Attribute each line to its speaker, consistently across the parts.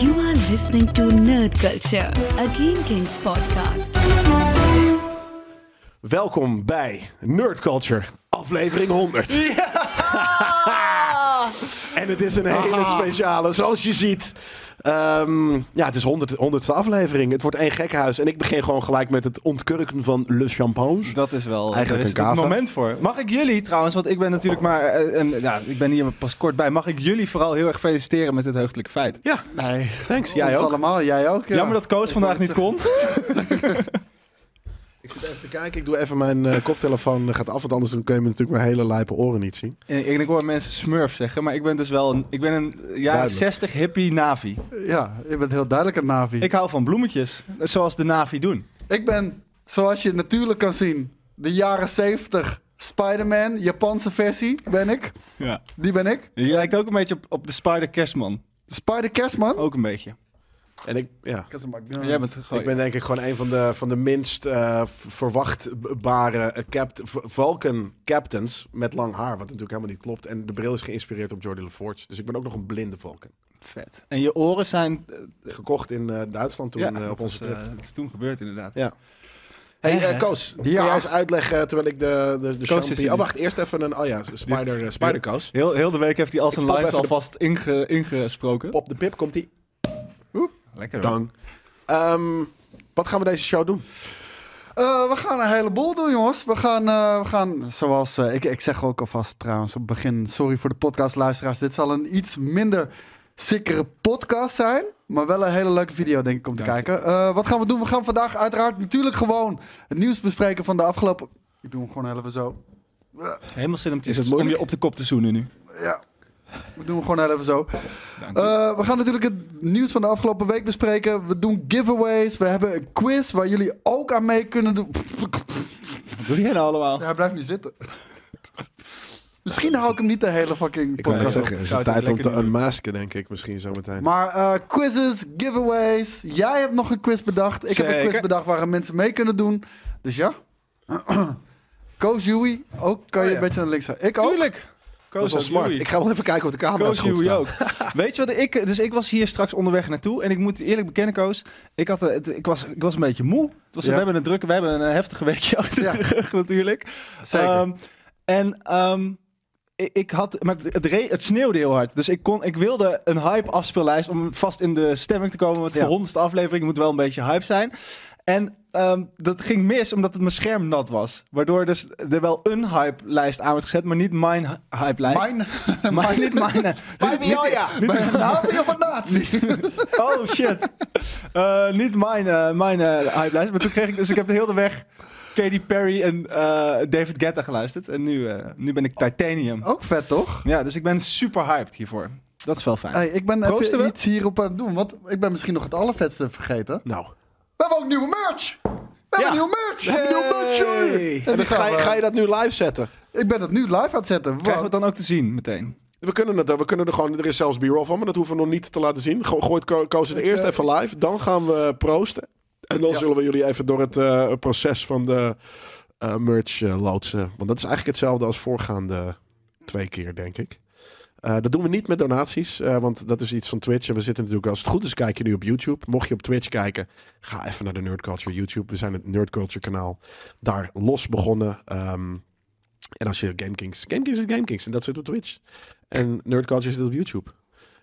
Speaker 1: You are listening to Nerd Culture, a Game Kings podcast.
Speaker 2: Welkom bij Nerd Culture, aflevering 100. en het is een hele speciale, zoals je ziet. Ehm, ja, het is 100, 100ste aflevering. Het wordt één gekhuis. En ik begin gewoon gelijk met het ontkurken van Le Champagne.
Speaker 3: Dat is wel
Speaker 2: Eigenlijk
Speaker 3: daar is
Speaker 2: een
Speaker 3: het
Speaker 2: kava.
Speaker 3: het moment voor. Mag ik jullie trouwens, want ik ben natuurlijk maar, eh, en, ja, ik ben hier pas kort bij. Mag ik jullie vooral heel erg feliciteren met dit heugelijke feit?
Speaker 2: Ja,
Speaker 4: Nee,
Speaker 2: thanks.
Speaker 4: ons
Speaker 2: Jij ook.
Speaker 4: allemaal, jij ook. Ja.
Speaker 3: Jammer dat Koos
Speaker 4: Ik
Speaker 3: vandaag
Speaker 4: wou
Speaker 3: niet kon.
Speaker 4: het
Speaker 2: Ik zit even te kijken. Ik doe even mijn eh, koptelefoon eh, gaat af. Want anders dan kun je me natuurlijk mijn hele lijpe oren niet zien.
Speaker 3: En ik, ik hoor mensen smurf zeggen, maar ik ben dus wel een, ik ben een eh, jaren
Speaker 2: Duidelijk.
Speaker 3: 60 hippie navi.
Speaker 4: zeggen. Ja, je bent heel duidelijk een Navi.
Speaker 3: Ik
Speaker 4: Ik,
Speaker 3: hou van bloemetjes, zoals de navi doen.
Speaker 4: ben, zoals je natuurlijk kan zien, de jaren 70 Spider-Man, Japanse versie ben ik.
Speaker 3: Ja.
Speaker 4: Die ben ik.
Speaker 3: Je lijkt ook een beetje op, op de spider kerstman.
Speaker 4: Spider-Kerstman.
Speaker 3: Ook een beetje.
Speaker 2: En ik, ja.
Speaker 4: Ik
Speaker 3: Oh. Jij bent gewoon...
Speaker 2: Ik ben denk ik gewoon een van de, van de minst eh, v- verwachtbare eh, capt v- Valken captains met lang haar. Wat natuurlijk helemaal niet klopt. En de bril is geïnspireerd op Jordi LaForge. Dus ik ben ook nog een blinde Valken.
Speaker 3: vet. En je oren zijn... eh,
Speaker 2: Gekocht in eh, Duitsland toen
Speaker 3: ja,
Speaker 2: eh,
Speaker 3: dat
Speaker 2: op onze
Speaker 3: was, eh,
Speaker 2: trip.
Speaker 3: dat is toen gebeurd inderdaad.
Speaker 2: Ja. hey, eh, Koos. kun jij eens uitleggen terwijl ik de, de, de
Speaker 3: Koos is
Speaker 2: champagne-
Speaker 3: er
Speaker 2: Oh,
Speaker 3: niet.
Speaker 2: wacht. Eerst even een... Oh ja, spider, eh, spider Koos.
Speaker 3: Heel, heel de week heeft hij al zijn
Speaker 2: pop
Speaker 3: lives
Speaker 2: even de-
Speaker 3: alvast inge, ingesproken.
Speaker 2: Pop de pip. Komt die.
Speaker 3: Lekker
Speaker 2: Dang. Ehm, wat gaan we deze show doen?
Speaker 4: Eh, we gaan een heleboel doen, jongens. We gaan, eh, we gaan zoals eh, ik, ik zeg ook alvast trouwens op het begin, sorry voor de podcastluisteraars. Dit zal een iets minder sikkere podcast zijn, maar wel een hele leuke video, denk ik, om te
Speaker 3: Dank je.
Speaker 4: kijken. Eh, wat gaan we doen? We gaan vandaag uiteraard natuurlijk gewoon het nieuws bespreken van de afgelopen. Ik doe hem gewoon even zo.
Speaker 3: Helemaal zin om, te,
Speaker 2: Is het
Speaker 3: om
Speaker 2: moeilijk?
Speaker 3: je op de kop te zoenen nu.
Speaker 4: Ja. We doen hem gewoon even zo.
Speaker 3: Dank
Speaker 4: Eh, we gaan natuurlijk het nieuws van de afgelopen week bespreken. We doen giveaways. We hebben een quiz waar jullie ook aan mee kunnen doen.
Speaker 3: Wat doe jij nou allemaal?
Speaker 4: Ja, hij blijft niet zitten. Misschien hou ik hem niet de hele fucking
Speaker 2: wou net
Speaker 4: podcast op.
Speaker 2: zeggen,
Speaker 3: Zou het lekker niet doen.
Speaker 2: unmasken, denk ik. Misschien zometeen.
Speaker 4: Maar eh, quizzes, giveaways. Jij hebt nog een quiz bedacht. Ik heb een
Speaker 3: Zeker.
Speaker 4: quiz bedacht waar mensen mee kunnen doen. Dus ja. Koos Joey, ook kan je
Speaker 2: Oh,
Speaker 4: een
Speaker 2: ja.
Speaker 4: beetje naar links gaan. Ik ook.
Speaker 3: Tuurlijk.
Speaker 2: dat is wel smart. Ik ga wel even kijken of de camera
Speaker 3: Koos
Speaker 2: is goed
Speaker 3: Joey
Speaker 2: staat.
Speaker 3: ook. Weet je wat ik... Dus ik was hier straks onderweg naartoe. En ik moet eerlijk bekennen, Koos. Ik, had, eh, het- ik, was, ik was een beetje moe. Het was,
Speaker 4: Ja.
Speaker 3: We hebben een drukke... We hebben een eh, heftige weekje achter
Speaker 4: Ja.
Speaker 3: de rug natuurlijk.
Speaker 4: Zeker.
Speaker 3: Ehm, en... ehm, ik- ik had, maar het, het, re- het sneeuwde heel hard. Dus ik, kon, ik wilde een hype afspeellijst om vast in de stemming te komen. Want het is
Speaker 4: Ja.
Speaker 3: de honderdste aflevering, moet wel een beetje hype zijn. En ehm, dat ging mis omdat het mijn scherm nat was. Waardoor dus er wel een hype-lijst aan werd gezet, maar niet mijn hy- hype-lijst.
Speaker 4: Mijn.
Speaker 3: Maar niet mijn.
Speaker 2: Bij Bioja.
Speaker 4: Mijn naam of een natie?
Speaker 3: Oh shit. Eh, niet mijn, eh, mijn eh, hype-lijst. Maar toen kreeg ik dus, ik heb de hele weg Katy Perry en eh, David Guetta geluisterd. En nu, eh, nu ben ik Titanium.
Speaker 4: Ook vet toch?
Speaker 3: Ja, dus ik ben super hyped hiervoor. Dat is wel fijn.
Speaker 4: Hey, ik ben
Speaker 3: Proosten we?
Speaker 4: even iets hierop aan het doen, want ik ben misschien nog het allervetste vergeten.
Speaker 2: Nou.
Speaker 4: We hebben ook nieuwe merch! We hebben
Speaker 2: Ja.
Speaker 4: nieuwe merch!
Speaker 3: Hey.
Speaker 2: En dan
Speaker 4: gaan
Speaker 2: ga, je,
Speaker 4: we-
Speaker 2: ga je dat nu live zetten?
Speaker 4: Ik ben het nu live aan het zetten.
Speaker 3: Krijgen
Speaker 4: want-
Speaker 3: we het dan ook te zien meteen?
Speaker 2: We kunnen het, we kunnen er gewoon, er is zelfs b-roll van, maar dat hoeven we nog niet te laten zien. Go- Gooit Ko- Koos het eerst even live, dan gaan we proosten. En dan
Speaker 4: Ja.
Speaker 2: zullen we jullie even door het eh, proces van de eh, merch eh, loodsen. Want dat is eigenlijk hetzelfde als voorgaande twee keer, denk ik. Eh, dat doen we niet met donaties, eh, want dat is iets van Twitch. En we zitten natuurlijk, als het goed is, kijk je nu op YouTube. Mocht je op Twitch kijken, ga even naar de Nerd Culture YouTube. We zijn het Nerd Culture kanaal daar los begonnen. Ehm, en als je GameKings... GameKings is GameKings en dat zit op Twitch. En Nerd Culture zit op YouTube.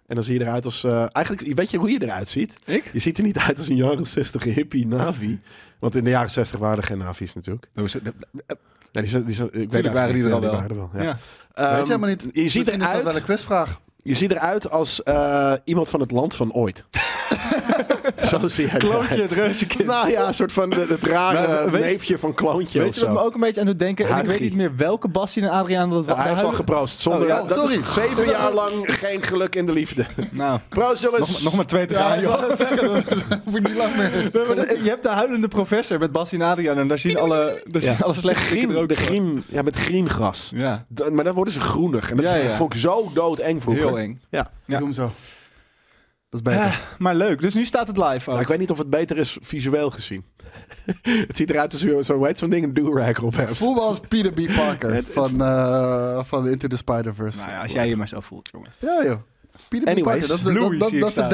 Speaker 2: En dan zie je eruit als... eh, eigenlijk, weet je hoe je eruit ziet?
Speaker 3: Ik?
Speaker 2: Je ziet er niet uit als een jaren 60 hippie navi. Want in de jaren 60 waren er geen navi's natuurlijk. Nee, die zijn, die zijn, ik weet
Speaker 3: Tuurlijk waren die er
Speaker 2: eigenlijk
Speaker 3: al
Speaker 2: niet.
Speaker 3: wel.
Speaker 2: Ja, waren er wel. Ja.
Speaker 3: Ja.
Speaker 2: Ehm,
Speaker 4: Weet je helemaal niet.
Speaker 2: Je ziet,
Speaker 4: Misschien is dat
Speaker 2: eruit,
Speaker 4: wel een quizvraag.
Speaker 2: je ziet eruit als eh, iemand van het land van ooit. Zo zie je
Speaker 3: Kloontje, het
Speaker 2: eruit.
Speaker 3: reuzenkind.
Speaker 2: Nou ja, een soort van eh, het rare
Speaker 3: Nou, weet-
Speaker 2: neefje van kloontje
Speaker 3: Weet
Speaker 2: of
Speaker 3: je
Speaker 2: zo.
Speaker 3: wat me ook een beetje aan doet denken? En ik
Speaker 2: Huigie.
Speaker 3: weet niet meer welke Bassie en Adriaan dat
Speaker 2: Nou,
Speaker 3: waren.
Speaker 2: hij heeft al geproost. Zonder,
Speaker 3: Oh, ja,
Speaker 2: dat
Speaker 4: sorry.
Speaker 2: is zeven jaar lang geen geluk in de liefde.
Speaker 3: Nou,
Speaker 2: Proost jongens.
Speaker 3: nog, nog maar twee te
Speaker 4: Ja,
Speaker 3: gaan,
Speaker 4: ik
Speaker 3: joh.
Speaker 4: wou het zeggen. Dat hoef ik niet lang meer.
Speaker 3: Nee, maar de- je hebt de huilende professor met Bassie en Adriaan. En daar zien alle, daar zien alle slechte
Speaker 2: Grien-
Speaker 3: kinderen ook
Speaker 2: de
Speaker 3: voor.
Speaker 2: grien, ja, met griengras.
Speaker 3: Ja,
Speaker 2: D- Maar dan worden ze groenig. En dat
Speaker 3: Ja,
Speaker 2: is-
Speaker 3: ja.
Speaker 2: vond ik zo doodeng vroeger.
Speaker 3: heel eng.
Speaker 2: Ja.
Speaker 4: Ik doe hem zo. Dat is
Speaker 2: Ah.
Speaker 4: beter.
Speaker 3: Maar leuk, dus nu staat het live
Speaker 2: Maar
Speaker 3: ook.
Speaker 2: Nou, ik weet niet of het beter is visueel gezien. het ziet eruit als je zo'n weet zo'n ding een do-rag op hebt.
Speaker 4: Voel me als Peter B. Parker van, eh, van Into the Spider-Verse.
Speaker 3: Nou ja, als jij je maar zo voelt, jongen.
Speaker 4: Ja, joh. Peter Anyways,
Speaker 2: Anyways,
Speaker 4: Dat is de,
Speaker 3: Bluey
Speaker 4: dat, dat,
Speaker 3: zie ik
Speaker 4: dat is de
Speaker 3: staan.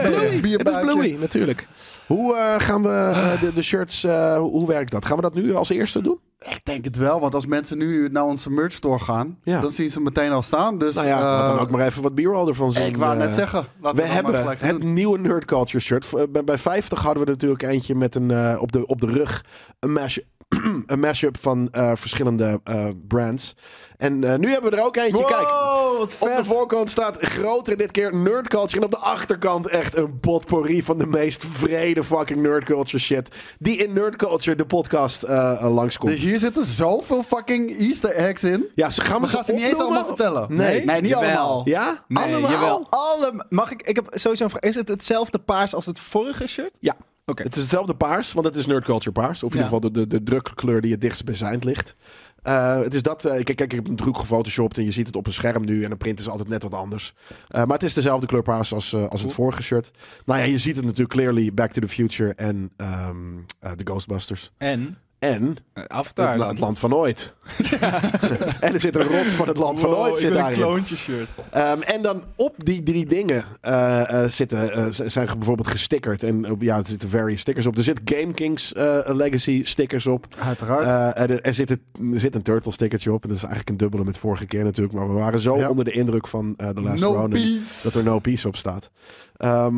Speaker 3: Ja, ja.
Speaker 4: bier-
Speaker 2: Het is
Speaker 4: bierbuikje.
Speaker 2: Bluey, natuurlijk. Hoe eh, gaan we eh, de, de shirts, eh, hoe, hoe werkt dat? Gaan we dat nu als eerste doen?
Speaker 4: Ik denk het wel, want als mensen nu naar onze merch store gaan,
Speaker 2: Ja.
Speaker 4: dan zien ze hem meteen al staan. Dus
Speaker 2: Nou ja, laat
Speaker 4: eh,
Speaker 2: dan ook maar even wat b-roll ervan zien.
Speaker 4: ik wou
Speaker 2: eh.
Speaker 4: net zeggen, laten we,
Speaker 2: We
Speaker 4: dat maar
Speaker 2: hebben
Speaker 4: gelijk
Speaker 2: het
Speaker 4: doen.
Speaker 2: nieuwe Nerd Culture shirt. Voor- eh, Bij, bij 50 hadden we natuurlijk eentje met een, eh, op, de, op de rug een, mash, een mashup van eh, verschillende eh, brands. En eh, nu hebben we er ook eentje. Kijk,
Speaker 3: Wow, wat
Speaker 2: op de
Speaker 3: vet.
Speaker 2: voorkant staat groter dit keer Nerd Culture. En op de achterkant echt een potpourri van de meest vrede fucking Nerd Culture shit. Die in Nerd Culture, de podcast, eh, eh, langskomt.
Speaker 4: Dus hier zitten zoveel fucking easter eggs in.
Speaker 2: Ja, ze gaan
Speaker 4: We
Speaker 2: we
Speaker 4: gaan ze niet eens
Speaker 2: opnoemen?
Speaker 4: allemaal vertellen.
Speaker 2: Nee.
Speaker 4: nee niet
Speaker 3: Jawel.
Speaker 4: allemaal.
Speaker 2: Ja?
Speaker 3: Nee,
Speaker 2: allemaal?
Speaker 3: jawel. Alle, mag ik, ik heb sowieso een vraag. Is het hetzelfde paars als het vorige shirt?
Speaker 2: Ja.
Speaker 3: Oké.
Speaker 2: Het is hetzelfde paars, want het is nerd culture paars. Of in
Speaker 3: Ja.
Speaker 2: ieder geval de, de, de drukkleur die het dichtst bijzijnd ligt. Eh, het is dat, eh, kijk, kijk, ik heb een druk gefotoshopt en je ziet het op een scherm nu. En een print is altijd net wat anders. Eh, maar het is dezelfde kleur paars als, eh, als het vorige shirt. Nou ja, je ziet het natuurlijk clearly Back to the Future en ehm, eh, de Ghostbusters.
Speaker 3: En?
Speaker 2: En
Speaker 3: Eh,
Speaker 2: het, la- het land van ooit. en er zit een rot van het land van ooit zit
Speaker 3: een
Speaker 2: daarin.
Speaker 3: kloontje shirt.
Speaker 2: Ehm, en dan op die drie dingen eh, eh, zitten, eh, z- zijn ge- bijvoorbeeld gestickerd. En op- ja, er zitten various stickers op. Er zit Game Kings eh, Legacy stickers op.
Speaker 4: Uiteraard.
Speaker 2: Eh, er, er zit, het- er zit een turtle stickertje op. En dat is eigenlijk een dubbele met vorige keer natuurlijk. Maar we waren zo
Speaker 4: Ja.
Speaker 2: onder de indruk van eh The Last
Speaker 4: no
Speaker 2: Round.
Speaker 4: peace.
Speaker 2: Dat er no peace op staat. Ehm,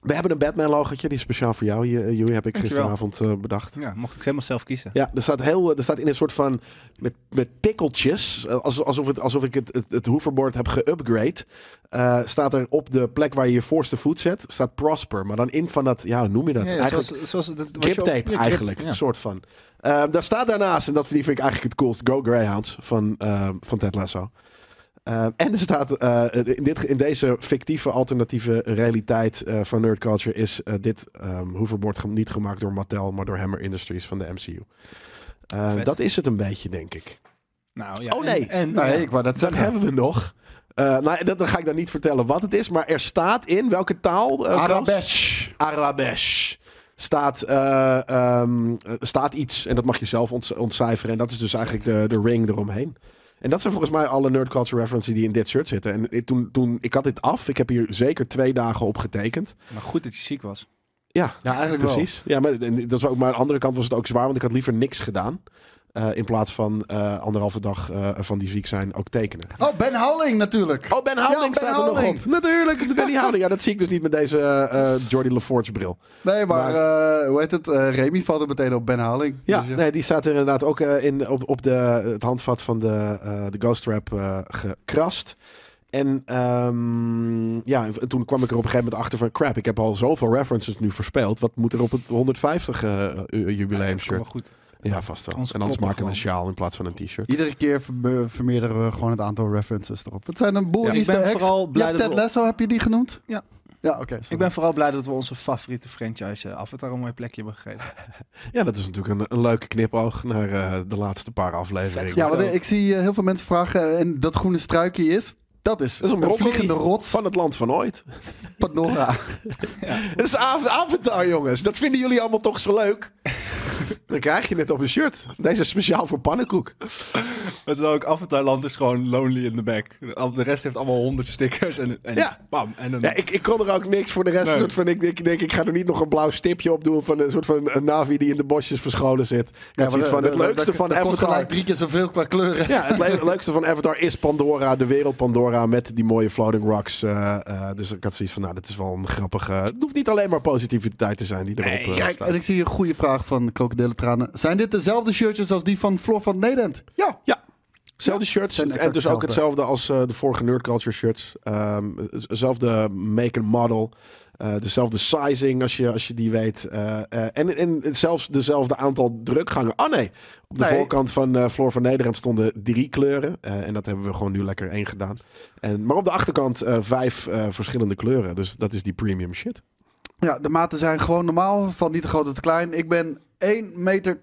Speaker 2: we hebben een Batman logotje. Die is speciaal voor jou. Ju- Joey heb ik
Speaker 3: Dankjewel.
Speaker 2: gisteravond eh, bedacht.
Speaker 3: Ja, mocht ik helemaal zelf kiezen.
Speaker 2: Ja, er staat, heel, eh, er staat in een soort van. met, met pikkeltjes. eh, als- Alsof, het, alsof ik het, het, het hoverboard heb geüpgrade. eh, staat er op de plek waar je je voorste voet zet. staat Prosper. Maar dan in van dat. Ja, hoe noem je dat?
Speaker 3: Ja, ja,
Speaker 2: eigenlijk
Speaker 3: zoals, zoals dat, wat je
Speaker 2: griptape,
Speaker 3: ook- ja, grip-
Speaker 2: eigenlijk.
Speaker 3: ja.
Speaker 2: Een soort van. Ehm, daar staat daarnaast. en dat die vind ik eigenlijk het coolst. Go Greyhounds van, ehm, van Ted Lasso. Ehm, en er staat eh, in, dit, in deze fictieve alternatieve realiteit eh, van nerd culture is eh, dit ehm hoverboard gem- niet gemaakt door Mattel, maar door Hammer Industries van de MCU. Eh,
Speaker 3: Vet.
Speaker 2: dat is het een beetje, denk ik.
Speaker 3: Nou, ja,
Speaker 2: Oh,
Speaker 3: en-
Speaker 2: nee.
Speaker 3: En,
Speaker 4: nee,
Speaker 3: ja.
Speaker 4: ik wou dat
Speaker 2: Dan
Speaker 4: zeggen.
Speaker 2: hebben we nog. eh, nou, dat, dan ga ik dan niet vertellen wat het is, maar er staat in welke taal. eh, Koos?
Speaker 4: Arabesh.
Speaker 2: Arabesh. Staat, eh, ehm, eh, staat iets en dat mag je zelf ont- ontcijferen. En dat is dus eigenlijk de, de ring eromheen. En dat zijn volgens mij alle nerd culture references die in dit shirt zitten. En ik- toen, toen, ik had dit af. Ik heb hier zeker twee dagen op getekend.
Speaker 3: Maar goed dat je ziek was.
Speaker 2: Ja,
Speaker 4: Ja, eigenlijk wel.
Speaker 2: precies. Ja, maar, en dat was ook, maar aan de andere kant was het ook zwaar, want ik had liever niks gedaan. eh, in plaats van eh, anderhalve dag eh, van die ziek zijn ook tekenen.
Speaker 4: Oh, Ben Halling natuurlijk.
Speaker 2: Oh, Ben Houding
Speaker 4: Ja, Ben
Speaker 2: staat er nog
Speaker 4: Houding.
Speaker 2: op. Natuurlijk, Benny Houding. Ja, dat zie ik dus niet met deze eh eh, Jordi LaForge bril.
Speaker 4: Nee, maar, eh, hoe heet het? Eh, Remy valt er meteen op Ben Halling.
Speaker 2: Ja,
Speaker 4: Dus,
Speaker 2: nee, die staat er inderdaad ook eh, in, op, op de, het handvat van de, eh, de Ghost Trap eh, gekrast. En ehm, ja, en toen kwam ik er op een gegeven moment achter van... crap, ik heb al zoveel references nu verspeeld. Wat moet er op het 150 eh, eh, jubileum
Speaker 3: Kom maar
Speaker 2: shirt?
Speaker 3: goed.
Speaker 2: Ja, vast wel.
Speaker 3: Onze
Speaker 2: En anders maken
Speaker 3: koppen
Speaker 2: we een
Speaker 3: gewoon.
Speaker 2: sjaal in plaats van een t-shirt.
Speaker 4: Iedere keer ver- vermeerderen we gewoon het aantal references erop. Het zijn een boel
Speaker 2: Ja, ik
Speaker 4: easter
Speaker 3: ben
Speaker 4: eggs.
Speaker 3: vooral
Speaker 4: Je
Speaker 3: blij
Speaker 4: hebt
Speaker 3: dat
Speaker 4: Ted
Speaker 3: we-
Speaker 4: Lasso, heb je die genoemd?
Speaker 3: Ja.
Speaker 4: Ja, oké. sorry.
Speaker 3: Ik ben vooral blij dat we onze favoriete franchise eh, Avatar een mooi plekje hebben gegeven.
Speaker 2: Ja, dat is natuurlijk een, een leuke knipoog naar eh, de laatste paar afleveringen.
Speaker 3: Vet.
Speaker 4: Ja, want ik zie eh, heel veel mensen vragen eh, en dat groene struikje is... Dat is,
Speaker 2: Dat is een broccoli.
Speaker 4: vliegende rots van
Speaker 2: Van het land van ooit.
Speaker 4: Pandora.
Speaker 2: Het is Av- Avatar, jongens. Dat vinden jullie allemaal toch zo leuk? Dan krijg je dit op een shirt. Deze is speciaal voor pannenkoek.
Speaker 3: Terwijl ook Avatarland is gewoon lonely in the back. De rest heeft allemaal honderd stickers en, en
Speaker 2: Ja.
Speaker 3: bam. En een,
Speaker 2: Ja, ik, ik kon er ook niks voor de rest.
Speaker 3: Nee.
Speaker 2: Een soort van, ik, ik denk, ik ga er niet nog een blauw stipje op doen van een soort van een navi die in de bosjes verscholen zit.
Speaker 4: Ja,
Speaker 2: Dat is iets van
Speaker 4: maar dat-
Speaker 2: het
Speaker 4: dat-
Speaker 2: leukste
Speaker 4: dat-
Speaker 2: van
Speaker 4: dat kost
Speaker 2: Avatar.
Speaker 4: gelijk drie keer zoveel qua kleuren.
Speaker 2: Ja, het le- leukste van Avatar is Pandora, de wereld Pandora met die mooie floating rocks. eh, eh, dus ik had zoiets van, nou, dit is wel een grappige... Het hoeft niet alleen maar positiviteit te zijn die erop
Speaker 3: Nee,
Speaker 2: eh,
Speaker 4: Kijk,
Speaker 2: staat.
Speaker 4: en ik zie een goede vraag van Krokodillentranen. Zijn dit dezelfde shirtjes als die van Floor van Nederland? Ja.
Speaker 2: Ja. Zelfde shirts.
Speaker 4: zijn
Speaker 2: En dus
Speaker 4: exact
Speaker 2: ook hetzelfde als eh, de vorige Nerd Culture shirts. Ehm, Hetzelfde make and model. eh, dezelfde sizing als je, als je die weet. Eh, eh, en, en zelfs dezelfde aantal drukgangen. Ah nee, op de
Speaker 4: Nee.
Speaker 2: voorkant van eh Floor van Nederland stonden drie kleuren. Eh, en dat hebben we gewoon nu lekker één gedaan. En, maar op de achterkant eh, vijf eh, verschillende kleuren. Dus dat is die premium shit.
Speaker 4: Ja, de maten zijn gewoon normaal, van niet te groot tot te klein. Ik ben 1,82 meter,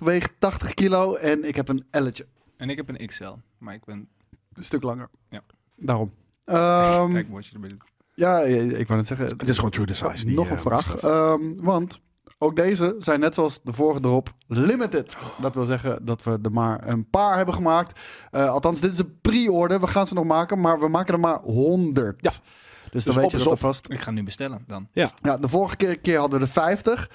Speaker 4: weeg 80 kilo en ik heb een elletje.
Speaker 3: En ik heb een XL, maar ik ben...
Speaker 4: Een stuk langer.
Speaker 3: Ja.
Speaker 4: Daarom. Ehm,
Speaker 3: Kijk, wat je ermee doet.
Speaker 4: ja, eh, ik wou net zeggen,
Speaker 2: Het is gewoon true the size. die,
Speaker 4: nog
Speaker 2: eh,
Speaker 4: een vraag.
Speaker 2: Mustafa.
Speaker 4: Ehm, want Ook deze zijn net zoals de vorige erop limited. Dat wil zeggen dat we er maar een paar hebben gemaakt. Eh, althans, dit is een pre-order. We gaan ze nog maken, maar we maken er maar 100.
Speaker 2: Ja.
Speaker 4: Dus
Speaker 2: Dus
Speaker 4: dan
Speaker 2: op
Speaker 4: weet je
Speaker 2: is
Speaker 4: dat
Speaker 2: op.
Speaker 4: alvast.
Speaker 3: Ik ga nu bestellen dan.
Speaker 4: Ja, de vorige keer, keer hadden we er 50.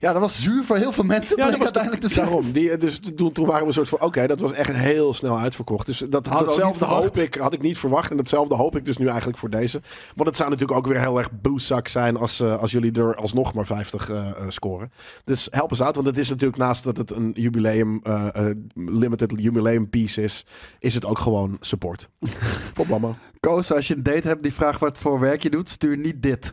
Speaker 4: Ja, dat was zuur voor heel veel mensen.
Speaker 2: Ja,
Speaker 4: maar
Speaker 2: dat
Speaker 4: ik
Speaker 2: was
Speaker 4: uiteindelijk te zeggen.
Speaker 2: Daarom. Die, eh, dus toen, toen waren we een soort van, oké, dat was echt heel snel uitverkocht. Dus dat,
Speaker 4: we ook niet
Speaker 2: datzelfde
Speaker 4: verwacht.
Speaker 2: hoop ik, had ik niet verwacht. En datzelfde hoop ik dus nu eigenlijk voor deze. Want het zou natuurlijk ook weer heel erg boeszak zijn als, eh, als jullie er alsnog maar 50 eh, eh, scoren. Dus help ons uit, want het is natuurlijk naast dat het een jubileum, eh, eh, limited jubileum piece is, is het ook gewoon support. Poplammen.
Speaker 4: Koos, als je een date hebt die vraagt wat voor werk je doet, stuur niet dit.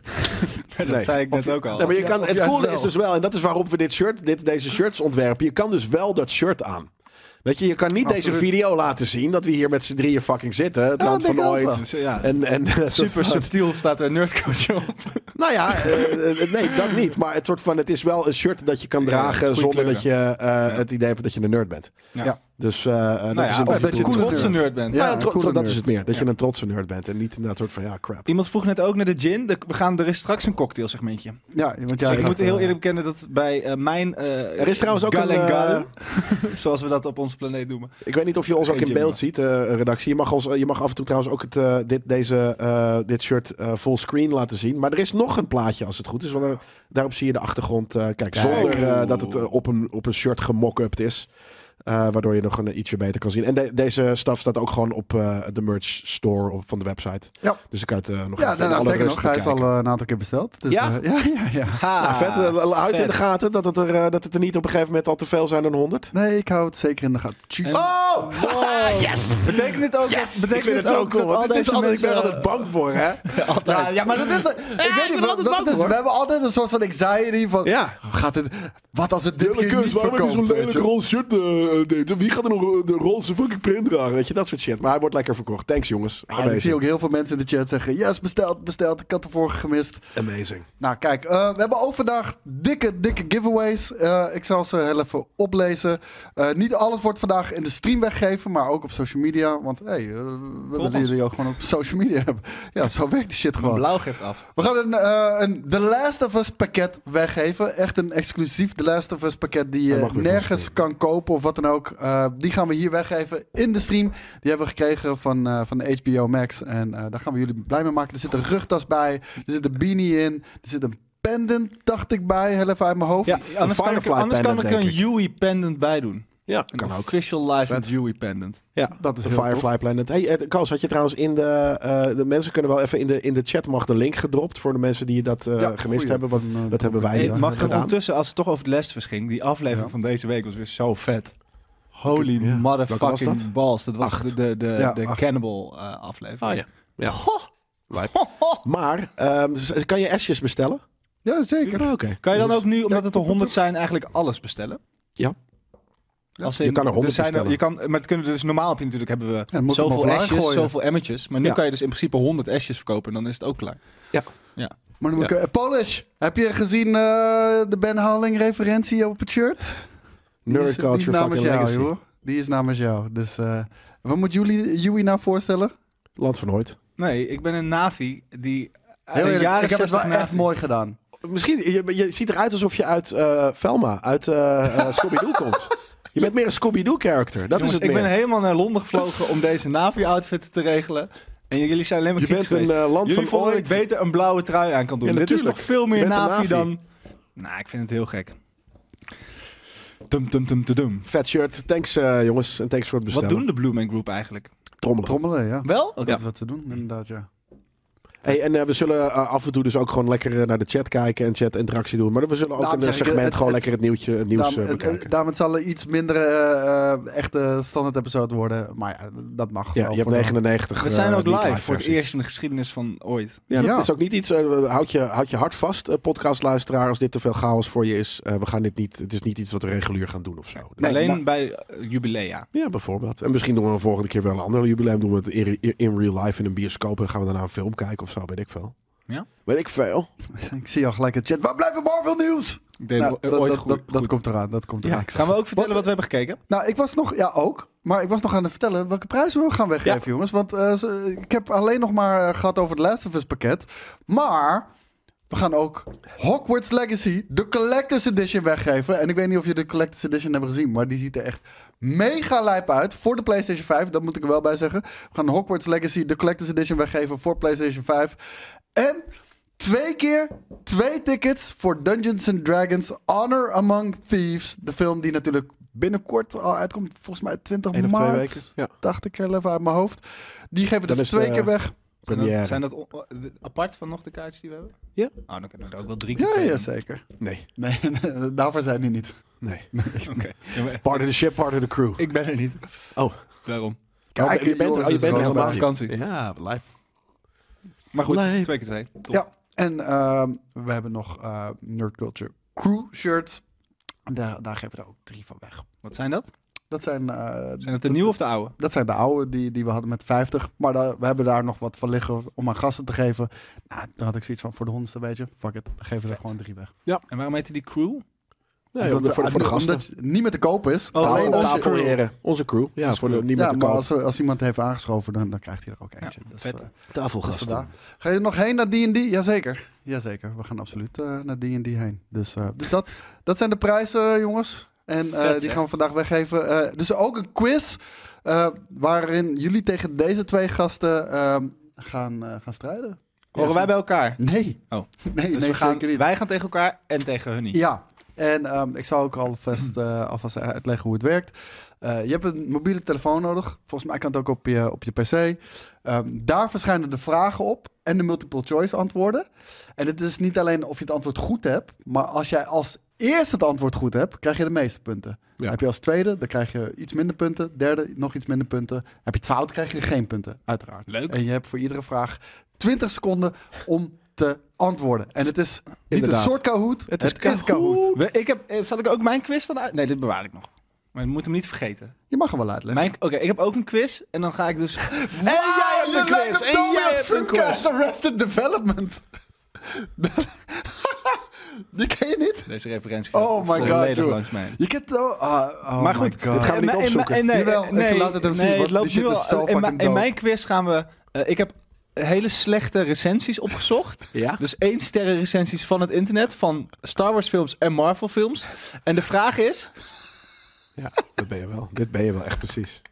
Speaker 3: Dat
Speaker 2: Nee.
Speaker 3: zei ik net
Speaker 2: Of-
Speaker 3: ook al.
Speaker 2: Nee, maar je
Speaker 4: Ja,
Speaker 2: kan,
Speaker 4: of
Speaker 2: het
Speaker 4: juist
Speaker 2: coole
Speaker 4: wel.
Speaker 2: is dus wel, en dat is waarop we dit shirt, dit, deze shirts ontwerpen. Je kan dus wel dat shirt aan. Weet je, je kan niet deze
Speaker 4: Absoluut.
Speaker 2: video laten zien dat we hier met z'n drieën fucking zitten. Het
Speaker 4: Ja,
Speaker 2: land
Speaker 4: dat
Speaker 2: van
Speaker 4: denk ik ook
Speaker 2: ooit.
Speaker 4: wel.
Speaker 3: Dus, ja,
Speaker 2: En, en, een soort
Speaker 3: super
Speaker 2: van-
Speaker 3: subtiel staat er nerdcoach op.
Speaker 2: Nou ja, eh, eh, nee, dat niet. Maar het, soort van, het is wel een shirt dat je kan
Speaker 3: Ja, het is
Speaker 2: dragen
Speaker 3: goede
Speaker 2: zonder
Speaker 3: kleuren.
Speaker 2: dat je eh, het idee hebt dat je een nerd bent.
Speaker 3: Ja.
Speaker 4: Ja.
Speaker 2: Dus eh, eh, dat
Speaker 3: Nou
Speaker 2: is
Speaker 3: ja,
Speaker 2: een
Speaker 3: of dat je een
Speaker 2: beetje-
Speaker 3: trotse
Speaker 4: nerd.
Speaker 3: nerd bent.
Speaker 2: Ja,
Speaker 4: Ja,
Speaker 2: een
Speaker 4: een
Speaker 2: tro-
Speaker 4: coole
Speaker 2: dat
Speaker 4: nerd.
Speaker 2: is het meer. Dat je
Speaker 3: Ja.
Speaker 2: een trotse nerd bent en niet inderdaad soort van, ja, crap.
Speaker 3: Iemand vroeg net ook naar de gin. De- we gaan, er is straks een cocktailsegmentje.
Speaker 4: Ja, want
Speaker 3: Ja,
Speaker 4: jij eh,
Speaker 3: ik eh, moet heel eerlijk
Speaker 4: eerlijk.
Speaker 3: bekennen dat bij eh, mijn... eh,
Speaker 2: Er is trouwens ook een,
Speaker 3: Galengaden, zoals we dat op onze planeet noemen.
Speaker 2: Ik weet niet of je ons ook
Speaker 3: Geen
Speaker 2: in
Speaker 3: Jimmy,
Speaker 2: beeld ziet, eh, redactie. Je mag, ons, je mag af en toe trouwens ook het, eh, dit, deze, eh, dit shirt eh full screen laten zien. Maar er is nog een plaatje als het goed is. Want eh, daarop zie je de achtergrond. eh, kijk, zonder eh, dat het eh, op, een, op een shirt gemock-upt is. Eh, waardoor je nog een eh, ietsje beter kan zien. En de- deze staf staat ook gewoon op eh, de merch store op- van de website.
Speaker 4: Ja.
Speaker 2: Dus ik kan het eh, nog
Speaker 4: Ja,
Speaker 2: even in
Speaker 4: nou,
Speaker 2: alle
Speaker 4: sterker
Speaker 2: rust
Speaker 4: nog, hij is al
Speaker 2: bekijken.
Speaker 4: eh, een aantal keer besteld. Dus,
Speaker 2: Ja?
Speaker 4: eh, ja, ja, ja.
Speaker 3: Ha,
Speaker 2: Nou, vet, eh, houd in de
Speaker 3: vet.
Speaker 2: gaten dat het, er, eh, dat het er niet op een gegeven moment al te veel zijn dan 100.
Speaker 4: Nee, ik hou het zeker in de gaten. Tjie.
Speaker 3: En-
Speaker 2: Oh!
Speaker 3: Betekent dit ook... dat-
Speaker 2: Ik vind het
Speaker 3: Betekent dit
Speaker 2: zo
Speaker 3: ook
Speaker 2: cool.
Speaker 3: dat al
Speaker 2: want dit is
Speaker 3: deze
Speaker 2: altijd- Ik ben er
Speaker 3: mensen-
Speaker 2: altijd bang voor, hè?
Speaker 4: Ja, ja, maar dat is. ik weet niet wat, wat het is. We hebben altijd een soort van anxiety van.
Speaker 2: Ja.
Speaker 4: Gaat het, wat als het dit
Speaker 2: Jelle
Speaker 4: keer
Speaker 2: Keus,
Speaker 4: niet
Speaker 2: waarom heb je
Speaker 4: verkoopt?
Speaker 2: zo'n
Speaker 4: weet
Speaker 2: lelijk
Speaker 4: je?
Speaker 2: roze shirt eh, deed? Wie gaat er nog eh, de roze fucking print dragen? Weet je, dat soort shit. Maar hij wordt lekker verkocht. Thanks, jongens.
Speaker 4: Ja, en
Speaker 2: Amazing.
Speaker 4: ik zie ook heel veel mensen in de chat zeggen: Yes, besteld, besteld. Ik had de vorige gemist.
Speaker 2: Amazing.
Speaker 4: Nou, kijk, eh, we hebben ook vandaag dikke, dikke giveaways. Eh, ik zal ze heel even oplezen. Eh, niet alles wordt vandaag in de stream weggegeven, maar ook op social media. Want hey, eh, we willen
Speaker 3: ons.
Speaker 4: jullie ook gewoon op social media hebben. Ja, zo werkt die shit gewoon.
Speaker 3: Blauw geeft af.
Speaker 4: We gaan een, eh, een The Last of Us pakket weggeven. Echt een exclusief The Last of Us pakket die
Speaker 2: Hij
Speaker 4: je
Speaker 2: mag weer
Speaker 4: nergens
Speaker 2: vastkomen.
Speaker 4: kan kopen of wat dan ook. Eh, die gaan we hier weggeven in de stream. Die hebben we gekregen van, eh, van HBO Max. En eh, daar gaan we jullie blij mee maken. Er zit een rugtas bij. Er zit een beanie in. Er zit een pendant, dacht ik, bij. Heel even uit mijn hoofd.
Speaker 2: Ja, een
Speaker 3: Anders kan ik,
Speaker 2: Firefly
Speaker 3: anders kan
Speaker 2: pendant,
Speaker 3: ik
Speaker 2: denk ik.
Speaker 3: een Yui pendant bij doen.
Speaker 2: Ja,
Speaker 3: Een
Speaker 2: kan ook.
Speaker 3: official licensed Yui pendant.
Speaker 2: Ja,
Speaker 4: dat is
Speaker 2: de
Speaker 4: heel
Speaker 2: Firefly Planet. Hey, eh, Koos, had je trouwens in de... eh, de mensen kunnen wel even in de, in de chat mag de link gedropt voor de mensen die dat eh,
Speaker 4: Ja,
Speaker 2: gemist
Speaker 4: goeie.
Speaker 2: hebben. Want
Speaker 4: Dan, eh,
Speaker 2: dat hebben wij
Speaker 3: Hey,
Speaker 2: eh,
Speaker 3: mag ik
Speaker 2: gedaan.
Speaker 3: ondertussen, als het toch over de les versching, die aflevering
Speaker 4: Ja.
Speaker 3: van deze week was weer zo vet. Holy
Speaker 2: Ja. Welke
Speaker 3: motherfucking
Speaker 2: was
Speaker 3: balls. Dat was de, de, de,
Speaker 4: Ja,
Speaker 3: de
Speaker 4: acht.
Speaker 3: Cannibal eh, aflevering.
Speaker 2: Ah ja. ja. Lijp. Maar, ehm, z- kan je S'jes bestellen?
Speaker 4: Ja, zeker.
Speaker 2: Ah, Oké.
Speaker 3: Kan je dan ook nu, omdat het er 100 zijn, eigenlijk alles bestellen?
Speaker 2: Ja.
Speaker 3: Als
Speaker 2: Je kan er 100
Speaker 3: zijn
Speaker 2: bestellen.
Speaker 3: je kan, maar het kunnen dus normaal heb je natuurlijk hebben we
Speaker 4: dan moet ik hem
Speaker 3: zoveel
Speaker 4: overlaag
Speaker 3: esjes,
Speaker 4: gooien.
Speaker 3: zoveel emmetjes. Maar nu
Speaker 2: Ja.
Speaker 3: kan je dus in principe 100 esjes verkopen en dan is het ook klaar.
Speaker 2: Ja.
Speaker 3: ja.
Speaker 4: Maar dan moet ik, eh, Polish, heb je gezien eh, de Ben Haling referentie op het shirt? Die is-
Speaker 2: Nerd
Speaker 4: die is
Speaker 2: culture
Speaker 4: namens
Speaker 2: fucking
Speaker 4: jou,
Speaker 2: legacy.
Speaker 4: joh. Die is namens jou. Dus eh, wat moet jullie Yui nou voorstellen?
Speaker 2: Land van ooit.
Speaker 3: Nee, ik ben een Navi die.
Speaker 4: Heel
Speaker 3: een
Speaker 4: eerlijk,
Speaker 3: jaren
Speaker 4: ik heb het wel
Speaker 3: 60
Speaker 4: echt
Speaker 3: Navi.
Speaker 4: mooi gedaan.
Speaker 2: Misschien, je, je ziet eruit alsof je uit eh Velma, uit eh, eh, Scooby-Doo komt. Je bent meer een Scooby-Doo-character. Dat
Speaker 3: Jongens,
Speaker 2: is het
Speaker 3: ik
Speaker 2: meer.
Speaker 3: ben helemaal naar Londen gevlogen om deze Navi-outfit te regelen. En jullie zijn alleen maar
Speaker 2: je
Speaker 3: gids
Speaker 2: bent
Speaker 3: geweest.
Speaker 2: een eh, land
Speaker 3: Jullie
Speaker 2: van
Speaker 3: vonden dat ik
Speaker 2: ooit.
Speaker 3: beter een blauwe trui aan kan doen.
Speaker 2: Ja,
Speaker 3: Dit is
Speaker 2: natuurlijk.
Speaker 3: toch veel meer
Speaker 2: Je bent een
Speaker 3: Navi,
Speaker 2: Navi.
Speaker 3: dan... Nou, ik vind het heel gek. Dum, dum, dum, dum, dum.
Speaker 2: Vet shirt. Thanks eh, jongens en thanks voor het
Speaker 3: Wat
Speaker 2: bestellen.
Speaker 3: doen de Blue Man Group eigenlijk?
Speaker 2: Trommelen.
Speaker 4: Trommelen, ja.
Speaker 3: Wel?
Speaker 4: Dat
Speaker 2: Ja.
Speaker 4: is wat ze doen, inderdaad, ja.
Speaker 2: Hey, en eh, we zullen eh, af en toe dus ook gewoon lekker eh, naar de chat kijken en chat-interactie doen. Maar we zullen ook
Speaker 3: Nou,
Speaker 4: Daarom
Speaker 2: een eh,
Speaker 4: zeg ik,
Speaker 2: segment
Speaker 4: het-
Speaker 2: gewoon
Speaker 4: het-
Speaker 2: lekker het, nieuwtje, het nieuws eh,
Speaker 4: Daarom- het-
Speaker 2: bekijken.
Speaker 4: het- daarom het zal een iets minder eh, eh, echte standaard episode worden. Maar ja, dat mag
Speaker 2: ja,
Speaker 4: wel
Speaker 2: je hebt
Speaker 4: voor dan.
Speaker 2: 99.
Speaker 3: We zijn
Speaker 2: eh,
Speaker 3: ook
Speaker 2: niet
Speaker 3: live voor het
Speaker 2: versies.
Speaker 3: eerst in de geschiedenis van ooit.
Speaker 2: Ja, dat
Speaker 4: Ja.
Speaker 2: is ook niet iets. eh, houd, je, houd je hart vast, eh, podcastluisteraar, als dit te veel chaos voor je is. Eh, we gaan dit niet, het is niet iets wat we regulier gaan doen of zo. Dus-
Speaker 3: alleen
Speaker 4: maar-
Speaker 3: bij eh, jubilea.
Speaker 2: Ja, bijvoorbeeld. En misschien doen we een volgende keer wel een ander jubileum. Doen we het in, in real life in een bioscoop. En gaan we daarna een film kijken of zo, weet ik veel.
Speaker 3: Ja.
Speaker 2: Weet ik veel.
Speaker 4: Ik zie al gelijk het chat. Waar blijven Marvel nieuws?
Speaker 3: Ik deed
Speaker 4: Nou,
Speaker 3: o-
Speaker 4: dat,
Speaker 3: ooit
Speaker 4: dat,
Speaker 3: goed.
Speaker 4: dat, dat
Speaker 3: goed.
Speaker 4: komt eraan, dat komt eraan.
Speaker 3: Gaan we ook vertellen wat we hebben gekeken?
Speaker 4: Nou, ik was nog, ja ook, maar ik was nog aan het vertellen welke prijzen we gaan weggeven, jongens. Want eh, ze- ik heb alleen nog maar eh, gehad over het Last of Us pakket. Maar We gaan ook Hogwarts Legacy, de Collector's Edition, weggeven. En ik weet niet of je de Collector's Edition hebt gezien, maar die ziet er echt mega lijp uit. Voor de PlayStation 5, dat moet ik er wel bij zeggen. We gaan Hogwarts Legacy, de Collector's Edition, weggeven voor PlayStation 5. En twee keer twee tickets voor Dungeons and Dragons Honor Among Thieves. De film die natuurlijk binnenkort al uitkomt, volgens mij 20
Speaker 2: Eén of twee
Speaker 4: maart.
Speaker 2: weken, ja.
Speaker 4: Dacht ik er even uit mijn hoofd. Die geven we
Speaker 2: Dan
Speaker 4: dus
Speaker 2: is de-
Speaker 4: twee keer weg.
Speaker 3: Zijn
Speaker 2: Première.
Speaker 3: dat, zijn dat on- o- de- apart van nog de kaartjes die we hebben?
Speaker 2: Ja.
Speaker 3: Oh, dan kunnen we er ook wel drie keer
Speaker 4: Ja,
Speaker 3: twee
Speaker 4: ja,
Speaker 3: doen.
Speaker 4: zeker.
Speaker 2: Nee,
Speaker 4: Nee, daarvoor zijn die niet.
Speaker 2: nee.
Speaker 3: Oké. Ja, maar
Speaker 2: Part of the ship, part of the crew.
Speaker 3: Ik ben er niet.
Speaker 2: Oh.
Speaker 3: Daarom.
Speaker 4: Kijk,
Speaker 2: je bent,
Speaker 4: jongens,
Speaker 2: oh, je
Speaker 4: het is
Speaker 2: bent er
Speaker 4: wel
Speaker 2: helemaal
Speaker 3: een vakantie.
Speaker 2: Ja, lijp.
Speaker 3: Maar goed,
Speaker 2: Nee.
Speaker 3: twee keer twee. Top.
Speaker 4: Ja, en ehm, we hebben nog eh, Nerd Culture Crew shirts. Daar, daar geven we er ook drie van weg.
Speaker 3: Wat zijn dat?
Speaker 4: Dat zijn, eh,
Speaker 3: Zijn het de nieuwe of de oude?
Speaker 4: dat zijn de oude die, die we hadden met 50. Maar daar- we hebben daar nog wat van liggen om aan gasten te geven. Nou, toen had ik zoiets van voor de honderdste, weet je. Fuck it, dan geven we er gewoon drie weg.
Speaker 3: En waarom heette die crew?
Speaker 2: Nee, omdat, voor, de- voor de
Speaker 4: omdat
Speaker 2: gasten.
Speaker 4: het niet meer te koop is.
Speaker 3: Oh,
Speaker 4: alleen
Speaker 2: Tafel,
Speaker 3: onze
Speaker 2: tafel
Speaker 3: crew.
Speaker 2: eren. Onze crew. Ja,
Speaker 3: Onze
Speaker 2: voor de,
Speaker 3: crew.
Speaker 2: niet
Speaker 4: ja,
Speaker 2: meer te
Speaker 4: maar
Speaker 2: koop.
Speaker 4: als, als iemand heeft aangeschoven, dan, dan krijgt hij er ook eentje.
Speaker 3: Ja,
Speaker 4: dus,
Speaker 3: vet.
Speaker 4: eh, Dus
Speaker 2: Tafelgasten.
Speaker 4: vandaar. Ga je er nog heen naar D&D? Jazeker. Jazeker, we gaan absoluut eh, naar D&D heen. Dus, eh, dus dat, dat zijn de prijzen, jongens. En eh,
Speaker 3: Vet,
Speaker 4: die
Speaker 3: zeg.
Speaker 4: gaan we vandaag weggeven. Eh, dus ook een quiz eh, waarin jullie tegen deze twee gasten ehm, gaan, eh, gaan strijden.
Speaker 3: Horen wij bij elkaar?
Speaker 4: Nee.
Speaker 3: Oh.
Speaker 4: Nee,
Speaker 3: Dus
Speaker 4: nee
Speaker 3: we gaan,
Speaker 4: zeker niet.
Speaker 3: wij gaan tegen elkaar en tegen hun niet.
Speaker 4: Ja, en ehm, ik zal ook alvast, eh, alvast uitleggen hoe het werkt. Eh, je hebt een mobiele telefoon nodig. Volgens mij kan het ook op je, op je PC. Ehm, daar verschijnen de vragen op en de multiple choice antwoorden. En het is niet alleen of je het antwoord goed hebt, maar als jij als eerste het antwoord goed hebt, krijg je de meeste punten.
Speaker 2: Ja.
Speaker 4: Heb je als tweede, dan krijg je iets minder punten. Derde, nog iets minder punten. Heb je het fout, krijg je geen punten, uiteraard.
Speaker 3: Leuk.
Speaker 4: En je hebt voor iedere vraag 20 seconden om te antwoorden. En het is niet
Speaker 2: Inderdaad.
Speaker 4: een soort Kahoot, het is, Kahoot.
Speaker 3: We- ik heb, eh, zal ik ook mijn quiz dan uit? Nee, dit bewaar ik nog. Maar je moet hem niet vergeten.
Speaker 4: Je mag hem wel uitleggen.
Speaker 3: Mijn- Oké, ik heb ook een quiz. En dan ga ik dus...
Speaker 4: En jij
Speaker 3: hebt een quiz, en jij hebt een quiz.
Speaker 4: Arrested Development. Die ken je niet?
Speaker 3: Deze referentie
Speaker 4: gaat Oh my volledig god, dude. langs
Speaker 3: langs mij.
Speaker 4: Je kent... Oh, ah, oh
Speaker 3: maar goed, eh,
Speaker 4: my God.
Speaker 2: dit gaan we niet
Speaker 3: En- en-
Speaker 2: opzoeken.
Speaker 3: en- nee,
Speaker 4: Jawel, ik
Speaker 3: nee,
Speaker 4: laat het hem zien,
Speaker 3: nee,
Speaker 4: want
Speaker 3: het loopt
Speaker 4: die shit
Speaker 3: nu
Speaker 4: is
Speaker 3: al-
Speaker 4: zo
Speaker 3: in
Speaker 4: fucking
Speaker 3: mijn- In
Speaker 4: dope.
Speaker 3: mijn quiz gaan we... eh, ik heb hele slechte recensies opgezocht.
Speaker 2: Ja?
Speaker 3: Dus één sterren recensies van het internet, van Star Wars films en Marvel films. En de vraag is,
Speaker 2: Ja, dat ben je wel. Dit ben je wel echt precies.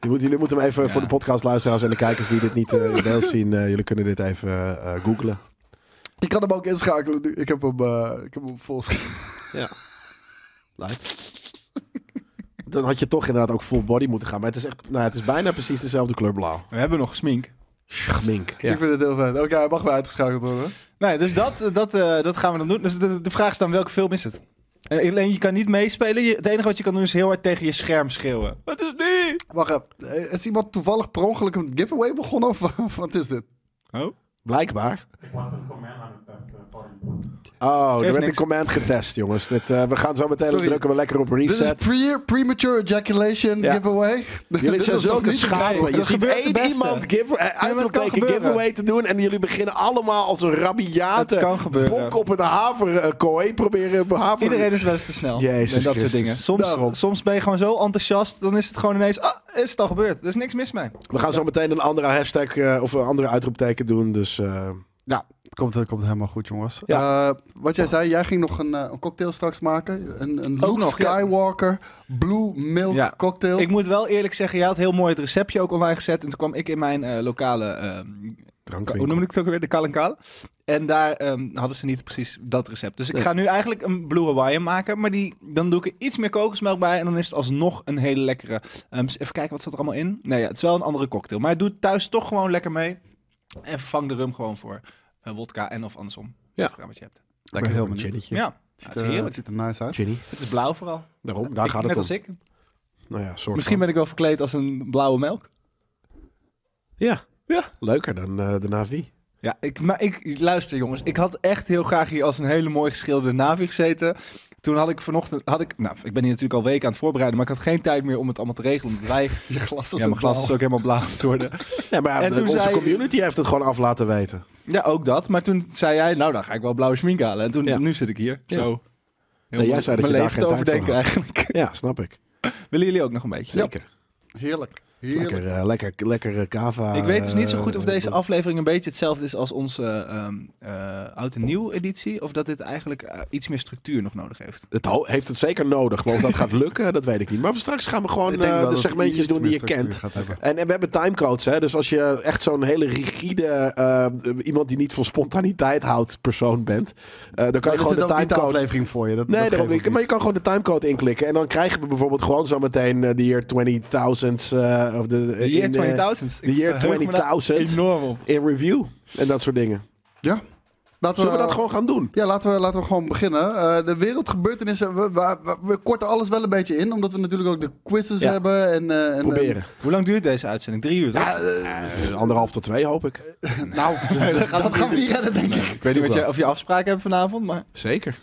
Speaker 2: Je moet, jullie moeten hem even
Speaker 3: Ja.
Speaker 2: voor de podcastluisteraars en de kijkers die dit niet eh, in beeld zien. eh, jullie kunnen dit even eh googlen.
Speaker 4: Je kan hem ook inschakelen nu. Ik heb hem, eh, ik heb hem vol scherm.
Speaker 2: Ja. Dan had je toch inderdaad ook full body moeten gaan. Maar het is, echt, nou, het is bijna precies dezelfde kleur blauw.
Speaker 3: we hebben nog smink.
Speaker 2: Schmink. Ja.
Speaker 4: Ik vind het heel vet. Oké, hij mag weer uitgeschakeld worden.
Speaker 3: Nee, dus dat, eh, dat, eh, dat gaan we dan doen. Dus de, de vraag is dan, welke film is het? Eh, Alleen, je kan niet meespelen. Je- het enige wat je kan doen is heel hard tegen je scherm schreeuwen. Wat is nu?
Speaker 4: Wacht even. Eh, Is iemand toevallig per ongeluk een giveaway begonnen? Of wat is dit?
Speaker 3: Oh?
Speaker 2: Blijkbaar.
Speaker 5: Ik laat een comment aan het testen. pardon.
Speaker 2: Oh, er
Speaker 3: Geeft
Speaker 2: werd een
Speaker 3: niks.
Speaker 2: command getest, jongens. Dit, eh, we gaan zo meteen
Speaker 4: Sorry.
Speaker 2: drukken we lekker op
Speaker 4: Dit is
Speaker 2: reset.
Speaker 4: pre premature ejaculation
Speaker 2: Ja.
Speaker 4: giveaway.
Speaker 2: Jullie
Speaker 4: Dit
Speaker 2: zijn
Speaker 4: is nog
Speaker 2: zulke
Speaker 4: niet te
Speaker 2: schapen.
Speaker 4: krijgen.
Speaker 2: Je
Speaker 3: Dat
Speaker 2: ziet
Speaker 3: gebeurt de
Speaker 2: één
Speaker 3: beste.
Speaker 2: iemand give, eh,
Speaker 3: kan
Speaker 2: uitroepteken
Speaker 3: gebeuren.
Speaker 2: giveaway te doen... en jullie beginnen allemaal als een rabiate
Speaker 3: Het kan gebeuren.
Speaker 2: bok op een haverkooi proberen eh, behaveren.
Speaker 3: Iedereen is wel eens te snel.
Speaker 2: Jezus
Speaker 3: en dat
Speaker 2: Christus.
Speaker 3: soort dingen. Soms, soms ben je gewoon zo enthousiast, dan is het gewoon ineens... Ah, is het al gebeurd. Er is niks mis mee.
Speaker 2: We gaan zo meteen een andere hashtag eh, of een andere uitroepteken doen. Dus eh,
Speaker 4: Ja, het komt, het komt helemaal goed, jongens. Eh, wat jij zei, jij ging nog een, eh, een cocktail straks maken. Een, een Luke
Speaker 3: nog, ja.
Speaker 4: Skywalker Blue Milk
Speaker 3: Ja.
Speaker 4: cocktail.
Speaker 3: Ik moet wel eerlijk zeggen, jij had heel mooi het receptje ook online gezet. En toen kwam ik in mijn eh, lokale eh, Hoe
Speaker 2: drankwinkel.
Speaker 3: noemde ik het ook weer? De Kal en Kal. En daar ehm, hadden ze niet precies dat recept. Dus ik ga nu eigenlijk een Blue Hawaiian maken. Maar die, dan doe ik er iets meer kokosmelk bij. En dan is het alsnog een hele lekkere. Ehm, eens even kijken, wat staat er allemaal in? Nou ja, het is wel een andere cocktail. Maar doe het thuis toch gewoon lekker mee. En vervang de rum gewoon voor eh wodka en of andersom.
Speaker 2: Ja.
Speaker 3: Even aan Wat je hebt.
Speaker 2: Lekker
Speaker 4: heel
Speaker 2: een
Speaker 4: benieuwd.
Speaker 2: chinnetje.
Speaker 3: Ja, Ja, het
Speaker 4: het, ziet,
Speaker 3: is
Speaker 4: er-
Speaker 3: heerlijk.
Speaker 4: het ziet er nice uit.
Speaker 2: Ginny.
Speaker 3: Het is blauw vooral.
Speaker 2: Daarom, daar
Speaker 3: Ik-
Speaker 2: gaat
Speaker 3: net
Speaker 2: het om.
Speaker 3: als ik.
Speaker 2: Nou ja, soort
Speaker 3: Misschien
Speaker 2: van.
Speaker 3: ben ik wel verkleed als een blauwe melk.
Speaker 2: Ja.
Speaker 3: Ja.
Speaker 2: Leuker dan eh, de Navi.
Speaker 3: Ja, ik, maar ik, luister jongens, ik had echt heel graag hier als een hele mooi geschilderde navi gezeten. Toen had ik vanochtend, had ik, nou, ik ben hier natuurlijk al weken aan het voorbereiden, maar ik had geen tijd meer om het allemaal te regelen. Omdat wij,
Speaker 4: Je glas is
Speaker 3: ja,
Speaker 4: een
Speaker 3: mijn glas is
Speaker 4: bal.
Speaker 3: ook helemaal blauw geworden.
Speaker 2: Ja, maar ja,
Speaker 3: En
Speaker 2: de-
Speaker 3: toen
Speaker 2: onze
Speaker 3: zei-
Speaker 2: community heeft het gewoon af laten weten.
Speaker 3: Ja, ook dat. Maar toen zei jij, nou, dan ga ik wel blauwe schmink halen. En toen,
Speaker 2: Ja.
Speaker 3: nu zit ik hier,
Speaker 2: Ja.
Speaker 3: zo. Heel
Speaker 2: Nee, jij zei dat
Speaker 3: mijn
Speaker 2: je daar
Speaker 3: leven
Speaker 2: geen
Speaker 3: te
Speaker 2: tijd voor
Speaker 3: overdenken eigenlijk.
Speaker 2: Ja, snap ik.
Speaker 3: Willen jullie ook nog een beetje?
Speaker 2: Zeker.
Speaker 4: Heerlijk. Heerlijk.
Speaker 2: Lekker, eh, lekker, lekker eh, cava.
Speaker 3: Ik weet dus niet zo goed of
Speaker 2: eh,
Speaker 3: deze
Speaker 2: eh,
Speaker 3: aflevering een beetje hetzelfde is als onze ehm, eh, oud en nieuw editie. Of dat dit eigenlijk eh, iets meer structuur nog nodig heeft.
Speaker 2: Het ho- heeft het zeker nodig, maar of dat gaat lukken, dat weet ik niet. Maar voor straks gaan we gewoon
Speaker 4: Ik denk
Speaker 2: eh,
Speaker 4: wel
Speaker 2: de
Speaker 4: dat het
Speaker 2: segmentjes
Speaker 4: iets
Speaker 2: doen die
Speaker 4: meer
Speaker 2: je
Speaker 4: structuur
Speaker 2: kent.
Speaker 4: gaat hebben.
Speaker 2: En, en we hebben timecodes, hè? dus als je echt zo'n hele rigide, eh, iemand die niet van spontaniteit houdt, persoon bent, eh, dan kan je gewoon
Speaker 4: Er zit
Speaker 2: de
Speaker 4: ook niet de
Speaker 2: timecode...
Speaker 4: aflevering voor je. Dat,
Speaker 2: Nee,
Speaker 4: dat
Speaker 2: daarom,
Speaker 4: geeft
Speaker 2: niet. maar je kan gewoon de timecode inklikken. En dan krijgen we bijvoorbeeld gewoon zometeen eh, de year 20.000s. eh of de,
Speaker 3: De year
Speaker 2: in, eh,
Speaker 3: 2000.
Speaker 2: de year 20.000.
Speaker 3: Enorm op.
Speaker 2: in review. En dat soort dingen.
Speaker 4: Laten
Speaker 2: Zullen we dat gewoon gaan doen?
Speaker 4: Ja, laten we, laten we gewoon beginnen. Eh, de wereldgebeurtenissen, we, we, we- we korten alles wel een beetje in. Omdat we natuurlijk ook de quizzes
Speaker 2: Ja.
Speaker 4: hebben. En, eh, en, en-
Speaker 2: Proberen.
Speaker 3: Hoe lang duurt deze uitzending? Drie uur, toch?
Speaker 2: Ja, eh, anderhalf tot twee hoop ik.
Speaker 4: nou, dat, gaan we niet redden, denk ik.
Speaker 2: Ik weet
Speaker 3: niet
Speaker 2: niet
Speaker 3: wat
Speaker 2: wel.
Speaker 3: je, of je afspraken hebt vanavond, maar...
Speaker 2: Zeker.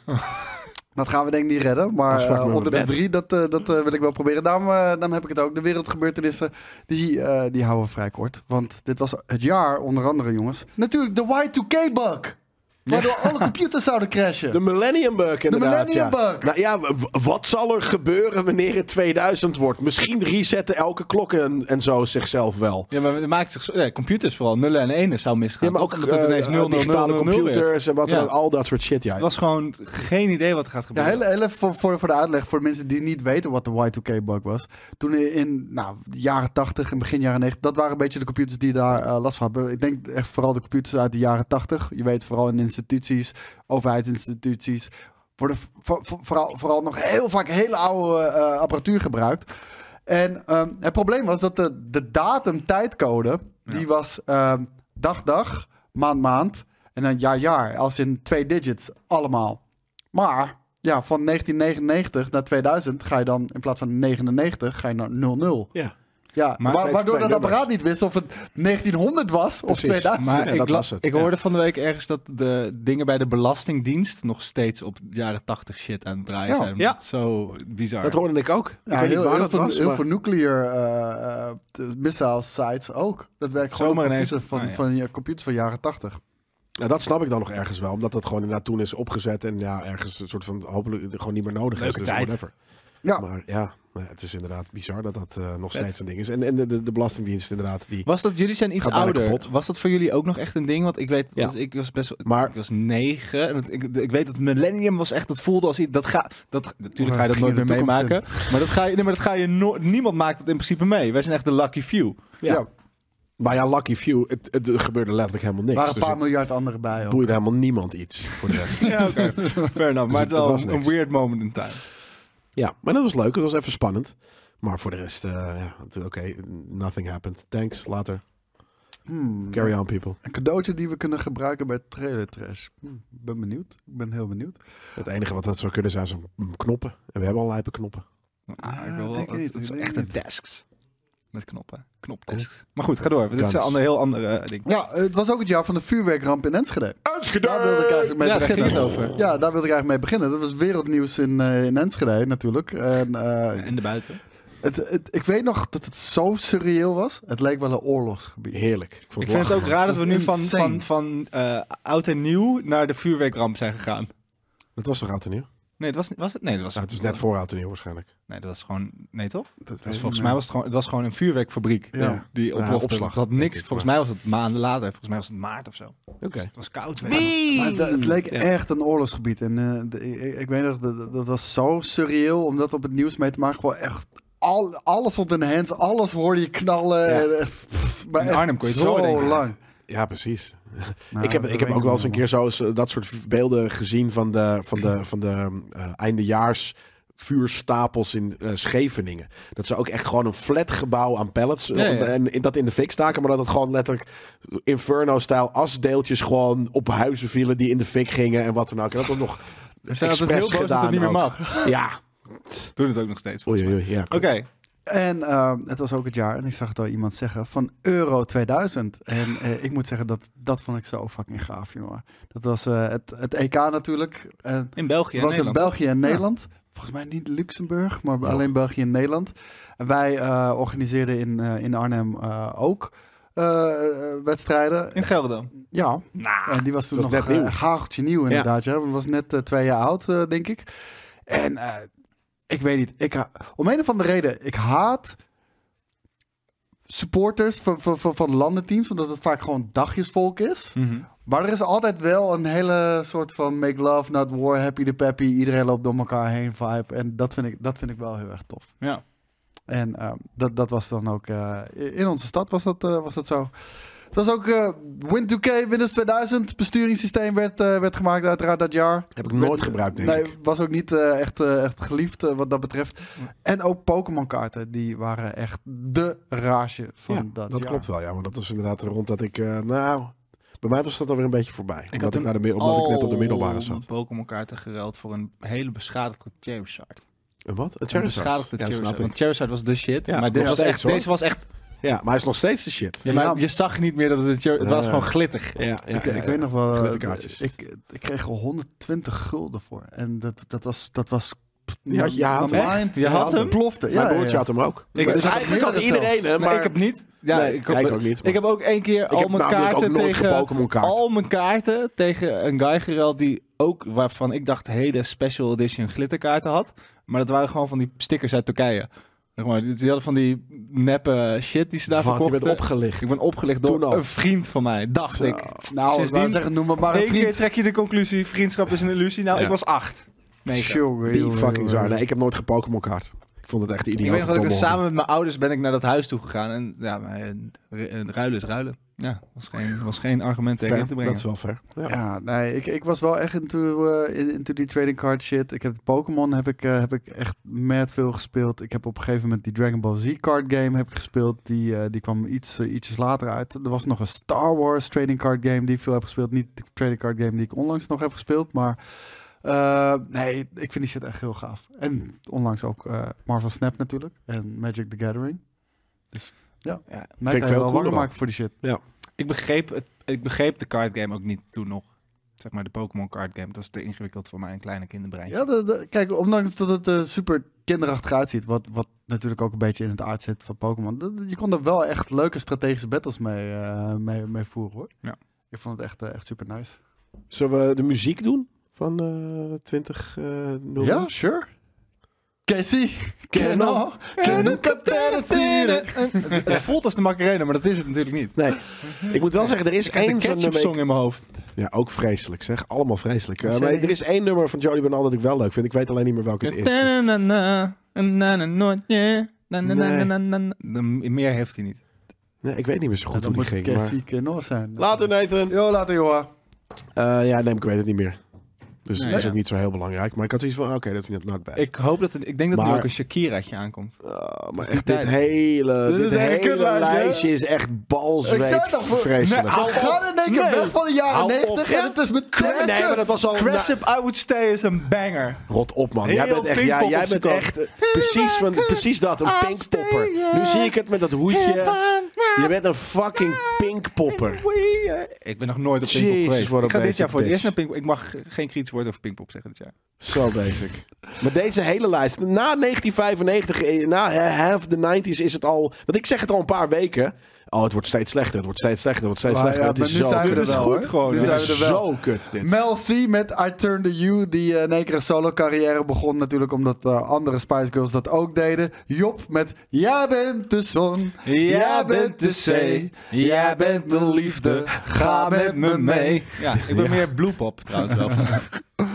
Speaker 4: Dat gaan we denk ik niet redden. Maar
Speaker 2: Afspraak
Speaker 4: eh,
Speaker 2: met
Speaker 4: onder de
Speaker 2: mijn bed.
Speaker 4: drie, dat, eh, dat eh, wil ik wel proberen. Daarom, eh, daarom heb ik het ook. De wereldgebeurtenissen, die, eh, die houden we vrij kort. Want dit was het jaar, onder andere jongens. Natuurlijk de Y2K-bug. Waardoor alle computers zouden crashen.
Speaker 2: De Millennium Bug inderdaad.
Speaker 4: Millennium
Speaker 2: ja.
Speaker 4: Bug.
Speaker 2: Nou ja, w- wat zal er gebeuren wanneer het 2000 wordt? Misschien resetten elke klok en, en zo zichzelf wel.
Speaker 3: Ja, maar het maakt zich... zo- ja, computers vooral. Nullen en enen zou misgaan.
Speaker 2: Ja, maar ook
Speaker 3: Omdat het
Speaker 2: eh,
Speaker 3: ineens
Speaker 2: eh,
Speaker 3: 0, 0, 0,
Speaker 2: digitale
Speaker 3: 0, 0 werd.
Speaker 2: computers en wat
Speaker 3: Ja.
Speaker 2: dan ook. Al dat soort shit, ja.
Speaker 3: Het was gewoon geen idee wat er gaat
Speaker 4: Ja,
Speaker 3: gebeuren.
Speaker 4: heel, heel even voor, voor, voor de uitleg, voor de mensen die niet weten wat de Y2K-bug was. Toen in nou, de jaren 80 en begin jaren 90, dat waren een beetje de computers die daar eh, last van hadden. Ik denk echt vooral de computers uit de jaren 80. Je weet vooral in instituties, overheidsinstituties, worden v- vo- vo- vooral, vooral nog heel vaak hele oude eh, apparatuur gebruikt. En ehm, het probleem was dat de, de datum-tijdcode, die was ehm, dag-dag, maand-maand en dan jaar-jaar, als in twee digits allemaal. Maar ja, van 1999 naar 2000 ga je dan in plaats van 99 ga je naar 00.
Speaker 2: Ja.
Speaker 4: Ja,
Speaker 3: Maar-
Speaker 4: wa- waardoor
Speaker 2: Twee
Speaker 4: dat
Speaker 2: nummers.
Speaker 4: apparaat niet wist of het 1900 was of
Speaker 2: Precies.
Speaker 4: 2000.
Speaker 2: Maar-
Speaker 3: ik,
Speaker 2: Ja, dat
Speaker 3: la-
Speaker 2: was het,
Speaker 3: ik
Speaker 2: ja.
Speaker 3: hoorde van de week ergens dat de dingen bij de Belastingdienst nog steeds op jaren 80 shit aan het draaien
Speaker 4: Ja.
Speaker 3: zijn. omdat
Speaker 2: Ja.
Speaker 3: het zo bizar.
Speaker 2: Dat hoorde ik ook.
Speaker 4: Ja,
Speaker 2: ik weet
Speaker 4: heel,
Speaker 2: niet waar
Speaker 4: heel
Speaker 2: dat
Speaker 4: veel,
Speaker 2: was,
Speaker 4: heel
Speaker 2: maar-
Speaker 4: veel nuclear eh, eh, t- missile sites ook. Dat werkt gewoon
Speaker 3: Zomaar
Speaker 4: op
Speaker 3: ineens.
Speaker 4: computers van,
Speaker 3: Ah, ja.
Speaker 4: van je computers van jaren 80.
Speaker 2: Ja, dat snap ik dan nog ergens wel. Omdat dat gewoon inderdaad toen is opgezet. En ja, ergens een soort van hopelijk gewoon niet meer nodig
Speaker 3: Leuke
Speaker 2: is. dus
Speaker 3: tijd.
Speaker 2: whatever.
Speaker 4: Ja.
Speaker 2: Maar ja, nou, het is inderdaad bizar dat dat eh, nog
Speaker 3: Vet.
Speaker 2: steeds een ding is. En, en de- de, de Belastingdienst inderdaad. Die,
Speaker 3: was dat, jullie zijn iets
Speaker 2: Gaat bijna
Speaker 3: ouder.
Speaker 2: kapot.
Speaker 3: Was dat voor jullie ook nog echt een ding? Want ik weet,
Speaker 2: Ja.
Speaker 3: dus ik was best wel-
Speaker 2: Maar-
Speaker 3: ik was negen. En het- ik, ik weet dat millennium was echt, dat voelde als iets, dat gaat, dat, natuurlijk ga je dat
Speaker 4: Ging
Speaker 3: nooit
Speaker 4: de
Speaker 3: meer
Speaker 4: toekomst
Speaker 3: meemaken. Maar dat ga je, nee, maar dat ga je no- niemand maakt dat in principe mee. Wij zijn echt de lucky few.
Speaker 2: ja. Maar ja, lucky few. Het, het gebeurde letterlijk helemaal
Speaker 4: Er
Speaker 2: niks.
Speaker 4: waren een
Speaker 2: Dus
Speaker 4: paar
Speaker 2: het
Speaker 4: miljard anderen bij. Ook.
Speaker 2: boeide helemaal niemand iets. Voor de rest.
Speaker 3: Ja, oké. Fair enough. Maar
Speaker 2: Het
Speaker 3: het was wel
Speaker 2: was
Speaker 3: een,
Speaker 2: niks.
Speaker 3: weird moment in time.
Speaker 2: ja, maar dat was leuk. Het was even spannend. Maar voor de rest, eh, ja, het- oké, nothing happened. Thanks, later.
Speaker 4: Hmm,
Speaker 2: Carry on, people.
Speaker 4: Een cadeautje die we kunnen gebruiken bij Trailer Trash. Hmm, ik ben benieuwd. Ik ben heel benieuwd.
Speaker 2: Het enige wat dat zou kunnen zijn, zijn knoppen. En we hebben al lijpe knoppen.
Speaker 3: Ah, ik
Speaker 4: Ah,
Speaker 3: wil wel,
Speaker 4: denk
Speaker 3: dat,
Speaker 4: ik niet,
Speaker 3: dat zijn
Speaker 4: denk
Speaker 3: echte
Speaker 4: niet.
Speaker 3: desks. Met knoppen. Knopdesks. Maar goed, ga door. want Dit is een
Speaker 2: Guns.
Speaker 3: ander, heel ander eh, ding.
Speaker 4: Ja, het was ook het jaar van de vuurwerkramp in Enschede. Daar wilde ik
Speaker 2: Uitgedaan!
Speaker 4: eigenlijk mee
Speaker 3: Ja, daar
Speaker 4: beginnen.
Speaker 3: ging het over.
Speaker 4: Ja, daar wilde ik eigenlijk mee beginnen. Dat was wereldnieuws in, eh, in Enschede natuurlijk. En, eh,
Speaker 3: En de buiten.
Speaker 4: het, het, ik weet nog dat het zo surreëel was. Het leek wel een oorlogsgebied.
Speaker 2: Heerlijk. Ik, vond
Speaker 3: Ik vind het ook
Speaker 2: lachen.
Speaker 3: raar dat we
Speaker 4: Dat
Speaker 3: nu
Speaker 4: is
Speaker 3: van, van,
Speaker 4: insane.
Speaker 3: van eh, oud en nieuw naar de vuurwerkramp zijn gegaan.
Speaker 2: Dat was toch oud en nieuw?
Speaker 3: Nee, het was, niet- was het? Nee, het was,
Speaker 2: Nou, het is net voor oud en nieuw waarschijnlijk.
Speaker 3: Nee, dat was gewoon. Nee, toch?
Speaker 4: Dat
Speaker 3: Het was, volgens mij was het gewoon, het was gewoon een vuurwerkfabriek.
Speaker 4: Ja.
Speaker 3: Die
Speaker 2: eh, Ja,
Speaker 3: oplofte.
Speaker 2: opslag,
Speaker 3: Het had
Speaker 2: denk
Speaker 3: niks.
Speaker 2: ik,
Speaker 3: volgens mij was het maanden later. Volgens mij was het maart of zo.
Speaker 2: Oké.
Speaker 3: Dus het was koud. weet je.
Speaker 4: Maar
Speaker 2: Maar
Speaker 4: de- het leek e-
Speaker 2: Ja.
Speaker 4: echt een oorlogsgebied. En eh, de- ik, ik weet nog, dat, dat was zo surreëel om dat op het nieuws mee te maken. Gewoon echt, al, alles stond in de hands, alles hoorde je knallen.
Speaker 2: Ja.
Speaker 4: En, eh, pff, maar
Speaker 3: In
Speaker 4: echt
Speaker 3: Arnhem kon je het
Speaker 4: zo
Speaker 3: horen, denk ik.
Speaker 4: lang.
Speaker 2: Ja, precies.
Speaker 4: Nou,
Speaker 2: ik heb,
Speaker 4: dat
Speaker 2: ik
Speaker 4: weet
Speaker 2: heb ook wel eens een
Speaker 4: nog,
Speaker 2: keer zo eens, eh, dat soort v- beelden gezien van de, van de, van de eh, eindejaars vuurstapels in eh, Scheveningen. Dat ze ook echt gewoon een flat gebouw aan pallets eh,
Speaker 3: Ja, ja.
Speaker 2: en in- dat in de fik staken, maar dat het gewoon letterlijk inferno-stijl asdeeltjes gewoon op huizen vielen die in de fik gingen en wat dan ook. En dat dan nog
Speaker 3: We zijn altijd heel
Speaker 2: expres
Speaker 3: boos dat
Speaker 2: gedaan
Speaker 3: het niet meer
Speaker 2: ook.
Speaker 3: mag.
Speaker 2: Ja.
Speaker 3: Doen het ook nog steeds.
Speaker 2: Oei,
Speaker 3: volgens mij.
Speaker 2: oei, oei, ja
Speaker 3: Oké.
Speaker 2: klopt.
Speaker 4: En eh, het was ook het jaar, en ik zag het al iemand zeggen, van Euro 2000. En eh, ik moet zeggen, dat, dat vond ik zo fucking gaaf, jongen. Dat was eh, het, het EK natuurlijk. En
Speaker 3: In België. en
Speaker 4: was in
Speaker 3: Nederland.
Speaker 4: België en Nederland. Volgens mij niet Luxemburg, maar alleen België en Nederland. En wij eh, organiseerden in, eh, in Arnhem eh, ook eh, eh, wedstrijden.
Speaker 3: In Gelderland.
Speaker 4: Ja,
Speaker 3: Nou.
Speaker 4: en die was toen
Speaker 2: dat was
Speaker 4: nog
Speaker 2: net
Speaker 4: eh,
Speaker 2: nieuw.
Speaker 4: hageltje nieuw inderdaad. Ja. was net eh, twee jaar oud, eh, denk ik. En eh, ik weet niet, ik, ha- om een of andere reden, ik haat supporters van, van, van, van landenteams, omdat het vaak gewoon dagjesvolk is.
Speaker 2: Hm.
Speaker 4: Maar er is altijd wel een hele soort van make love, not war, happy the peppy. Iedereen loopt door elkaar heen vibe. En dat vind ik, dat vind ik wel heel erg tof.
Speaker 3: Ja.
Speaker 4: En ehm, dat, dat was dan ook... eh, in onze stad was dat, eh, was dat zo. Het was ook eh, Win2K, Windows 2000. Besturingssysteem werd, eh, werd gemaakt uiteraard dat jaar.
Speaker 2: Heb ik nooit gebruikt, denk
Speaker 4: nee,
Speaker 2: ik.
Speaker 4: was ook niet eh, echt, eh, echt geliefd eh, wat dat betreft. En ook Pokémon kaarten, die waren echt de rage van
Speaker 2: Ja,
Speaker 4: dat,
Speaker 2: dat
Speaker 4: jaar.
Speaker 2: klopt wel, ja. Want dat was inderdaad rond dat ik... eh, nou, bij mij was dat alweer een beetje voorbij.
Speaker 3: had
Speaker 2: omdat ik,
Speaker 3: toen
Speaker 2: naar de, mi- omdat ik
Speaker 3: Oh,
Speaker 2: net op de middelbare
Speaker 3: al
Speaker 2: zat.
Speaker 3: mijn Pokémon kaarten gereld voor een hele beschadigde Charizard.
Speaker 2: Een wat? Een
Speaker 3: Een
Speaker 2: Charizard.
Speaker 3: beschadigde
Speaker 2: ja,
Speaker 3: Charizard.
Speaker 2: snap ik.
Speaker 3: Want Charizard was de shit.
Speaker 2: Ja,
Speaker 3: maar dit
Speaker 2: nog
Speaker 3: was
Speaker 2: steeds,
Speaker 3: echt,
Speaker 2: hoor.
Speaker 3: deze was echt...
Speaker 2: Ja, maar hij is nog steeds de shit.
Speaker 3: Ja, maar
Speaker 4: Ja.
Speaker 3: je zag niet meer dat het... Char- Het was
Speaker 2: Ja.
Speaker 3: gewoon glittig.
Speaker 2: Ja, ja,
Speaker 4: ik, ik weet nog wel, eh,
Speaker 2: Glitterkaartjes.
Speaker 4: ik, ik kreeg er 120 gulden voor. En dat, dat was... Dat was
Speaker 2: Ja, je had
Speaker 4: mijn
Speaker 2: hem.
Speaker 4: mind
Speaker 3: Je had hem?
Speaker 4: plofte. Ja,
Speaker 2: Mijn broertje
Speaker 4: ja.
Speaker 2: had hem ook.
Speaker 3: Ik-
Speaker 2: Maar dus
Speaker 4: ik-
Speaker 2: eigenlijk had
Speaker 4: ik-
Speaker 2: iedereen hem,
Speaker 3: Maar
Speaker 2: Eh, maar...
Speaker 3: ik heb niet... Ja,
Speaker 2: Nee,
Speaker 3: ik, heb-
Speaker 2: ja, ik ook niet, maar-
Speaker 3: Ik heb ook één keer al mijn
Speaker 2: namelijk
Speaker 3: kaarten
Speaker 2: ook nooit
Speaker 3: tegen...
Speaker 2: Pokémon kaart.
Speaker 3: Al mijn kaarten tegen een guy gereld die ook... Waarvan ik dacht hele special edition glitterkaarten had. Maar dat waren gewoon van die stickers uit Turkije. Zeg maar, die die hadden van die neppe shit die ze daar
Speaker 2: Wat, je
Speaker 3: verkochten.
Speaker 2: bent opgelicht.
Speaker 3: Ik ben opgelicht
Speaker 2: Toen
Speaker 3: door
Speaker 2: al.
Speaker 3: een vriend van mij, dacht
Speaker 2: Zo.
Speaker 3: ik.
Speaker 4: Nou, ik wou
Speaker 3: Sindsdien-
Speaker 4: zeggen, noem het maar een
Speaker 3: Eén keer
Speaker 4: vriend.
Speaker 3: trek je de conclusie, vriendschap is een illusie. Nou,
Speaker 2: Ja.
Speaker 3: ik was acht. Nee,
Speaker 4: Tjonge,
Speaker 2: Be
Speaker 4: jonge,
Speaker 2: fucking
Speaker 4: jonge.
Speaker 2: zwaar. Nee, ik heb nooit gepokémon kaart. Ik vond het echt idioot.
Speaker 3: ik weet nog dat ik
Speaker 2: domme
Speaker 3: dus samen met mijn ouders ben ik naar dat huis toe gegaan. En ja, maar, eh, ru- eh, ruilen is ruilen. Ja, was geen, was geen argument tegen
Speaker 2: hobby.
Speaker 3: in te
Speaker 2: Ver,
Speaker 3: brengen.
Speaker 2: Dat is wel ver. Ja.
Speaker 4: Ja, nee, ik, ik was wel echt into, eh, in- into die trading card shit. Ik heb Pokémon heb ik, eh, heb ik echt mad veel gespeeld. Ik heb op een gegeven moment die Dragon Ball Z card game heb ik gespeeld. Die, eh, die kwam iets, eh, ietsjes later uit. Er was nog een Star Wars trading card game die ik veel heb gespeeld. Niet de trading card game die ik onlangs nog heb gespeeld, maar... eh, nee, ik vind die shit echt heel gaaf. En onlangs ook eh, Marvel Snap natuurlijk. En Magic the Gathering. Dus ja,
Speaker 3: Ja,
Speaker 4: mij
Speaker 2: ik
Speaker 4: kan je
Speaker 2: veel cooler
Speaker 4: wel warm
Speaker 2: dan.
Speaker 4: maken voor die shit.
Speaker 3: Ik, begreep het, ik begreep de card game ook niet toen nog. Zeg maar de Pokémon card game. Dat is te ingewikkeld voor mijn kleine kinderbrein.
Speaker 4: Ja, de- de- kijk, ondanks dat het eh, super kinderachtig uitziet, wat, wat natuurlijk ook een beetje in het aard zit van Pokémon, dat- je kon er wel echt leuke strategische battles mee, eh, mee, mee voeren hoor.
Speaker 3: Ja.
Speaker 4: Ik vond het echt, eh, echt super nice.
Speaker 2: Zullen we de muziek doen? Van eh 20... eh nul?
Speaker 4: Ja, sure. Casey,
Speaker 2: Keno.
Speaker 4: Keno, Keno Katerasire.
Speaker 3: Het voelt als de Macarena, maar dat is het natuurlijk niet.
Speaker 2: Nee, ik moet wel zeggen, er is
Speaker 3: Ik heb
Speaker 2: één
Speaker 3: een
Speaker 2: zo'n
Speaker 3: ketchup
Speaker 2: nummer...
Speaker 3: song in mijn hoofd.
Speaker 2: Ja, ook vreselijk zeg. Allemaal vreselijk. Eh,
Speaker 3: Wat
Speaker 2: maar
Speaker 3: zei je?
Speaker 2: er is één nummer van Jody Bernal dat ik wel leuk vind. Ik weet alleen niet meer welke het is. Dus-
Speaker 3: Na-na-na-na, na-na-na-na-na, na-na-na-na-na-na. De- Meer heeft hij niet.
Speaker 2: Nee, ik weet niet meer zo goed
Speaker 4: Dan
Speaker 2: hoe
Speaker 4: moet
Speaker 2: die
Speaker 4: het
Speaker 2: ging. Maar...
Speaker 4: Casey Keno zijn.
Speaker 2: Later Nathan.
Speaker 4: Jo, later joh.
Speaker 2: Eh, ja, nee, ik weet het niet meer. Dus
Speaker 3: Nee,
Speaker 2: het is
Speaker 3: ja.
Speaker 2: ook niet zo heel belangrijk. Maar ik had zoiets van, ah, oké, dat is net not bad.
Speaker 3: Ik hoop dat er- ik denk dat er
Speaker 2: Maar-
Speaker 3: ook een Shakiraatje aankomt.
Speaker 2: Ah, maar
Speaker 3: is
Speaker 2: echt
Speaker 3: die
Speaker 2: dit
Speaker 3: tijd.
Speaker 2: hele,
Speaker 4: Dit
Speaker 2: dit
Speaker 4: is echt een
Speaker 2: hele
Speaker 4: kutlijstje, hè?
Speaker 2: lijstje is echt balzweet
Speaker 4: Ik zei toch voor-
Speaker 2: vreselijk.
Speaker 3: Nee,
Speaker 4: We
Speaker 3: Hou op.
Speaker 4: gaan in één keer
Speaker 3: Nee.
Speaker 4: weg van de jaren
Speaker 3: Hou op,
Speaker 4: 90 en
Speaker 3: hè?
Speaker 4: het is meteen
Speaker 2: nee, maar dat was al... na-
Speaker 3: Crescent I Would Stay is een banger.
Speaker 2: Rot op, man.
Speaker 3: Heel
Speaker 2: Jij bent echt, ja,
Speaker 3: Pinkpop
Speaker 2: jij
Speaker 3: op z'n
Speaker 2: bent
Speaker 3: kant.
Speaker 2: echt eh, precies, van, precies dat, een
Speaker 3: I'm
Speaker 2: pinkpopper.
Speaker 3: staying.
Speaker 2: Nu zie ik het met dat hoedje. Je bent een fucking pinkpopper.
Speaker 3: Ik ben nog nooit op
Speaker 2: Jezus,
Speaker 3: Pinkpop geweest.
Speaker 2: wat een
Speaker 3: eh. Ik ga dit jaar
Speaker 2: basic
Speaker 3: voor het eerst naar
Speaker 2: bitch.
Speaker 3: Pinkpop. Ik mag geen kritisch woord over Pinkpop zeggen dit jaar.
Speaker 2: Zo basic. Maar deze hele lijst, na 1995, eh, na half the 90s is het al... Want ik zeg het al een paar weken. Oh, het wordt steeds slechter, het wordt steeds slechter, het wordt steeds
Speaker 4: Maar
Speaker 2: slechter.
Speaker 4: ja,
Speaker 2: het is
Speaker 4: maar nu
Speaker 2: zo
Speaker 4: zijn we
Speaker 2: kut.
Speaker 4: er wel,
Speaker 3: goed
Speaker 4: hoor.
Speaker 3: gewoon.
Speaker 4: Nu
Speaker 2: Dit
Speaker 4: zijn
Speaker 2: is
Speaker 4: we er wel.
Speaker 2: zo kut, dit.
Speaker 4: Mel C met I Turn to You, die eh, in één keer een solo carrière begon. Natuurlijk omdat eh, andere Spice Girls dat ook deden. Job met Jij bent de zon, jij bent de zee, jij bent de liefde, ga met me mee.
Speaker 3: Ja, ik ben meer bloepop trouwens wel.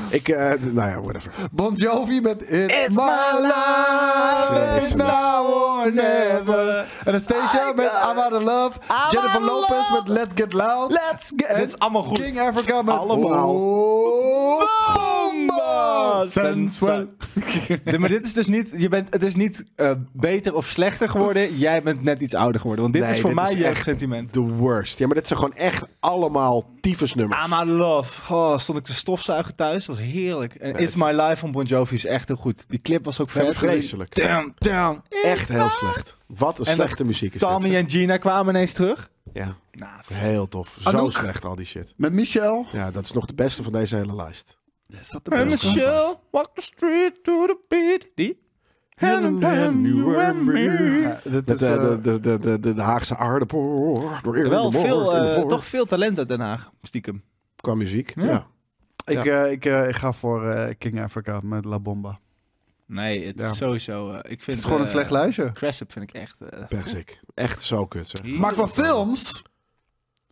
Speaker 2: Ik, eh, nou ja, whatever.
Speaker 4: Bon Jovi met It's,
Speaker 2: It's
Speaker 4: my
Speaker 2: my
Speaker 4: life, it's
Speaker 2: Vreselijk.
Speaker 4: now or never. En Anastasia met I'm out of love, Jennifer
Speaker 3: of
Speaker 4: Lopez
Speaker 3: love.
Speaker 4: met Let's Get Loud.
Speaker 3: Let's get... Dit is allemaal goed.
Speaker 4: King Africa met
Speaker 2: Allemaal.
Speaker 4: Oh,
Speaker 3: Bomba!
Speaker 4: Sensual.
Speaker 3: Nee, maar dit is dus niet, je bent, het is niet eh, beter of slechter geworden. Jij bent net iets ouder geworden. Want dit
Speaker 2: Nee,
Speaker 3: is voor
Speaker 2: dit
Speaker 3: mij
Speaker 2: is
Speaker 3: je
Speaker 2: echt-
Speaker 3: sentiment.
Speaker 2: The worst. Ja, maar dit zijn gewoon echt allemaal tyfusnummers.
Speaker 3: I'm out of love. Oh, stond ik te stofzuigen thuis. Dat was heerlijk. En It's
Speaker 2: het is-
Speaker 3: My Life van Bon Jovi is echt heel goed. Die clip was ook
Speaker 2: Ja, maar
Speaker 3: vet.
Speaker 2: vreselijk.
Speaker 3: Damn, damn.
Speaker 2: Echt heel slecht. Wat een
Speaker 3: En
Speaker 2: slechte muziek is dit.
Speaker 3: Tommy
Speaker 2: zeg.
Speaker 3: en Gina kwamen ineens terug.
Speaker 2: Ja,
Speaker 3: Nou,
Speaker 2: heel tof. Zo
Speaker 4: Anouk.
Speaker 2: slecht al die shit.
Speaker 4: Met Michelle.
Speaker 2: Ja, dat is nog de beste van deze hele lijst.
Speaker 4: Is dat de
Speaker 3: En
Speaker 4: beste?
Speaker 3: Michelle, walk the street to the beat. Die? Wel
Speaker 4: Ja, dit
Speaker 2: Met
Speaker 4: is,
Speaker 2: eh,
Speaker 4: eh,
Speaker 2: de, de, de, de, de, de Haagse aardappel. Door eerder de morgen,
Speaker 3: veel,
Speaker 2: in de
Speaker 3: eh,
Speaker 2: voor-
Speaker 3: toch veel talent uit Den Haag, stiekem.
Speaker 2: Qua muziek. Ja.
Speaker 3: Ja.
Speaker 4: Ik, eh, ik, eh, ik ga voor eh, King Africa met La Bomba.
Speaker 3: Nee, het
Speaker 4: Ja.
Speaker 3: is sowieso... eh, ik vind,
Speaker 4: Het is gewoon een slecht lijstje.
Speaker 3: Cressup vind ik echt... eh,
Speaker 2: Persik. Echt zo kut, zeg.
Speaker 4: Maar qua films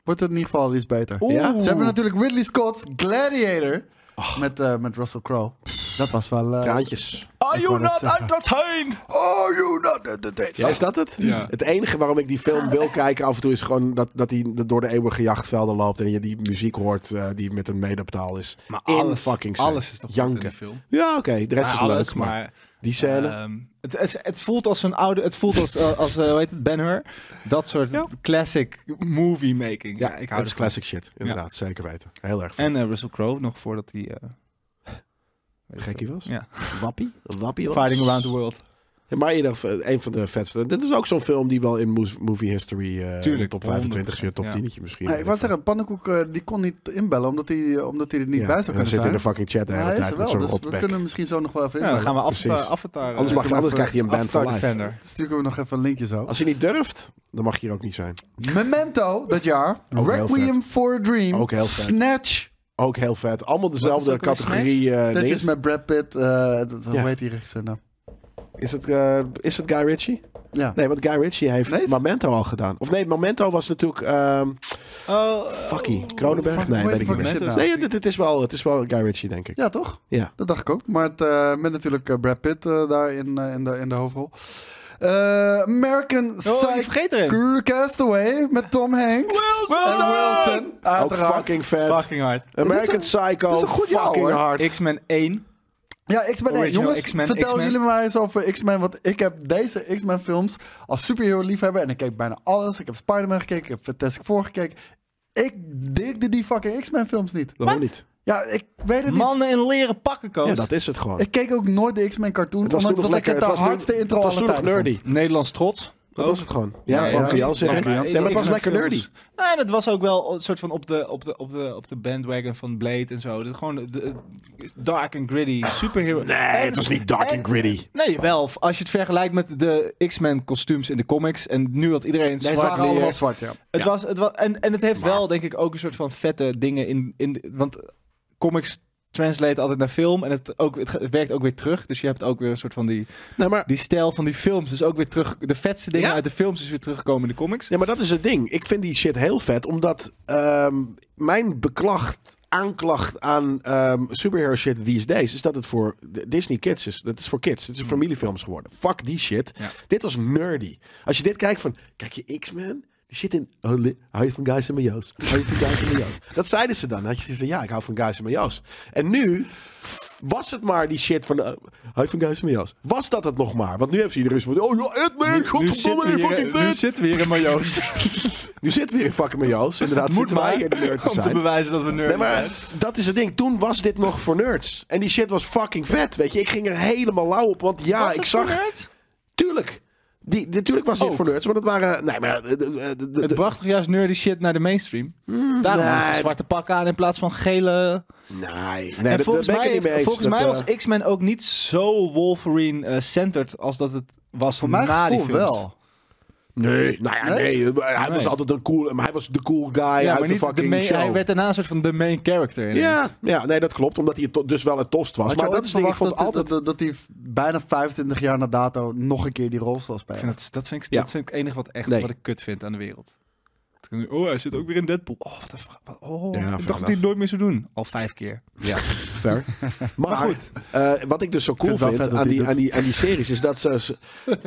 Speaker 4: wordt het in ieder geval iets beter.
Speaker 3: Oeh.
Speaker 2: Ja?
Speaker 4: Ze hebben natuurlijk Ridley Scott's Gladiator
Speaker 2: Oh.
Speaker 4: met, eh, met Russell Crowe. Dat was wel... eh,
Speaker 2: Kraantjes.
Speaker 3: Are
Speaker 4: Ik wou
Speaker 3: you
Speaker 4: net
Speaker 3: not
Speaker 4: zeggen.
Speaker 3: entertained?
Speaker 4: Oh, you not entertained.
Speaker 2: Ja, is dat het?
Speaker 3: Ja.
Speaker 2: Het enige waarom ik die film wil kijken af en toe is gewoon dat, dat hij door de eeuwige jachtvelden loopt en je die muziek hoort eh, die met een medebetaal is.
Speaker 3: Maar
Speaker 2: In
Speaker 3: alles,
Speaker 2: fucking safe.
Speaker 3: alles is toch goed in
Speaker 2: Janken.
Speaker 3: die film.
Speaker 2: Ja, oké, de rest
Speaker 3: Ja,
Speaker 2: is
Speaker 3: alles,
Speaker 2: leuk, maar, die scène.
Speaker 3: ehm, het, het, het voelt als een oude... Het voelt als, eh, als eh, hoe heet het, Ben-Hur. Dat soort
Speaker 2: Ja.
Speaker 3: classic movie making.
Speaker 2: ja,
Speaker 3: Ja, ik hou
Speaker 2: dat is
Speaker 3: ervan.
Speaker 2: classic shit. Inderdaad, zeker weten. Heel erg vet.
Speaker 3: En eh, Russell Crowe nog voordat hij... eh, weet ik
Speaker 2: Gekkie was.
Speaker 3: veel. Ja.
Speaker 2: Wappie. Wappie was.
Speaker 3: Fighting Around the World.
Speaker 2: Ja, maar in ieder geval, eh, een van de vetste. Dit is ook zo'n film die wel in moes- movie history eh,
Speaker 3: Tuurlijk,
Speaker 2: top 25 zit, top
Speaker 3: 100%,
Speaker 2: 10 misschien.
Speaker 4: Nee, ik wou zeggen, Pannenkoek eh, die kon niet inbellen omdat hij, eh, omdat hij er niet
Speaker 2: Ja,
Speaker 4: bij zou
Speaker 2: en dan
Speaker 4: kunnen
Speaker 2: zit
Speaker 4: zijn.
Speaker 2: in de fucking chat de
Speaker 4: Maar
Speaker 2: hele
Speaker 4: hij is
Speaker 2: tijd
Speaker 4: er
Speaker 2: met
Speaker 4: wel,
Speaker 2: zo'n
Speaker 4: dus we
Speaker 2: rotbek.
Speaker 4: kunnen hem misschien zo nog wel even
Speaker 3: Ja, dan
Speaker 4: inbellen.
Speaker 3: gaan we
Speaker 2: Precies.
Speaker 3: Avatar... Avatar
Speaker 2: Anders, mag,
Speaker 4: kunnen
Speaker 2: anders
Speaker 4: even-
Speaker 2: krijg je een ban voor life.
Speaker 3: Defender.
Speaker 4: Dan Sturen we nog even een linkje zo.
Speaker 2: Als je niet durft, dan mag je hier ook niet zijn.
Speaker 4: Memento, dat jaar.
Speaker 2: heel
Speaker 4: Requiem for a Dream.
Speaker 2: Ook heel vet.
Speaker 4: Snatch.
Speaker 2: Ook heel vet. Allemaal dezelfde
Speaker 3: ook weer
Speaker 2: categorie. eh,
Speaker 4: Snatch
Speaker 2: dinges.
Speaker 4: is met Brad Pitt. eh, dat- Hoe
Speaker 2: Ja.
Speaker 4: heet die regisseur nou?
Speaker 2: is, het, eh, is het Guy Ritchie?
Speaker 4: Ja.
Speaker 2: Nee, want Guy Ritchie heeft
Speaker 4: Nee?
Speaker 2: Memento al gedaan. Of nee, Memento was natuurlijk... ehm
Speaker 3: Oh,
Speaker 2: fuckie,
Speaker 4: What the
Speaker 2: Kronenberg?
Speaker 4: fuck-
Speaker 2: Nee,
Speaker 4: what
Speaker 2: weet
Speaker 4: the
Speaker 2: ik
Speaker 4: fuck
Speaker 2: niet
Speaker 4: is
Speaker 2: meer.
Speaker 4: dit nou?
Speaker 2: Nee, het, het is wel, het is wel Guy Ritchie, denk ik.
Speaker 4: Ja, toch?
Speaker 2: Ja.
Speaker 4: Dat dacht ik ook. Maar het, eh, met natuurlijk eh, Brad Pitt eh, daar in, eh, in, de, in de hoofdrol. Eh, American
Speaker 3: oh, ik
Speaker 4: Psycho
Speaker 3: vergeet erin.
Speaker 4: Castaway met Tom Hanks.
Speaker 3: Wilson!
Speaker 4: En Wilson,
Speaker 2: Ook
Speaker 4: uiteraard.
Speaker 2: fucking vet.
Speaker 3: Fucking hard.
Speaker 2: American
Speaker 4: Dit is
Speaker 2: Psycho.
Speaker 4: dit is een goed jaar,
Speaker 2: fucking
Speaker 4: hoor.
Speaker 2: hard.
Speaker 3: X-Men 1.
Speaker 4: Ja, X-Men. Hey,
Speaker 3: Original
Speaker 4: jongens,
Speaker 3: X-Men,
Speaker 4: vertel
Speaker 3: X-Men.
Speaker 4: jullie mij eens over X-Men. Want ik heb deze X-Men films als superhero liefhebber. En ik keek bijna alles. Ik heb Spider-Man gekeken. Ik heb Fantastic Four gekeken. Ik digde die fucking X-Men films niet.
Speaker 2: Waarom niet?
Speaker 4: Ja, ik weet het niet.
Speaker 3: Mannen in leren pakken coach.
Speaker 2: Ja, dat is het gewoon.
Speaker 4: Ik keek ook nooit de X-Men cartoon.
Speaker 2: het was toen
Speaker 4: Ondanks
Speaker 2: nog
Speaker 4: dat
Speaker 2: lekker.
Speaker 4: ik
Speaker 2: Het
Speaker 4: het de
Speaker 2: was nu-
Speaker 4: hardste intro
Speaker 2: Het was toen
Speaker 4: aller
Speaker 2: nog
Speaker 4: tijden vond.
Speaker 2: nerdy.
Speaker 3: Nederlands trots.
Speaker 2: Dat was het gewoon.
Speaker 4: Ja,
Speaker 2: Ja,
Speaker 4: ja.
Speaker 2: van Kriel zit
Speaker 3: Ja,
Speaker 2: erin.
Speaker 3: Kriel
Speaker 2: Nee,
Speaker 3: zit
Speaker 2: maar het
Speaker 3: erin.
Speaker 2: was lekker nerdy.
Speaker 3: Nee, en het was ook wel een soort van op de, op de, op de, op de bandwagon van Blade en zo. Dus gewoon de, de- dark and gritty superhero.
Speaker 2: Ah. Nee, het was niet dark and gritty.
Speaker 3: Nee, wel. Als je het vergelijkt met de X-Men kostuums in de comics. En nu had iedereen
Speaker 4: Nee,
Speaker 3: zwart
Speaker 4: ze waren
Speaker 3: leer.
Speaker 4: allemaal
Speaker 2: eh,
Speaker 4: zwart, ja.
Speaker 3: Het
Speaker 2: Ja.
Speaker 3: was, het was, en, en het heeft
Speaker 2: Maar-
Speaker 3: wel, denk ik, ook een soort van vette dingen in. in want comics translate altijd naar film. En het, ook, het, ge- het werkt ook weer terug. Dus je hebt ook weer een soort van die,
Speaker 2: Nee, maar
Speaker 3: die stijl van die films. Dus ook weer terug. De vetste dingen
Speaker 2: Ja?
Speaker 3: uit de films is weer teruggekomen in de comics.
Speaker 2: Ja, maar dat is het ding. Ik vind die shit heel vet, omdat ehm, mijn beklacht, aanklacht aan ehm superhero shit these days is dat het voor D- Disney Kids is. Dat is voor kids. Het is een familiefilms geworden. Fuck die shit.
Speaker 3: Hmm. Ja.
Speaker 2: Dit was nerdy. Als je dit kijkt van, kijk je X-Men? Die zit in, oh, li- hou je van Guys en Majo's? Hou je van Guys en Majo's? Dat zeiden ze dan. Dat je zei, ja, ik hou van Guys en Majo's. En nu was het maar die shit van, eh, hou je van Guys en Majo's? Was dat het nog maar? Want nu hebben ze iedereen zo van, oh ja, Ant-Man, godverdomme, fucking vet.
Speaker 3: nu zitten we hier in Marjo's.
Speaker 2: Nu zitten we weer in fucking met Joost. Inderdaad,
Speaker 3: Moet
Speaker 2: zitten wij
Speaker 3: maar,
Speaker 2: hier de nerd te
Speaker 3: om te
Speaker 2: zijn.
Speaker 3: bewijzen dat we nerd
Speaker 2: Nee, maar
Speaker 3: zijn.
Speaker 2: dat is het ding. Toen was dit nog voor nerds. En die shit was fucking vet, weet je. Ik ging er helemaal lauw op, want ja,
Speaker 3: Was
Speaker 2: ik
Speaker 3: het
Speaker 2: zag...
Speaker 3: voor nerds?
Speaker 2: Tuurlijk. Die, natuurlijk was dit
Speaker 3: Ook.
Speaker 2: voor nerds, maar dat waren... Nee, maar... de- de- de- de-
Speaker 3: Het bracht toch juist nerdy shit naar de mainstream? Daarom
Speaker 2: Mm, nee.
Speaker 3: hadden ze zwarte pakken aan in plaats van gele...
Speaker 2: nee, nee,
Speaker 3: en
Speaker 2: dat,
Speaker 3: volgens
Speaker 2: dat ben ik
Speaker 3: mij,
Speaker 2: het niet mee eens.
Speaker 3: volgens
Speaker 2: Dat,
Speaker 3: mij
Speaker 2: eh,
Speaker 3: was X-Men ook niet zo Wolverine-centered als dat het was
Speaker 4: Voor mijn
Speaker 3: na die
Speaker 4: gevoel
Speaker 3: films.
Speaker 4: wel.
Speaker 2: Nee, nou ja, nee. Hij was
Speaker 3: Nee.
Speaker 2: altijd een cool... Maar hij was de cool guy
Speaker 3: Ja, maar
Speaker 2: uit de
Speaker 3: niet de
Speaker 2: fucking
Speaker 3: main,
Speaker 2: show.
Speaker 3: hij werd daarna een soort van de main character. in.
Speaker 2: ja, ja, nee, dat klopt. Omdat hij het to- dus wel het tost was.
Speaker 4: Had
Speaker 2: maar
Speaker 4: je
Speaker 2: dat
Speaker 4: ooit
Speaker 2: is het ding. Ik
Speaker 4: verwacht
Speaker 2: vond
Speaker 4: dat,
Speaker 2: altijd...
Speaker 4: dat, dat, dat hij bijna 25 jaar na dato nog een keer die rol zal
Speaker 3: Ik
Speaker 4: spelen?
Speaker 3: vind dat, dat, vind ik,
Speaker 2: Ja.
Speaker 3: dat vind ik het enige wat, echt,
Speaker 2: Nee.
Speaker 3: wat ik kut vind aan de wereld. Dat ik nu- Oh, hij zit ook weer in Deadpool. Oh, wat een vra- wat- oh,
Speaker 2: Ja, fair
Speaker 3: ik dacht dat hij
Speaker 2: enough.
Speaker 3: het nooit meer zou doen. Al vijf keer.
Speaker 2: Ja, fair. Maar goed, eh, wat ik dus zo cool
Speaker 4: het wel
Speaker 2: vind,
Speaker 4: vet dat
Speaker 2: aan,
Speaker 4: hij
Speaker 2: die,
Speaker 4: doet.
Speaker 2: aan, die, aan die series is dat ze... ze-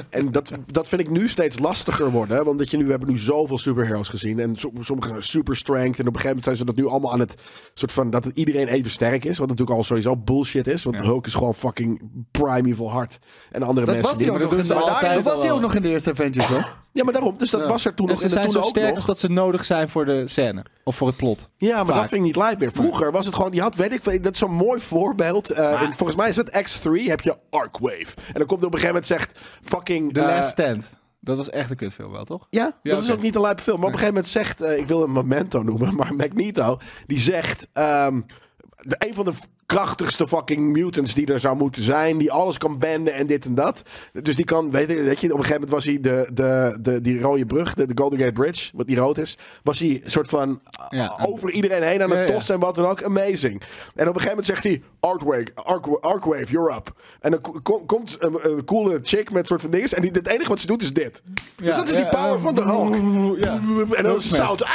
Speaker 2: en dat, dat vind ik nu steeds lastiger worden. hè, Omdat je nu, we hebben nu zoveel superheroes gezien. En som- sommige zijn super strength. En op een gegeven moment zijn ze dat nu allemaal aan het... soort van dat het iedereen even sterk is. Wat natuurlijk al sowieso bullshit is. Want
Speaker 3: Ja.
Speaker 2: Hulk is gewoon fucking primeval hard. En andere
Speaker 4: Dat
Speaker 2: mensen
Speaker 4: was hij ook,
Speaker 2: niet.
Speaker 4: nog in
Speaker 3: doen
Speaker 4: de-
Speaker 3: ze altijd
Speaker 4: dat was
Speaker 3: al
Speaker 4: hij ook
Speaker 3: wel.
Speaker 4: nog in de eerste Avengers, hoor.
Speaker 2: Ja, maar daarom. Dus dat
Speaker 4: Ja.
Speaker 2: was er toen
Speaker 3: En
Speaker 2: nog.
Speaker 3: ze
Speaker 2: En
Speaker 3: zijn
Speaker 2: toen
Speaker 3: zo
Speaker 2: ook
Speaker 3: sterk
Speaker 2: nog.
Speaker 3: als dat ze nodig zijn voor de scène. Of voor het plot.
Speaker 2: Ja, maar dat
Speaker 3: Vaak.
Speaker 2: vind ik niet lijp meer. Vroeger was het gewoon, die had, weet ik, veel, dat is zo'n mooi voorbeeld. eh, en volgens mij is het X3, heb je Arcwave. En dan komt er op een gegeven moment zegt, fucking...
Speaker 3: The
Speaker 2: eh,
Speaker 3: Last Stand. Dat was echt een kutfilm wel, toch?
Speaker 2: ja, dat
Speaker 3: Ja,
Speaker 2: is
Speaker 3: oké.
Speaker 2: ook niet een lijpe film. Maar op een gegeven moment zegt, eh, ik wil een Memento noemen, maar Magneto, die zegt, ehm, de, een van de v- krachtigste fucking mutants die er zou moeten zijn. Die alles kan benden en dit en dat. Dus die kan, weet je, weet je op een gegeven moment was hij de, de, de, die rode brug, de, de Golden Gate Bridge, wat die rood is. Was hij een soort van eh,
Speaker 3: Ja.
Speaker 2: over iedereen heen aan
Speaker 3: Ja,
Speaker 2: het
Speaker 3: ja.
Speaker 2: tossen en wat dan ook. Amazing. En op een gegeven moment zegt hij, Artwave, Arc- Arcwave, you're up. En dan ko- ko- komt een, een coole chick met soort van dinges. En die, het enige wat ze doet is dit. dus dat is die
Speaker 3: ja,
Speaker 2: power
Speaker 3: eh,
Speaker 2: van de Hulk.
Speaker 3: ja.
Speaker 2: En dan is het
Speaker 3: Smash.
Speaker 2: zout. Ah,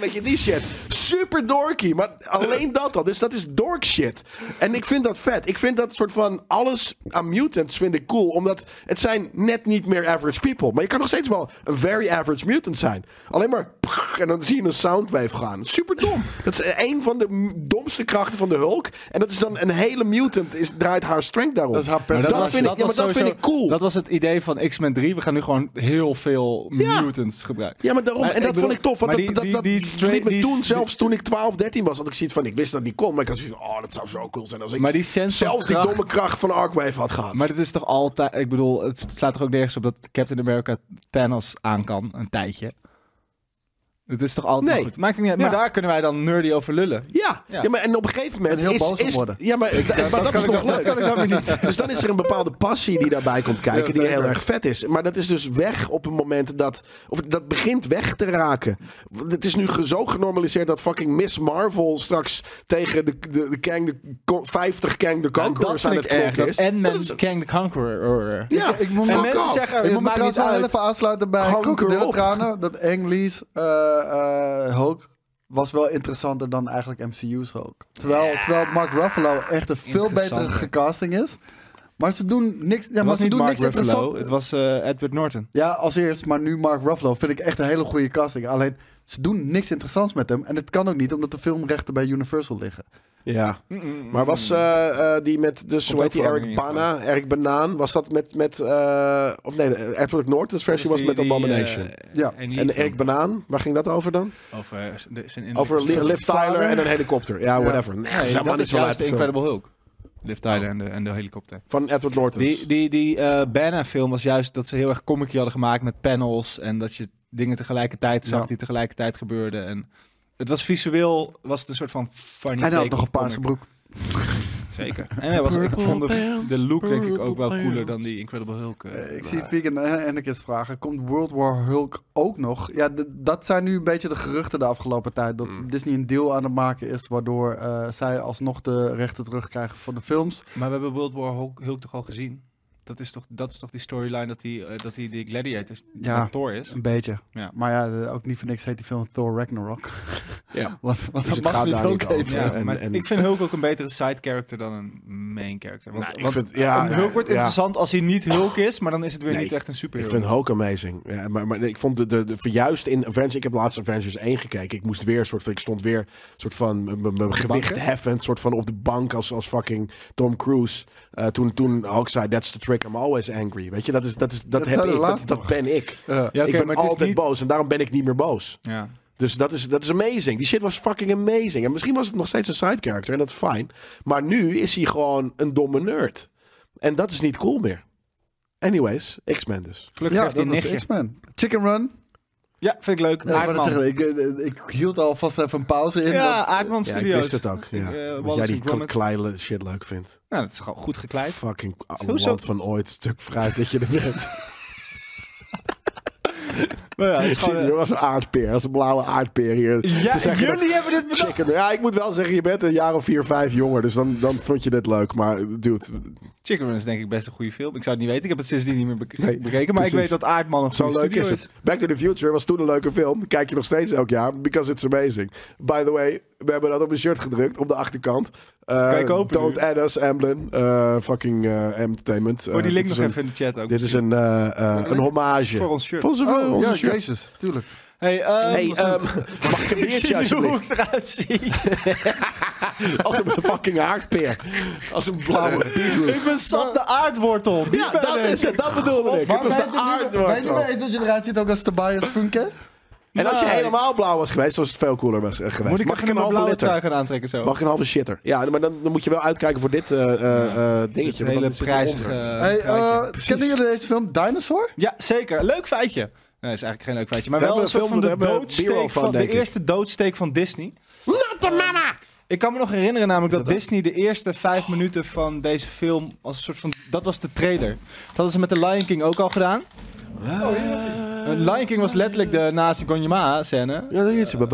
Speaker 2: weet je, die shit. Super dorky. Maar alleen dat al. Dus dat is dork shit. En ik vind dat vet. Ik vind dat soort van alles aan mutants vind ik cool. Omdat het zijn net niet meer average people. Maar je kan nog steeds wel een very average mutant zijn. Alleen maar... En dan zie je een soundwave gaan. Super dom. Dat is een van de m- domste krachten van de Hulk. En dat is dan een hele mutant. Is, draait haar strength daarom.
Speaker 4: Dat is haar
Speaker 3: Maar
Speaker 2: dat,
Speaker 4: personage.
Speaker 2: vind, ik, ja, maar
Speaker 3: was
Speaker 2: dat vind ik
Speaker 3: sowieso-
Speaker 2: cool.
Speaker 3: Dat was het idee van X-Men 3. We gaan nu gewoon heel veel
Speaker 2: Ja.
Speaker 3: mutants gebruiken.
Speaker 2: Ja, maar daarom.
Speaker 3: Maar
Speaker 2: en dat
Speaker 3: ik bedoel-
Speaker 2: vond ik tof. Want
Speaker 3: maar
Speaker 2: dat,
Speaker 3: die-
Speaker 2: dat,
Speaker 3: die-
Speaker 2: dat
Speaker 3: die straight-
Speaker 2: liet me
Speaker 3: die-
Speaker 2: toen,
Speaker 3: die-
Speaker 2: zelfs toen ik 12, 13 was, had ik zoiets van... Ik wist dat die kon, maar ik had zoiets van... Oh, dat zou zo cool zijn als ik
Speaker 3: Maar die sense van
Speaker 2: zelf die
Speaker 3: kracht-
Speaker 2: domme kracht van Arcwave had gehad.
Speaker 3: Maar dat is toch altijd... Ik bedoel, het slaat toch ook nergens op dat Captain America Thanos aan kan, een tijdje. Het is toch altijd...
Speaker 2: Nee.
Speaker 3: maar goed, maakt het niet uit.
Speaker 2: Ja.
Speaker 3: Maar daar kunnen wij dan nerdy over lullen.
Speaker 2: ja, ja.
Speaker 3: Ja.
Speaker 2: maar en op een gegeven moment
Speaker 4: En heel
Speaker 2: is,
Speaker 4: boos om
Speaker 2: is-
Speaker 4: worden.
Speaker 2: Ja, maar, da- maar dat,
Speaker 3: kan
Speaker 2: is
Speaker 3: ik
Speaker 2: nog
Speaker 3: dan-
Speaker 2: leuk.
Speaker 3: dat kan ik dan weer niet.
Speaker 2: Dus dan is er een bepaalde passie die daarbij komt kijken,
Speaker 4: Ja,
Speaker 2: die heel
Speaker 4: zeker.
Speaker 2: erg vet is. Maar dat is dus weg op een moment dat. Of dat begint weg te raken. Want Het is nu ge- zo genormaliseerd dat fucking Miss Marvel straks tegen de, de, de Kang de ko- 50 Kang de
Speaker 3: En
Speaker 2: Conqueror
Speaker 3: Nou, dat
Speaker 2: aan
Speaker 3: vind ik
Speaker 2: het
Speaker 3: erg.
Speaker 2: knokken
Speaker 3: Dat
Speaker 2: is.
Speaker 3: Ant-Man
Speaker 2: Maar dat is-
Speaker 3: Kang the Conqueror.
Speaker 2: Ja,
Speaker 4: Ik- ik moet-
Speaker 2: fuck
Speaker 4: En mensen
Speaker 2: off.
Speaker 3: zeggen-
Speaker 4: Ik
Speaker 3: Het
Speaker 4: moet me
Speaker 3: maakt niet
Speaker 4: trouwens wel heel
Speaker 3: uit.
Speaker 4: even aansluiten bij
Speaker 2: Kanker
Speaker 4: Krokodillen
Speaker 2: op.
Speaker 4: Tranen. Dat Ang Lee's eh, eh, Hulk was wel interessanter dan eigenlijk MCU's Hulk. Terwijl, terwijl Mark Ruffalo echt een veel betere
Speaker 3: Interessanter.
Speaker 4: casting is. Maar ze doen niks, ja,
Speaker 3: Het
Speaker 4: maar
Speaker 3: was
Speaker 4: ze
Speaker 3: niet
Speaker 4: doen
Speaker 3: Mark
Speaker 4: niks
Speaker 3: Ruffalo,
Speaker 4: interessants.
Speaker 3: het was eh, Edward Norton.
Speaker 4: Ja, als eerst, maar nu Mark Ruffalo vind ik echt een hele goede casting. Alleen, ze doen niks interessants met hem. En het kan ook niet, omdat de filmrechten bij Universal liggen.
Speaker 2: Ja, maar was
Speaker 3: Mm.
Speaker 2: eh, eh, die met, dus hoe
Speaker 3: dat
Speaker 2: heet die,
Speaker 3: verandering
Speaker 2: Eric
Speaker 3: in ieder
Speaker 2: Bana, Eric Banaan, was dat met, met eh, of nee, Edward Norton, Freshie was met Abomination.
Speaker 4: Ja.
Speaker 2: en Eric Banaan, waar ging dat over dan?
Speaker 3: Over eh, de- zijn innerlijke-
Speaker 2: Over Li-
Speaker 4: soort
Speaker 2: Liv Tyler
Speaker 4: vader.
Speaker 2: en een helikopter. Ja,
Speaker 4: Ja.
Speaker 2: whatever. Nee,
Speaker 3: Nee,
Speaker 2: dat is helemaal
Speaker 3: dat
Speaker 2: niet
Speaker 3: is
Speaker 2: zo
Speaker 3: juist
Speaker 2: lijp.
Speaker 3: de Incredible Hulk. Liv Tyler en, de, en de helikopter.
Speaker 2: Van Edward dus. Norton.
Speaker 3: Die, die, die eh Banner-film was juist dat ze heel erg comic hadden gemaakt met panels. En dat je dingen tegelijkertijd zag
Speaker 4: Ja.
Speaker 3: die tegelijkertijd gebeurden. En het was visueel, was het een soort van funny
Speaker 4: En hij had
Speaker 3: take
Speaker 4: nog een
Speaker 3: op
Speaker 4: paarse
Speaker 3: comic.
Speaker 4: broek.
Speaker 3: Zeker. En hij was, ik vond de, de look denk ik ook wel cooler dan die Incredible Hulk. eh.
Speaker 4: Eh, Ik zie Vegan en Anarchist vragen. Komt World War Hulk ook nog? Ja, d- dat zijn nu een beetje de geruchten de afgelopen tijd. Dat Disney een deal aan het maken is... waardoor eh, zij alsnog de rechten terugkrijgen voor de films.
Speaker 3: Maar we hebben World War Hulk, Hulk toch al gezien? Dat is toch, dat is toch die storyline dat hij eh, dat die, die gladiator
Speaker 4: Ja,
Speaker 3: Thor is?
Speaker 4: een beetje.
Speaker 3: Ja.
Speaker 4: Maar ja, de- ook niet voor niks heet die film Thor Ragnarok.
Speaker 2: Ja.
Speaker 4: Want, want
Speaker 2: Dus
Speaker 4: dat
Speaker 2: het
Speaker 4: mag
Speaker 2: gaat
Speaker 4: niet
Speaker 2: daar
Speaker 4: ook
Speaker 2: niet over.
Speaker 4: even.
Speaker 3: Ja,
Speaker 2: En-
Speaker 3: maar
Speaker 2: en-
Speaker 3: ik vind Hulk ook een betere side character dan een main character. Want,
Speaker 2: Nou, ik
Speaker 3: want
Speaker 2: vind- ja,
Speaker 3: een Hulk wordt
Speaker 2: ja.
Speaker 3: interessant als hij niet Hulk is, maar dan is het weer
Speaker 2: Nee,
Speaker 3: niet echt een
Speaker 2: Ik
Speaker 3: superheld.
Speaker 2: vind Hulk amazing. Ja, maar, maar ik vond de, de, de verjuist in Avengers. Ik heb laatst Avengers 1 gekeken. Ik moest weer een soort van. Ik stond weer een soort van m- m- mijn gewicht
Speaker 3: banken?
Speaker 2: heffend. Soort van op de bank als, als fucking Tom Cruise. Eh, toen, toen Hulk zei: That's the trick. I'm always angry. Weet je, dat, is, dat, is, dat,
Speaker 4: Dat
Speaker 2: heb
Speaker 4: zei de
Speaker 2: ik. Dat,
Speaker 4: laatste
Speaker 2: dat
Speaker 4: nog.
Speaker 2: ben ik.
Speaker 4: Ja.
Speaker 3: ja, oké,
Speaker 2: ik ben
Speaker 3: maar het is
Speaker 2: altijd
Speaker 3: niet-
Speaker 2: boos en daarom ben ik niet meer boos.
Speaker 3: Ja.
Speaker 2: Dus dat is, dat is amazing. Die shit was fucking amazing. En misschien was het nog steeds een side character en dat is fijn. Maar nu is hij gewoon een domme nerd. En dat is niet cool meer. Anyways, X-Men dus.
Speaker 3: Gelukkig
Speaker 4: Ja,
Speaker 3: heeft hij
Speaker 4: dat
Speaker 3: een
Speaker 4: was
Speaker 3: nichtje.
Speaker 4: X-Men. Chicken Run.
Speaker 3: Ja, vind ik leuk.
Speaker 4: Ja, ik, wou net
Speaker 3: Aardman.
Speaker 4: zeggen, ik, eh, ik hield alvast even een pauze in.
Speaker 3: Ja,
Speaker 4: want-
Speaker 3: Aardman
Speaker 2: Ja, ik
Speaker 3: Studios.
Speaker 2: wist het ook. Ja.
Speaker 3: Eh,
Speaker 2: Dat
Speaker 3: Wallace
Speaker 2: jij
Speaker 3: and
Speaker 2: die
Speaker 3: Gromit.
Speaker 2: kleine shit leuk vindt.
Speaker 3: Nou, dat is gewoon goed gekleid.
Speaker 2: Fucking
Speaker 3: Sowieso.
Speaker 2: land van ooit, stuk fruit dat je er bent.
Speaker 3: Maar ja, het
Speaker 2: Ik
Speaker 3: is
Speaker 2: zie
Speaker 3: gewoon,
Speaker 2: er als een aardpeer, als een blauwe aardpeer hier.
Speaker 3: eh,
Speaker 2: te
Speaker 3: ja,
Speaker 2: zeggen dat-
Speaker 3: jullie hebben dit bedacht.
Speaker 2: Chicken- Ja, ik moet wel zeggen, je bent een jaar of vier, vijf jonger. Dus dan, dan vond je dit leuk. Maar dude,
Speaker 3: Chicken Run is denk ik best een goede film. Ik zou het niet weten. Ik heb het sindsdien niet meer bek-
Speaker 2: Nee,
Speaker 3: bekeken. Maar
Speaker 2: precies.
Speaker 3: ik weet dat Aardman een
Speaker 2: Zo
Speaker 3: goede
Speaker 2: leuk
Speaker 3: studio
Speaker 2: is het. Back to the Future was toen een leuke film. Kijk je nog steeds elk jaar. Because it's amazing. By the way, we hebben dat op een shirt gedrukt. Op de achterkant. Eh,
Speaker 3: Kijk open
Speaker 2: Don't
Speaker 3: nu.
Speaker 2: add us, Emblem. Eh, fucking eh, entertainment.
Speaker 3: Voor die
Speaker 2: Eh,
Speaker 3: link
Speaker 2: dit is
Speaker 3: nog
Speaker 2: een-
Speaker 3: even in de chat ook.
Speaker 2: Dit is een, eh, eh, een hommage.
Speaker 3: Voor ons shirt.
Speaker 2: Voor onze, voor
Speaker 4: Oh,
Speaker 2: onze
Speaker 4: ja,
Speaker 2: shirt.
Speaker 4: Jezus, tuurlijk.
Speaker 3: Hey, ehm,
Speaker 2: Hey,
Speaker 3: wat
Speaker 2: ehm,
Speaker 3: is
Speaker 2: mag ik een
Speaker 3: het? ik
Speaker 2: biertje
Speaker 3: zie nu hoe
Speaker 2: alsjeblieft?
Speaker 3: ik eruit zie.
Speaker 2: Als een fucking haardpeer. Als een blauwe beetroot.
Speaker 3: Ik ben Sap de aardwortel. Die
Speaker 2: Ja,
Speaker 3: ben
Speaker 2: dat
Speaker 3: ik.
Speaker 2: is het. Dat bedoelde ik. Het was de
Speaker 4: Weet je wel
Speaker 2: aardwortel.
Speaker 4: eens dat je eruit ziet ook als Tobias Funke?
Speaker 2: En als je
Speaker 3: Nee.
Speaker 2: helemaal blauw was geweest, was het veel cooler was, eh, geweest.
Speaker 3: Moet ik
Speaker 2: Mag
Speaker 3: even een
Speaker 2: halve
Speaker 3: blauwe
Speaker 2: liter?
Speaker 3: trui gaan aantrekken zo?
Speaker 2: Mag ik een halve shitter? Ja, maar dan, dan moet je wel uitkijken voor dit eh, eh, eh, dingetje.
Speaker 3: Het
Speaker 2: want
Speaker 3: hele
Speaker 2: dat zit
Speaker 3: prijzige...
Speaker 2: eronder.
Speaker 3: eh,
Speaker 4: Hey,
Speaker 3: truitje.
Speaker 4: eh, kennen jullie deze film Dinosaur?
Speaker 3: Ja, zeker. Leuk feitje. Nee, is eigenlijk geen leuk feitje. Maar
Speaker 2: We
Speaker 3: wel
Speaker 2: hebben
Speaker 3: een soort
Speaker 2: een
Speaker 3: van
Speaker 2: film,
Speaker 3: de
Speaker 2: we hebben een
Speaker 3: doodsteek
Speaker 2: B-roll
Speaker 3: van,
Speaker 2: van,
Speaker 3: de
Speaker 2: denk ik.
Speaker 3: eerste doodsteek van Disney.
Speaker 2: Not the mama!
Speaker 3: Ik kan me nog herinneren namelijk dat,
Speaker 2: dat-
Speaker 3: Disney de eerste vijf minuten van deze film als een soort van... Dat was de trailer. Dat hadden ze met de Lion King ook al gedaan. Eh, Lion King was letterlijk de nazi Gonyama scène.
Speaker 2: Ja, dat is het.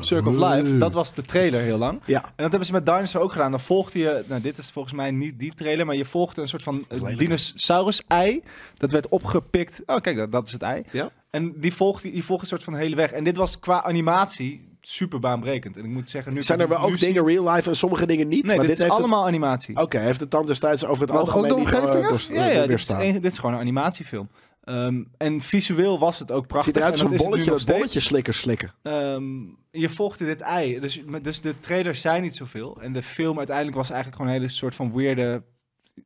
Speaker 3: Circle of Life. Dat was de trailer heel lang.
Speaker 2: Ja.
Speaker 3: En dat hebben ze met Dinosaur ook gedaan. Dan volgde je, nou dit is volgens mij niet die trailer, maar je volgde een soort van eh,
Speaker 2: Lelijke.
Speaker 3: dinosaurus-ei. Dat werd opgepikt. Oh kijk, dat, dat is het ei.
Speaker 2: Ja.
Speaker 3: En die volgde, die volgde een soort van de hele weg. En dit was qua animatie super baanbrekend. En ik moet zeggen, nu
Speaker 2: Zijn
Speaker 3: kan
Speaker 2: er
Speaker 3: ik
Speaker 2: wel
Speaker 3: nu
Speaker 2: ook
Speaker 3: zien-
Speaker 2: dingen real life en sommige dingen niet?
Speaker 3: Nee,
Speaker 2: maar
Speaker 3: dit,
Speaker 2: dit,
Speaker 3: is
Speaker 2: heeft het-
Speaker 3: allemaal animatie.
Speaker 2: Oké, heeft de tand destijds over het
Speaker 4: Wat, ook
Speaker 2: algemeen
Speaker 4: de
Speaker 2: niet eh,
Speaker 4: omgevingen?
Speaker 2: dorst-
Speaker 3: ja, dus ja, dit, is
Speaker 2: weerstaan.
Speaker 3: een- dit is gewoon een animatiefilm. Ehm, en visueel was het ook prachtig.
Speaker 2: Ziet eruit als
Speaker 3: en
Speaker 2: een
Speaker 3: dat is het
Speaker 2: bolletje
Speaker 3: nu nog
Speaker 2: met
Speaker 3: steeds.
Speaker 2: bolletjeslikkers slikken.
Speaker 3: Ehm, je volgde dit ei. Dus, maar- dus de trailers zijn niet zoveel. En de film uiteindelijk was eigenlijk gewoon een hele soort van weirde...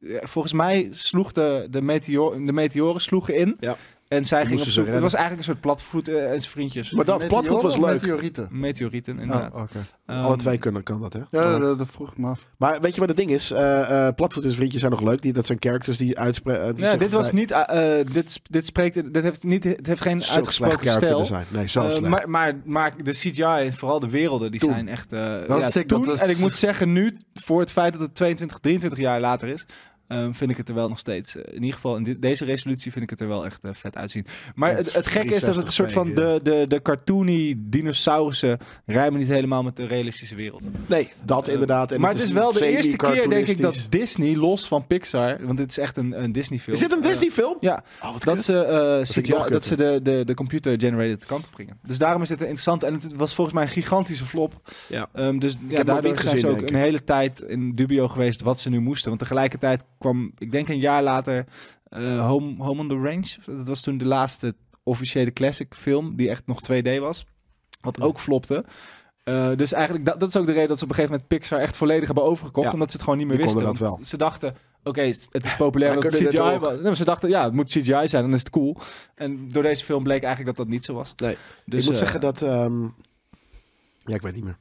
Speaker 3: Ja, Volgens mij sloeg de, de, meteor, de meteoren sloegen in.
Speaker 2: Ja.
Speaker 3: En zij gingen
Speaker 2: moesten ze
Speaker 3: op zoek. Het
Speaker 2: redden.
Speaker 3: was eigenlijk een soort platvoet eh, en zijn vriendjes.
Speaker 2: Maar dat
Speaker 4: Meteoren
Speaker 2: platgoed was
Speaker 4: of
Speaker 2: leuk.
Speaker 4: Meteorieten.
Speaker 3: Meteorieten,
Speaker 4: Oh,
Speaker 3: inderdaad.
Speaker 4: oké.
Speaker 3: Ehm,
Speaker 2: Alle twee kunnen, kan dat, hè?
Speaker 4: Ja, dat, dat vroeg ik me af.
Speaker 2: Maar weet je wat het ding is? Eh eh Platvoet en zijn vriendjes zijn nog leuk. Die, dat zijn characters die uitspreken.
Speaker 3: Ja, dit was niet... eh, eh, dit, sp- dit spreekt... Dit heeft, niet, het heeft geen uitgesproken
Speaker 2: character
Speaker 3: stijl.
Speaker 2: er zijn. Nee, zo
Speaker 3: Eh,
Speaker 2: slecht.
Speaker 3: maar, maar, maar de CGI en vooral de werelden, die
Speaker 2: Toen.
Speaker 3: zijn echt... eh,
Speaker 4: was
Speaker 3: ja,
Speaker 4: sick,
Speaker 3: toen,
Speaker 4: dat was-
Speaker 3: En ik moet zeggen, nu, voor het feit dat het 22, 23 jaar later is... eh, vind ik het er wel nog steeds... eh, in ieder geval in di- deze resolutie vind ik het er wel echt eh, vet uitzien. Maar
Speaker 2: Ja, het
Speaker 3: het,
Speaker 2: is
Speaker 3: het gekke is dat het een soort van
Speaker 2: 63p,
Speaker 3: de, de, de cartoony dinosaurussen... rijmen niet helemaal met de realistische wereld.
Speaker 2: nee, dat inderdaad. En
Speaker 3: Eh, maar het is wel de eerste keer, denk ik, dat
Speaker 2: semi-cartoonistisch.
Speaker 3: Disney, los van Pixar... Want dit is echt een, een Disney-film.
Speaker 2: Is dit een
Speaker 3: eh,
Speaker 2: Disney-film?
Speaker 3: ja,
Speaker 2: Oh, wat
Speaker 3: dat
Speaker 2: kut.
Speaker 3: ze, eh,
Speaker 2: vind ik
Speaker 3: CGI
Speaker 2: nog
Speaker 3: dat ze
Speaker 2: kutter.
Speaker 3: de, de, de computer-generated kant op gingen. Dus daarom is dit een interessante. En het was volgens mij een gigantische flop.
Speaker 2: Ja.
Speaker 3: Ehm, dus ja,
Speaker 2: hem ook
Speaker 3: daardoor
Speaker 2: niet
Speaker 3: zijn ze
Speaker 2: gezien,
Speaker 3: ook
Speaker 2: denk
Speaker 3: een hele tijd in dubio geweest wat ze nu moesten. Want tegelijkertijd kwam, ik denk een jaar later, eh, Home, Home on the Range. Dat was toen de laatste officiële classic film die echt nog 2D was. Wat ook flopte. Eh, dus eigenlijk, dat, dat is ook de reden dat ze op een gegeven moment Pixar echt volledig hebben overgekocht.
Speaker 2: Ja.
Speaker 3: Omdat ze het gewoon niet meer
Speaker 2: Die
Speaker 3: wisten.
Speaker 2: konden dat
Speaker 3: Want Ze dachten, oké, het is populair
Speaker 2: Wij
Speaker 3: dat het
Speaker 2: kunnen dit
Speaker 3: CGI
Speaker 2: ook.
Speaker 3: was. Nee, maar ze dachten, ja, het moet CGI zijn, dan is het cool. En door deze film bleek eigenlijk dat dat niet zo was.
Speaker 2: Nee.
Speaker 3: Dus,
Speaker 2: ik moet
Speaker 3: eh,
Speaker 2: zeggen dat... ehm, ja, ik weet niet meer.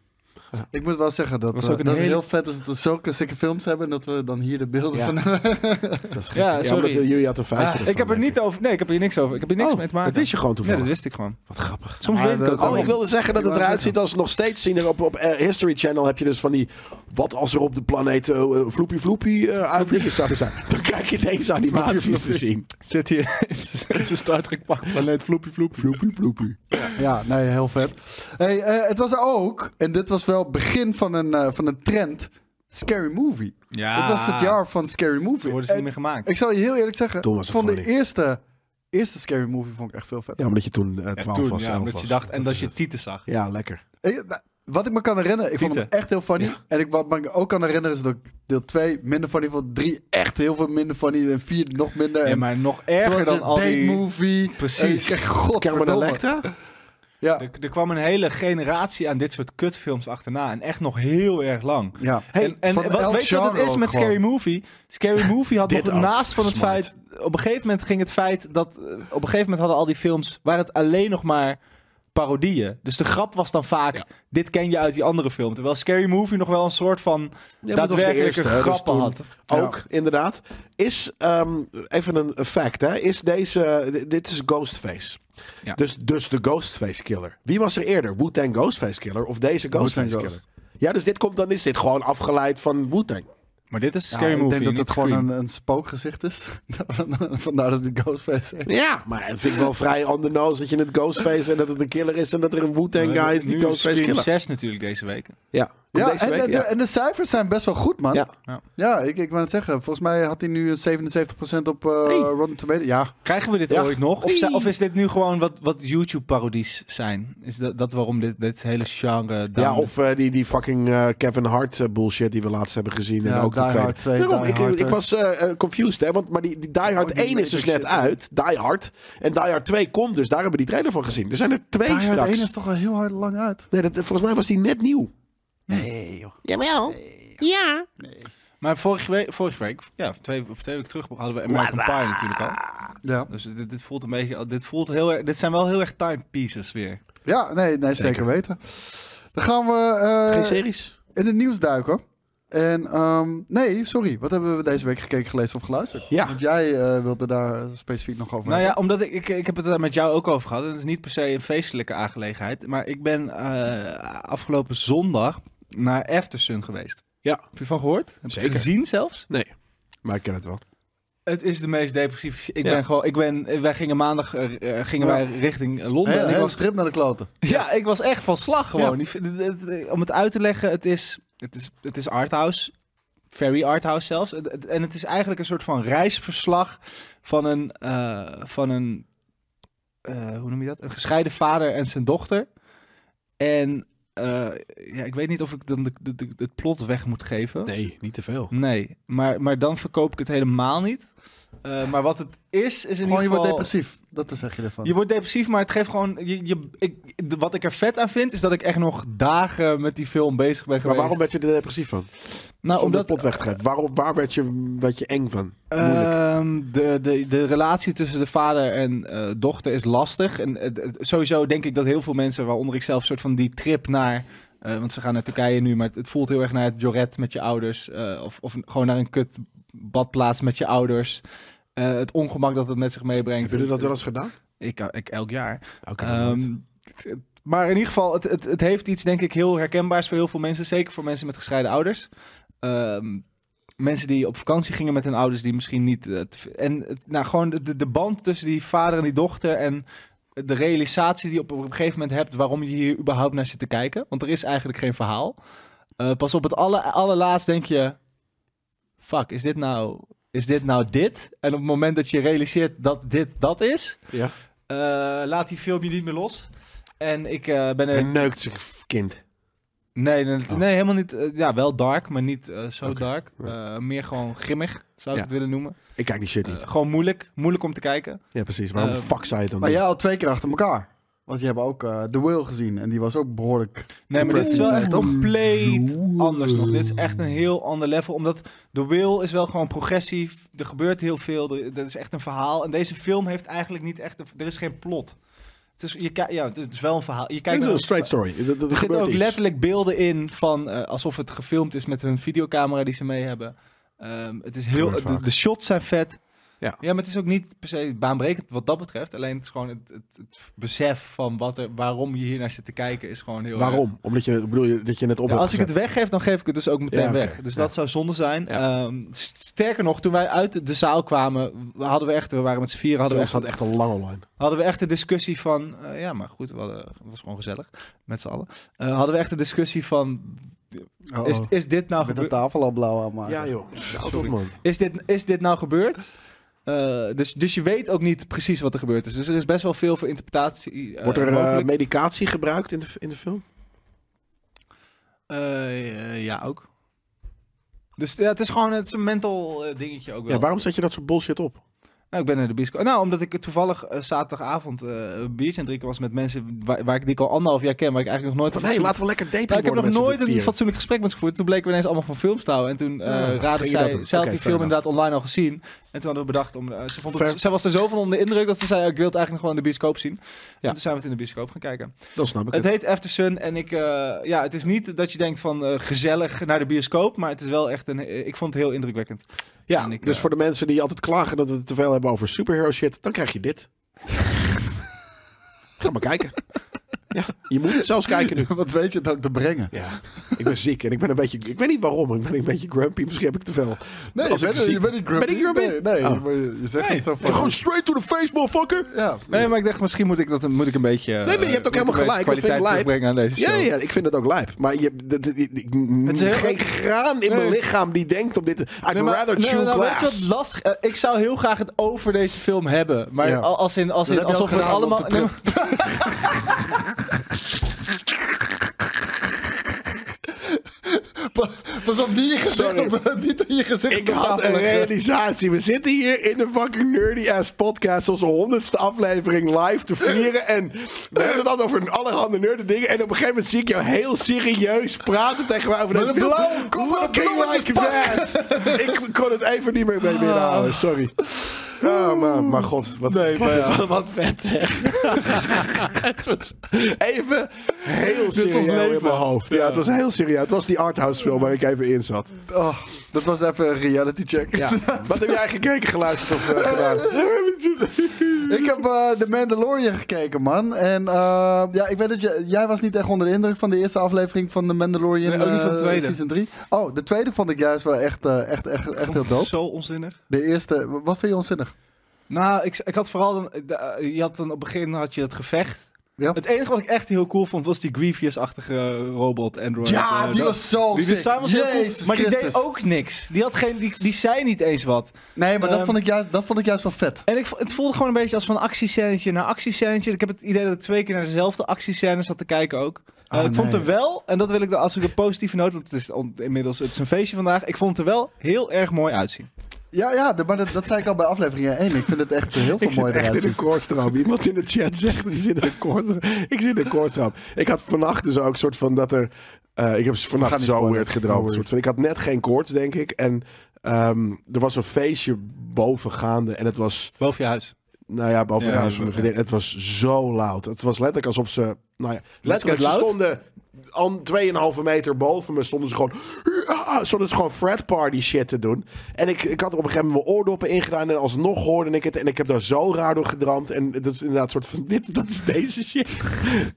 Speaker 4: Ik moet wel zeggen dat,
Speaker 3: Was
Speaker 4: we-
Speaker 3: ook een
Speaker 4: dat het
Speaker 3: hele-
Speaker 4: heel vet is dat we zulke sikke films hebben... en dat we dan hier de beelden
Speaker 2: Ja.
Speaker 4: van...
Speaker 2: Dat is gek.
Speaker 3: Ja, sorry. Ah,
Speaker 2: omdat, eh, jullie hadden een feitje ervan,
Speaker 3: Ik heb er
Speaker 2: denk
Speaker 3: niet over, nee, ik heb hier niks over. Ik heb hier niks
Speaker 2: Oh,
Speaker 3: mee te maken.
Speaker 2: Dat wist je gewoon
Speaker 3: Ja,
Speaker 2: toevallig.
Speaker 3: dat wist ik gewoon.
Speaker 2: Wat grappig.
Speaker 3: Soms
Speaker 4: Maar
Speaker 3: weet ik
Speaker 4: dat-
Speaker 3: ook
Speaker 4: Oh,
Speaker 2: Oh,
Speaker 3: gewoon.
Speaker 2: ik wilde zeggen dat
Speaker 4: Ik
Speaker 2: het
Speaker 4: wou
Speaker 2: eruit ziet als nog steeds zien. er Op, op eh, History Channel heb je dus van die... Wat als er op de planeet eh, eh, Floepie Floepie eh, uit dingen zou zijn. Dan krijg je deze animaties te zien.
Speaker 3: Zit hier in zijn Star Trek pak planeet Floepie Floepie.
Speaker 2: Floepie Floepie.
Speaker 4: Ja, nee, heel vet. Hey, eh, het was ook, en dit was wel begin van een, eh, van een trend, Scary Movie.
Speaker 3: Ja.
Speaker 4: Het was het jaar van Scary
Speaker 3: Ze
Speaker 4: Movie.
Speaker 3: worden ze niet
Speaker 4: En
Speaker 3: meer gemaakt.
Speaker 4: Ik zal je heel eerlijk zeggen,
Speaker 2: Toen was het
Speaker 4: van de
Speaker 2: gewoon niet.
Speaker 4: eerste, eerste Scary Movie vond ik echt veel vet.
Speaker 2: Ja, omdat je toen eh, 12
Speaker 3: Toen,
Speaker 2: was.
Speaker 3: ja,
Speaker 2: 11
Speaker 3: omdat je
Speaker 2: was.
Speaker 3: dacht, en dat
Speaker 2: is
Speaker 3: je
Speaker 2: het.
Speaker 3: tieten zag.
Speaker 2: Ja, lekker.
Speaker 4: Ik- nou, wat ik me kan herinneren, ik vond hem
Speaker 3: Tieten.
Speaker 4: echt heel funny. En ik, wat me ook kan herinneren is dat ik deel 2 minder funny vond. 3 echt heel veel minder funny. En 4 nog minder.
Speaker 3: Ja,
Speaker 4: en
Speaker 3: maar nog
Speaker 4: toen
Speaker 3: erger
Speaker 4: was
Speaker 3: dan
Speaker 4: het
Speaker 3: al
Speaker 4: date
Speaker 3: die...
Speaker 4: movie.
Speaker 3: Precies.
Speaker 4: En ik-
Speaker 2: Carmen
Speaker 4: Godverdomme.
Speaker 2: Electra?
Speaker 4: Ja,
Speaker 3: Er, er kwam een hele generatie aan dit soort kutfilms achterna. En echt nog heel erg lang.
Speaker 4: ja.
Speaker 3: en en
Speaker 4: van
Speaker 3: wat,
Speaker 4: elk
Speaker 3: weet je wat het
Speaker 4: genre
Speaker 3: is
Speaker 4: ook
Speaker 3: met
Speaker 4: gewoon.
Speaker 3: Scary Movie? Scary Movie had
Speaker 2: Dit
Speaker 3: nog
Speaker 2: ook,
Speaker 3: naast van het
Speaker 2: smart.
Speaker 3: feit... Op een gegeven moment ging het feit dat... eh, Op een gegeven moment hadden al die films... waar het alleen nog maar parodieën. Dus de grap was dan vaak... dit ken je uit die andere film. Terwijl Scary Movie nog wel een soort van...
Speaker 2: Ja, maar dat was de
Speaker 3: daadwerkelijke
Speaker 2: eerste, hè, dus
Speaker 3: grappen
Speaker 2: toen-
Speaker 3: had.
Speaker 2: Ook, inderdaad. Is, ehm, even een fact, hè. Is deze, d- dit is Ghostface.
Speaker 3: Ja.
Speaker 2: Dus, dus de Ghostface Killer. Wie was er eerder? Wu-Tang Ghostface Killer of deze Ghostface
Speaker 4: Wu-Tang
Speaker 2: Killer?
Speaker 4: Ghost.
Speaker 2: Ja, dus dit komt, dan is dit gewoon afgeleid van Wu-Tang.
Speaker 3: Maar dit is
Speaker 4: Ja,
Speaker 3: Scary Movie,
Speaker 4: Ik denk dat
Speaker 3: niet
Speaker 4: het gewoon
Speaker 3: Scream.
Speaker 4: een, eh, een spookgezicht is. Vandaar dat het Ghostface is.
Speaker 2: Ja, maar het vind ik wel vrij on the nose dat je het Ghostface en dat het een killer is en dat er een Wu-Tang guy is die
Speaker 3: Nu is
Speaker 2: Ghostface
Speaker 3: Scream
Speaker 2: Killer.
Speaker 3: 6 natuurlijk deze week.
Speaker 2: Ja,
Speaker 4: Ja,
Speaker 2: deze
Speaker 4: en,
Speaker 2: week,
Speaker 4: en De,
Speaker 2: ja.
Speaker 4: en de cijfers zijn best wel goed, man.
Speaker 2: Ja.
Speaker 4: Ja, ik, ik wou het zeggen. Volgens mij had hij nu 77% op eh
Speaker 2: Nee.
Speaker 4: Rotten Tomatoes. Ja,
Speaker 3: Krijgen we dit
Speaker 4: Ja.
Speaker 3: ooit nog? Of,
Speaker 2: Oei.
Speaker 3: zi- of is dit nu gewoon wat, wat YouTube-parodies zijn? Is dat, dat waarom dit, dit hele genre...
Speaker 2: Ja,
Speaker 3: dan-
Speaker 2: of eh, die, die fucking eh, Kevin Hart eh, bullshit die we laatst hebben gezien.
Speaker 4: Ja,
Speaker 2: en ook de
Speaker 4: Die
Speaker 2: tweede.
Speaker 4: Hard 2,
Speaker 2: Daarom,
Speaker 4: Die
Speaker 2: ik,
Speaker 4: Hard,
Speaker 2: ik
Speaker 4: eh.
Speaker 2: was eh, eh, confused, hè. Want, maar die, die Die Hard
Speaker 4: Oh, die
Speaker 2: 1 is dus
Speaker 4: Matrix
Speaker 2: net
Speaker 4: shit.
Speaker 2: uit. Die Hard. En Die Hard 2 komt dus. Daar hebben we die trailer van gezien. Er zijn er twee
Speaker 4: Die Hard
Speaker 2: straks.
Speaker 4: 1 is toch wel heel hard lang uit.
Speaker 2: Nee, dat, volgens mij was die net nieuw.
Speaker 4: Nee, joh.
Speaker 2: Jawel. Ja.
Speaker 3: Maar vorige week, vorige week ja, twee, of twee weken terug, hadden we American Pie natuurlijk al.
Speaker 4: Ja,
Speaker 3: Dus dit, dit voelt een beetje, dit voelt heel erg, dit zijn wel heel erg timepieces weer.
Speaker 4: ja nee, nee zeker. weten. Dan gaan we eh,
Speaker 2: Geen series?
Speaker 4: in het nieuws duiken. En, ehm, nee, sorry. Wat hebben we deze week gekeken, gelezen of geluisterd?
Speaker 2: Ja.
Speaker 4: Want jij eh, wilde daar specifiek nog over
Speaker 3: Nou ja,
Speaker 4: hebben.
Speaker 3: omdat ik, ik, ik heb het daar met jou ook over gehad. En het is niet per se een feestelijke aangelegenheid. Maar ik ben eh, afgelopen zondag naar Aftersun geweest.
Speaker 2: Ja.
Speaker 3: Heb je van gehoord? Heb je het
Speaker 2: Zeker.
Speaker 3: gezien zelfs?
Speaker 2: Nee, maar ik ken het wel.
Speaker 3: Het is de meest depressieve. shit. Ik
Speaker 2: Ja.
Speaker 3: ben gewoon. Ik ben. Wij gingen maandag. eh, eh, gingen
Speaker 4: Ja.
Speaker 3: wij richting eh, Londen.
Speaker 4: Hele,
Speaker 3: en ik
Speaker 4: hele
Speaker 3: was,
Speaker 4: trip naar de kloten.
Speaker 3: ja, ik was echt van slag gewoon.
Speaker 2: Ja.
Speaker 3: Ik vind- het- het- het- om het uit te leggen, het is. Het is. Het is arthouse. Very arthouse zelfs. Het- het- En het is eigenlijk een soort van reisverslag van een. eh, van een. eh, hoe noem je dat? Een gescheiden vader en zijn dochter. En. eh, ja, ik weet niet of ik dan de, de, de- het plot weg moet geven.
Speaker 2: Nee, niet te veel.
Speaker 3: Nee, maar, maar dan verkoop ik het helemaal niet. Eh, maar wat het is, is in
Speaker 4: Gewoon, je
Speaker 3: ieder
Speaker 4: wordt
Speaker 3: geval...
Speaker 4: depressief. Dat zeg je ervan.
Speaker 3: Je wordt depressief, maar het geeft gewoon... Je, je, ik, de- wat ik er vet aan vind, is dat ik echt nog dagen met die film bezig ben
Speaker 2: Maar
Speaker 3: geweest.
Speaker 2: waarom werd je er depressief van?
Speaker 3: Nou,
Speaker 2: Zonder
Speaker 3: omdat
Speaker 2: pot weg te geven. Waarom, waar werd je, werd je eng van? Moeilijk.
Speaker 3: ehm, de, de, de relatie tussen de vader en eh, dochter is lastig. En het- het- sowieso denk ik dat heel veel mensen, waaronder ik zelf, soort van die trip naar... eh, want ze gaan naar Turkije nu, maar het, het voelt heel erg naar het Joret met je ouders. eh, of, of gewoon naar een kut badplaats met je ouders. Eh, het ongemak dat het met zich meebrengt.
Speaker 2: Hebben jullie dat wel eens gedaan?
Speaker 3: Ik, ik elk jaar.
Speaker 2: Oké.
Speaker 3: Ehm, het- het- maar in ieder geval, het, het, het heeft iets, denk ik, heel herkenbaars voor heel veel mensen. Zeker voor mensen met gescheiden ouders. Ehm, mensen die op vakantie gingen met hun ouders, die misschien niet. eh, te v- en het- nou, gewoon de, de- de band tussen die vader en die dochter. En de realisatie die je op, op een gegeven moment hebt waarom je hier überhaupt naar zit te kijken. Want er is eigenlijk geen verhaal. Eh, pas op het alle, allerlaatst denk je. Fuck, is dit nou. Is dit nou dit? En op het moment dat je realiseert dat dit dat is,
Speaker 2: ja.
Speaker 3: eh, laat die film je niet meer los. En ik eh, ben er.
Speaker 2: En neukt zich kind.
Speaker 3: Nee, nee,
Speaker 2: Oh.
Speaker 3: nee, helemaal niet. eh, ja, wel dark, maar niet eh, zo
Speaker 2: Oké,
Speaker 3: dark. Eh, meer gewoon grimmig, zou ik
Speaker 2: Ja.
Speaker 3: het willen noemen.
Speaker 2: Ik kijk die shit
Speaker 3: Eh,
Speaker 2: niet.
Speaker 3: gewoon moeilijk. Moeilijk om te kijken.
Speaker 2: ja, precies. Waarom de
Speaker 3: ehm,
Speaker 2: fuck zou je het dan
Speaker 4: Maar
Speaker 2: doen?
Speaker 4: jij al twee keer achter elkaar. Want je hebt ook eh The Will gezien. En die was ook behoorlijk...
Speaker 3: Nee, maar dit is wel echt
Speaker 4: Oeh.
Speaker 3: compleet
Speaker 4: Oeh.
Speaker 3: anders nog. Dit is echt een heel ander level. Omdat The Will is wel gewoon progressief. Er gebeurt heel veel. Er, er is echt een verhaal. En deze film heeft eigenlijk niet echt... een- er is geen plot. Het is, je, ki- ja, het is wel een verhaal. Je kijkt
Speaker 2: Dit is
Speaker 3: naar
Speaker 2: een straight story. Er, er
Speaker 3: nou, Er
Speaker 2: gebeurt
Speaker 3: zitten ook
Speaker 2: iets.
Speaker 3: letterlijk beelden in van eh, alsof het gefilmd is met hun videocamera die ze mee hebben. Ehm, het is heel,
Speaker 2: Gebeurt
Speaker 3: de,
Speaker 2: vaak.
Speaker 3: de shots zijn vet.
Speaker 2: Ja.
Speaker 3: maar het is ook niet per se baanbrekend wat dat betreft. Alleen het is gewoon het, het, het besef van wat er, waarom je hier naar zit te kijken is gewoon heel. erg.
Speaker 2: Waarom? Omdat je, bedoel je, dat je net op
Speaker 3: Ja,
Speaker 2: hebt
Speaker 3: als ik
Speaker 2: gezet.
Speaker 3: het weggeef, dan geef ik het dus ook meteen
Speaker 2: Ja, oké.
Speaker 3: weg. Dus
Speaker 2: Ja.
Speaker 3: dat zou zonde zijn.
Speaker 2: Ja.
Speaker 3: Ehm, s- sterker nog, toen wij uit de zaal kwamen, hadden we echt, we waren met z'n vier,
Speaker 2: De
Speaker 3: hadden we
Speaker 2: film
Speaker 3: echt
Speaker 2: staat echt al lang online.
Speaker 3: hadden we echt de discussie van... eh, ja, maar goed, we hadden, het was gewoon gezellig met z'n allen. Eh, hadden we echt de discussie van...
Speaker 4: Uh-oh.
Speaker 3: Is, is, dit nou
Speaker 4: met de
Speaker 3: gebe-
Speaker 4: tafel al blauw aan maken.
Speaker 2: joh. Houd op, man.
Speaker 3: is, dit, is dit nou gebeurd? Eh, dus, dus je weet ook niet precies wat er gebeurd is. Dus er is best wel veel voor interpretatie eh,
Speaker 2: Wordt er eh,
Speaker 3: mogelijk.
Speaker 2: medicatie gebruikt in de, in de film?
Speaker 3: Eh, eh, ja, ook. Dus ja, het is gewoon het is een mental eh, dingetje ook wel.
Speaker 2: Ja, waarom zet je dat soort bullshit op?
Speaker 3: Nou, ik ben naar de bioscoop. Nou, omdat ik toevallig eh, zaterdagavond eh, een biertje aan het drinken was met mensen waar, waar ik die ik al anderhalf jaar ken, waar ik eigenlijk nog nooit
Speaker 2: Van,
Speaker 3: van
Speaker 2: hé,
Speaker 3: gezien
Speaker 2: laten we lekker daten
Speaker 3: Nou, ik heb nog nooit een fatsoenlijk gesprek met ze gevoerd. Toen bleken we ineens allemaal van films te houden. En toen eh
Speaker 2: Ah,
Speaker 3: raadde
Speaker 2: ging
Speaker 3: zij,
Speaker 2: je dat-
Speaker 3: zij had
Speaker 2: oké,
Speaker 3: die
Speaker 2: fair
Speaker 3: film inderdaad online al gezien. En toen hadden we bedacht om... eh, ze, vond het,
Speaker 2: Fair.
Speaker 3: zij was er zo van onder de indruk dat ze zei, ik wil het eigenlijk nog gewoon in de bioscoop zien.
Speaker 2: Ja.
Speaker 3: En toen zijn we het in de bioscoop gaan kijken.
Speaker 2: Dan snap ik
Speaker 3: Het
Speaker 2: het.
Speaker 3: heet After Sun en ik... eh, ja, het is niet dat je denkt van eh, gezellig naar de bioscoop, maar het is wel echt een... eh, Ik vond het heel indrukwekkend.
Speaker 2: Ja,
Speaker 3: en ik,
Speaker 2: dus
Speaker 3: eh,
Speaker 2: voor de mensen die altijd klagen dat we te veel hebben over superhero shit, dan krijg je dit. Ga maar kijken. Ja, je moet het zelfs kijken nu.
Speaker 4: Wat weet je het ook te brengen?
Speaker 2: Ja, ik ben ziek en ik ben een beetje... Ik weet niet waarom, ik ben een beetje grumpy. Misschien heb ik te veel.
Speaker 4: Nee,
Speaker 2: Als
Speaker 4: je
Speaker 2: ik
Speaker 4: bent,
Speaker 2: zie-
Speaker 4: je bent niet grumpy.
Speaker 2: Ben ik grumpy?
Speaker 4: Nee, nee,
Speaker 2: Oh.
Speaker 4: maar je, je zegt
Speaker 3: Nee,
Speaker 4: het zo
Speaker 2: Ja, gewoon
Speaker 4: van...
Speaker 2: straight to the face, motherfucker!
Speaker 4: Ja,
Speaker 3: Nee, maar ik dacht, misschien moet ik, dat, moet ik een beetje... eh,
Speaker 2: Nee, maar je hebt ook
Speaker 3: moet ik
Speaker 2: helemaal
Speaker 3: een
Speaker 2: gelijk,
Speaker 3: beetje
Speaker 2: dat vind ik
Speaker 3: kwaliteit
Speaker 2: lijp.
Speaker 3: terugbrengen aan deze show.
Speaker 2: Ja, ja, ik vind het ook lijp. Maar je, dat- dat- ik- ik-
Speaker 3: Het is heel-
Speaker 2: geen graan in mijn
Speaker 3: Nee.
Speaker 2: lichaam die denkt op dit... I'd
Speaker 3: Nee, maar-
Speaker 2: rather
Speaker 3: nee,
Speaker 2: chew
Speaker 3: maar nou,
Speaker 2: glass.
Speaker 3: Weet je wat lastig? eh, ik zou heel graag het over deze film hebben, maar
Speaker 4: Ja.
Speaker 3: al- als in, als
Speaker 4: Dat
Speaker 3: in
Speaker 4: heb je
Speaker 3: alsof we
Speaker 4: ook
Speaker 3: het
Speaker 4: gedaan op
Speaker 3: allemaal.
Speaker 4: de trip.
Speaker 3: nee,
Speaker 4: Pa- Pas op, niet, je gezicht
Speaker 2: Sorry.
Speaker 4: op, niet in je gezicht op
Speaker 2: Ik
Speaker 4: de
Speaker 2: had
Speaker 4: tafel
Speaker 2: een
Speaker 4: leggen.
Speaker 2: realisatie. We zitten hier in de fucking nerdy ass podcast. Onze honderdste aflevering live te vieren. En we hebben het altijd over allerhande nerdy dingen. En op een gegeven moment zie ik jou heel serieus praten tegen mij over
Speaker 4: Met
Speaker 2: deze
Speaker 4: een
Speaker 2: film.
Speaker 4: blauwe kop en een
Speaker 2: Looking like that. ik kon het even niet meer bij me inhouden. Sorry. Ja, maar, maar god, wat,
Speaker 3: Nee,
Speaker 2: wat,
Speaker 3: maar ja.
Speaker 2: wat, wat vet zeg. Het was even heel
Speaker 3: is ons
Speaker 2: serieus in
Speaker 3: leven.
Speaker 2: mijn hoofd. Ja,
Speaker 3: Ja.
Speaker 2: het was heel serieus. Het was die arthouse film waar ik even in zat.
Speaker 4: Oh, dat was even een reality check.
Speaker 2: Ja. wat heb jij gekeken, geluisterd of eh, gedaan?
Speaker 4: Ik heb eh The Mandalorian gekeken, man. En eh, ja, ik weet dat je, jij was niet echt onder de indruk van de eerste aflevering van The Mandalorian
Speaker 3: Nee, ook niet van de
Speaker 4: eh,
Speaker 3: tweede.
Speaker 4: season 3. Oh, de tweede vond ik juist wel echt, eh, echt, echt, echt heel dope.
Speaker 3: Zo onzinnig.
Speaker 4: De eerste, wa- wat vind je onzinnig?
Speaker 3: Nou, ik, ik had vooral dan, de- eh, je had dan op het begin had je het gevecht.
Speaker 4: Ja.
Speaker 3: Het enige wat ik echt heel cool vond was die Grievous-achtige robot Android. eh,
Speaker 4: Ja, die
Speaker 3: dat-
Speaker 4: was zo
Speaker 3: Die
Speaker 4: sick.
Speaker 3: design was heel cool,
Speaker 4: Jezus
Speaker 3: maar die deed
Speaker 4: Christus.
Speaker 3: ook niks. Die, had geen, die, die zei niet eens wat.
Speaker 4: Nee, maar dat,
Speaker 3: Ehm,
Speaker 4: vond ik juist, dat vond ik juist wel vet.
Speaker 3: En ik, vo- het voelde gewoon een beetje als van actiescènetje naar actiescènetje. Ik heb het idee dat ik twee keer naar dezelfde actiescène zat te kijken ook. Eh,
Speaker 4: Ah,
Speaker 3: ik vond
Speaker 4: nee.
Speaker 3: er wel, en dat wil ik dan als ik een positieve noot, want het is on- inmiddels het is een feestje vandaag. Ik vond het er wel heel erg mooi uitzien.
Speaker 4: Ja, ja de- maar dat, dat zei ik al bij aflevering 1. Ik vind het echt heel veel
Speaker 2: Ik zit
Speaker 4: mooier
Speaker 2: echt
Speaker 4: eruit
Speaker 2: in
Speaker 4: zien.
Speaker 2: een koortstroom. Iemand in de chat zegt, die zit in een koortstroom. Ik zit in een koortstroom. Ik had vannacht dus ook soort van dat er... eh, ik heb
Speaker 4: We gaan
Speaker 2: vannacht
Speaker 4: niet
Speaker 2: zo
Speaker 4: spoilen.
Speaker 2: weird
Speaker 4: No
Speaker 2: gedroomd.
Speaker 4: worries.
Speaker 2: soort van. Ik had net geen koorts, denk ik. En ehm, er was een feestje bovengaande. En het was...
Speaker 3: Boven je huis.
Speaker 2: Nou ja, boven het
Speaker 3: Ja,
Speaker 2: huis van mijn
Speaker 3: ja.
Speaker 2: vriendin. Het was zo loud. Het was letterlijk alsof ze... Nou ja, letterlijk, ze
Speaker 3: loud?
Speaker 2: stonden aan 2,5 meter boven me. Stonden ze gewoon... Ah, stonden ze gewoon frat party shit te doen. En ik, ik had op een gegeven moment mijn oordoppen ingedaan. En alsnog hoorde ik het. En ik heb daar zo raar door gedramd. En dat is inderdaad een soort van... Dit, dat is deze shit.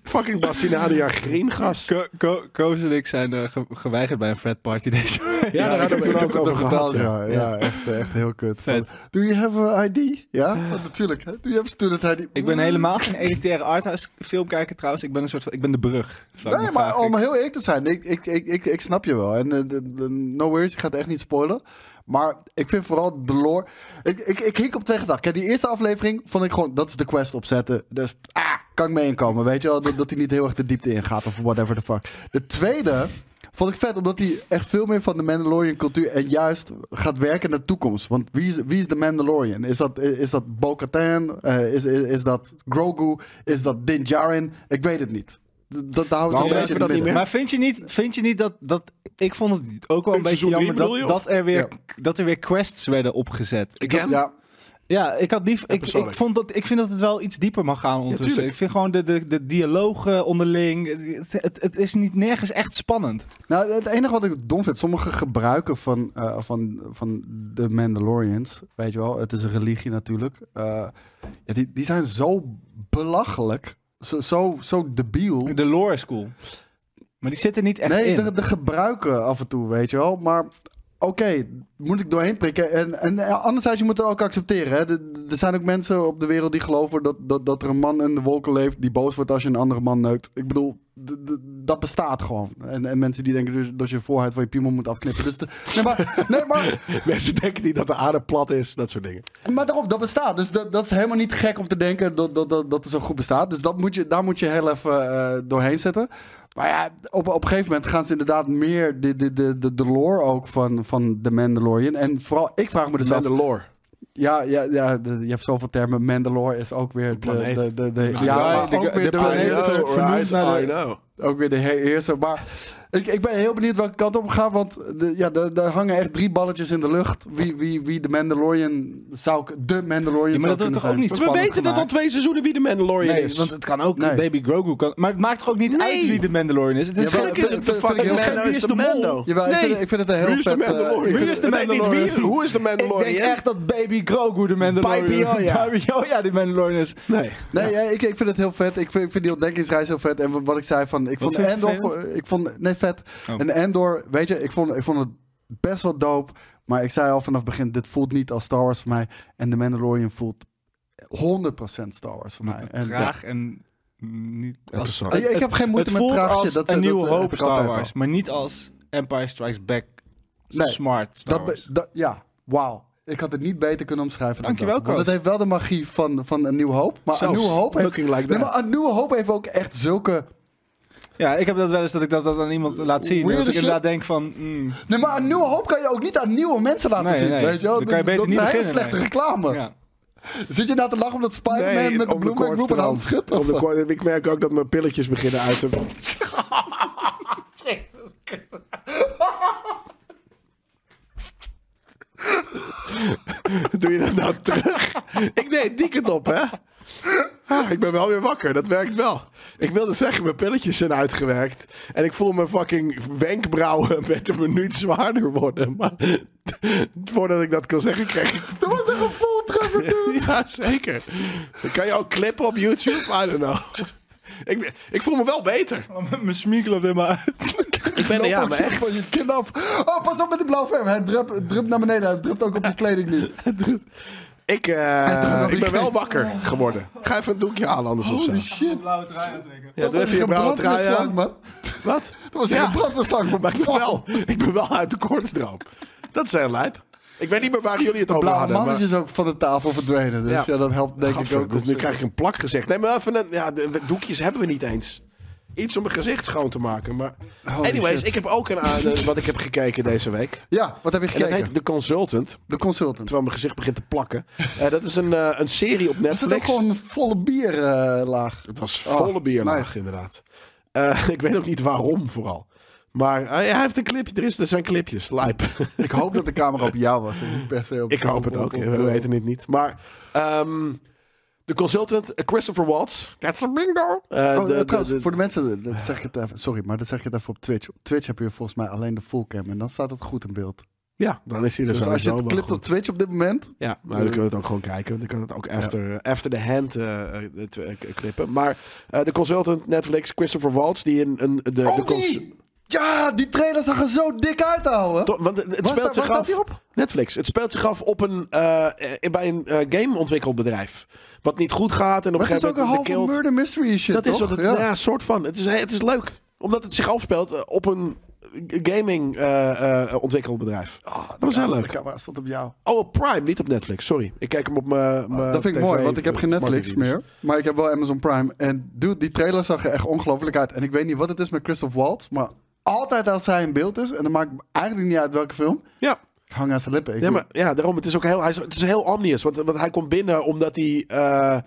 Speaker 2: Fucking Bastinadia Greengas.
Speaker 3: Ko Ko- Koos en ik zijn eh, ge- geweigerd bij een frat party deze week.
Speaker 2: Ja, daar hadden we het
Speaker 4: heb
Speaker 2: ook over gehad. ja.
Speaker 4: ja. Ja, echt, echt heel kut.
Speaker 3: Vet.
Speaker 4: Van, Do you have a ID? Ja, oh, natuurlijk. hè. Do you have a student ID?
Speaker 3: Ik ben helemaal geen elitaire arthouse filmkijker trouwens. Ik ben een soort van, ik ben de brug. zou ik
Speaker 4: Nee,
Speaker 3: nog
Speaker 4: maar
Speaker 3: graag-
Speaker 4: om heel eerlijk te zijn, ik, ik, ik, ik, ik snap je wel. En eh, de- de- no worries, ik ga het echt niet spoilen. Maar ik vind vooral de lore... Ik, ik, ik hik op twee gedachten. Kijk, die eerste aflevering vond ik gewoon... Dat is de quest opzetten. Dus ah, kan ik mee inkomen. Weet je wel, dat dat hij niet heel erg de diepte ingaat of whatever the fuck. De tweede vond ik vet, omdat hij echt veel meer van de Mandalorian cultuur... en juist gaat werken naar de toekomst. Want wie is, wie is de Mandalorian? Is dat, is dat Bo-Katan? Eh, is, is, is dat Grogu? Is dat Din Djarin? Ik weet het niet. D- Dat, daar houden ze
Speaker 2: Waarom
Speaker 4: een
Speaker 2: weten we
Speaker 4: beetje in het
Speaker 2: dat niet
Speaker 4: midden.
Speaker 2: meer?
Speaker 3: Maar vind je niet, vind je niet dat, dat... Ik vond het ook wel een
Speaker 2: In
Speaker 3: beetje
Speaker 2: seizoen drie
Speaker 3: jammer dat,
Speaker 2: bedoel je, of?
Speaker 3: dat, er weer,
Speaker 4: Ja.
Speaker 3: dat er weer quests werden opgezet. Ik,
Speaker 2: Again?
Speaker 4: Ja,
Speaker 3: ja, ik, had lief, ik, ik,
Speaker 2: persoonlijk.
Speaker 3: vond dat, ik vind dat het wel iets dieper mag gaan ondertussen.
Speaker 2: tuurlijk.
Speaker 3: ik vind gewoon de, de, de dialogen onderling... Het, het, het is niet nergens echt spannend.
Speaker 4: nou het enige wat ik dom vind, sommige gebruiken van, eh, van, van de Mandalorians, weet je wel, het is een religie natuurlijk, eh, ja, die, die zijn zo belachelijk, zo, zo, zo debiel.
Speaker 3: De lore is cool. Maar die zitten niet echt
Speaker 4: nee,
Speaker 3: in.
Speaker 4: de, de gebruiken af en toe, weet je wel, maar oké, moet ik doorheen prikken. En, en eh, anderzijds, je moet het ook accepteren. Hè? De- de- Er zijn ook mensen op de wereld die geloven dat, dat, dat er een man in de wolken leeft die boos wordt als je een andere man neukt. Ik bedoel, d- d- dat bestaat gewoon. En, en mensen die denken dus dat je voorheid van je piemel moet afknippen. Dus de- nee, maar, nee, maar
Speaker 2: Mensen denken niet dat de aarde plat is. Dat soort dingen.
Speaker 4: maar daarom, dat bestaat. Dus dat, dat is helemaal niet gek om te denken dat, dat, dat, dat het zo goed bestaat. Dus dat moet je, daar moet je heel even eh, doorheen zetten. Maar ja, op, op een gegeven moment gaan ze inderdaad meer de, de, de, de, de lore ook van, van The Mandalorian. En vooral, ik vraag me dus af...
Speaker 2: Mandalore.
Speaker 4: Ja, ja, ja de- je hebt zoveel termen. Mandalore is ook weer de...
Speaker 2: planeet.
Speaker 4: de, de, de-
Speaker 3: Ja,
Speaker 4: ja, maar
Speaker 3: de-
Speaker 4: ook
Speaker 3: de
Speaker 4: weer de,
Speaker 3: planeet
Speaker 2: I
Speaker 3: is
Speaker 4: de,
Speaker 2: know,
Speaker 3: vernoemd
Speaker 2: right?
Speaker 3: naar de-
Speaker 2: I know.
Speaker 4: ook weer de heerser. Maar ik, ik ben heel benieuwd welke kant op we gaan. Want de- ja, daar daar hangen echt drie balletjes in de lucht. Wie, wie, wie de Mandalorian zou... k- De Mandalorian
Speaker 3: Ja, maar
Speaker 4: zou
Speaker 3: dat wordt
Speaker 4: kunnen
Speaker 3: toch ook
Speaker 4: zijn.
Speaker 3: niet
Speaker 2: We
Speaker 3: spannend
Speaker 2: weten dat al
Speaker 3: gemaakt.
Speaker 2: twee seizoenen wie de Mandalorian
Speaker 3: Nee,
Speaker 2: is.
Speaker 3: want het kan ook
Speaker 4: Nee.
Speaker 3: Baby Grogu. Kan, maar het maakt toch ook niet
Speaker 2: Nee.
Speaker 3: uit wie de Mandalorian is? Het is
Speaker 4: Ja, maar
Speaker 3: geen
Speaker 4: dat-
Speaker 3: het is-
Speaker 4: dat vind ik
Speaker 3: het is
Speaker 4: heel
Speaker 3: geen
Speaker 4: erg.
Speaker 3: wie is de mol.
Speaker 4: Jawel, ik,
Speaker 2: Nee.
Speaker 4: vind, ik vind het een heel
Speaker 2: Wie is de
Speaker 4: vet... eh,
Speaker 2: Mandalorian?
Speaker 4: ik vind-
Speaker 3: Wie is de
Speaker 2: Het heet niet
Speaker 3: Mandalorian?
Speaker 2: wie, hoe is de
Speaker 3: Ik
Speaker 2: Mandalorian?
Speaker 3: denk echt dat Baby Grogu de Mandalorian
Speaker 2: Baby Yoda.
Speaker 3: Baby Yoda de Mandalorian is.
Speaker 2: Nee.
Speaker 4: Nee, ja, ik, ik vind het heel vet. Ik vind, ik vind die ontdekkingsreis heel vet. En wat- wat ik zei van... Ik vond
Speaker 3: vind je
Speaker 4: Endor...
Speaker 3: vervelend?
Speaker 4: vo- Ik vond, nee, vet.
Speaker 3: Oh.
Speaker 4: En Endor, weet je, ik vond, ik vond het best wel dope. Maar ik zei al vanaf het begin, dit voelt niet als Star Wars voor mij. En de Mandalorian voelt 100% Star Wars voor mij. En,
Speaker 3: Traag en niet als...
Speaker 2: sorry.
Speaker 4: ja, ik heb geen moeite
Speaker 3: Het
Speaker 4: met
Speaker 3: voelt
Speaker 4: traag
Speaker 3: als
Speaker 4: shit. Dat,
Speaker 3: een
Speaker 4: dat- eh,
Speaker 3: nieuwe
Speaker 4: dat heb
Speaker 3: hoop
Speaker 4: ik
Speaker 3: Star
Speaker 4: altijd al.
Speaker 3: Wars, maar niet als Empire Strikes Back
Speaker 4: Nee,
Speaker 3: smart Star
Speaker 4: Dat, be-
Speaker 3: Wars.
Speaker 4: dat, ja, wauw. Ik had het niet beter kunnen omschrijven. dan
Speaker 3: Dankjewel,
Speaker 4: dat. Want
Speaker 3: Koos.
Speaker 4: het heeft wel de magie van, van een nieuw hoop. Maar een
Speaker 2: Zelfs
Speaker 4: nieuw hoop heeft,
Speaker 2: looking like
Speaker 4: nee,
Speaker 2: that.
Speaker 4: maar een nieuwe hoop heeft ook echt zulke.
Speaker 3: Ja, ik heb dat wel eens dat ik dat, dat aan iemand laat zien.
Speaker 4: Weird
Speaker 3: dat ik
Speaker 4: shit.
Speaker 3: inderdaad denk van... mm,
Speaker 4: Nee, maar een nieuwe hoop kan je ook niet aan nieuwe mensen laten
Speaker 3: Nee,
Speaker 4: zien.
Speaker 3: nee.
Speaker 4: Weet je wel?
Speaker 3: Dan kan je beter
Speaker 4: dat
Speaker 3: niet
Speaker 4: is een hele
Speaker 3: beginnen,
Speaker 4: slechte
Speaker 3: nee.
Speaker 4: reclame.
Speaker 3: ja.
Speaker 4: Zit je nou te lachen omdat Spider-Man met de
Speaker 2: op de
Speaker 4: bloemwerk roep een
Speaker 2: kortstroom.
Speaker 4: hand schudt?
Speaker 2: Op de
Speaker 4: Of-
Speaker 2: kort- Ik merk ook dat mijn pilletjes beginnen uit te... Doe je dat nou terug? Ik deed die kant op, hè? Ah, ik ben wel weer wakker, dat werkt wel. Ik wilde zeggen, mijn pilletjes zijn uitgewerkt. En ik voel mijn fucking wenkbrauwen met een minuut zwaarder worden. Maar voordat ik dat kan zeggen, krijg ik...
Speaker 4: Dat was echt een voltreffer, dude.
Speaker 2: Ja, zeker. Dan kan je ook clippen op YouTube, I don't know. Ik, ik voel me wel beter.
Speaker 3: Oh, Mijn smiekel op helemaal uit.
Speaker 2: Ik ben ja,
Speaker 4: Loop
Speaker 2: maar
Speaker 4: ook
Speaker 2: echt.
Speaker 4: Van je kin af. Oh, pas op met die blauwe verf. Hij drupt drupt naar beneden. Hij drupt ook op je kleding nu.
Speaker 2: Ik, eh,
Speaker 4: toch nog
Speaker 2: ik ben
Speaker 4: niet
Speaker 2: wel
Speaker 4: gek.
Speaker 2: wakker geworden. Ga even een doekje halen anders of zo.
Speaker 4: Holy shit.
Speaker 3: Blauwe trui aantrekken.
Speaker 2: Ja, doe
Speaker 4: Dat was
Speaker 2: even je
Speaker 4: een
Speaker 2: blauwe trui aan.
Speaker 4: brandweerslang, man.
Speaker 2: Wat?
Speaker 4: Dat was echt
Speaker 2: Ja.
Speaker 4: een brandweerslang, man.
Speaker 2: Maar ik ben wel, ik ben wel uit de koortsdroom. Dat is heel lijp. Ik weet niet meer waar jullie het over
Speaker 4: Blauwe
Speaker 2: hadden.
Speaker 4: mannetjes ook van de tafel verdwenen. Dus
Speaker 2: Ja.
Speaker 4: ja, dat helpt
Speaker 2: maar,
Speaker 4: denk ik
Speaker 2: Gadver,
Speaker 4: ook.
Speaker 2: dus
Speaker 4: op
Speaker 2: nu
Speaker 4: zich.
Speaker 2: krijg ik een plak gezicht. Nee, maar even een... Ja, de, de doekjes hebben we niet eens. Iets om mijn gezicht schoon te maken. Maar
Speaker 4: Holy
Speaker 2: anyways,
Speaker 4: shit.
Speaker 2: ik heb ook een aan wat ik heb gekeken deze week.
Speaker 4: Ja, wat heb je
Speaker 2: En dat
Speaker 4: gekeken?
Speaker 2: heet The Consultant.
Speaker 4: De consultant.
Speaker 2: Terwijl mijn gezicht begint te plakken. Eh, dat is een, eh, een serie op
Speaker 4: Is dat ook
Speaker 2: Netflix.
Speaker 4: gewoon een volle bierlaag?
Speaker 2: Het was
Speaker 4: Oh,
Speaker 2: volle bierlaag,
Speaker 4: nice.
Speaker 2: inderdaad. Eh, ik weet ook niet waarom vooral. Maar eh, hij heeft een clipje. Er, is, er zijn clipjes. Lijp.
Speaker 4: ik hoop dat de camera op jou was. en niet per se op-
Speaker 2: Ik hoop het
Speaker 4: op-
Speaker 2: ook.
Speaker 4: op-
Speaker 2: We
Speaker 4: op-
Speaker 2: weten het niet. Maar ehm, de consultant eh, Christopher Waltz. That's a bingo. Eh,
Speaker 4: Oh,
Speaker 2: de- de-
Speaker 4: trouwens,
Speaker 2: de-
Speaker 4: voor de mensen, dat zeg ik het even, sorry, maar dat zeg ik het even op Twitch. Op Twitch heb je volgens mij alleen de fullcam en dan staat het goed in beeld.
Speaker 2: ja, dan is hij er
Speaker 4: Dus
Speaker 2: sowieso
Speaker 4: als je het
Speaker 2: wel
Speaker 4: clipt
Speaker 2: goed.
Speaker 4: op Twitch op dit moment,
Speaker 2: Ja, maar dan kunnen we het ook gewoon kijken. Dan kan het ook after, after the hand eh, eh, t- eh, knippen. Maar eh, de consultant Netflix, Christopher Waltz, die in een... De, de
Speaker 4: Oh,
Speaker 2: cons-
Speaker 4: die! Ja, die trailer zag er zo dik uit, ouwe.
Speaker 2: To- want het
Speaker 4: Waar
Speaker 2: speelt
Speaker 4: staat-
Speaker 2: zich
Speaker 4: waar
Speaker 2: af.
Speaker 4: staat die op?
Speaker 2: Netflix. Het speelt zich af op een, eh, eh, bij een eh, gameontwikkelbedrijf. Wat niet goed gaat en op een
Speaker 4: Maar het is
Speaker 2: gegeven
Speaker 4: ook een
Speaker 2: moment wordt
Speaker 4: halve
Speaker 2: de kilt.
Speaker 4: murder mystery shit,
Speaker 2: Dat is
Speaker 4: toch?
Speaker 2: wat het,
Speaker 4: Ja.
Speaker 2: ja. soort van. Het is, eh, het is leuk. Omdat het zich afspeelt eh, op een gaming eh, eh, ontwikkelbedrijf.
Speaker 4: Ah, nou
Speaker 2: dat was heel
Speaker 4: De
Speaker 2: leuk.
Speaker 4: camera stond op jou.
Speaker 2: Oh, op Prime, niet op Netflix. Sorry. Ik kijk hem op mijn mijn
Speaker 4: Ah, dat vind ik
Speaker 2: TV,
Speaker 4: mooi, want ik heb geen Netflix
Speaker 2: smartvideo's.
Speaker 4: meer. Maar ik heb wel Amazon Prime. En dude, die trailer zag er echt ongelooflijk uit. En ik weet niet wat het is met Christoph Waltz, maar altijd als hij in beeld is, en dan maakt eigenlijk niet uit welke film,
Speaker 2: Ja.
Speaker 4: ik hang aan zijn lippen. Ik
Speaker 2: Ja, maar, ja, daarom. Het is ook heel, hij is, het is heel omnius. Want, want hij komt binnen omdat hij... eh,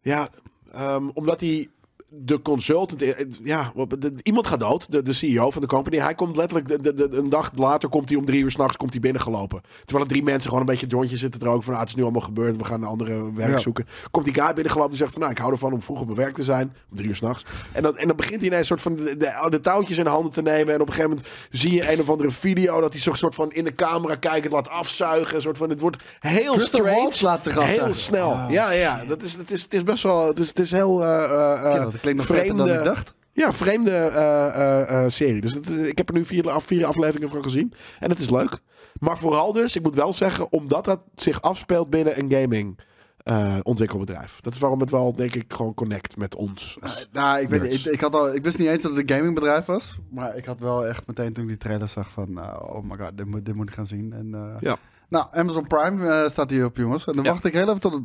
Speaker 2: ja, ehm, omdat hij de consultant... eh, Ja, wat- de- iemand gaat dood. De, de CEO van de company. Hij komt letterlijk... De, de, de- een dag later komt hij om drie uur s'nachts binnengelopen. Terwijl er drie mensen gewoon een beetje jointje zitten er ook van... Ah, het is nu allemaal gebeurd. We gaan een andere werk
Speaker 4: Ja.
Speaker 2: zoeken. Komt die guy binnengelopen die zegt van... Nou, ik hou ervan om vroeg op mijn werk te zijn. Om drie uur s'nachts. En dan, en dan begint hij ineens soort van de, de, de touwtjes in handen te nemen. En op een gegeven moment zie je een of andere video... dat hij zo'n soort van in de camera kijkend laat afzuigen. Een soort van, het wordt heel
Speaker 4: Christopher
Speaker 2: strange.
Speaker 4: Waltz laat zich
Speaker 2: Heel
Speaker 4: afzuigen. Ah,
Speaker 2: snel. ja, ja. Dat is, dat is, het is best wel. Het is, het is heel. eh, eh, eh,
Speaker 4: Ja, dat klinkt nog vreemder dan ik dacht.
Speaker 2: Ja, vreemde eh, eh, eh, serie. Dus dat- ik heb er nu vier, af- vier afleveringen van gezien. En het is leuk. Maar vooral dus, ik moet wel zeggen, omdat dat zich afspeelt binnen een gaming. eh, ontwikkelbedrijf. Dat is waarom het wel, denk ik, gewoon connect met ons.
Speaker 4: Eh, nou, ik, weet,
Speaker 2: Nerds.
Speaker 4: niet, ik, ik, had al, ik wist niet eens dat het een gamingbedrijf was. Maar ik had wel echt meteen toen ik die trailer zag van... nou, oh my god, dit moet, dit moet ik gaan zien. En, eh,
Speaker 2: Ja.
Speaker 4: Nou, Amazon Prime eh, staat hier op, jongens. En dan
Speaker 2: Ja.
Speaker 4: wacht ik heel even tot het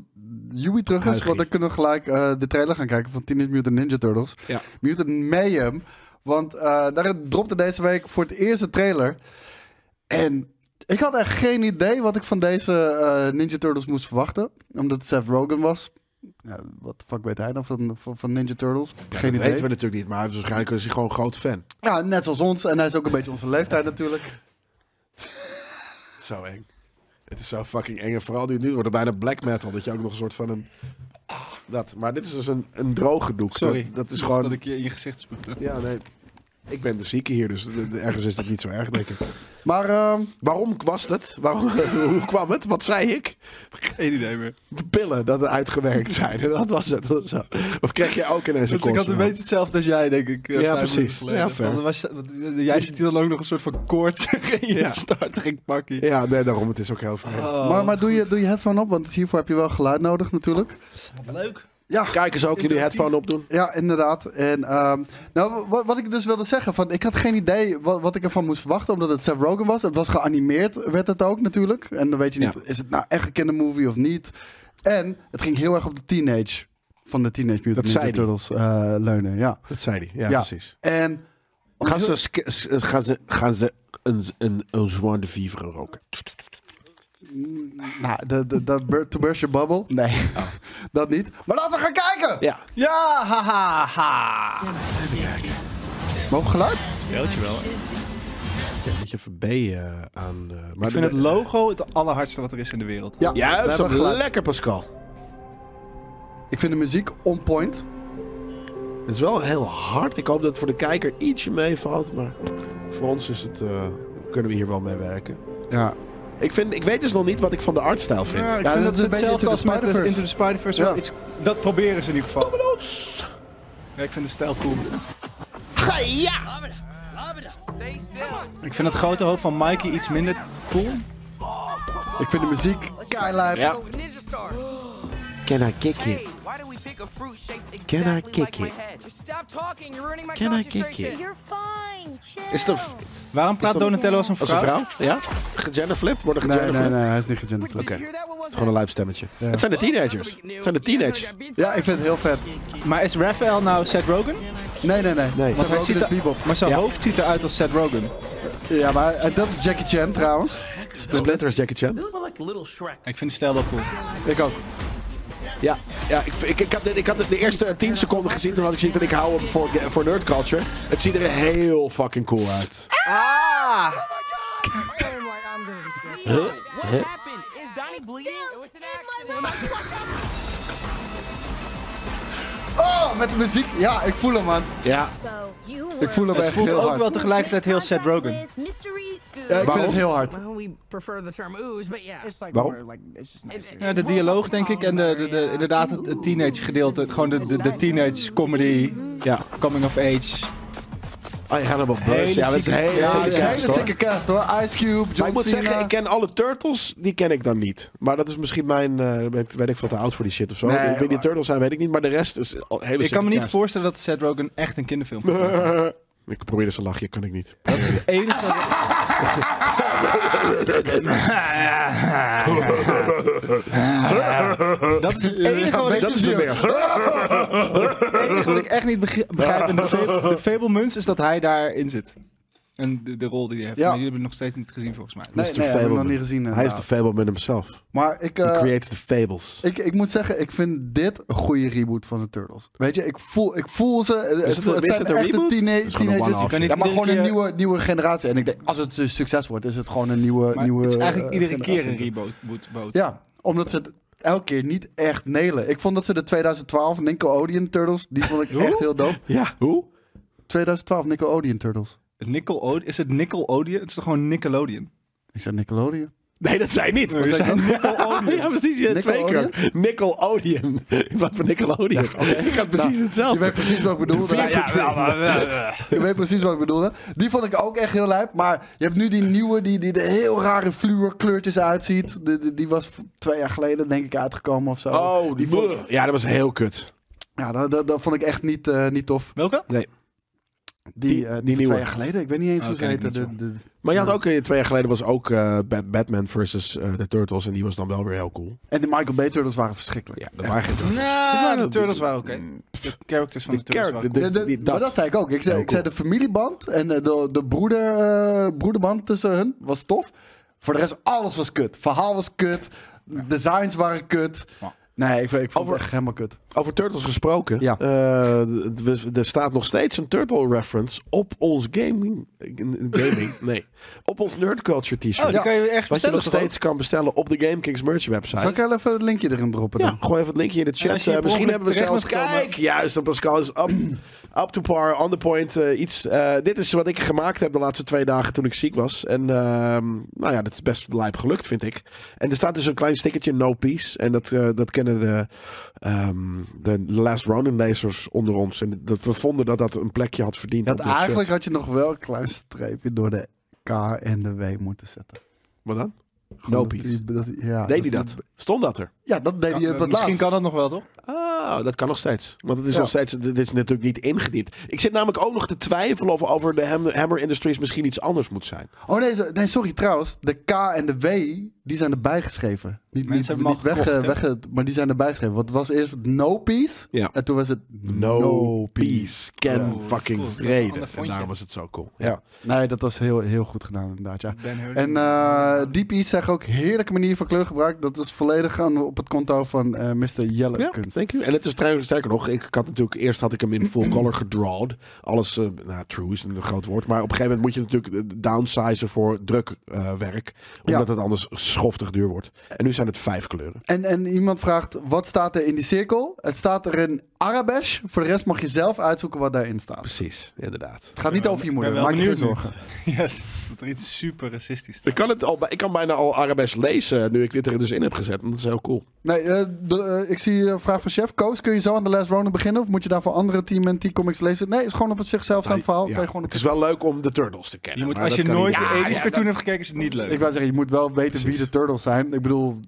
Speaker 4: Yui terug is.
Speaker 2: Huigie.
Speaker 4: Want dan kunnen we gelijk eh, de trailer gaan kijken van Teenage Mutant Ninja Turtles.
Speaker 2: Ja.
Speaker 4: Mutant Mayhem. Want eh, daar dropte deze week voor het eerst de trailer. En ik had echt geen idee wat ik van deze eh, Ninja Turtles moest verwachten. Omdat het Seth Rogen was. Ja, wat de fuck weet hij dan van, van, van Ninja Turtles?
Speaker 2: dat
Speaker 4: geen idee.
Speaker 2: weten we natuurlijk niet, maar waarschijnlijk is hij gewoon een groot fan.
Speaker 4: Ja, net zoals ons. En hij is ook een beetje onze leeftijd natuurlijk.
Speaker 2: Zo eng. Het is zo fucking eng. En vooral nu, nu wordt het bijna black metal. Dat je ook nog een soort van een... Ah, Dat. Maar dit is dus een, een droge doek.
Speaker 3: Sorry.
Speaker 2: Dat, dat is gewoon...
Speaker 3: Dat ik je in je gezicht spuugde.
Speaker 2: Ja, nee. Ik ben de zieke hier, dus de- de- ergens is dat niet zo erg, denk ik.
Speaker 4: Maar ehm,
Speaker 2: Waarom was het? Waarom, hoe kwam het? Wat zei ik?
Speaker 3: Geen idee meer.
Speaker 2: De pillen dat er uitgewerkt zijn. En dat was het. Of, zo. of kreeg jij ook ineens een
Speaker 3: Want ik had een beetje hetzelfde als jij, denk ik. eh,
Speaker 2: Ja,
Speaker 3: vijf
Speaker 2: precies.
Speaker 3: minuten geleden.
Speaker 2: Ja, fair.
Speaker 3: Van, was, want, eh, jij zit hier dan ook nog een soort van koorts in je
Speaker 2: Ja.
Speaker 3: startering pakkie.
Speaker 2: Ja, nee, daarom. Het is ook heel vreemd.
Speaker 3: Oh.
Speaker 4: maar, maar doe, je, doe je headphone op, want hiervoor heb je wel geluid nodig natuurlijk.
Speaker 3: Leuk.
Speaker 4: Ja,
Speaker 2: Kijkers ook jullie
Speaker 3: Interactief.
Speaker 2: headphone opdoen.
Speaker 4: ja inderdaad. En, ehm, nou, wat, wat ik dus wilde zeggen, van, ik had geen idee wat, wat ik ervan moest verwachten, omdat het Seth Rogen was. Het was geanimeerd, werd het ook natuurlijk. En dan weet je niet,
Speaker 2: Ja.
Speaker 4: is het nou echt een kindermovie of niet? En het ging heel erg op de teenage, van de Teenage Mutant
Speaker 2: Dat zei
Speaker 4: Ninja Turtles eh, leunen. Ja.
Speaker 2: Dat zei hij. Ja,
Speaker 4: Ja.
Speaker 2: precies.
Speaker 4: En
Speaker 2: Gaan ze, sk- s- gaan ze, gaan ze een, een, een zwaar de vivre roken?
Speaker 4: Nou, de, de, de, bur- to burst your bubble? Nee. Dat niet. Maar laten we gaan kijken!
Speaker 2: Ja.
Speaker 3: Ja, haha. Ha.
Speaker 4: Mogen we geluid?
Speaker 3: Steltje wel.
Speaker 2: een beetje verbeeën eh, aan. eh, maar
Speaker 3: Ik vind
Speaker 2: de-
Speaker 3: het logo het allerhardste wat er is in de wereld.
Speaker 4: Ja.
Speaker 2: Ja,
Speaker 4: We
Speaker 2: dat is
Speaker 4: hebben
Speaker 2: wel
Speaker 4: gelijk.
Speaker 2: lekker, Pascal.
Speaker 4: Ik vind de muziek on point.
Speaker 2: Het is wel heel hard. Ik hoop dat het voor de kijker ietsje meevalt. Maar voor ons is het, eh, kunnen we hier wel mee werken.
Speaker 4: Ja.
Speaker 2: Ik, vind, ik weet dus nog niet wat ik van de artstijl vind.
Speaker 3: ik
Speaker 4: Ja,
Speaker 3: vind
Speaker 4: dat
Speaker 3: dat
Speaker 4: is een
Speaker 3: het
Speaker 4: beetje
Speaker 3: hetzelfde als
Speaker 4: Into the
Speaker 3: met de Into
Speaker 4: Spider-Verse.
Speaker 3: the Spider-Verse.
Speaker 4: Ja.
Speaker 3: wel iets- Dat proberen ze in ieder geval. Ja, ik vind de stijl cool. Ik vind het grote hoofd van Mikey iets minder cool.
Speaker 4: Ik vind de muziek keihard.
Speaker 2: Ja.
Speaker 6: Oh, Ninja stars.
Speaker 2: Can I kick
Speaker 6: Hey,
Speaker 2: it?
Speaker 6: why do we pick a fruit shaped exactly
Speaker 2: Can I
Speaker 6: like
Speaker 2: kick
Speaker 6: my
Speaker 2: it?
Speaker 6: head? Stop talking, you're ruining my
Speaker 2: Can I kick
Speaker 6: concentration.
Speaker 2: it?
Speaker 7: You're fine. Chill.
Speaker 2: Is de v-
Speaker 3: Waarom praat
Speaker 2: dat-
Speaker 3: Donatello als een
Speaker 2: als
Speaker 3: vrouw?
Speaker 2: een vrouw? Ja? Gegenderflipped? Worden
Speaker 4: Nee, nee,
Speaker 2: gegenderflipped? Het
Speaker 4: nee, hij is niet gegenderd.
Speaker 6: Did you
Speaker 2: Okay.
Speaker 6: hear that? What was
Speaker 2: is gewoon een lijpstemmetje. Het zijn de teenagers. Het zijn de teenagers.
Speaker 4: Ja, ik vind het heel vet.
Speaker 3: Maar is Raphael nou Seth Rogen?
Speaker 4: Nee, nee, nee.
Speaker 2: Nee.
Speaker 4: nee.
Speaker 2: Want
Speaker 4: Ze
Speaker 3: Hij
Speaker 4: ook in
Speaker 3: ziet
Speaker 4: het
Speaker 3: er-
Speaker 4: bebop.
Speaker 3: maar zijn
Speaker 2: Ja.
Speaker 3: hoofd ziet eruit als Seth Rogen.
Speaker 4: Ja, maar eh, dat is Jackie Chan trouwens.
Speaker 2: Splinter is Jackie Chan.
Speaker 5: More like little Shrek.
Speaker 3: Ik vind de stijl wel cool.
Speaker 4: Ik ook.
Speaker 2: Ja, ja ik, ik, ik, had dit, ik had dit de eerste 10 seconden gezien. Toen had ik gezien van ik hou hem voor, voor nerd culture. Het ziet er heel fucking cool uit.
Speaker 4: Ah!
Speaker 6: What happened? Is Donnie bleeding? It was an accident.
Speaker 4: Oh, met de muziek. Ja, ik voel hem, man.
Speaker 2: Ja,
Speaker 7: So you
Speaker 4: Ik voel hem
Speaker 3: Het
Speaker 4: echt
Speaker 3: voelt
Speaker 4: heel
Speaker 3: ook
Speaker 4: hard.
Speaker 3: wel tegelijkertijd heel Seth Rogen.
Speaker 7: Mystery
Speaker 4: Ja, ik vind
Speaker 2: Waarom?
Speaker 4: het heel hard.
Speaker 6: Well, we prefer the term ooze, but yeah. It's like
Speaker 2: waarom?
Speaker 3: Ja, de dialoog denk ik en de, de, de- inderdaad het, het teenage gedeelte. Gewoon de, de, de teenage comedy. Ja, coming of age.
Speaker 2: Oh, je gaat hem op beurs.
Speaker 3: Hele
Speaker 2: Ja, dat is een hele
Speaker 4: Ja,
Speaker 2: zieke
Speaker 4: het is een
Speaker 2: cast,
Speaker 4: hele
Speaker 2: hoor.
Speaker 4: sikke cast, hoor. Ice Cube,
Speaker 2: Maar
Speaker 4: John
Speaker 2: ik moet
Speaker 4: Cena.
Speaker 2: zeggen, ik ken alle Turtles, die ken ik dan niet. Maar dat is misschien mijn, eh weet, weet ik veel, te oud voor die shit of zo.
Speaker 4: Nee,
Speaker 2: Wie die
Speaker 4: maar-
Speaker 2: Turtles zijn, weet ik niet. Maar de rest is al hele
Speaker 3: Ik kan me
Speaker 2: zieke
Speaker 3: niet
Speaker 2: cast.
Speaker 3: voorstellen dat Seth Rogen echt een kinderfilm maakt.
Speaker 2: Ik probeer dus eens een lachje, kan ik niet.
Speaker 3: Dat is het enige. Dat is het enige wat ik,
Speaker 2: dat is het weer.
Speaker 3: enige wat ik echt niet begri- begrijp. En de, Fable, de Fablemans is dat hij daarin zit. En de, de rol die hij heeft.
Speaker 4: Ja.
Speaker 3: Maar jullie hebben het nog steeds niet gezien volgens mij.
Speaker 4: Nee,
Speaker 2: Mr.
Speaker 4: nee, heb ik nog
Speaker 2: Fableman.
Speaker 4: niet gezien.
Speaker 2: Hij is
Speaker 4: inderdaad.
Speaker 2: de Fableman himself.
Speaker 4: Maar ik, eh,
Speaker 2: He creates the fables.
Speaker 4: ik, ik moet zeggen, ik vind dit een goede reboot van de Turtles. Weet je, ik voel, ik voel ze. Het,
Speaker 2: het-
Speaker 4: het
Speaker 2: is
Speaker 4: zijn
Speaker 2: het een
Speaker 4: echte
Speaker 2: reboot?
Speaker 4: tiene-
Speaker 2: Het is gewoon een
Speaker 4: teenagers.
Speaker 2: one-off.
Speaker 3: Je kan niet
Speaker 4: Ja, maar
Speaker 3: iedere
Speaker 4: gewoon een
Speaker 3: keer-
Speaker 4: nieuwe, nieuwe generatie. En ik denk, als het een succes wordt, is het gewoon een nieuwe...
Speaker 3: Maar
Speaker 4: nieuwe
Speaker 3: het is eigenlijk
Speaker 4: eh,
Speaker 3: iedere keer een
Speaker 4: generatie.
Speaker 3: reboot. boot- boot.
Speaker 4: Ja, omdat ze het elke keer niet echt nelen. Ik vond dat ze de 2012 Nickelodeon Turtles, die vond ik echt heel dope.
Speaker 2: Ja, hoe?
Speaker 4: 2012 Nickelodeon Turtles.
Speaker 3: Nickelode- is het Nickelodeon? Het is toch gewoon Nickelodeon?
Speaker 4: Ik zei Nickelodeon.
Speaker 2: Nee, dat zijn niet.
Speaker 3: We zijn
Speaker 2: Nickelodeon. ja, precies. je hebt twee keer.
Speaker 4: Nickelodeon?
Speaker 2: Nickelodeon. In plaats van Nickelodeon. Ik
Speaker 4: Nou,
Speaker 2: had precies
Speaker 4: Je
Speaker 2: hetzelfde.
Speaker 4: weet precies wat ik bedoelde.
Speaker 2: vier voor
Speaker 4: nou,
Speaker 2: twee.
Speaker 4: Je weet precies wat ik bedoelde. Die vond ik ook echt heel lijp. Maar je hebt nu die nieuwe die, die er heel rare fluorkleurtjes uitziet. De, de- die was v- twee jaar geleden denk ik uitgekomen of zo.
Speaker 2: Oh, die
Speaker 4: die vond,
Speaker 2: Ja, dat was heel kut.
Speaker 4: Ja, dat, dat, dat vond ik echt niet, eh, niet tof.
Speaker 3: Welke?
Speaker 2: Nee.
Speaker 4: Die,
Speaker 2: Die-
Speaker 4: eh,
Speaker 2: die
Speaker 4: die
Speaker 2: nieuwe.
Speaker 4: twee jaar geleden. Ik weet niet eens
Speaker 3: Oh,
Speaker 4: hoe ze
Speaker 3: ken ik
Speaker 4: heette.
Speaker 3: niet,
Speaker 4: De, de,
Speaker 2: Maar je had ook, eh, twee jaar geleden was ook eh, Ba- Batman versus eh, de Turtles. En die was dan wel weer heel cool.
Speaker 4: en de Michael Bay Turtles waren verschrikkelijk.
Speaker 2: Ja, dat waren geen Turtles.
Speaker 3: Nou, de Turtles waren oké. De characters van de,
Speaker 2: De
Speaker 3: Turtles waren
Speaker 2: character-
Speaker 3: cool.
Speaker 2: de-
Speaker 4: Mm. De- de-
Speaker 2: die-
Speaker 4: maar dat zei ik ook. Ik zei,
Speaker 2: Heel
Speaker 4: ik zei de
Speaker 2: cool.
Speaker 4: familieband en eh, de, de broeder, eh, broederband tussen hun was tof. Voor de rest, alles was kut. Verhaal was kut. Designs waren kut.
Speaker 3: Ja.
Speaker 4: Nee, ik, ik vond
Speaker 2: Over-
Speaker 4: het echt helemaal kut.
Speaker 2: Over Turtles gesproken.
Speaker 4: Ja.
Speaker 2: eh, d- we- er staat nog steeds een Turtle reference op ons gaming. gaming nee. Op ons Nerd Culture t-shirt.
Speaker 3: Oh, die
Speaker 4: Ja.
Speaker 3: kan je ergens
Speaker 2: Wat je
Speaker 3: bestellen
Speaker 2: nog
Speaker 3: toch ook?
Speaker 2: steeds kan bestellen op de GameKings merch
Speaker 4: Zal
Speaker 2: website.
Speaker 4: ik heel even het linkje erin droppen dan?
Speaker 2: Ja, gooi even het linkje in de
Speaker 3: En
Speaker 2: chat.
Speaker 3: als je
Speaker 2: Eh,
Speaker 3: per
Speaker 2: misschien
Speaker 3: ongeluk
Speaker 2: hebben we
Speaker 3: terecht
Speaker 2: zelfs...
Speaker 3: moet komen-
Speaker 2: Kijk, juist, en Pascal is up, up to par, on the point. eh, iets, eh, dit is wat ik gemaakt heb de laatste twee dagen toen ik ziek was. En ehm, nou ja, dat is best lijp gelukt, vind ik. En er staat dus een klein stickertje, no peace. En dat, eh, dat kennen de, ehm, de Last Ronin lezers onder ons. En dat we vonden dat dat een plekje had verdiend.
Speaker 4: Dat
Speaker 2: op dit
Speaker 4: eigenlijk
Speaker 2: shirt.
Speaker 4: had je nog wel een klein streepje door de K en de W moeten zetten.
Speaker 2: Wat dan?
Speaker 4: Gewoon
Speaker 2: No
Speaker 4: dat
Speaker 2: peace.
Speaker 4: die- dat die- ja,
Speaker 2: Deed hij dat? Stond dat er?
Speaker 4: Ja, dat deed hij op
Speaker 3: Kan-
Speaker 4: het
Speaker 3: Misschien
Speaker 4: laatst.
Speaker 3: kan dat nog wel, toch?
Speaker 2: Ah, dat kan nog steeds. Want het is
Speaker 4: Ja.
Speaker 2: nog steeds, dit is natuurlijk niet ingediend. Ik zit namelijk ook nog te twijfelen of over de Ham- Hammer Industries misschien iets anders moet zijn.
Speaker 4: Oh nee, zo- nee, sorry trouwens. De K en de W, die zijn erbij geschreven. Niet, niet,
Speaker 3: hebben hem
Speaker 4: niet
Speaker 3: al
Speaker 4: weg,
Speaker 3: gekocht,
Speaker 4: eh, weg- maar die zijn erbij geschreven. Want het was eerst No Peace.
Speaker 2: Ja.
Speaker 4: En toen was het
Speaker 2: No, peace, ken
Speaker 4: Ja.
Speaker 2: fucking
Speaker 3: Cool, dat is een ander
Speaker 2: vrede. En
Speaker 3: fondje.
Speaker 2: daarom is het zo cool. Ja.
Speaker 4: Ja. Nee, dat was heel, heel goed gedaan inderdaad, ja.
Speaker 3: Ben Hur.
Speaker 4: En eh Deep East zegt ook heerlijke manier van kleurgebruik. Dat is volledig aan op het konto van eh Mr. Jelle
Speaker 2: Ja,
Speaker 4: Kunst.
Speaker 2: thank you. En het is trouwens sterker nog, ik ik had natuurlijk eerst had ik hem in full color gedrawn. Alles, eh, nou, true is een groot woord, maar op een gegeven moment moet je natuurlijk eh, downsizen voor druk eh, werk, omdat het anders schoftig duur wordt. En nu zijn het vijf kleuren.
Speaker 4: En, en iemand vraagt, wat staat er in die cirkel? Het staat er in Arabesh. Voor de rest mag je zelf uitzoeken wat daarin staat.
Speaker 2: Precies, inderdaad.
Speaker 4: Het gaat niet over je moeder,
Speaker 3: ben wel
Speaker 4: maak je geen
Speaker 3: benieuwd nu.
Speaker 4: zorgen.
Speaker 3: Ja, dat er iets super racistisch
Speaker 2: Ik kan, het al, bij- ik kan bijna al Arabesk lezen nu ik dit er dus in heb gezet. En dat is heel cool.
Speaker 4: Nee, eh, de- eh, ik zie een vraag van chef. Koos, kun je zo aan The Last Ronin beginnen? Of moet je daarvoor andere Team en T-comics lezen? Nee, het is gewoon op het zichzelf staand verhaal.
Speaker 2: Ja,
Speaker 4: Kan je gewoon op
Speaker 2: het is wel leuk om de Turtles te kennen.
Speaker 3: Je moet,
Speaker 2: maar
Speaker 3: als je
Speaker 2: dat kan
Speaker 3: nooit
Speaker 2: niet-
Speaker 3: een
Speaker 2: Ja,
Speaker 3: 80s
Speaker 2: ja,
Speaker 3: cartoon hebt gekeken, is het niet leuk.
Speaker 4: Ik wou zeggen, je moet wel weten
Speaker 2: Precies.
Speaker 4: wie de turtles zijn. Ik bedoel,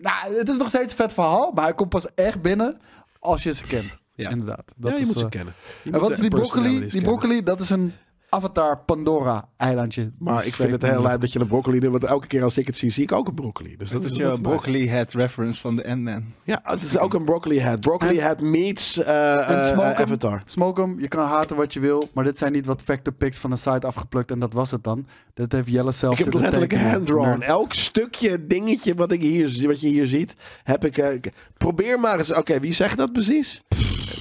Speaker 4: nou, het is nog steeds een vet verhaal, maar hij komt pas echt binnen als je ze kent.
Speaker 2: Ja.
Speaker 4: Inderdaad.
Speaker 2: dat-
Speaker 4: Dat
Speaker 2: ja, je
Speaker 4: is,
Speaker 2: moet ze
Speaker 4: eh,
Speaker 2: kennen. Je
Speaker 4: en
Speaker 2: moet
Speaker 4: wat is
Speaker 2: de
Speaker 4: die broccoli?
Speaker 2: personalities
Speaker 4: Die
Speaker 2: kennen.
Speaker 4: broccoli, dat is een Avatar Pandora eilandje.
Speaker 2: Maar ik vind het heel leuk dat je een broccoli doet. Want elke keer als ik het zie, zie ik ook een broccoli. Dus dat,
Speaker 3: dat is
Speaker 2: is
Speaker 3: je
Speaker 2: nice.
Speaker 3: broccoli head reference van de Ant-Man.
Speaker 2: Ja, het is ook een broccoli head. Broccoli head meets eh, eh,
Speaker 4: En smoke hem.
Speaker 2: Avatar.
Speaker 4: Smoke hem, je kan haten wat je wil, maar dit zijn niet wat factor picks van een site afgeplukt en dat was het dan. Dit heeft Jelle zelf
Speaker 2: Ik heb
Speaker 4: zitten
Speaker 2: letterlijk
Speaker 4: tekenen.
Speaker 2: hand-drawn.
Speaker 4: Nerd.
Speaker 2: Elk stukje dingetje wat, ik hier, wat je hier ziet, heb ik... eh, ik- probeer maar eens... Oké, wie zegt dat precies?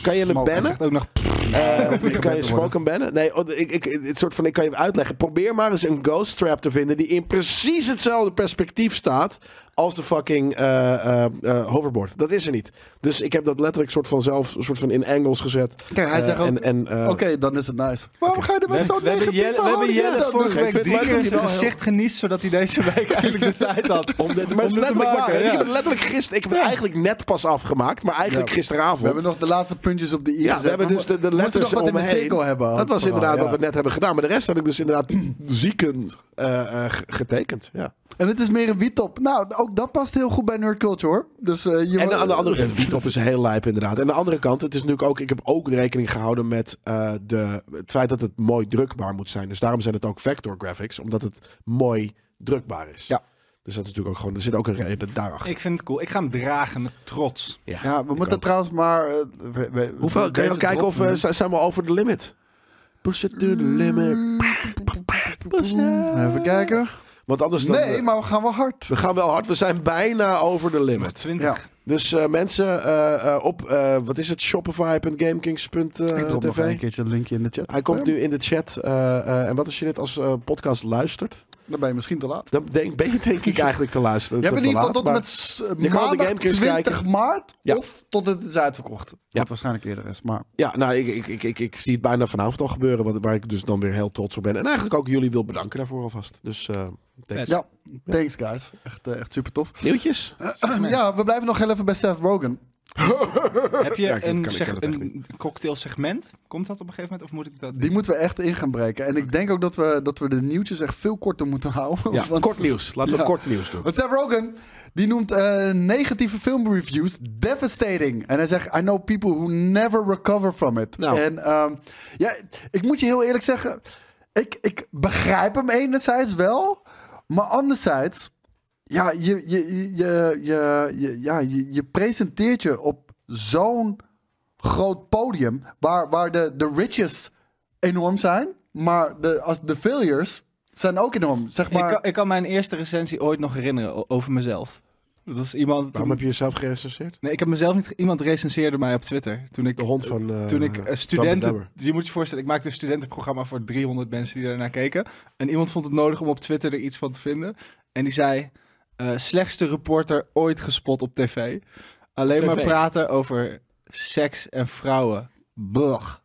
Speaker 2: Kan je hem
Speaker 4: Smoke.
Speaker 2: bannen?
Speaker 3: Ook nog
Speaker 2: Eh, kan je
Speaker 4: worden.
Speaker 2: smoke en bannen? Nee, oh, ik, ik, het soort van, ik kan je uitleggen. Probeer maar eens een ghost trap te vinden die in precies hetzelfde perspectief staat als de fucking eh, eh, eh, hoverboard. Dat is er niet. Dus ik heb dat letterlijk soort van zelf soort van in angles gezet.
Speaker 4: Kijk, hij
Speaker 2: Eh,
Speaker 4: zegt ook-
Speaker 2: en, en, eh,
Speaker 4: Oké, dan is het nice. Waarom ga je er met zo'n
Speaker 3: we hebben
Speaker 4: negatieve
Speaker 3: Jelle, we hebben
Speaker 4: houding in?
Speaker 3: Jelle
Speaker 4: Dat doe ik
Speaker 3: vorige
Speaker 4: echt
Speaker 2: vind
Speaker 3: week
Speaker 2: het
Speaker 3: drie
Speaker 2: leuk dat
Speaker 3: keer
Speaker 2: hij
Speaker 3: zijn
Speaker 2: wel
Speaker 3: gezicht geniest, zodat hij deze week eigenlijk de tijd had.
Speaker 2: Om dit, maar het is
Speaker 3: Om dit te
Speaker 2: letterlijk
Speaker 3: maken,
Speaker 2: waar.
Speaker 3: ja.
Speaker 2: Ik heb het letterlijk gisteren. Ik heb het eigenlijk net pas afgemaakt, maar eigenlijk
Speaker 4: Ja.
Speaker 2: gisteravond.
Speaker 4: We hebben nog de laatste puntjes op de i
Speaker 2: ja,
Speaker 4: gezet.
Speaker 2: we hebben dus de, de
Speaker 4: We moeten
Speaker 2: letters
Speaker 4: nog wat in de
Speaker 2: omheen.
Speaker 4: cirkel hebben.
Speaker 2: Dat was
Speaker 4: Vooral,
Speaker 2: inderdaad
Speaker 4: ja.
Speaker 2: wat we net hebben gedaan. Maar de rest heb ik dus inderdaad ziekend eh, eh, ge- getekend. Ja.
Speaker 4: En het is meer een wietop. Nou, ook dat past heel goed bij nerd culture, hoor. Dus, eh, je
Speaker 2: En aan de andere kant, Wietop is heel lijp inderdaad. En aan de andere kant, het is natuurlijk ook, ik heb ook rekening gehouden met eh, de, het feit dat het mooi drukbaar moet zijn. Dus daarom zijn het ook vector graphics, omdat het mooi drukbaar is.
Speaker 4: Ja.
Speaker 2: Dus dat is natuurlijk ook gewoon, er zit ook een reden daarachter.
Speaker 3: Ik vind het cool. Ik ga hem dragen met trots.
Speaker 4: Ja, we
Speaker 2: ik
Speaker 4: moeten
Speaker 2: ook.
Speaker 4: trouwens maar... eh, we- we-
Speaker 2: Hoeveel, kan je
Speaker 4: deze
Speaker 2: ook kijken
Speaker 4: drop-
Speaker 2: of eh, zijn zijn we over de limit? Push it to the limit. Push it.
Speaker 4: Eh, Even kijken.
Speaker 2: Want anders dan, eh,
Speaker 4: Nee, maar we gaan wel hard.
Speaker 2: We gaan wel hard, we zijn bijna over de limit.
Speaker 3: 20.
Speaker 2: Dus eh, mensen, eh, eh, op, eh, wat is het, shopify.gamekings.tv.
Speaker 4: Ik drop nog een keertje het linkje in de chat.
Speaker 2: Hij komt nu in de chat. eh, eh, en wat als je dit als eh, podcast luistert?
Speaker 4: Dan ben je misschien te laat.
Speaker 2: Dan denk, ben je denk ik eigenlijk te luisteren.
Speaker 4: Je hebt
Speaker 2: te
Speaker 4: in ieder
Speaker 2: laat,
Speaker 4: geval tot en
Speaker 2: maar
Speaker 4: met s-
Speaker 2: de
Speaker 4: maandag
Speaker 2: Gamekings
Speaker 4: 20
Speaker 2: kijken.
Speaker 4: maart
Speaker 2: Ja.
Speaker 4: of tot het is uitverkocht. Wat
Speaker 2: Ja.
Speaker 4: waarschijnlijk eerder is, maar...
Speaker 2: Ja, nou, ik, ik, ik, ik, ik zie het bijna vanavond al gebeuren. wat- Waar ik dus dan weer heel trots op ben. En eigenlijk ook jullie wil bedanken daarvoor alvast. Dus eh thanks.
Speaker 4: Ja, thanks guys. Echt, eh, echt super tof.
Speaker 2: nieuwtjes.
Speaker 4: Ja, we blijven nog heel even bij Seth Rogen.
Speaker 3: Heb je
Speaker 2: Ja, ik- dat
Speaker 3: een,
Speaker 2: kan- ik
Speaker 3: seg-
Speaker 2: ken het echt
Speaker 3: een cocktail segment? Komt dat op een gegeven moment? Of moet ik dat...
Speaker 4: Die moeten we echt in gaan breken. En ik denk ook dat we, dat we de nieuwtjes echt veel korter moeten houden.
Speaker 2: Ja,
Speaker 4: Want-
Speaker 2: kort nieuws. Laten we
Speaker 4: Ja.
Speaker 2: kort nieuws doen.
Speaker 4: Want Seth Rogen, die noemt eh, negatieve filmreviews devastating. En hij zegt, I know people who never recover from it.
Speaker 2: Nou.
Speaker 4: En ehm, ja, ik moet je heel eerlijk zeggen, ik, ik begrijp hem enerzijds wel, maar anderzijds, ja, je, je, je, je, je, je- ja, je, je presenteert je op zo'n groot podium waar, waar de, de riches enorm zijn, maar de, als de failures zijn ook enorm. Zeg maar,
Speaker 3: Ik, kan, ik kan mijn eerste recensie ooit nog herinneren o- over mezelf. Dat was iemand...
Speaker 2: Waarom heb je jezelf gerecenseerd?
Speaker 3: Nee, ik heb mezelf niet... ge- Iemand recenseerde mij op Twitter. Toen ik,
Speaker 2: De hond van... eh,
Speaker 3: toen ik eh,
Speaker 2: Dumb and
Speaker 3: studenten...
Speaker 2: Dumber.
Speaker 3: Je moet je voorstellen, ik maakte een studentenprogramma voor 300 mensen die daarnaar keken. En iemand vond het nodig om op Twitter er iets van te vinden. En die zei, eh, slechtste reporter ooit gespot op tv. Alleen
Speaker 2: Op
Speaker 3: maar
Speaker 2: tv?
Speaker 3: praten over seks en vrouwen. Blech.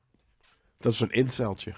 Speaker 2: Dat is een inceltje.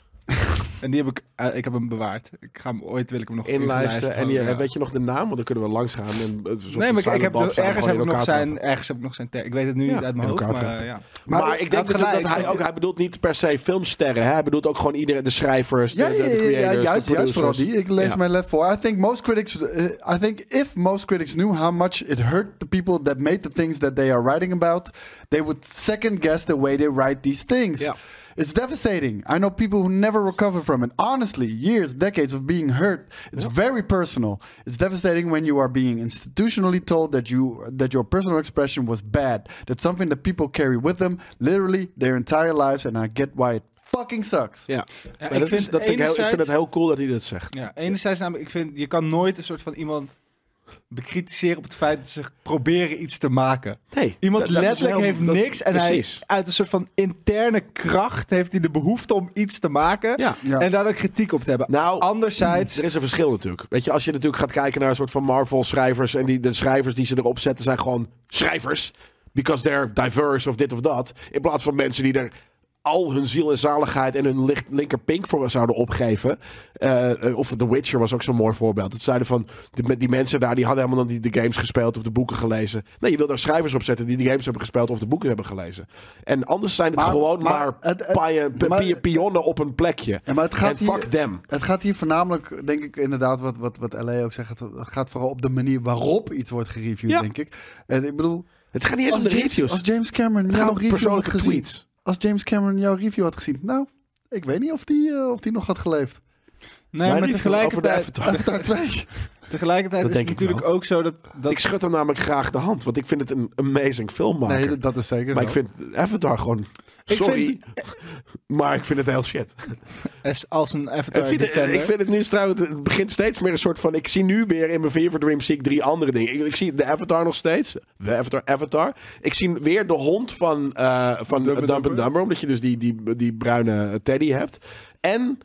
Speaker 3: En die heb ik, eh, ik heb hem bewaard. Ik ga hem, ooit wil ik hem nog
Speaker 2: Inlijsten.
Speaker 3: inlijsten, oh,
Speaker 2: En je,
Speaker 3: ja.
Speaker 2: weet je nog de naam? Want dan kunnen we langs gaan. En, eh, een soort
Speaker 3: Nee, maar ik, ik
Speaker 2: silent
Speaker 3: heb
Speaker 2: Bob
Speaker 3: er-
Speaker 2: zijn
Speaker 3: ergens,
Speaker 2: gewoon
Speaker 3: heb
Speaker 2: in
Speaker 3: ik nog
Speaker 2: elkaar trappen.
Speaker 3: zijn, ergens heb ik nog zijn tag. Ik weet het nu
Speaker 2: Ja,
Speaker 3: niet uit
Speaker 2: in
Speaker 3: mijn hoofd,
Speaker 2: elkaar
Speaker 3: maar eh,
Speaker 2: trappen.
Speaker 3: ja.
Speaker 2: Maar,
Speaker 4: Maar
Speaker 2: ik
Speaker 3: hij
Speaker 2: denk
Speaker 3: had
Speaker 2: dat, dat
Speaker 3: gelijk.
Speaker 2: hij ook, hij bedoelt niet per se filmsterren. Hè? Hij bedoelt ook gewoon iedereen, de schrijvers, de,
Speaker 4: Ja,
Speaker 2: de,
Speaker 4: ja,
Speaker 2: de
Speaker 4: ja, ja,
Speaker 2: creators, de
Speaker 4: juist, juist
Speaker 2: producers.
Speaker 4: vooral die. Ik lees
Speaker 2: Ja.
Speaker 4: mijn left voor. I think most critics, eh, I think if most critics knew how much it hurt the people that made the things that they are writing about, they would second guess the way they write these things.
Speaker 2: Ja.
Speaker 4: It's devastating. I know people who never recover from it. Honestly, years, decades of being hurt. It's very personal. It's devastating when you are being institutionally told that you that your personal expression was bad. That's something that people carry with them literally their entire lives, and I get why it fucking sucks.
Speaker 2: Ja. Maar
Speaker 3: ik
Speaker 2: dat
Speaker 3: vind
Speaker 2: is- dat vind ik heel- ik vind
Speaker 3: enerzijds-
Speaker 2: het heel cool dat hij dit zegt.
Speaker 3: ja. Enerzijds namelijk, ik vind, je kan nooit een soort van iemand bekritiseren op het feit dat ze proberen iets te maken.
Speaker 2: Nee,
Speaker 3: Iemand
Speaker 2: dat- dat is
Speaker 3: letterlijk
Speaker 2: heel-
Speaker 3: heeft
Speaker 2: dat is-
Speaker 3: niks en
Speaker 2: precies.
Speaker 3: hij uit een soort van interne kracht heeft hij de behoefte om iets te maken
Speaker 2: Ja.
Speaker 4: Ja.
Speaker 3: en daar dan kritiek op te hebben.
Speaker 2: Nou,
Speaker 3: Anderzijds,
Speaker 2: Er is een verschil natuurlijk. Weet je, als je natuurlijk gaat kijken naar een soort van Marvel-schrijvers... en die, de schrijvers die ze erop zetten zijn gewoon schrijvers. Because they're diverse of dit of dat. In plaats van mensen die er al hun ziel en zaligheid... en hun licht, linkerpink voor zouden opgeven. Eh, eh, of The Witcher was ook zo'n mooi voorbeeld. Het zeiden van, die, met die mensen daar... die hadden helemaal nog niet de games gespeeld of de boeken gelezen. Nee, je wil daar schrijvers op zetten die de games hebben gespeeld... of de boeken hebben gelezen. En anders zijn het
Speaker 4: Maar-
Speaker 2: gewoon
Speaker 4: maar
Speaker 2: maar,
Speaker 4: het- het-
Speaker 2: paaien- pi-
Speaker 4: maar-
Speaker 2: pi- pionnen op een plekje.
Speaker 4: Ja, maar het gaat
Speaker 2: en
Speaker 4: hier-
Speaker 2: fuck them.
Speaker 4: Het gaat hier voornamelijk, denk ik inderdaad, wat, wat, wat LA ook zegt, het gaat vooral op de manier waarop iets wordt gereviewd,
Speaker 2: Ja.
Speaker 4: denk ik. En ik bedoel,
Speaker 2: Het gaat niet eens
Speaker 4: als
Speaker 2: om de
Speaker 4: James,
Speaker 2: reviews.
Speaker 4: als James Cameron
Speaker 2: Het gaat
Speaker 4: jouw
Speaker 2: om
Speaker 4: review had
Speaker 2: persoonlijke
Speaker 4: gezien,
Speaker 2: tweets.
Speaker 4: als James Cameron jouw review had gezien, nou, ik weet niet of die, eh, of die nog had geleefd.
Speaker 3: nee, maar
Speaker 2: review
Speaker 3: tegelijkertijd,
Speaker 2: over de avatar.
Speaker 4: Avatar 2.
Speaker 3: tegelijkertijd
Speaker 2: Dat
Speaker 3: is het
Speaker 2: denk ik
Speaker 3: natuurlijk ook zo dat, dat
Speaker 2: Ik schud hem namelijk graag de hand, want ik vind het een amazing filmmaker.
Speaker 4: Nee, dat- dat is zeker
Speaker 2: maar
Speaker 4: zo.
Speaker 2: ik vind Avatar gewoon... Sorry, maar ik vind het heel shit.
Speaker 3: als- als een avatar
Speaker 2: Het ziet er-
Speaker 3: defender-
Speaker 2: Eh, ik vind het nu trouwens, het begint steeds meer een soort van... Ik zie nu weer in mijn Fear for Dream zie ik drie andere dingen. Ik, ik zie de Avatar nog steeds. De Avatar, Avatar. Ik zie weer de hond van, eh van
Speaker 3: Dumb
Speaker 2: Dumb
Speaker 3: and
Speaker 2: and
Speaker 3: Dumber.
Speaker 2: Dumber, omdat je dus die, die, die bruine teddy hebt. En...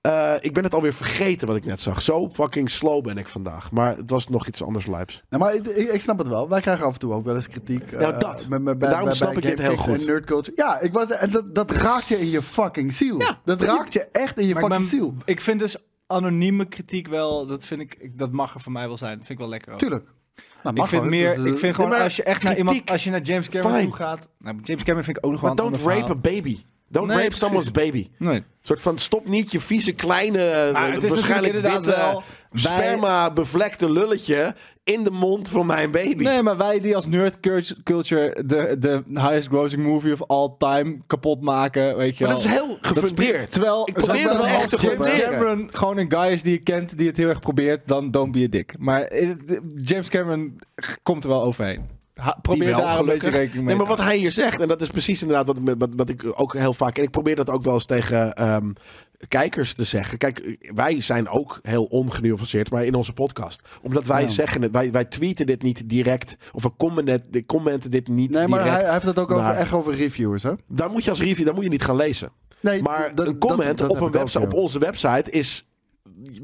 Speaker 2: eh, ik ben het alweer vergeten wat ik net zag. Zo fucking slow ben ik vandaag. Maar het was nog iets anders lijps.
Speaker 4: Nou, maar ik, ik, ik snap het wel. Wij krijgen af en toe ook wel eens kritiek. eh,
Speaker 2: dat.
Speaker 4: met- met-
Speaker 2: Daarom snap ik dit
Speaker 4: Gamekicks
Speaker 2: heel goed.
Speaker 4: En nerd culture. Ja, ik was, en dat, dat raakt je in je fucking ziel. dat raakt je echt in je
Speaker 3: Maar ik
Speaker 4: fucking
Speaker 3: ben-
Speaker 4: ziel.
Speaker 3: Ik vind dus anonieme kritiek wel, dat vind ik, ik- dat mag er van mij wel zijn. Dat vind ik wel lekker. ook.
Speaker 4: Tuurlijk. Nou,
Speaker 3: Ik
Speaker 4: mag eh,
Speaker 3: vind,
Speaker 4: wel.
Speaker 3: meer,
Speaker 4: Dat-
Speaker 3: ik vind gewoon
Speaker 2: maar
Speaker 3: als je echt naar iemand,
Speaker 2: kritiek,
Speaker 3: als je naar James Cameron
Speaker 2: fine.
Speaker 3: toe gaat. Nou, James Cameron vind ik ook nog wel
Speaker 2: Maar
Speaker 3: een
Speaker 2: don't
Speaker 3: ander
Speaker 2: rape a baby. Don't
Speaker 3: Nee,
Speaker 2: rape
Speaker 3: precies.
Speaker 2: someone's baby. Een
Speaker 3: verhaal. Nee.
Speaker 2: soort van stop niet je vieze kleine,
Speaker 3: Maar
Speaker 2: eh,
Speaker 3: het is
Speaker 2: waarschijnlijk
Speaker 3: natuurlijk
Speaker 2: witte,
Speaker 3: inderdaad wel- wij-
Speaker 2: sperma bevlekte lulletje in de mond van mijn baby.
Speaker 3: nee, maar wij die als nerd cult- culture de, de highest grossing movie of all time kapot maken, weet je
Speaker 2: maar
Speaker 3: wel.
Speaker 2: dat is heel gefundeerd.
Speaker 3: Terwijl,
Speaker 2: Ik probeer het
Speaker 3: terwijl
Speaker 2: wel echt
Speaker 3: als
Speaker 2: te
Speaker 3: James
Speaker 2: proberen.
Speaker 3: Cameron gewoon een guy is die je kent, die het heel erg probeert, dan don't be a dick. Maar eh, James Cameron komt er wel overheen. Ha-
Speaker 2: Die
Speaker 3: probeer
Speaker 2: wel,
Speaker 3: daar
Speaker 2: gelukkig.
Speaker 3: een beetje rekening mee
Speaker 2: Nee,
Speaker 3: te
Speaker 2: maar wat hij hier zegt, en dat is precies inderdaad wat, wat, wat ik ook heel vaak. En ik probeer dat ook wel eens tegen ehm, kijkers te zeggen. Kijk, wij zijn ook heel ongenuanceerd, maar in onze podcast. Omdat wij
Speaker 4: Ja.
Speaker 2: zeggen het, wij, wij tweeten dit niet direct. Of we commenten, commenten dit niet
Speaker 4: Nee, maar
Speaker 2: direct.
Speaker 4: hij, hij heeft het ook over,
Speaker 2: naar-
Speaker 4: echt over reviewers, hè?
Speaker 2: Daar moet je als review, daar moet je niet gaan lezen.
Speaker 4: Nee,
Speaker 2: Maar
Speaker 4: d- dat-
Speaker 2: een comment
Speaker 4: dat- dat
Speaker 2: op,
Speaker 4: heb
Speaker 2: een
Speaker 4: ik ook,
Speaker 2: website,
Speaker 4: ja.
Speaker 2: op onze website is.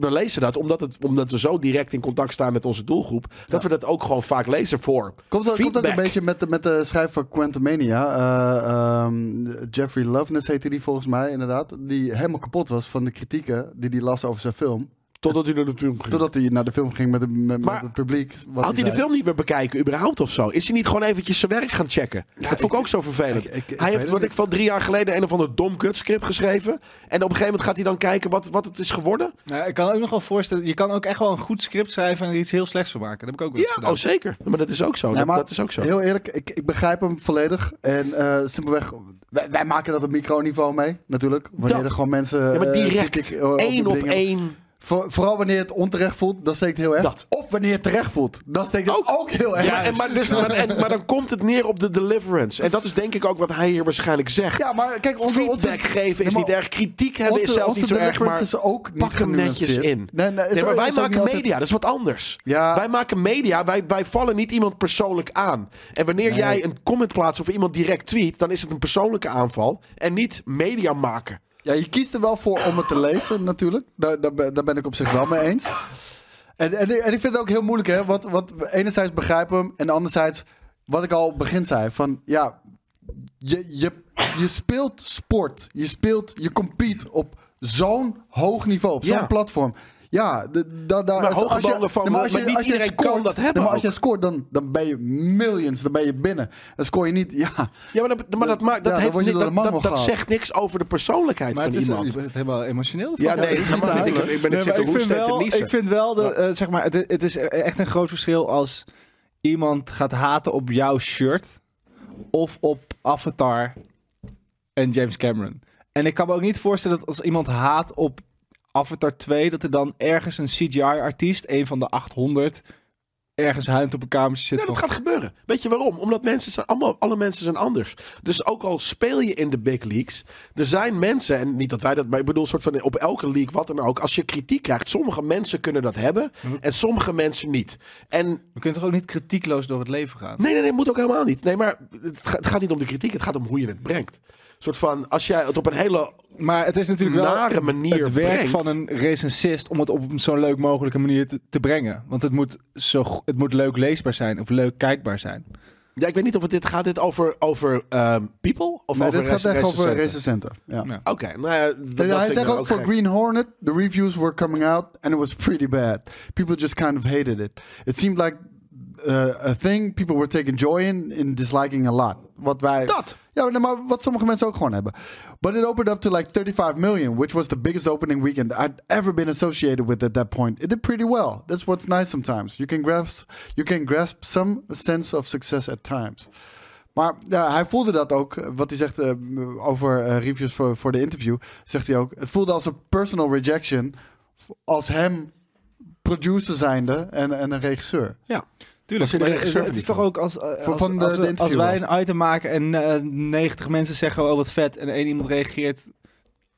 Speaker 2: We lezen dat omdat, het, omdat we zo direct in contact staan met onze doelgroep. Dat we dat ook gewoon vaak lezen voor.
Speaker 4: Komt, dat- komt
Speaker 2: feedback.
Speaker 4: ook een beetje met de, met de schrijver van Quantumania. eh, ehm, Jeffrey Loveness heette die volgens mij, inderdaad. Die helemaal kapot was van de kritieken die hij las over zijn film.
Speaker 2: Totdat u er natuurlijk.
Speaker 4: Totdat hij naar de film ging met, de- met, met
Speaker 2: Maar
Speaker 4: het publiek. wat
Speaker 2: Had hij de
Speaker 4: zei.
Speaker 2: film niet meer bekijken, überhaupt of zo? Is hij niet gewoon eventjes zijn werk gaan checken? dat vond ik ook zo vervelend.
Speaker 4: ik- ik- ik
Speaker 2: hij
Speaker 4: weet
Speaker 2: heeft,
Speaker 4: het
Speaker 2: wat
Speaker 4: niet.
Speaker 2: ik van drie jaar geleden, een of ander dom kutscript geschreven. En op een gegeven moment gaat hij dan kijken wat, wat het is geworden.
Speaker 3: Nou, ik kan ook nog wel voorstellen, je kan ook echt wel een goed script schrijven en er iets heel slechts van maken. Dat heb ik ook wel eens
Speaker 2: Ja,
Speaker 3: gedaan.
Speaker 2: oh zeker. Maar dat is ook zo.
Speaker 4: Nee,
Speaker 2: dat,
Speaker 4: maar
Speaker 2: dat is ook zo.
Speaker 4: Heel eerlijk, ik, ik begrijp hem volledig. En eh, simpelweg, wij, wij maken dat op microniveau mee, natuurlijk. Wanneer
Speaker 2: Dat.
Speaker 4: er gewoon mensen...
Speaker 2: ja, maar
Speaker 4: eh,
Speaker 2: direct.
Speaker 4: kritiek, eh, die
Speaker 2: Eén op
Speaker 4: dingen-
Speaker 2: één.
Speaker 4: Voor- vooral wanneer het onterecht voelt, dan steekt het heel erg.
Speaker 2: Dat.
Speaker 4: Of wanneer het terecht voelt, dan steekt het ook,
Speaker 2: Ook.
Speaker 4: heel erg.
Speaker 2: Ja, en maar, dus, maar, en, maar dan komt het neer op de deliverance. En dat is denk ik ook wat hij hier waarschijnlijk zegt.
Speaker 4: Ja, maar kijk, onze,
Speaker 2: Feedback
Speaker 4: onze,
Speaker 2: geven
Speaker 4: Nee,
Speaker 2: is
Speaker 4: maar
Speaker 2: niet erg. Kritiek hebben
Speaker 4: onze,
Speaker 2: is zelfs
Speaker 4: onze
Speaker 2: niet zo erg.
Speaker 4: deliverance
Speaker 2: Maar,
Speaker 4: is ook niet
Speaker 2: pak hem netjes
Speaker 4: genuanceerd.
Speaker 2: in.
Speaker 4: Nee, nee, is
Speaker 2: nee, maar
Speaker 4: ook-
Speaker 2: wij
Speaker 4: is ook
Speaker 2: maken
Speaker 4: niet altijd-
Speaker 2: media, dat is wat anders.
Speaker 4: Ja.
Speaker 2: Wij maken media, wij, wij vallen niet iemand persoonlijk aan. En wanneer jij een comment plaatst of iemand direct tweet, dan is het een persoonlijke aanval. En niet media maken.
Speaker 4: Ja, je kiest er wel voor om het te lezen, natuurlijk. Daar, daar, ben- daar ben ik op zich wel mee eens. En, en, en ik vind het ook heel moeilijk, hè? Want, want enerzijds begrijpen we hem, en anderzijds, wat ik al op het begin zei, van ja, je, je, je speelt sport. Je speelt, je compete op zo'n hoog niveau, op zo'n
Speaker 2: Ja.
Speaker 4: platform. Ja, de, da, da,
Speaker 2: Maar
Speaker 4: als-
Speaker 2: hoge
Speaker 4: als je-
Speaker 2: ballen van-
Speaker 4: nee, maar als
Speaker 2: maar
Speaker 4: je-
Speaker 2: niet
Speaker 4: als je
Speaker 2: iedereen kan
Speaker 4: scoort-
Speaker 2: dat hebben
Speaker 4: nee, maar als
Speaker 2: ook.
Speaker 4: je scoort, dan, dan ben je millions, dan ben je binnen. Dan scoor je niet, ja.
Speaker 2: Ja, maar dat, maar dat, maakt,
Speaker 4: Ja,
Speaker 2: dat,
Speaker 4: dan
Speaker 2: heeft
Speaker 4: word je
Speaker 2: niet-
Speaker 4: door de
Speaker 2: dat, dat,
Speaker 4: man wel
Speaker 2: dat
Speaker 4: gehaald.
Speaker 2: zegt niks over de persoonlijkheid
Speaker 3: Maar
Speaker 2: van
Speaker 3: het is,
Speaker 2: iemand.
Speaker 3: je bent helemaal emotioneel.
Speaker 2: Ja,
Speaker 3: van.
Speaker 2: nee,
Speaker 4: is
Speaker 2: helemaal
Speaker 4: niet
Speaker 2: niet. Ik,
Speaker 4: duidelijk.
Speaker 2: ik ben
Speaker 3: Nee,
Speaker 2: ik zit
Speaker 3: maar
Speaker 2: te
Speaker 3: ik, vind
Speaker 2: hoesten en te
Speaker 3: wel,
Speaker 2: niezen.
Speaker 3: ik vind wel, de, eh, zeg maar, het, het is echt een groot verschil als iemand gaat haten op jouw shirt of op Avatar en James Cameron. En ik kan me ook niet voorstellen dat als iemand haat op Avatar 2, dat er dan ergens een CGI-artiest, een van de 800, ergens huilend op een kamertje zit.
Speaker 2: Ja, dat
Speaker 3: van,
Speaker 2: gaat gebeuren. Weet je waarom? Omdat mensen zijn allemaal, alle mensen zijn anders. Dus ook al speel je in de big leagues, er zijn mensen, en niet dat wij dat, maar ik bedoel, soort van op elke league, wat dan ook, als je kritiek krijgt, sommige mensen kunnen dat hebben en sommige mensen niet. En
Speaker 3: We kunnen toch ook niet kritiekloos door het leven gaan?
Speaker 2: Nee, nee, nee, moet ook helemaal niet. Nee, maar het, ga- het gaat niet om de kritiek, het gaat om hoe je het brengt. Een soort van, als jij het op een hele...
Speaker 3: Maar het is natuurlijk wel
Speaker 2: Nare manier
Speaker 3: het werk
Speaker 2: brengt.
Speaker 3: van een recensist om het op zo'n leuk mogelijke manier te, te brengen. Want het moet, zo, go- het moet leuk leesbaar zijn of leuk kijkbaar zijn.
Speaker 2: Ja, ik weet niet of het dit gaat dit over, over ehm, people of
Speaker 4: Nee,
Speaker 2: over
Speaker 4: dit gaat
Speaker 2: rec-
Speaker 4: echt over
Speaker 2: recensenten?
Speaker 4: recensenten. Ja.
Speaker 3: Ja.
Speaker 2: Oké, nou ja, dat- dat,
Speaker 4: hij
Speaker 2: vind ik
Speaker 4: zegt
Speaker 2: dan
Speaker 4: ook voor
Speaker 2: gek.
Speaker 4: Green Hornet, the reviews were coming out and it was pretty bad. People just kind of hated it. It seemed like uh, a thing people were taking joy in, in disliking a lot. Wat wij...
Speaker 2: Dat!
Speaker 4: Ja, nee, maar wat sommige mensen ook gewoon hebben. But it opened up to like 35 million, which was the biggest opening weekend I'd ever been associated with at that point. It did pretty well. That's what's nice sometimes. You can grasp, you can grasp some sense of success at times. Maar ja, hij voelde dat ook. Wat hij zegt eh, m- over eh, reviews voor, voor de interview, zegt hij ook. Het voelde als een personal rejection als hem producer zijnde en, en een regisseur.
Speaker 2: Ja.
Speaker 3: Tuurlijk,
Speaker 2: Als je de
Speaker 3: maar
Speaker 2: regisseur
Speaker 3: het is
Speaker 2: van
Speaker 3: toch
Speaker 2: die
Speaker 3: ook als, eh,
Speaker 4: Van-
Speaker 3: als,
Speaker 4: van de-
Speaker 3: als,
Speaker 4: de
Speaker 3: we- als
Speaker 4: interviewer.
Speaker 3: wij een item maken en eh, 90 mensen zeggen oh wat vet en één iemand reageert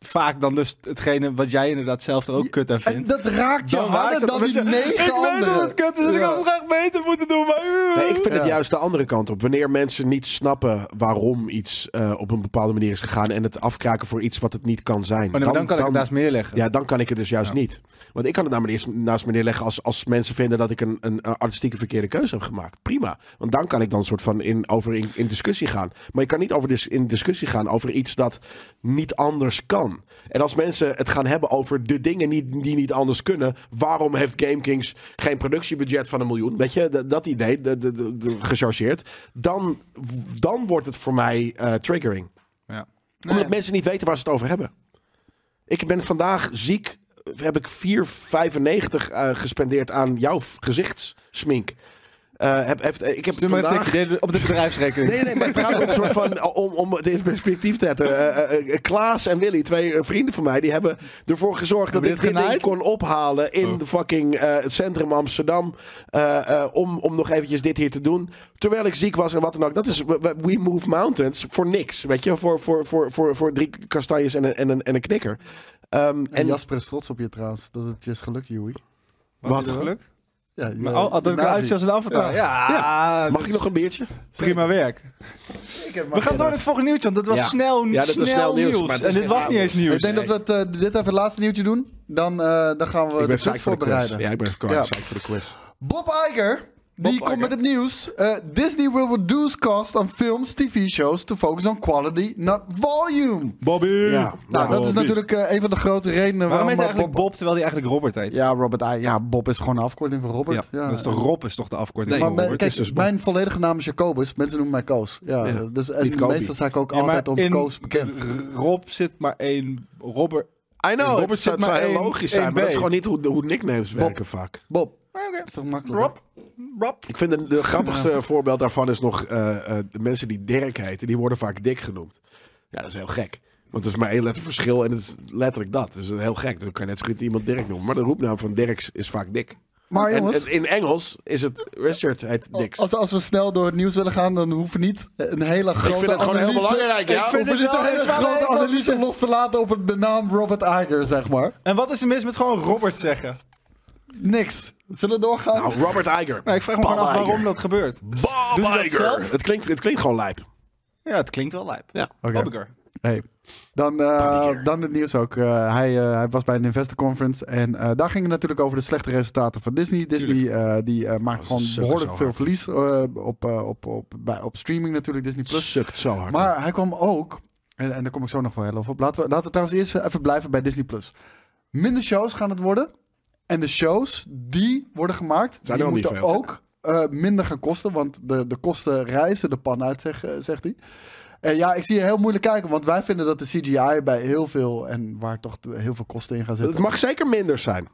Speaker 3: vaak dan dus hetgene wat jij inderdaad zelf er ook kut aan
Speaker 4: En
Speaker 3: vindt.
Speaker 4: dat raakt je
Speaker 3: raakt
Speaker 4: harder
Speaker 3: het
Speaker 4: dan
Speaker 3: omdat
Speaker 4: die
Speaker 3: je-
Speaker 4: negen anderen.
Speaker 3: Ik weet dat het kut is en ik
Speaker 4: Ja.
Speaker 3: had het graag beter moeten doen. Maar...
Speaker 2: Nee, ik vind
Speaker 4: Ja.
Speaker 2: het juist de andere kant op. Wanneer mensen niet snappen waarom iets eh, op een bepaalde manier is gegaan en het afkraken voor iets wat het niet kan zijn.
Speaker 3: Oh, Maar dan, kan ik het naast meer leggen.
Speaker 2: Ja, dan kan ik het dus juist niet. Want ik kan het namelijk eerst naast me neerleggen als, als mensen vinden dat ik een, een eh, artistieke verkeerde keuze heb gemaakt. Prima. Want dan kan ik dan soort van in, over in, in discussie gaan. Maar je kan niet over dis, in discussie gaan over iets dat niet anders kan. En als mensen het gaan hebben over de dingen niet, die niet anders kunnen. Waarom heeft GameKings geen productiebudget van een miljoen? Weet je, dat, dat idee, de, de, de, de- gechargeerd. Dan, dan wordt het voor mij eh, triggering
Speaker 3: Nou Ja.
Speaker 2: omdat mensen niet weten waar ze het over hebben. Ik ben vandaag ziek. Heb ik 4,95 eh, gespendeerd aan jouw v- gezichtssmink. Eh, heb, heeft- eh, ik heb
Speaker 3: Doe maar een
Speaker 2: vandaag...
Speaker 3: tikje dit- op de bedrijfsrekening.
Speaker 2: Nee, nee, maar ik praat om, soort van, eh, om, om het in perspectief te zetten. Eh, eh, eh, Klaas en Willy, twee eh, vrienden van mij, die hebben ervoor gezorgd dat
Speaker 3: Hebben
Speaker 2: ik
Speaker 3: dit
Speaker 2: dit ding
Speaker 3: genaaid?
Speaker 2: kon ophalen in de fucking eh, het centrum Amsterdam. eh, eh, om, om nog eventjes dit hier te doen. Terwijl ik ziek was en wat dan ook. Dat is we- we we Move Mountains voor niks. Weet je, voor, voor, voor, voor, voor drie kastanjes en een, en een, en een knikker. Ehm,
Speaker 4: En
Speaker 2: en
Speaker 4: Jasper is trots op je trouwens. Dat het je is gelukt, Joey.
Speaker 2: Wat?
Speaker 3: is er gelukt?
Speaker 4: Ja, je-
Speaker 3: Maar,
Speaker 2: Eh,
Speaker 3: oh, had
Speaker 4: je
Speaker 3: ik
Speaker 4: nazi.
Speaker 3: eruit als een avatar. Ja,
Speaker 2: mag ik nog een beertje?
Speaker 3: prima werk. We gaan door naar het volgende nieuwtje, want dat was
Speaker 2: Ja.
Speaker 3: snel,
Speaker 2: Ja, dat was
Speaker 3: snel,
Speaker 2: snel nieuws,
Speaker 3: nieuws.
Speaker 2: maar het is
Speaker 3: En dit
Speaker 2: geen
Speaker 3: was niet
Speaker 2: raar
Speaker 3: eens
Speaker 2: nieuws.
Speaker 3: nieuws.
Speaker 4: Ik denk dat we het, eh, dit even het laatste nieuwtje doen. Dan, eh, dan gaan we
Speaker 2: Ik ben
Speaker 4: het
Speaker 2: psyched
Speaker 4: quiz
Speaker 2: voor de quiz.
Speaker 4: voorbereiden.
Speaker 2: Ja, ik ben
Speaker 4: Ja.
Speaker 2: psyched voor de quiz.
Speaker 4: Bob Iger, die
Speaker 3: Iger.
Speaker 4: komt met het nieuws. Eh, Disney will reduce cost on films, TV shows to focus on quality, not volume.
Speaker 3: Bobby!
Speaker 2: Ja,
Speaker 4: Nou, dat is natuurlijk eh, een van de grote redenen
Speaker 3: Waarom
Speaker 4: waarom...
Speaker 3: heet hij eigenlijk
Speaker 4: Bob...
Speaker 3: Bob terwijl hij eigenlijk Robert heet?
Speaker 4: Ja, Robert I- Ja, Bob is gewoon een afkorting van Robert. Ja,
Speaker 3: Dat is toch Rob is toch de afkorting
Speaker 2: Nee,
Speaker 4: Maar
Speaker 3: van
Speaker 4: mijn-
Speaker 3: Robert?
Speaker 4: kijk,
Speaker 2: is dus Bob.
Speaker 4: mijn volledige naam is Jacobus. Mensen noemen mij Koos. Ja,
Speaker 2: Ja,
Speaker 4: Dus, en
Speaker 2: niet Kobe.
Speaker 4: meestal sta ik ook
Speaker 3: Ja, maar
Speaker 4: altijd om
Speaker 3: in
Speaker 4: Koos bekend.
Speaker 3: R- Rob zit maar één Robert.
Speaker 2: I know,
Speaker 3: Robert
Speaker 2: het zou
Speaker 3: zit
Speaker 2: het zou
Speaker 3: maar
Speaker 2: heel
Speaker 3: één-
Speaker 2: logisch
Speaker 3: één
Speaker 2: zijn, maar dat
Speaker 3: B.
Speaker 2: is gewoon niet hoe, hoe nicknames werken vaak.
Speaker 4: Bob.
Speaker 3: Maar oké.
Speaker 4: Dat is toch makkelijk?
Speaker 3: Rob? Rob?
Speaker 2: Ik vind het de grappigste voorbeeld daarvan is nog eh, eh, de mensen die Dirk heten. Die worden vaak Dick genoemd. Ja, dat is heel gek. Want het is maar één letter verschil en het is letterlijk dat. Dus heel gek. Dus dan kan je net zo goed iemand Dirk noemen. Maar de roepnaam van Dirk is vaak Dick.
Speaker 4: Maar
Speaker 2: En,
Speaker 4: jongens,
Speaker 2: en in Engels is het Richard heet Dick.
Speaker 4: Als, als we snel door het nieuws willen gaan, dan hoeven we niet een hele grote
Speaker 2: het gewoon heel
Speaker 4: analyse-
Speaker 2: belangrijk, ja.
Speaker 4: Ik vind
Speaker 3: Ik
Speaker 4: het
Speaker 3: vind
Speaker 4: niet
Speaker 3: het
Speaker 4: een
Speaker 3: wel
Speaker 4: hele
Speaker 3: eens wel
Speaker 4: grote
Speaker 3: even-
Speaker 4: analyse los te laten op de naam Robert Iger, zeg maar.
Speaker 3: En wat is er mis met gewoon Robert zeggen?
Speaker 4: Niks. Zullen we doorgaan?
Speaker 2: Nou, Robert Iger.
Speaker 3: Nou, ik vraag me
Speaker 2: Bob
Speaker 3: gewoon af
Speaker 2: Iger.
Speaker 3: waarom dat gebeurt.
Speaker 2: Bob
Speaker 3: Doet hij dat
Speaker 2: Iger.
Speaker 3: zelf?
Speaker 2: Het klinkt, het klinkt gewoon lijp.
Speaker 3: Ja, het klinkt wel lijp.
Speaker 2: Ja.
Speaker 4: Oké.
Speaker 3: Bobbiger.
Speaker 4: Hey. Dan, eh,
Speaker 2: Paniek.
Speaker 4: dan het nieuws ook. Eh, hij, eh, hij was bij een investor conference. En eh, daar ging het natuurlijk over de slechte resultaten van Disney. Disney eh, die, eh, maakt gewoon
Speaker 2: sukken
Speaker 4: behoorlijk
Speaker 2: Oh, zo
Speaker 4: veel
Speaker 2: hard.
Speaker 4: verlies eh, op, eh, op, op, bij, op streaming natuurlijk, Disney Plus.
Speaker 2: Sukt zo hard.
Speaker 4: Maar hij kwam ook, en, en daar kom ik zo nog wel heel over op. Laten we, laten we trouwens eerst eh, even blijven bij Disney Plus. Minder shows gaan het worden. En de shows die worden gemaakt,
Speaker 2: Zijn
Speaker 4: die
Speaker 2: er al niet
Speaker 4: moeten
Speaker 2: veel,
Speaker 4: ook eh, minder gaan kosten. Want de, de kosten reizen de pan uit, zeg- eh, zegt hij. En ja, ik zie je heel moeilijk kijken, want wij vinden dat de CGI bij heel veel en waar toch heel veel kosten in gaan zitten.
Speaker 2: Het mag zeker minder zijn.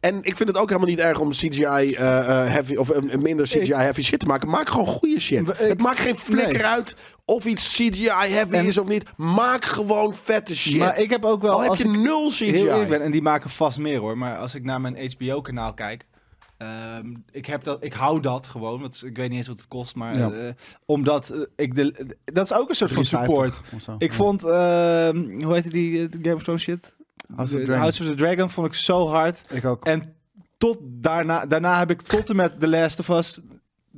Speaker 2: En ik vind het ook helemaal niet erg om CGI eh, eh, heavy of eh, minder CGI heavy shit te maken. Maak gewoon goede shit.
Speaker 3: We- ik-
Speaker 2: het maakt geen flikker
Speaker 3: Nee.
Speaker 2: uit of iets CGI heavy
Speaker 3: En-
Speaker 2: is of niet. Maak gewoon vette shit.
Speaker 3: Maar ik heb ook wel,
Speaker 2: Al heb
Speaker 3: als
Speaker 2: je
Speaker 3: ik
Speaker 2: nul
Speaker 3: heel eerlijk
Speaker 2: CGI.
Speaker 3: ben, en die maken vast meer hoor. Maar als ik naar mijn HBO-kanaal kijk, Ehm, ik, heb dat, ik hou dat gewoon, want ik weet niet eens wat het kost, maar
Speaker 4: Ja.
Speaker 3: eh, omdat eh, ik de, dat is ook een soort van support.
Speaker 4: 3,50 of zo.
Speaker 3: Ik vond, ehm, hoe heette die eh, Game of Thrones shit?
Speaker 4: House of
Speaker 2: Nou,
Speaker 3: De- de
Speaker 4: Dragon.
Speaker 3: House of the Dragon vond ik zo hard.
Speaker 4: Ik ook.
Speaker 3: En tot daarna, daarna heb ik tot en met The Last of Us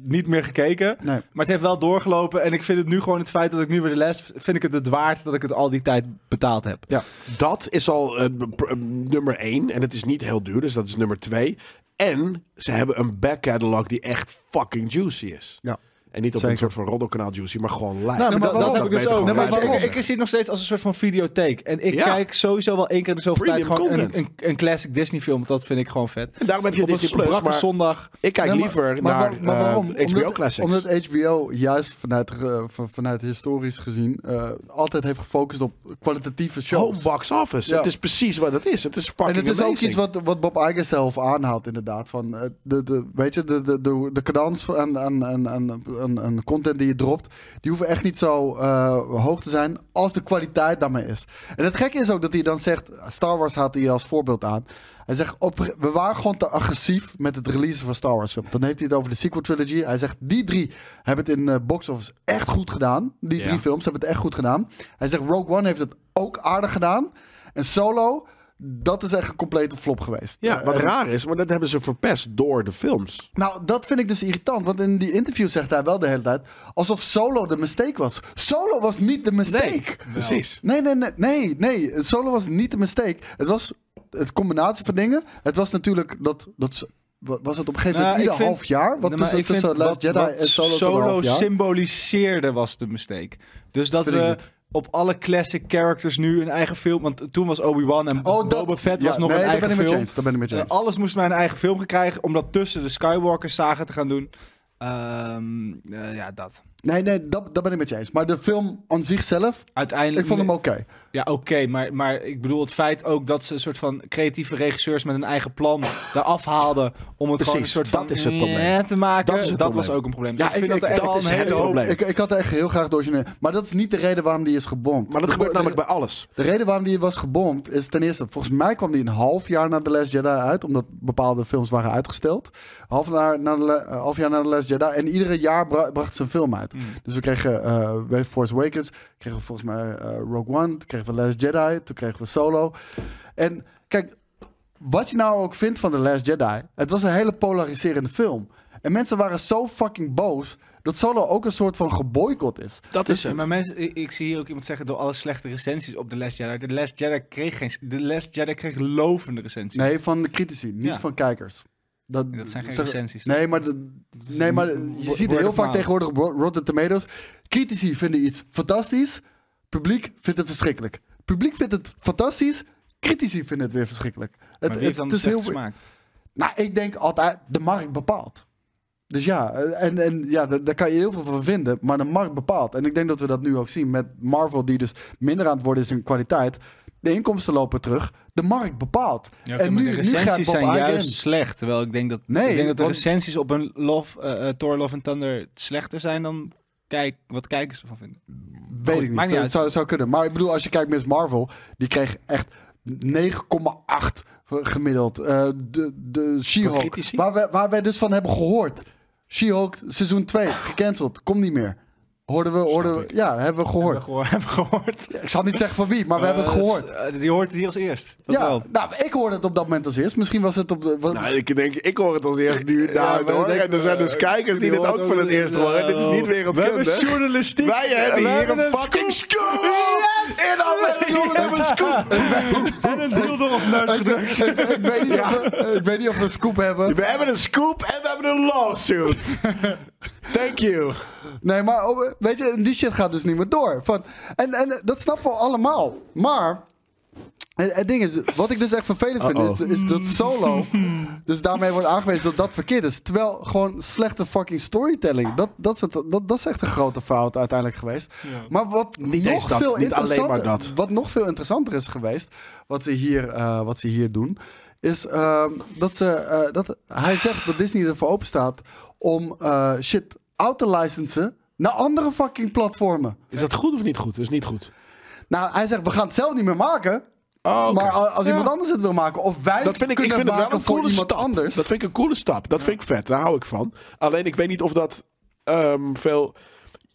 Speaker 3: niet meer gekeken.
Speaker 4: Nee.
Speaker 3: Maar het heeft wel doorgelopen. En ik vind het nu gewoon het feit dat ik nu weer de les... vind ik het het waard dat ik het al die tijd betaald heb.
Speaker 2: Dat is al eh, b- pr- eh, nummer één. En het is niet heel duur, dus dat is nummer twee. En ze hebben een back catalog die echt fucking juicy is.
Speaker 4: Ja.
Speaker 2: En niet op
Speaker 4: Zeker.
Speaker 2: een soort van roddelkanaal juicy, maar gewoon live.
Speaker 3: Nou,
Speaker 4: Ja,
Speaker 3: maar
Speaker 4: maar
Speaker 3: dat, dat
Speaker 4: waarom?
Speaker 3: heb ik dus
Speaker 2: Beter
Speaker 3: ook.
Speaker 2: gewoon
Speaker 3: Nee, maar
Speaker 2: wijze
Speaker 3: waarom? Ik,
Speaker 2: zeggen.
Speaker 3: ik zie het nog steeds als een soort van videotheek. En ik
Speaker 2: Ja.
Speaker 3: kijk sowieso wel één keer in de zoveel tijd
Speaker 2: Premium
Speaker 3: gewoon een,
Speaker 2: content.
Speaker 3: een, een classic Disney film. want Dat vind ik gewoon vet.
Speaker 2: En daarom heb je
Speaker 3: Op een
Speaker 2: Disney Plus,
Speaker 3: brakke
Speaker 2: maar
Speaker 3: zondag.
Speaker 2: ik kijk
Speaker 4: Nee, maar-
Speaker 2: liever
Speaker 4: maar
Speaker 2: naar
Speaker 4: waar- maar waarom?
Speaker 2: eh, HBO
Speaker 4: Omdat-
Speaker 2: Classics.
Speaker 4: Omdat HBO juist vanuit, eh, van- vanuit historisch gezien eh, altijd heeft gefocust op kwalitatieve
Speaker 2: Home
Speaker 4: shows.
Speaker 2: box office.
Speaker 4: Ja.
Speaker 2: Het is precies wat het is. Het is
Speaker 4: en
Speaker 2: fucking
Speaker 4: het is ook
Speaker 2: amazing.
Speaker 4: iets wat, wat Bob Iger zelf aanhaalt, inderdaad. Van, eh, de, de, weet je, de, de, de, de cadans van- en, en, en, en, en, en content die je dropt, die hoeven echt niet zo eh, hoog te zijn als de kwaliteit daarmee is. En het gekke is ook dat hij dan zegt, Star Wars haalt hij als voorbeeld aan. Hij zegt, op, we waren gewoon te agressief met het releasen van Star Wars film. Dan heeft hij het over de sequel trilogy. Hij zegt, die drie hebben het in eh box office echt goed gedaan. Die
Speaker 2: Ja.
Speaker 4: drie films hebben het echt goed gedaan. Hij zegt, Rogue One heeft het ook aardig gedaan. En Solo, dat is echt een complete flop geweest.
Speaker 2: Ja, wat
Speaker 4: En-
Speaker 2: raar is, maar dat hebben ze verpest door de films.
Speaker 4: Nou, dat vind ik dus irritant. Want in die interview zegt hij wel de hele tijd... alsof Solo de mistake was. Solo was niet de mistake.
Speaker 2: Precies.
Speaker 4: Nee, nee, nee, nee, nee. Solo was niet de mistake. Het was het combinatie van dingen. Het was natuurlijk dat. dat ze- wa- was het op een gegeven
Speaker 3: Nou,
Speaker 4: moment
Speaker 3: ik
Speaker 4: ieder
Speaker 3: vind-
Speaker 4: half jaar? Wat
Speaker 3: Nee, maar
Speaker 4: tussen,
Speaker 3: ik vind
Speaker 4: tussen Last
Speaker 3: wat-
Speaker 4: Jedi
Speaker 3: wat
Speaker 4: en Solo, zo'n
Speaker 3: Solo
Speaker 4: half jaar?
Speaker 3: symboliseerde was de mistake. Dus dat
Speaker 4: Vind ik
Speaker 3: we
Speaker 4: niet.
Speaker 3: op alle classic characters nu een eigen film... Want toen was Obi-Wan en
Speaker 4: Oh, dat-
Speaker 3: Boba Fett
Speaker 4: ja,
Speaker 3: was nog
Speaker 4: nee,
Speaker 3: een
Speaker 4: daar
Speaker 3: eigen
Speaker 4: ben ik met
Speaker 3: film.
Speaker 4: James, daar ben ik met
Speaker 3: Eh,
Speaker 4: James.
Speaker 3: alles moest mijn eigen film krijgen om dat tussen de Skywalker saga te gaan doen. Ehm, eh, ja, dat.
Speaker 4: Nee, nee, dat, dat ben ik met James. Maar de film aan zichzelf,
Speaker 3: Uiteindelijk.
Speaker 4: ik vond hem oké.
Speaker 3: Ja, oké, maar, maar ik bedoel het feit ook dat ze een soort van creatieve regisseurs met een eigen plan eraf haalden. om het gewoon een
Speaker 2: Precies,
Speaker 3: soort van.
Speaker 2: dat is het probleem.
Speaker 3: eh, te maken.
Speaker 2: Dat
Speaker 3: Dat,
Speaker 2: is het
Speaker 3: was
Speaker 2: probleem.
Speaker 3: ook een probleem.
Speaker 2: Ja,
Speaker 3: Dus ik,
Speaker 2: ik-
Speaker 3: vind dat
Speaker 2: ik-
Speaker 3: er
Speaker 2: dat
Speaker 3: echt
Speaker 2: is
Speaker 3: wel een
Speaker 2: het
Speaker 3: hele hoop.
Speaker 2: probleem.
Speaker 4: Ik, ik had echt heel graag de origineel. Maar dat is niet de reden waarom die is gebomd.
Speaker 2: Maar dat
Speaker 4: De-
Speaker 2: gebeurt
Speaker 4: de-
Speaker 2: namelijk bij alles.
Speaker 4: De reden waarom die was gebomd is ten eerste, volgens mij kwam die een half jaar na The Last Jedi uit, omdat bepaalde films waren uitgesteld. Half, jaar na de, la- eh, half jaar na The Last Jedi en iedere jaar bra- bracht ze een film uit. Dus we kregen eh Wave Force Awakens, kregen we volgens mij eh, Rogue One, toen kregen we Last Jedi, toen kregen we Solo. En kijk, wat je nou ook vindt van The Last Jedi, het was een hele polariserende film. En mensen waren zo fucking boos dat Solo ook een soort van geboycott is. Dus
Speaker 2: Dat is het.
Speaker 3: Maar mensen, ik, ik zie hier ook iemand zeggen door alle slechte recensies op The Last Jedi. The Last Jedi kreeg geen. The Last Jedi kreeg lovende recensies.
Speaker 4: Nee, van de critici, niet
Speaker 3: Ja.
Speaker 4: van kijkers.
Speaker 3: Dat zijn geen
Speaker 4: zeg-
Speaker 3: recensies, toch?
Speaker 4: Nee, maar, de- nee, maar je ziet
Speaker 3: word
Speaker 4: heel
Speaker 3: of
Speaker 4: vaak
Speaker 3: mouth.
Speaker 4: tegenwoordig op Ro- Rotten Tomatoes. Critici vinden iets fantastisch, publiek vindt het verschrikkelijk. Publiek vindt het fantastisch, critici vinden het weer verschrikkelijk. Het,
Speaker 3: maar wie heeft dan
Speaker 4: het
Speaker 3: de
Speaker 4: is heel
Speaker 3: slechte smaak?
Speaker 4: Nou, ik denk altijd, de markt bepaalt. Dus ja, eh, en, en ja, da- daar kan je heel veel van vinden, maar de markt bepaalt. En ik denk dat we dat nu ook zien met Marvel, die dus minder aan het worden is in kwaliteit. De inkomsten lopen terug. De markt bepaalt. en
Speaker 3: de
Speaker 4: nu, nu gaat
Speaker 3: recensies
Speaker 4: Bob
Speaker 3: zijn
Speaker 4: Iger
Speaker 3: juist
Speaker 4: in.
Speaker 3: slecht. Terwijl ik denk dat,
Speaker 4: Nee,
Speaker 3: ik denk dat de
Speaker 4: want-
Speaker 3: recensies op een Love, eh eh, Thor Love and Thunder slechter zijn dan kijk, wat kijkers ervan vinden.
Speaker 4: Weet
Speaker 3: Goed,
Speaker 4: ik
Speaker 3: maakt
Speaker 4: niet.
Speaker 3: niet
Speaker 4: Het zou, zou kunnen. Maar ik bedoel, als je kijkt Miss Marvel, die kreeg echt 9,8 gemiddeld. Eh, de de She-Hulk,
Speaker 2: critici?
Speaker 4: waar, we- waar wij dus van hebben gehoord. She-Hulk seizoen 2, gecanceld, komt niet meer. Hoorden we, hoorden we, ja, hebben we
Speaker 3: Hebben we
Speaker 4: gehoord.
Speaker 3: geho- hebben we gehoord.
Speaker 4: Ik zal niet zeggen van wie, maar we hebben het
Speaker 3: Eh,
Speaker 4: gehoord.
Speaker 3: dat is- eh, die hoort het hier als eerst. Dat
Speaker 4: ja,
Speaker 3: wel.
Speaker 4: nou, ik hoorde het op dat moment als eerst. Misschien was het op de... was-
Speaker 2: Nou, ik denk, ik hoor het als eerst nu
Speaker 3: Ja,
Speaker 2: daar
Speaker 3: maar
Speaker 2: hoor.
Speaker 3: denk-
Speaker 2: En er zijn dus
Speaker 3: eh,
Speaker 2: kijkers die, dit
Speaker 3: hoort
Speaker 2: ook voor het eerst horen. En dit is niet eh,
Speaker 3: We
Speaker 2: wereldkundig.
Speaker 3: hebben journalistiek.
Speaker 2: Wij hebben
Speaker 3: We
Speaker 2: hier
Speaker 3: hebben
Speaker 2: een fucking
Speaker 3: scoop
Speaker 2: scoop! In aflevering 100 hebben we een scoop!
Speaker 3: En een deal door ons neus
Speaker 4: ik,
Speaker 3: gedrukt.
Speaker 4: ik- ik weet niet of we, ik weet niet of we een scoop hebben.
Speaker 2: We hebben een scoop en we hebben een lawsuit. Thank you.
Speaker 4: Nee, maar oh, weet je, die shit gaat dus niet meer door. Van, en, en dat snappen we allemaal. Maar het, het ding is, wat ik dus echt vervelend vind, is, is dat solo. dus daarmee wordt aangewezen dat dat verkeerd is. Terwijl gewoon slechte fucking storytelling. Dat, dat, is, het, dat, dat is echt een grote fout uiteindelijk geweest. Maar wat nog
Speaker 2: eens dat,
Speaker 4: veel
Speaker 2: niet alleen maar
Speaker 4: interessanter,
Speaker 2: dat.
Speaker 4: wat nog veel interessanter is geweest, wat ze hier, eh, wat ze hier doen, is ehm, dat, ze, eh, dat hij zegt dat Disney ervoor open staat om eh, shit out te licensen naar andere fucking platformen.
Speaker 2: Is dat goed of niet goed? Dat is niet goed.
Speaker 4: Nou, hij zegt, we gaan het zelf niet meer maken.
Speaker 2: Oh, oké.
Speaker 4: Maar a- als
Speaker 2: Ja.
Speaker 4: iemand anders het wil maken, of wij
Speaker 2: dat vind ik, ik
Speaker 4: kunnen
Speaker 2: vind het wel
Speaker 4: maken
Speaker 2: een
Speaker 4: voor
Speaker 2: coole
Speaker 4: iemand
Speaker 2: stap.
Speaker 4: anders.
Speaker 2: Dat vind ik een coole stap. Dat vind ik vet. Daar hou ik van. Alleen ik weet niet of dat ehm, veel.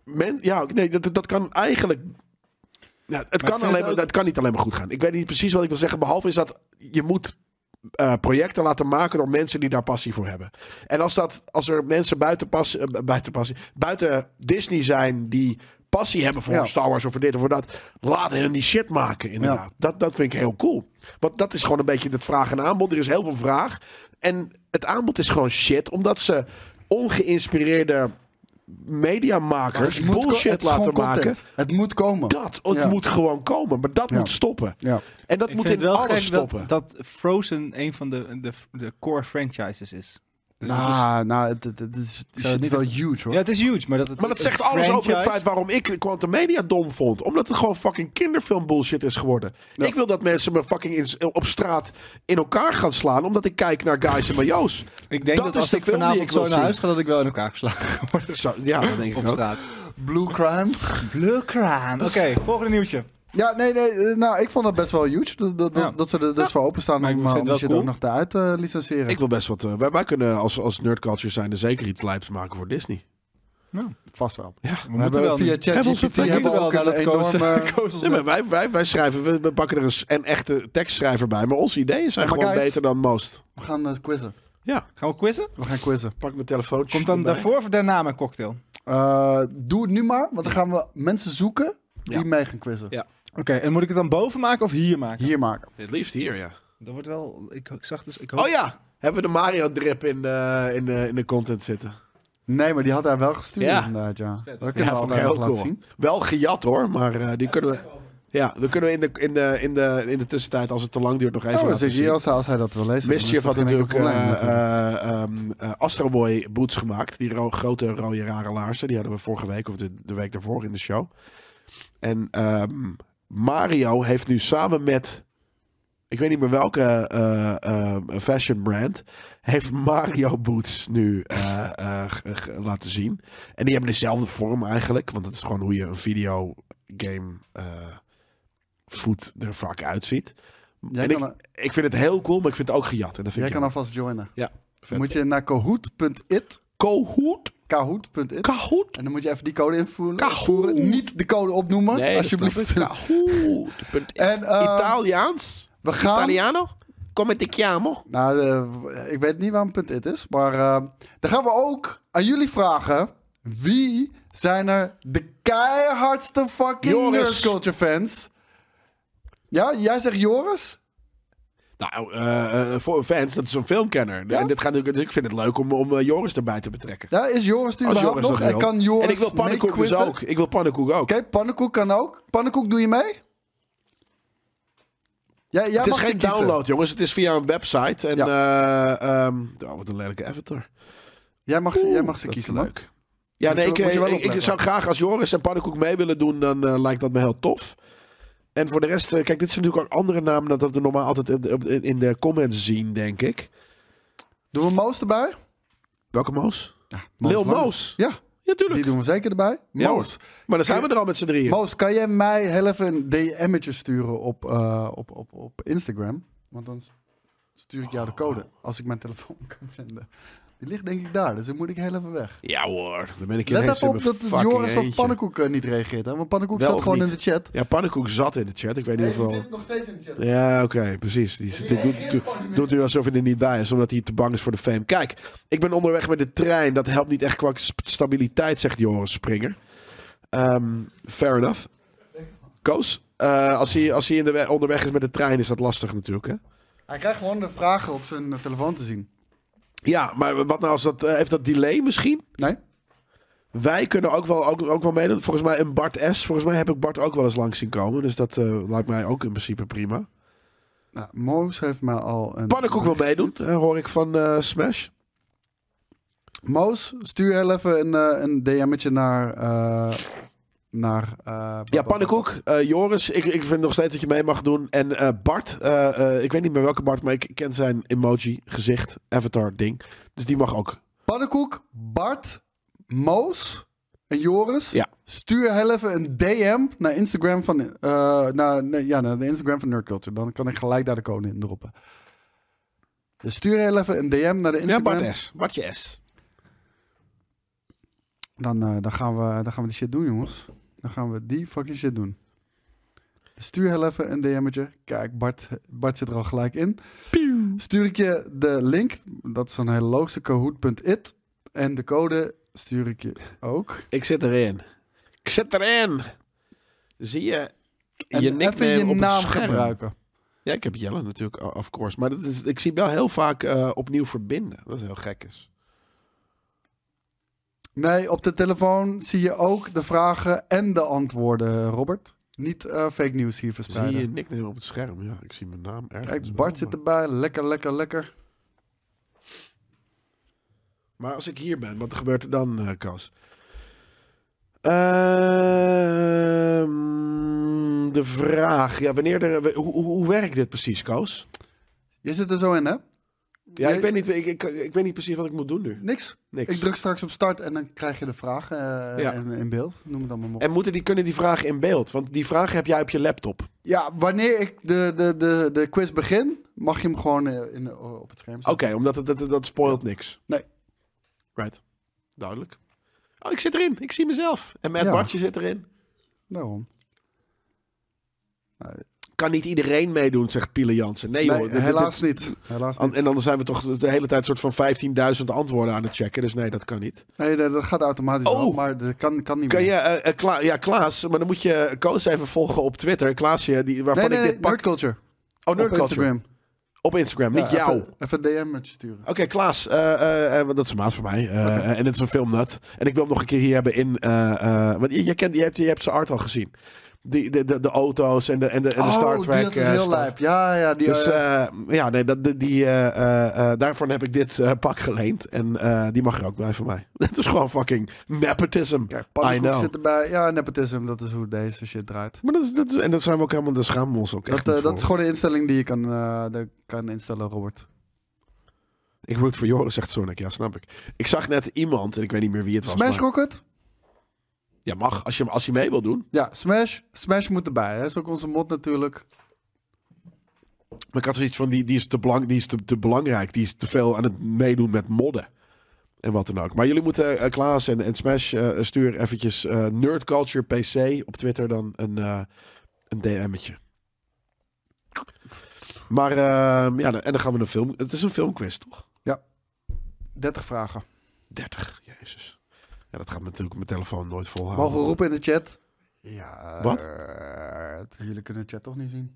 Speaker 2: Men, ja, nee, dat, dat kan eigenlijk. Ja, het, kan
Speaker 3: ik vind
Speaker 2: alleen
Speaker 3: het
Speaker 2: maar,
Speaker 3: ook-
Speaker 2: dat kan niet alleen maar goed gaan. Ik weet niet precies wat ik wil zeggen. Behalve is dat je moet eh, projecten laten maken door mensen die daar passie voor hebben. En als, dat, als er mensen buiten, pas, eh, buiten, passie, buiten Disney zijn die passie hebben voor
Speaker 4: Ja.
Speaker 2: Star Wars of voor dit of voor dat, laat hen die shit maken inderdaad. Dat, dat vind ik heel cool. Want dat is gewoon een beetje het vraag en aanbod. Er is heel veel vraag. En het aanbod is gewoon shit, omdat ze ongeïnspireerde mediamakers
Speaker 4: Het moet ko- het
Speaker 2: bullshit
Speaker 4: is gewoon
Speaker 2: laten
Speaker 4: content.
Speaker 2: maken.
Speaker 4: Het moet komen.
Speaker 2: Dat het
Speaker 4: Ja.
Speaker 2: moet gewoon komen, maar dat
Speaker 4: Ja.
Speaker 2: moet stoppen.
Speaker 4: Ja.
Speaker 2: En dat
Speaker 3: Ik
Speaker 2: moet
Speaker 3: vind
Speaker 2: in
Speaker 3: het wel
Speaker 2: alles
Speaker 3: gek
Speaker 2: stoppen.
Speaker 3: Dat, dat Frozen een van de, de, de core franchises is. Dus dat is-
Speaker 4: nou, nou, het, het, het is, het
Speaker 3: Zou
Speaker 4: is
Speaker 3: het
Speaker 4: wel
Speaker 3: niet-
Speaker 4: huge hoor.
Speaker 3: ja, het is huge, maar dat het,
Speaker 2: Maar dat
Speaker 3: het
Speaker 2: zegt alles over het
Speaker 3: franchise-
Speaker 2: feit waarom ik Quantum Media dom vond. Omdat het gewoon fucking kinderfilm bullshit is geworden. Ik wil dat mensen me fucking in- op straat in elkaar gaan slaan. Omdat ik kijk naar guys en majo's.
Speaker 3: Ik denk dat,
Speaker 2: is
Speaker 3: als
Speaker 2: de
Speaker 3: ik
Speaker 2: film die
Speaker 3: vanavond
Speaker 2: ik wil
Speaker 3: zo naar
Speaker 2: zien.
Speaker 3: huis ga, dat ik wel in elkaar geslagen word
Speaker 2: Zo, ja, dat denk ik
Speaker 3: op
Speaker 2: ook.
Speaker 3: straat.
Speaker 4: Blue crime.
Speaker 3: Blue Oké, volgende nieuwtje.
Speaker 4: Ja, nee, nee. eh, Nou, ik vond dat best wel huge. Dat, dat,
Speaker 3: Ja.
Speaker 4: dat ze er dus voor openstaan
Speaker 3: Maar ik
Speaker 4: om,
Speaker 3: vind
Speaker 4: eh,
Speaker 3: het
Speaker 4: om
Speaker 3: wel
Speaker 4: shit
Speaker 3: cool.
Speaker 4: ook nog te uit eh, licenseren.
Speaker 2: Ik wil best wat... eh, wij, wij kunnen als, als nerdculture zijn er zeker iets lijps maken voor Disney.
Speaker 4: Vast wel.
Speaker 2: Ja.
Speaker 4: We, hebben
Speaker 3: wel
Speaker 4: via
Speaker 3: nu.
Speaker 2: Hebben we
Speaker 4: ChatGPT
Speaker 2: onze
Speaker 4: hebben we
Speaker 3: wel
Speaker 4: ook
Speaker 3: naar
Speaker 4: een
Speaker 3: dat koos-
Speaker 4: enorme...
Speaker 3: koosels-
Speaker 2: Nee, maar wij, wij, wij schrijven, we, we pakken er een, s- een echte tekstschrijver bij. Maar onze ideeën zijn
Speaker 4: Ja, maar
Speaker 2: gewoon
Speaker 4: guys-
Speaker 2: beter dan most.
Speaker 4: We gaan eh, quizzen.
Speaker 2: Ja,
Speaker 3: Gaan we quizzen?
Speaker 4: We gaan quizzen.
Speaker 2: pak mijn telefoon.
Speaker 3: Komt dan daarvoor of daarna mijn cocktail? Oké,
Speaker 4: Eh, doe het nu maar, want dan gaan we mensen zoeken die mee gaan quizzen.
Speaker 2: Ja.
Speaker 3: en moet ik het dan boven maken of hier maken?
Speaker 4: Hier maken.
Speaker 2: Het liefst hier, ja.
Speaker 3: Dat wordt wel... Ik, ik zag dus... Ik
Speaker 2: Oh ja, hebben we de Mario drip in, eh, in, eh, in de content zitten.
Speaker 4: Nee, maar die had hij wel gestuurd
Speaker 2: Ja.
Speaker 4: inderdaad, ja. Dat kunnen
Speaker 2: Ja,
Speaker 4: we
Speaker 2: vond ik
Speaker 4: altijd
Speaker 2: heel
Speaker 4: nog laten
Speaker 2: cool.
Speaker 4: zien.
Speaker 2: Wel gejat hoor, maar eh, die kunnen we. Ja, we kunnen we in de, in, de, in, de, in de tussentijd, als het te lang duurt, nog even.
Speaker 4: Oh, dan
Speaker 2: laten
Speaker 4: zit
Speaker 2: zien.
Speaker 4: hier als, hij- als hij dat wil lezen. dan is
Speaker 2: Mischief
Speaker 4: dat
Speaker 2: had
Speaker 4: geen enkel
Speaker 2: natuurlijk eh
Speaker 4: probleem natuurlijk.
Speaker 2: eh, ehm, eh, Astro Boy boots gemaakt. Die ro- grote rode rare laarzen. Die hadden we vorige week of de, de week daarvoor in de show. En ehm, Mario heeft nu samen met... Ik weet niet meer welke eh, eh, fashion brand... heeft Mario boots nu eh, eh, g- g- laten zien. En die hebben dezelfde vorm eigenlijk. Want dat is gewoon hoe je een videogame eh voet er vaak uitziet.
Speaker 4: Jij
Speaker 2: En
Speaker 4: kan,
Speaker 2: ik, ik vind het heel cool, maar ik vind het ook gejat. eh, En dat vind
Speaker 4: jij
Speaker 2: ik
Speaker 4: kan
Speaker 2: jammer.
Speaker 4: alvast joinen.
Speaker 2: Ja,
Speaker 4: Dan
Speaker 2: vet.
Speaker 4: moet je naar kahoot.it.
Speaker 2: Kahoot?
Speaker 4: Kahoot.it.
Speaker 2: Kahoot?
Speaker 4: En dan moet je even die code invoeren.
Speaker 2: Kahoot.
Speaker 4: Voeren. Niet de code opnoemen,
Speaker 2: Nee, dat
Speaker 4: alsjeblieft.
Speaker 2: snap ik. Kahoot. Punt.
Speaker 4: En eh,
Speaker 2: Italiaans?
Speaker 4: we gaan...
Speaker 2: Italiano? Come ti chiamo?
Speaker 4: Nou, eh, ik weet niet waarom punt it is, maar eh, dan gaan we ook aan jullie vragen. Wie zijn er de keihardste fucking
Speaker 2: Joris.
Speaker 4: nerd culture fans? Ja, jij zegt Joris?
Speaker 2: Nou, eh, eh, voor fans, dat is een filmkenner. En dit gaat, natuurlijk- dus ik vind het leuk om, om eh, Joris erbij te betrekken.
Speaker 4: Ja, is Joris nu
Speaker 2: Als Joris
Speaker 4: überhaupt
Speaker 2: dat
Speaker 4: nog? En
Speaker 2: wil.
Speaker 4: kan Joris
Speaker 2: En ik wil pannenkoek dus
Speaker 4: meequizzen?
Speaker 2: ook. Ik wil pannenkoek ook.
Speaker 4: Oké, pannenkoek kan ook. Pannenkoek, doe je mee? Jij, jij
Speaker 2: het is
Speaker 4: mag
Speaker 2: geen
Speaker 4: je kiezen.
Speaker 2: download, jongens. Het is via een website. En, eh, ehm, oh, wat een lelijke avatar.
Speaker 4: Jij mag, ze- jij
Speaker 2: Oeh,
Speaker 4: mag ze
Speaker 2: dat is
Speaker 4: kiezen, man.
Speaker 2: Leuk. Ja,
Speaker 4: Moet
Speaker 2: nee,
Speaker 4: je-
Speaker 2: ik,
Speaker 4: moet je wel
Speaker 2: ik- ik,
Speaker 4: opletten.
Speaker 2: zou graag als Joris en Pannenkoek mee willen doen, dan eh, lijkt dat me heel tof. En voor de rest, eh, kijk, dit zijn natuurlijk ook andere namen dan dat we normaal altijd in de, op- in de comments zien, denk ik.
Speaker 4: Doen we Moos erbij?
Speaker 2: Welke Moos?
Speaker 4: Moos,
Speaker 2: Lil
Speaker 4: Moos.
Speaker 2: Moos.
Speaker 4: Ja,
Speaker 2: Ja,
Speaker 4: die
Speaker 2: tuurlijk.
Speaker 4: doen we zeker erbij.
Speaker 2: Ja, hoor.
Speaker 4: Moos.
Speaker 2: Maar dan zijn we er al met z'n drieën.
Speaker 4: Moos, kan jij mij heel even een DM'tje sturen op, eh, op, op, op Instagram? Want dan stuur ik jou de code. Als ik mijn telefoon kan vinden. Die ligt denk ik daar, dus dan moet ik heel even weg.
Speaker 2: Ja hoor, dan ben ik
Speaker 4: Let
Speaker 2: ineens
Speaker 4: even
Speaker 2: in
Speaker 4: op
Speaker 2: mijn
Speaker 4: dat
Speaker 2: fucking
Speaker 4: Joris op
Speaker 2: eentje.
Speaker 4: Pannenkoek eh, niet reageert. Hè? Want Pannenkoek
Speaker 2: Wel
Speaker 4: staat
Speaker 2: of
Speaker 4: gewoon
Speaker 2: niet?
Speaker 4: in de chat.
Speaker 2: Ja, Pannenkoek zat in de chat. Ik weet niet of wel...
Speaker 4: nog steeds in de chat.
Speaker 2: Ja, oké, precies. Die zit- doet, doet- doet nu alsof hij er niet bij is, omdat hij te bang is voor de fame. Kijk, ik ben onderweg met de trein. Dat helpt niet echt qua sp- stabiliteit, zegt Joris Springer. Ehm, fair enough. Koos, eh, als hij, als hij in de we- onderweg is met de trein, is dat lastig natuurlijk, hè?
Speaker 4: Hij krijgt gewoon de vragen op zijn eh, telefoon te zien.
Speaker 2: Ja, maar wat nou als dat... eh, heeft dat delay misschien?
Speaker 4: Nee?
Speaker 2: Wij kunnen ook wel, ook, ook wel meedoen. Volgens mij een Bart S. Volgens mij heb ik Bart ook wel eens langs zien komen. Dus dat eh, lijkt mij ook in principe prima.
Speaker 4: Nou, Moos heeft mij al een...
Speaker 2: Pannenkoek wil meedoen, eh, hoor ik van eh, Smash.
Speaker 4: Moos, stuur heel even een, eh, een DM'tje naar... eh, naar eh,
Speaker 2: Ja, Pannenkoek, eh, Joris, ik, ik vind nog steeds dat je mee mag doen. En eh, Bart, eh, eh, ik weet niet meer welke Bart, maar ik ken zijn emoji, gezicht, avatar, ding. Dus die mag ook.
Speaker 4: Pannenkoek, Bart, Moos, en Joris.
Speaker 2: Ja.
Speaker 4: Stuur heel even een DM naar Instagram van, eh, naar, nee, ja, naar de Instagram van Nerdculture. Dan kan ik gelijk daar de code in droppen. Dus stuur heel even een DM naar de
Speaker 2: Ja,
Speaker 4: Instagram.
Speaker 2: Bart S. Bartje S.
Speaker 4: dan, eh, dan, gaan we, dan gaan we die shit doen, jongens. Dan gaan we die fucking shit doen. Dus Stuur heel even een DM'tje. Kijk, Bart, Bart zit er al gelijk in. Stuur ik je de link. Dat is een hele logische kahoot.it. En de code stuur ik je ook.
Speaker 2: Ik zit erin. Ik zit erin. Zie je
Speaker 4: En
Speaker 2: je nickname
Speaker 4: even je
Speaker 2: op het
Speaker 4: naam
Speaker 2: scherm.
Speaker 4: gebruiken.
Speaker 2: Ja, ik heb Jelle natuurlijk, o- of course. Maar dat is, ik zie wel heel vaak eh, opnieuw verbinden. Dat is heel gek is.
Speaker 4: Nee, op de telefoon zie je ook de vragen en de antwoorden, Robert. Niet eh, fake news hier
Speaker 2: Zie je
Speaker 4: verspreiden.
Speaker 2: nickname op het scherm. Ja, ik zie mijn naam ergens.
Speaker 4: Kijk,
Speaker 2: wel,
Speaker 4: Bart zit
Speaker 2: maar-
Speaker 4: erbij. Lekker, lekker, lekker.
Speaker 2: Maar als ik hier ben, wat gebeurt er dan, eh Kas? Ehm, de vraag. Ja, wanneer er, we- hoe, hoe, hoe werkt dit precies, Koos?
Speaker 4: Je zit er zo in, hè?
Speaker 2: Ja,
Speaker 4: Ja,
Speaker 2: ik, weet niet, ik, ik, ik weet niet precies wat ik moet doen nu.
Speaker 4: Niks.
Speaker 2: Niks.
Speaker 4: Ik druk straks op start en dan krijg je de vragen eh,
Speaker 2: Ja.
Speaker 4: in, in beeld. Noem het allemaal maar op.
Speaker 2: En moeten die, kunnen die vragen in beeld? Want die vragen heb jij op je laptop.
Speaker 4: Ja, wanneer ik de, de, de, de quiz begin, mag je hem gewoon eh, in, op het scherm
Speaker 2: Oké,
Speaker 4: zetten.
Speaker 2: omdat het, dat, dat spoilt niks.
Speaker 4: Nee.
Speaker 2: Right. Duidelijk. Oh, ik zit erin. Ik zie mezelf. En Matt
Speaker 4: Ja.
Speaker 2: Bartje zit erin.
Speaker 4: Daarom.
Speaker 2: Kan niet iedereen meedoen, zegt Pile Jansen. Nee,
Speaker 4: Nee,
Speaker 2: joh, dit- dit- Oh,
Speaker 4: helaas niet. Helaas
Speaker 2: An-
Speaker 4: niet.
Speaker 2: En dan zijn we toch de hele tijd soort van 15.000 antwoorden aan het checken. Dus nee, dat kan niet.
Speaker 4: Nee, dat, dat gaat automatisch
Speaker 2: Oh.
Speaker 4: wel, maar dat kan, kan niet
Speaker 2: Kan
Speaker 4: meer.
Speaker 2: je, eh, eh, Kla- ja, Klaas, maar dan moet je Koos even volgen op Twitter. Klaasje, die,
Speaker 4: nee,
Speaker 2: waarvan
Speaker 4: nee,
Speaker 2: ik dit pak.
Speaker 4: Nerdculture.
Speaker 2: oh,
Speaker 4: Op
Speaker 2: Nerdculture.
Speaker 4: Instagram.
Speaker 2: Op Instagram, niet
Speaker 4: Ja,
Speaker 2: jou.
Speaker 4: Even, even een DM met je sturen.
Speaker 2: Oké, Klaas, eh, eh, eh, want dat is een maat voor mij. eh, eh, En het is een filmnut. En ik wil hem nog een keer hier hebben in... eh, eh, want je, je kent, je, hebt, je hebt zijn art al gezien. Die, de, de, de auto's en de, en de, en de Star
Speaker 4: oh,
Speaker 2: Trek.
Speaker 4: die, dat is
Speaker 2: eh,
Speaker 4: heel
Speaker 2: stuff.
Speaker 4: lijp. Ja, ja. Die,
Speaker 2: Dus
Speaker 4: eh,
Speaker 2: eh, ja, nee, dat, die- die, eh, eh, eh, daarvan heb ik dit eh, pak geleend. En eh, die mag er ook bij van mij. Het is gewoon fucking nepotism.
Speaker 4: kijk,
Speaker 2: I
Speaker 4: Pannenkoek
Speaker 2: know.
Speaker 4: zit erbij. Ja, nepotism, dat is hoe deze shit draait.
Speaker 2: Maar dat is, dat is, en dat zijn we ook helemaal, daar schamen we ons ook echt
Speaker 4: Dat, eh,
Speaker 2: niet
Speaker 4: dat is
Speaker 2: voor.
Speaker 4: gewoon de instelling die je kan, eh, de- kan instellen, Robert.
Speaker 2: Ik root voor Joris, zegt Sonic. Ja, snap ik. Ik zag net iemand, en ik weet niet meer wie het was.
Speaker 4: Smash
Speaker 2: maar,
Speaker 4: Rocket?
Speaker 2: ja, mag. Als je, als je mee wil doen.
Speaker 4: Ja, Smash. Smash moet erbij. Hè. is ook onze mod natuurlijk.
Speaker 2: Maar ik had zoiets van, die, die is, te, belang, die is te, te belangrijk. Die is te veel aan het meedoen met modden. En wat dan ook. Maar jullie moeten, eh, Klaas en, en Smash, eh, stuur eventjes eh, Nerdculture PC op Twitter dan een, eh, een DM'tje. Maar eh, ja, en dan gaan we een film... Het is een filmquiz, toch?
Speaker 4: 30 vragen.
Speaker 2: 30, jezus. Ja, dat gaat me natuurlijk op mijn telefoon nooit
Speaker 4: Mogen we
Speaker 2: volhouden.
Speaker 4: roepen in de chat? Oh. Ja.
Speaker 2: Wat?
Speaker 4: eh, jullie kunnen de chat toch niet zien?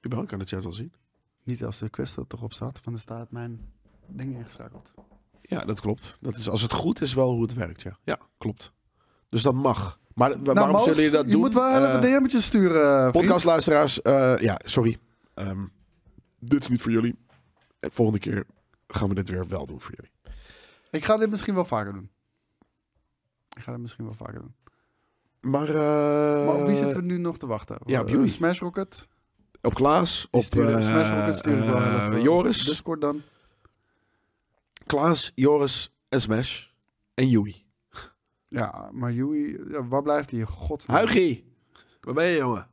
Speaker 2: Ik ben ook aan de chat wel zien.
Speaker 4: Niet als de quest er toch op staat, want er staat mijn ding ingeschakeld.
Speaker 2: Ja, dat klopt. Dat is, als het goed is wel hoe het werkt, ja. Ja, klopt. Dus dat mag. Maar wa-
Speaker 4: Nou,
Speaker 2: waarom
Speaker 4: Moos,
Speaker 2: zullen je dat
Speaker 4: je
Speaker 2: doen?
Speaker 4: moet wel heel
Speaker 2: Eh,
Speaker 4: even DM'tjes sturen, vriend.
Speaker 2: Podcastluisteraars, eh, ja, sorry. Ehm, dit is niet voor jullie. En volgende keer gaan we dit weer wel doen voor jullie.
Speaker 4: Ik ga dit misschien wel vaker doen. Ik ga dit misschien wel vaker doen.
Speaker 2: Maar, eh,
Speaker 4: Maar op wie zitten we nu nog te wachten?
Speaker 2: ja, op
Speaker 4: Eh,
Speaker 2: jullie.
Speaker 4: Smash Rocket?
Speaker 2: op Klaas,
Speaker 4: Die
Speaker 2: op
Speaker 4: sturen,
Speaker 2: eh,
Speaker 4: Smash Rocket sturen dus- we wel heel
Speaker 2: eh,
Speaker 4: even.
Speaker 2: Joris,
Speaker 4: Discord dan.
Speaker 2: Klaas, Joris en Smash en Joey.
Speaker 4: Ja, maar Joey, ja, waar blijft hij? God.
Speaker 2: Huigie, waar ben je jongen?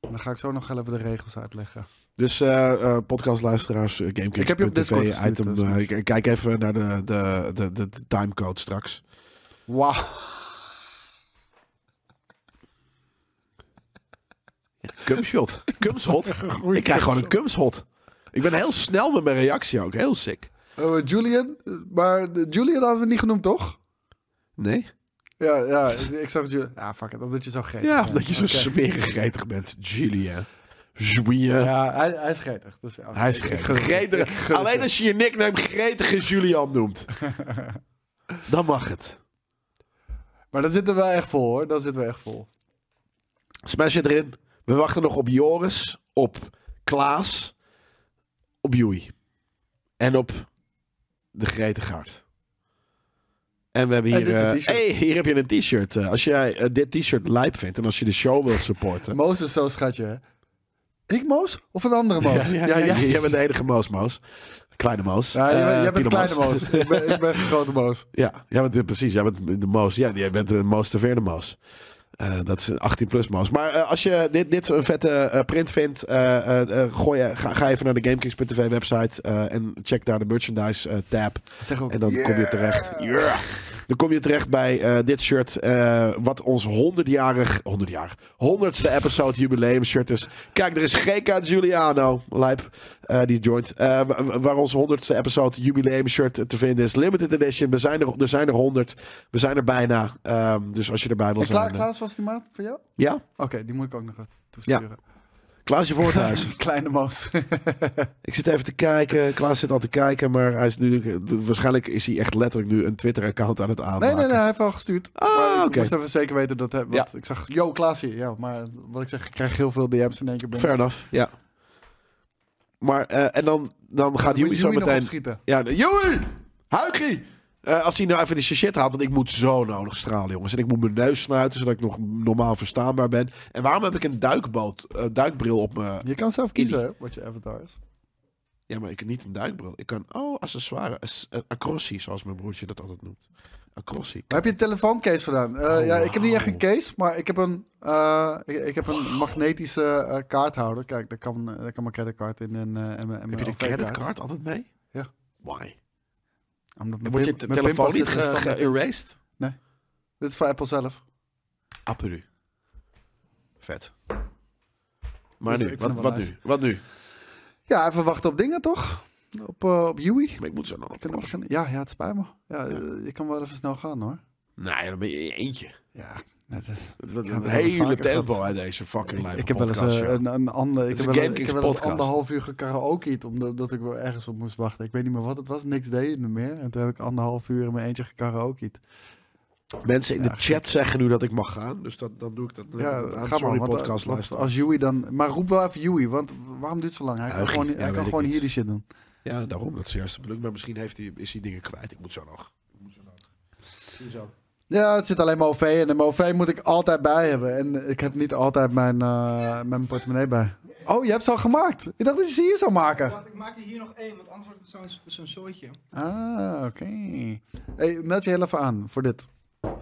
Speaker 4: Dan ga ik zo nog heel even de regels uitleggen.
Speaker 2: Dus eh, eh, podcastluisteraars, eh, Gamekings.tv
Speaker 4: Ik heb je op Discord gestuurd,
Speaker 2: item.
Speaker 4: eh, Smash.
Speaker 2: eh, k- kijk even naar de, de, de, de, de timecode straks.
Speaker 4: Wauw.
Speaker 2: Cumshot. Cumshot. Ik krijg gewoon een cumshot. Ik ben heel snel met mijn reactie ook. Heel sick.
Speaker 4: Eh, Julian, eh, maar de- Julian hadden we niet genoemd, toch?
Speaker 2: Nee?
Speaker 4: Ja, ja, ik zag Julian. Ja, fuck it, omdat je zo gretig
Speaker 2: Ja,
Speaker 4: bent.
Speaker 2: omdat je zo
Speaker 4: Oké.
Speaker 2: smerig gretig bent. Julia. Julia.
Speaker 4: Ja, hij, hij is gretig. Dus, ja,
Speaker 2: Hij is
Speaker 4: ik- ik
Speaker 2: gretig.
Speaker 4: gun het je.
Speaker 2: Gretig.
Speaker 4: Ik gun het
Speaker 2: Alleen
Speaker 4: je.
Speaker 2: als je je nickname gretige Julian noemt. Dan mag het.
Speaker 4: Maar dan zitten we wel echt vol, hoor. Dan zitten we echt vol.
Speaker 2: Smash het erin. We wachten nog op Joris, op Klaas, op Joey. En op de Gretegaard. En we hebben
Speaker 4: En
Speaker 2: hier...
Speaker 4: dit is een
Speaker 2: eh,
Speaker 4: t-shirt.
Speaker 2: hey, hier heb je een t-shirt. Eh, als jij eh, dit t-shirt lijp vindt en als je de show wilt supporten...
Speaker 4: Moos is zo'n schatje, hè? Ik Moos? Of een andere Moos?
Speaker 2: Ja, ja, ja, jij bent de enige Moos Moos. Kleine Moos.
Speaker 4: Ja, jij, bent-
Speaker 2: Eh,
Speaker 4: jij
Speaker 2: Pino
Speaker 4: bent kleine moos. ik, ben, ik ben grote moos.
Speaker 2: Ja, ja want, eh, precies. Jij bent de Moos. Ja, jij bent de Moos Taverne Moos. Eh, dat is een 18 plus Moos. Maar eh, als je dit, dit een vette eh, print vindt, eh, eh, eh, gooi, je- ga, ga even naar de GameKings.tv website eh, en check daar de merchandise eh, tab.
Speaker 4: Zeg ook,
Speaker 2: En dan kom je terecht. Yeah. Dan kom je terecht bij eh, dit shirt. eh, wat ons 100-jarig, 100-jarig, 100ste episode jubileum shirt is. Kijk, er is GK Giuliano, lijp, eh, die joint. eh, wa- wa- waar ons 100ste episode jubileum shirt te vinden is. Limited edition. We zijn er, er zijn er 100. We zijn er bijna. Ehm, dus als je erbij wil
Speaker 4: En Kla
Speaker 2: zijn. eh,
Speaker 4: Klaas, was die maat voor jou? Oké,
Speaker 2: ja,
Speaker 4: die moet ik ook nog even toesturen.
Speaker 2: Klaasje Voorthuis.
Speaker 4: Kleine moos.
Speaker 2: Ik zit even te kijken. Klaas zit al te kijken, maar hij is nu, waarschijnlijk is hij echt letterlijk nu een Twitter-account aan het aanmaken.
Speaker 4: Nee, nee, nee, hij heeft al gestuurd.
Speaker 2: Ah,
Speaker 4: Maar Ik
Speaker 2: oké.
Speaker 4: moest even zeker weten dat hij... want Ik zag, yo, Klaas hier. Ja, maar wat ik zeg, ik krijg heel veel DM's in één keer binnen.
Speaker 2: Fair enough, ja. Maar, eh, en dan, dan gaat
Speaker 4: Moet
Speaker 2: Yumi zo
Speaker 4: Joey nog
Speaker 2: meteen...
Speaker 4: opschieten.
Speaker 2: Ja, de- Joey! Huigie! Eh, als hij nou even die shit haalt, want ik moet zo nodig stralen, jongens. En ik moet mijn neus snuiten, zodat ik nog normaal verstaanbaar ben. En waarom heb ik een duikboot, eh, duikbril op me?
Speaker 4: Je kan zelf kiezen hè, wat je avatar is.
Speaker 2: Ja, maar ik heb niet een duikbril. Ik kan, oh, accessoire. As, eh, acrossie, zoals mijn broertje dat altijd noemt. Acrossie.
Speaker 4: Heb je een telefooncase gedaan? Eh,
Speaker 2: Oh,
Speaker 4: ja, ik heb niet echt
Speaker 2: wauw.
Speaker 4: een case, maar ik heb een, eh, ik, ik heb een magnetische eh, kaarthouder. Kijk, daar kan, eh, daar kan mijn creditcard in en, eh, en, mijn- en
Speaker 2: Heb je
Speaker 4: mijn
Speaker 2: de
Speaker 4: OV-kaart.
Speaker 2: creditcard altijd mee?
Speaker 4: Ja.
Speaker 2: Why?
Speaker 4: Omdat mijn
Speaker 2: Wordt je
Speaker 4: pin-
Speaker 2: te-
Speaker 4: mijn
Speaker 2: telefoon
Speaker 4: pinpas
Speaker 2: niet
Speaker 4: zit in
Speaker 2: ge-
Speaker 4: standaard.
Speaker 2: ge-erased?
Speaker 4: Dit is voor Apple zelf.
Speaker 2: Apperu. Vet. Maar
Speaker 4: Dus ik
Speaker 2: nu,
Speaker 4: vind
Speaker 2: wat,
Speaker 4: hem wel
Speaker 2: wat
Speaker 4: nice.
Speaker 2: nu? Wat nu?
Speaker 4: Ja, even wachten op dingen toch? Op, eh op Yui.
Speaker 2: Maar ik moet zo nog
Speaker 4: Kunnen we
Speaker 2: oplossen.
Speaker 4: beginnen? Ja, ja, het spijt me. Ja, eh, je kan wel even snel gaan hoor.
Speaker 2: Nee, dan ben je in je eentje.
Speaker 4: Ja, het is...
Speaker 2: Het wordt
Speaker 4: Ja,
Speaker 2: een
Speaker 4: we hebben
Speaker 2: hele
Speaker 4: vaker
Speaker 2: tempo
Speaker 4: gehad.
Speaker 2: uit deze fucking
Speaker 4: Ik,
Speaker 2: lijpe
Speaker 4: ik heb wel eens
Speaker 2: podcast,
Speaker 4: eh,
Speaker 2: joh.
Speaker 4: een, een ander. Ik
Speaker 2: Het is
Speaker 4: heb,
Speaker 2: een
Speaker 4: wel, ik
Speaker 2: Gamekings
Speaker 4: heb wel eens
Speaker 2: podcast.
Speaker 4: anderhalf uur gekaraokeerd, omdat ik wel ergens op moest wachten. Ik weet niet meer wat het was. Niks deed er meer. En toen heb ik anderhalf uur in mijn eentje gekaraokeerd.
Speaker 2: Mensen in
Speaker 4: ja,
Speaker 2: de chat zeggen nu dat ik mag gaan, dus dat, dan doe ik dat.
Speaker 4: Ja,
Speaker 2: Ja,
Speaker 4: ga
Speaker 2: aan
Speaker 4: maar.
Speaker 2: sorry
Speaker 4: want, eh,
Speaker 2: podcast
Speaker 4: want
Speaker 2: luisteren.
Speaker 4: als Joey dan... Maar roep wel even Joey, want waarom duurt het zo lang? Hij kan
Speaker 2: Huigie,
Speaker 4: gewoon,
Speaker 2: ja,
Speaker 4: hij
Speaker 2: weet
Speaker 4: kan
Speaker 2: ik
Speaker 4: gewoon
Speaker 2: niet.
Speaker 4: hier die shit doen.
Speaker 2: Ja, daarom. Dat is juist de bedoeling. Maar misschien heeft hij, is hij dingen kwijt. Ik moet zo nog.
Speaker 4: Ja, het zit alleen maar OV. En de OV moet ik altijd bij hebben. En ik heb niet altijd mijn, eh, mijn portemonnee bij. Oh, je hebt ze al gemaakt. Ik dacht dat je ze hier zou maken.
Speaker 3: ik maak er hier nog één, want anders wordt het zo'n zo'n soortje.
Speaker 4: Ah, oké. Hey, meld je heel even aan voor dit.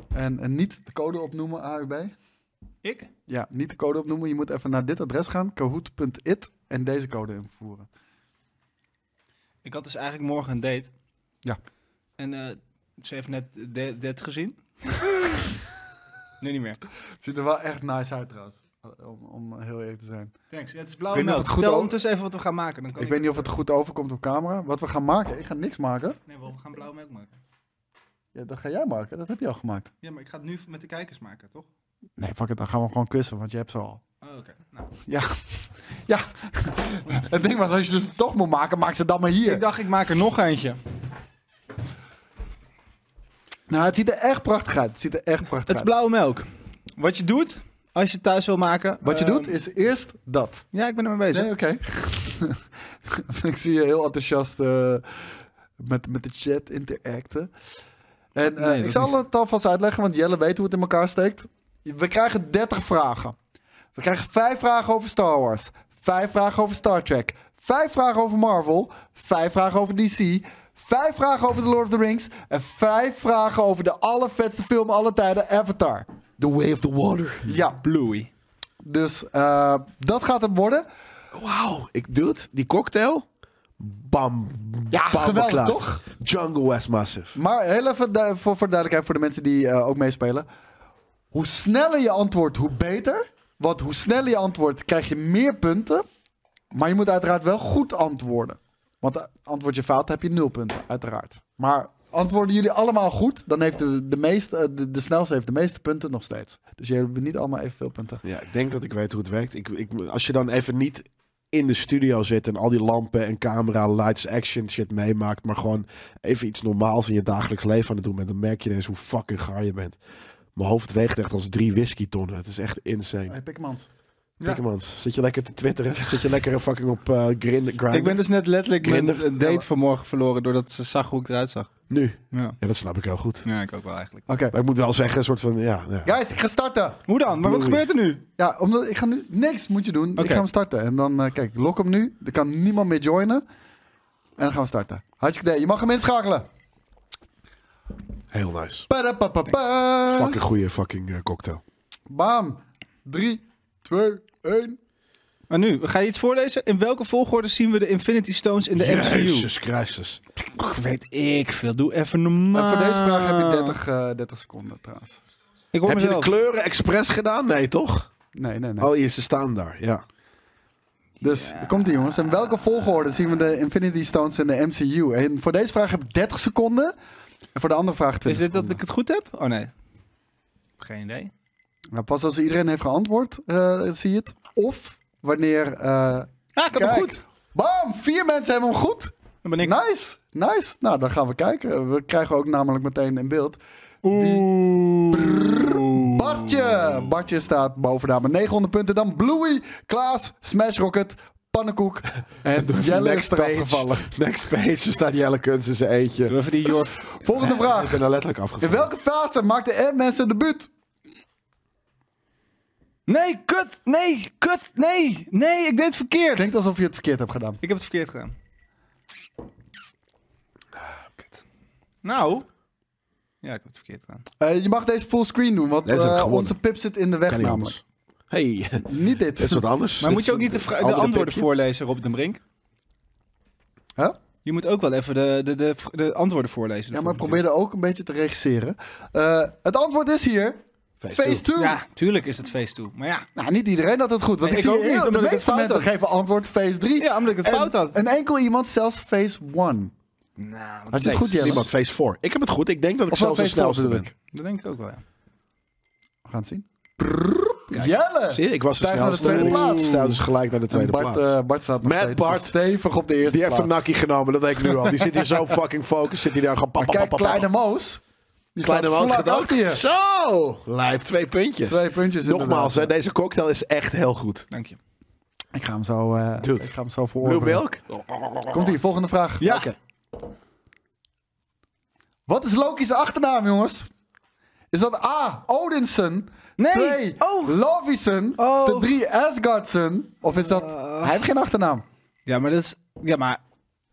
Speaker 4: En, en niet de code opnoemen, AUB.
Speaker 3: Ik?
Speaker 4: Ja, niet de code opnoemen. Je moet even naar dit adres gaan, kahoot.it, en deze code invoeren.
Speaker 3: Ik had dus eigenlijk morgen een date.
Speaker 4: Ja.
Speaker 3: En eh, ze heeft net de- dit gezien. nu niet meer.
Speaker 4: Het ziet er wel echt nice uit trouwens, om, om heel eerlijk te zijn.
Speaker 3: Thanks. het is
Speaker 4: Ik
Speaker 3: blauwe
Speaker 4: weet niet
Speaker 3: melk.
Speaker 4: of het goed
Speaker 3: Vertel
Speaker 4: over-
Speaker 3: ondertussen even wat we gaan maken. Dan kan
Speaker 4: Ik weet niet of het goed overkomt op camera. Wat we gaan maken, ik ga niks maken.
Speaker 3: Nee, wel, we gaan blauwe melk maken.
Speaker 4: Ja, dat ga jij maken, dat heb je al gemaakt.
Speaker 3: Ja, maar ik ga het nu met de kijkers maken, toch?
Speaker 4: Nee, fuck it, dan gaan we gewoon kussen, want je hebt ze al.
Speaker 3: Oh, oké. Nou.
Speaker 4: Ja, het ding was, als je ze toch moet maken, maak ze dan maar hier.
Speaker 3: Ik dacht, ik maak er nog eentje.
Speaker 4: Nou, het ziet er echt prachtig uit. Het ziet er echt prachtig
Speaker 3: Het is
Speaker 4: uit.
Speaker 3: blauwe melk. Wat je doet, als je het thuis wil maken...
Speaker 4: Wat je
Speaker 3: ehm,
Speaker 4: doet, is eerst dat.
Speaker 3: Ja, ik ben ermee bezig.
Speaker 4: Nee, oké. ik zie je heel enthousiast eh, met, met de chat interacten. En eh,
Speaker 3: Nee,
Speaker 4: ik
Speaker 3: dat
Speaker 4: zal het alvast uitleggen, want Jelle weet hoe het in elkaar steekt. We krijgen 30 vragen. We krijgen 5 vragen over Star Wars. 5 vragen over Star Trek. 5 vragen over Marvel. 5 vragen over DC. 5 vragen over The Lord of the Rings. En 5 vragen over de allervetste film aller tijden, Avatar.
Speaker 2: The Way of the Water.
Speaker 4: Ja,
Speaker 3: Bluey.
Speaker 4: dus eh, dat gaat het worden.
Speaker 2: Wauw. Ik doe het. Die cocktail. Bam.
Speaker 4: Ja,
Speaker 2: bam,
Speaker 4: geweldig,
Speaker 2: klaar.
Speaker 4: toch?
Speaker 2: Jungle West Massive.
Speaker 4: Maar heel even du- voor, voor duidelijkheid voor de mensen die eh, ook meespelen. Hoe sneller je antwoordt, hoe beter. Want hoe sneller je antwoordt, krijg je meer punten. Maar je moet uiteraard wel goed antwoorden. Want eh, antwoord je fout, heb je nul punten, uiteraard. Maar antwoorden jullie allemaal goed, dan heeft de, de, meeste, eh, de, de snelste heeft de meeste punten nog steeds. Dus jullie hebben niet allemaal evenveel punten.
Speaker 2: Ja, ik denk dat ik weet hoe het werkt. Ik, ik, als je dan even niet in de studio zit en al die lampen en camera, lights, action shit meemaakt, maar gewoon even iets normaals in je dagelijks leven aan het doen bent, dan merk je ineens hoe fucking gaar je bent. Mijn hoofd weegt echt als drie whiskytonnen. Het is echt insane.
Speaker 4: Hey, Pikmans.
Speaker 2: Pikkemans, zit je lekker te twitteren? Zit je lekker fucking op eh grind, grind?
Speaker 3: Ik ben dus net letterlijk mijn
Speaker 2: Grinder.
Speaker 3: eh, date vanmorgen verloren... doordat ze zag hoe ik eruit zag.
Speaker 2: Nu.
Speaker 3: Ja,
Speaker 2: Ja, dat snap ik heel goed.
Speaker 3: ja ik ook wel eigenlijk.
Speaker 4: Oké.
Speaker 2: Maar ik moet wel zeggen, een soort van, ja. ja.
Speaker 4: Guys, ik ga starten.
Speaker 3: Hoe dan? Maar wat
Speaker 2: Bluey.
Speaker 3: gebeurt er nu?
Speaker 4: Ja, omdat ik ga nu niks moet je doen. Ik
Speaker 3: Oké.
Speaker 4: ga hem starten. En dan, eh, kijk, lok hem nu. Er kan niemand meer joinen. En dan gaan we starten. Hartstikke idee. Je mag hem inschakelen.
Speaker 2: Heel nice.
Speaker 4: Padapapapa.
Speaker 2: Fucking goede fucking eh, cocktail.
Speaker 4: Bam. 3, 2, 1.
Speaker 3: Maar nu, ga je iets voorlezen? In welke volgorde zien we de Infinity Stones in de MCU?
Speaker 2: Jezus Christus.
Speaker 3: Och, weet ik veel. Doe even normaal.
Speaker 4: voor deze vraag heb je 30, eh, 30 seconden trouwens.
Speaker 3: Ik hoor
Speaker 2: Heb je de
Speaker 3: mezelf.
Speaker 2: kleuren expres gedaan? Nee, toch?
Speaker 4: Nee, nee, nee.
Speaker 2: Oh, hier, ze staan daar. Ja.
Speaker 4: Dus, daar komt ie jongens. In welke volgorde zien we de Infinity Stones in de MCU? En voor deze vraag heb ik 30 seconden. En voor de andere vraag 20
Speaker 3: Is dit dat
Speaker 4: seconden.
Speaker 3: ik het goed heb? Oh nee. Geen idee.
Speaker 4: Nou, pas als iedereen heeft geantwoord, eh, zie je het. Of wanneer... eh
Speaker 3: Ah, ik heb
Speaker 4: kijk.
Speaker 3: hem goed.
Speaker 4: Bam! Vier mensen hebben hem goed.
Speaker 3: Dan ben ik...
Speaker 4: Nice, nice. Nou, dan gaan we kijken. We krijgen ook namelijk meteen in beeld. Wie... Bartje! Bartje staat bovenaan met 900 punten. Dan Bluey, Klaas, Smash Rocket, Pannenkoek en Jelle is
Speaker 2: Next
Speaker 4: eraf
Speaker 2: page.
Speaker 4: gevallen.
Speaker 2: Next page, er staat Jelle Kunst in zijn eentje.
Speaker 3: Doe even die Jorf.
Speaker 4: Volgende
Speaker 2: Ik
Speaker 4: vraag.
Speaker 2: ben er letterlijk
Speaker 4: In
Speaker 2: afgevallen.
Speaker 4: welke fase maakte Ant-Man zijn debuut?
Speaker 3: Nee, kut. Nee, kut. Nee. Nee, ik deed het verkeerd.
Speaker 4: Klinkt alsof je het verkeerd hebt gedaan.
Speaker 3: Ik heb het verkeerd gedaan.
Speaker 2: Ah,
Speaker 3: Kut. Nou. Ja, ik heb het verkeerd gedaan.
Speaker 4: Eh, je mag deze fullscreen doen, want
Speaker 2: Deze heb ik
Speaker 4: eh,
Speaker 2: gewonnen.
Speaker 4: onze pip zit in de weg
Speaker 2: Kan niet
Speaker 4: namelijk.
Speaker 2: anders. Hey,
Speaker 4: Niet dit.
Speaker 2: dat is wat anders.
Speaker 3: Maar
Speaker 2: Dit
Speaker 3: moet je
Speaker 2: is
Speaker 3: ook niet de,
Speaker 2: een
Speaker 3: vra- de
Speaker 2: andere
Speaker 3: antwoorden
Speaker 2: pipje.
Speaker 3: voorlezen, Rob den Brink?
Speaker 4: Huh?
Speaker 3: Je moet ook wel even de, de, de, de antwoorden voorlezen.
Speaker 4: Ja, maar probeer er ook een beetje te regisseren. Eh, het antwoord is hier. Phase
Speaker 2: Phase
Speaker 4: 2.
Speaker 3: Ja, tuurlijk is het feest toe. Maar ja.
Speaker 4: Nou, niet iedereen had het goed. Want
Speaker 3: Nee,
Speaker 4: ik,
Speaker 3: ik
Speaker 4: zie
Speaker 3: ook niet,
Speaker 4: heel- de
Speaker 3: omdat ik het
Speaker 4: meeste
Speaker 3: fout
Speaker 4: mensen
Speaker 3: had.
Speaker 4: geven antwoord phase 3.
Speaker 3: Ja, omdat ik het fout had.
Speaker 4: Een enkel iemand zelfs phase 1.
Speaker 3: Nou,
Speaker 4: Had je het goed, Jelle?
Speaker 2: Niemand face 4. Ik heb het goed. Ik denk dat ik
Speaker 4: Of wel
Speaker 2: zelfs de
Speaker 4: face four
Speaker 2: snelste
Speaker 4: bedoel
Speaker 2: ben.
Speaker 4: ik.
Speaker 3: Dat denk ik ook wel, ja.
Speaker 4: We gaan het zien. Prrrr. Jelle!
Speaker 2: Zie je, ik was de
Speaker 4: Stijg naar de
Speaker 2: snelste.
Speaker 4: tweede plaats.
Speaker 2: Stel dus gelijk naar de tweede
Speaker 4: En Bart,
Speaker 2: plaats.
Speaker 4: eh, Bart staat nog
Speaker 2: Mad
Speaker 4: steeds
Speaker 2: Bart.
Speaker 4: stevig op de eerste
Speaker 2: Die heeft
Speaker 4: plaats.
Speaker 2: een nakkie genomen, dat weet ik nu al. Die zit hier zo fucking focus, zit hij daar gewoon... pap,
Speaker 4: Maar
Speaker 2: pap,
Speaker 4: kijk,
Speaker 2: pap, pap,
Speaker 4: Kleine
Speaker 2: pap.
Speaker 4: Moos. Die
Speaker 2: Kleine
Speaker 4: staat
Speaker 2: man
Speaker 4: vlak
Speaker 2: gedacht.
Speaker 4: achter je.
Speaker 2: Zo! Lijp, twee puntjes.
Speaker 4: Twee puntjes
Speaker 2: Nogmaals, hè,
Speaker 4: inderdaad.
Speaker 2: deze cocktail is echt heel goed.
Speaker 3: Dank je.
Speaker 4: Ik ga hem zo, eh
Speaker 2: Dude.
Speaker 4: ik ga hem zo
Speaker 2: Blue
Speaker 4: veroordelen.
Speaker 2: Milk?
Speaker 4: Komt hier, volgende vraag.
Speaker 3: Ja.
Speaker 2: Oh, Oké.
Speaker 4: Wat is Loki's achternaam, jongens? Is dat A. Odinson?
Speaker 3: Nee.
Speaker 4: Twee.
Speaker 3: Oh.
Speaker 4: Lovison?
Speaker 3: Oh. Eh.
Speaker 4: Is dat drie Asgardson? Of is dat... Hij heeft geen achternaam.
Speaker 3: Ja, maar dat is... Ja, maar...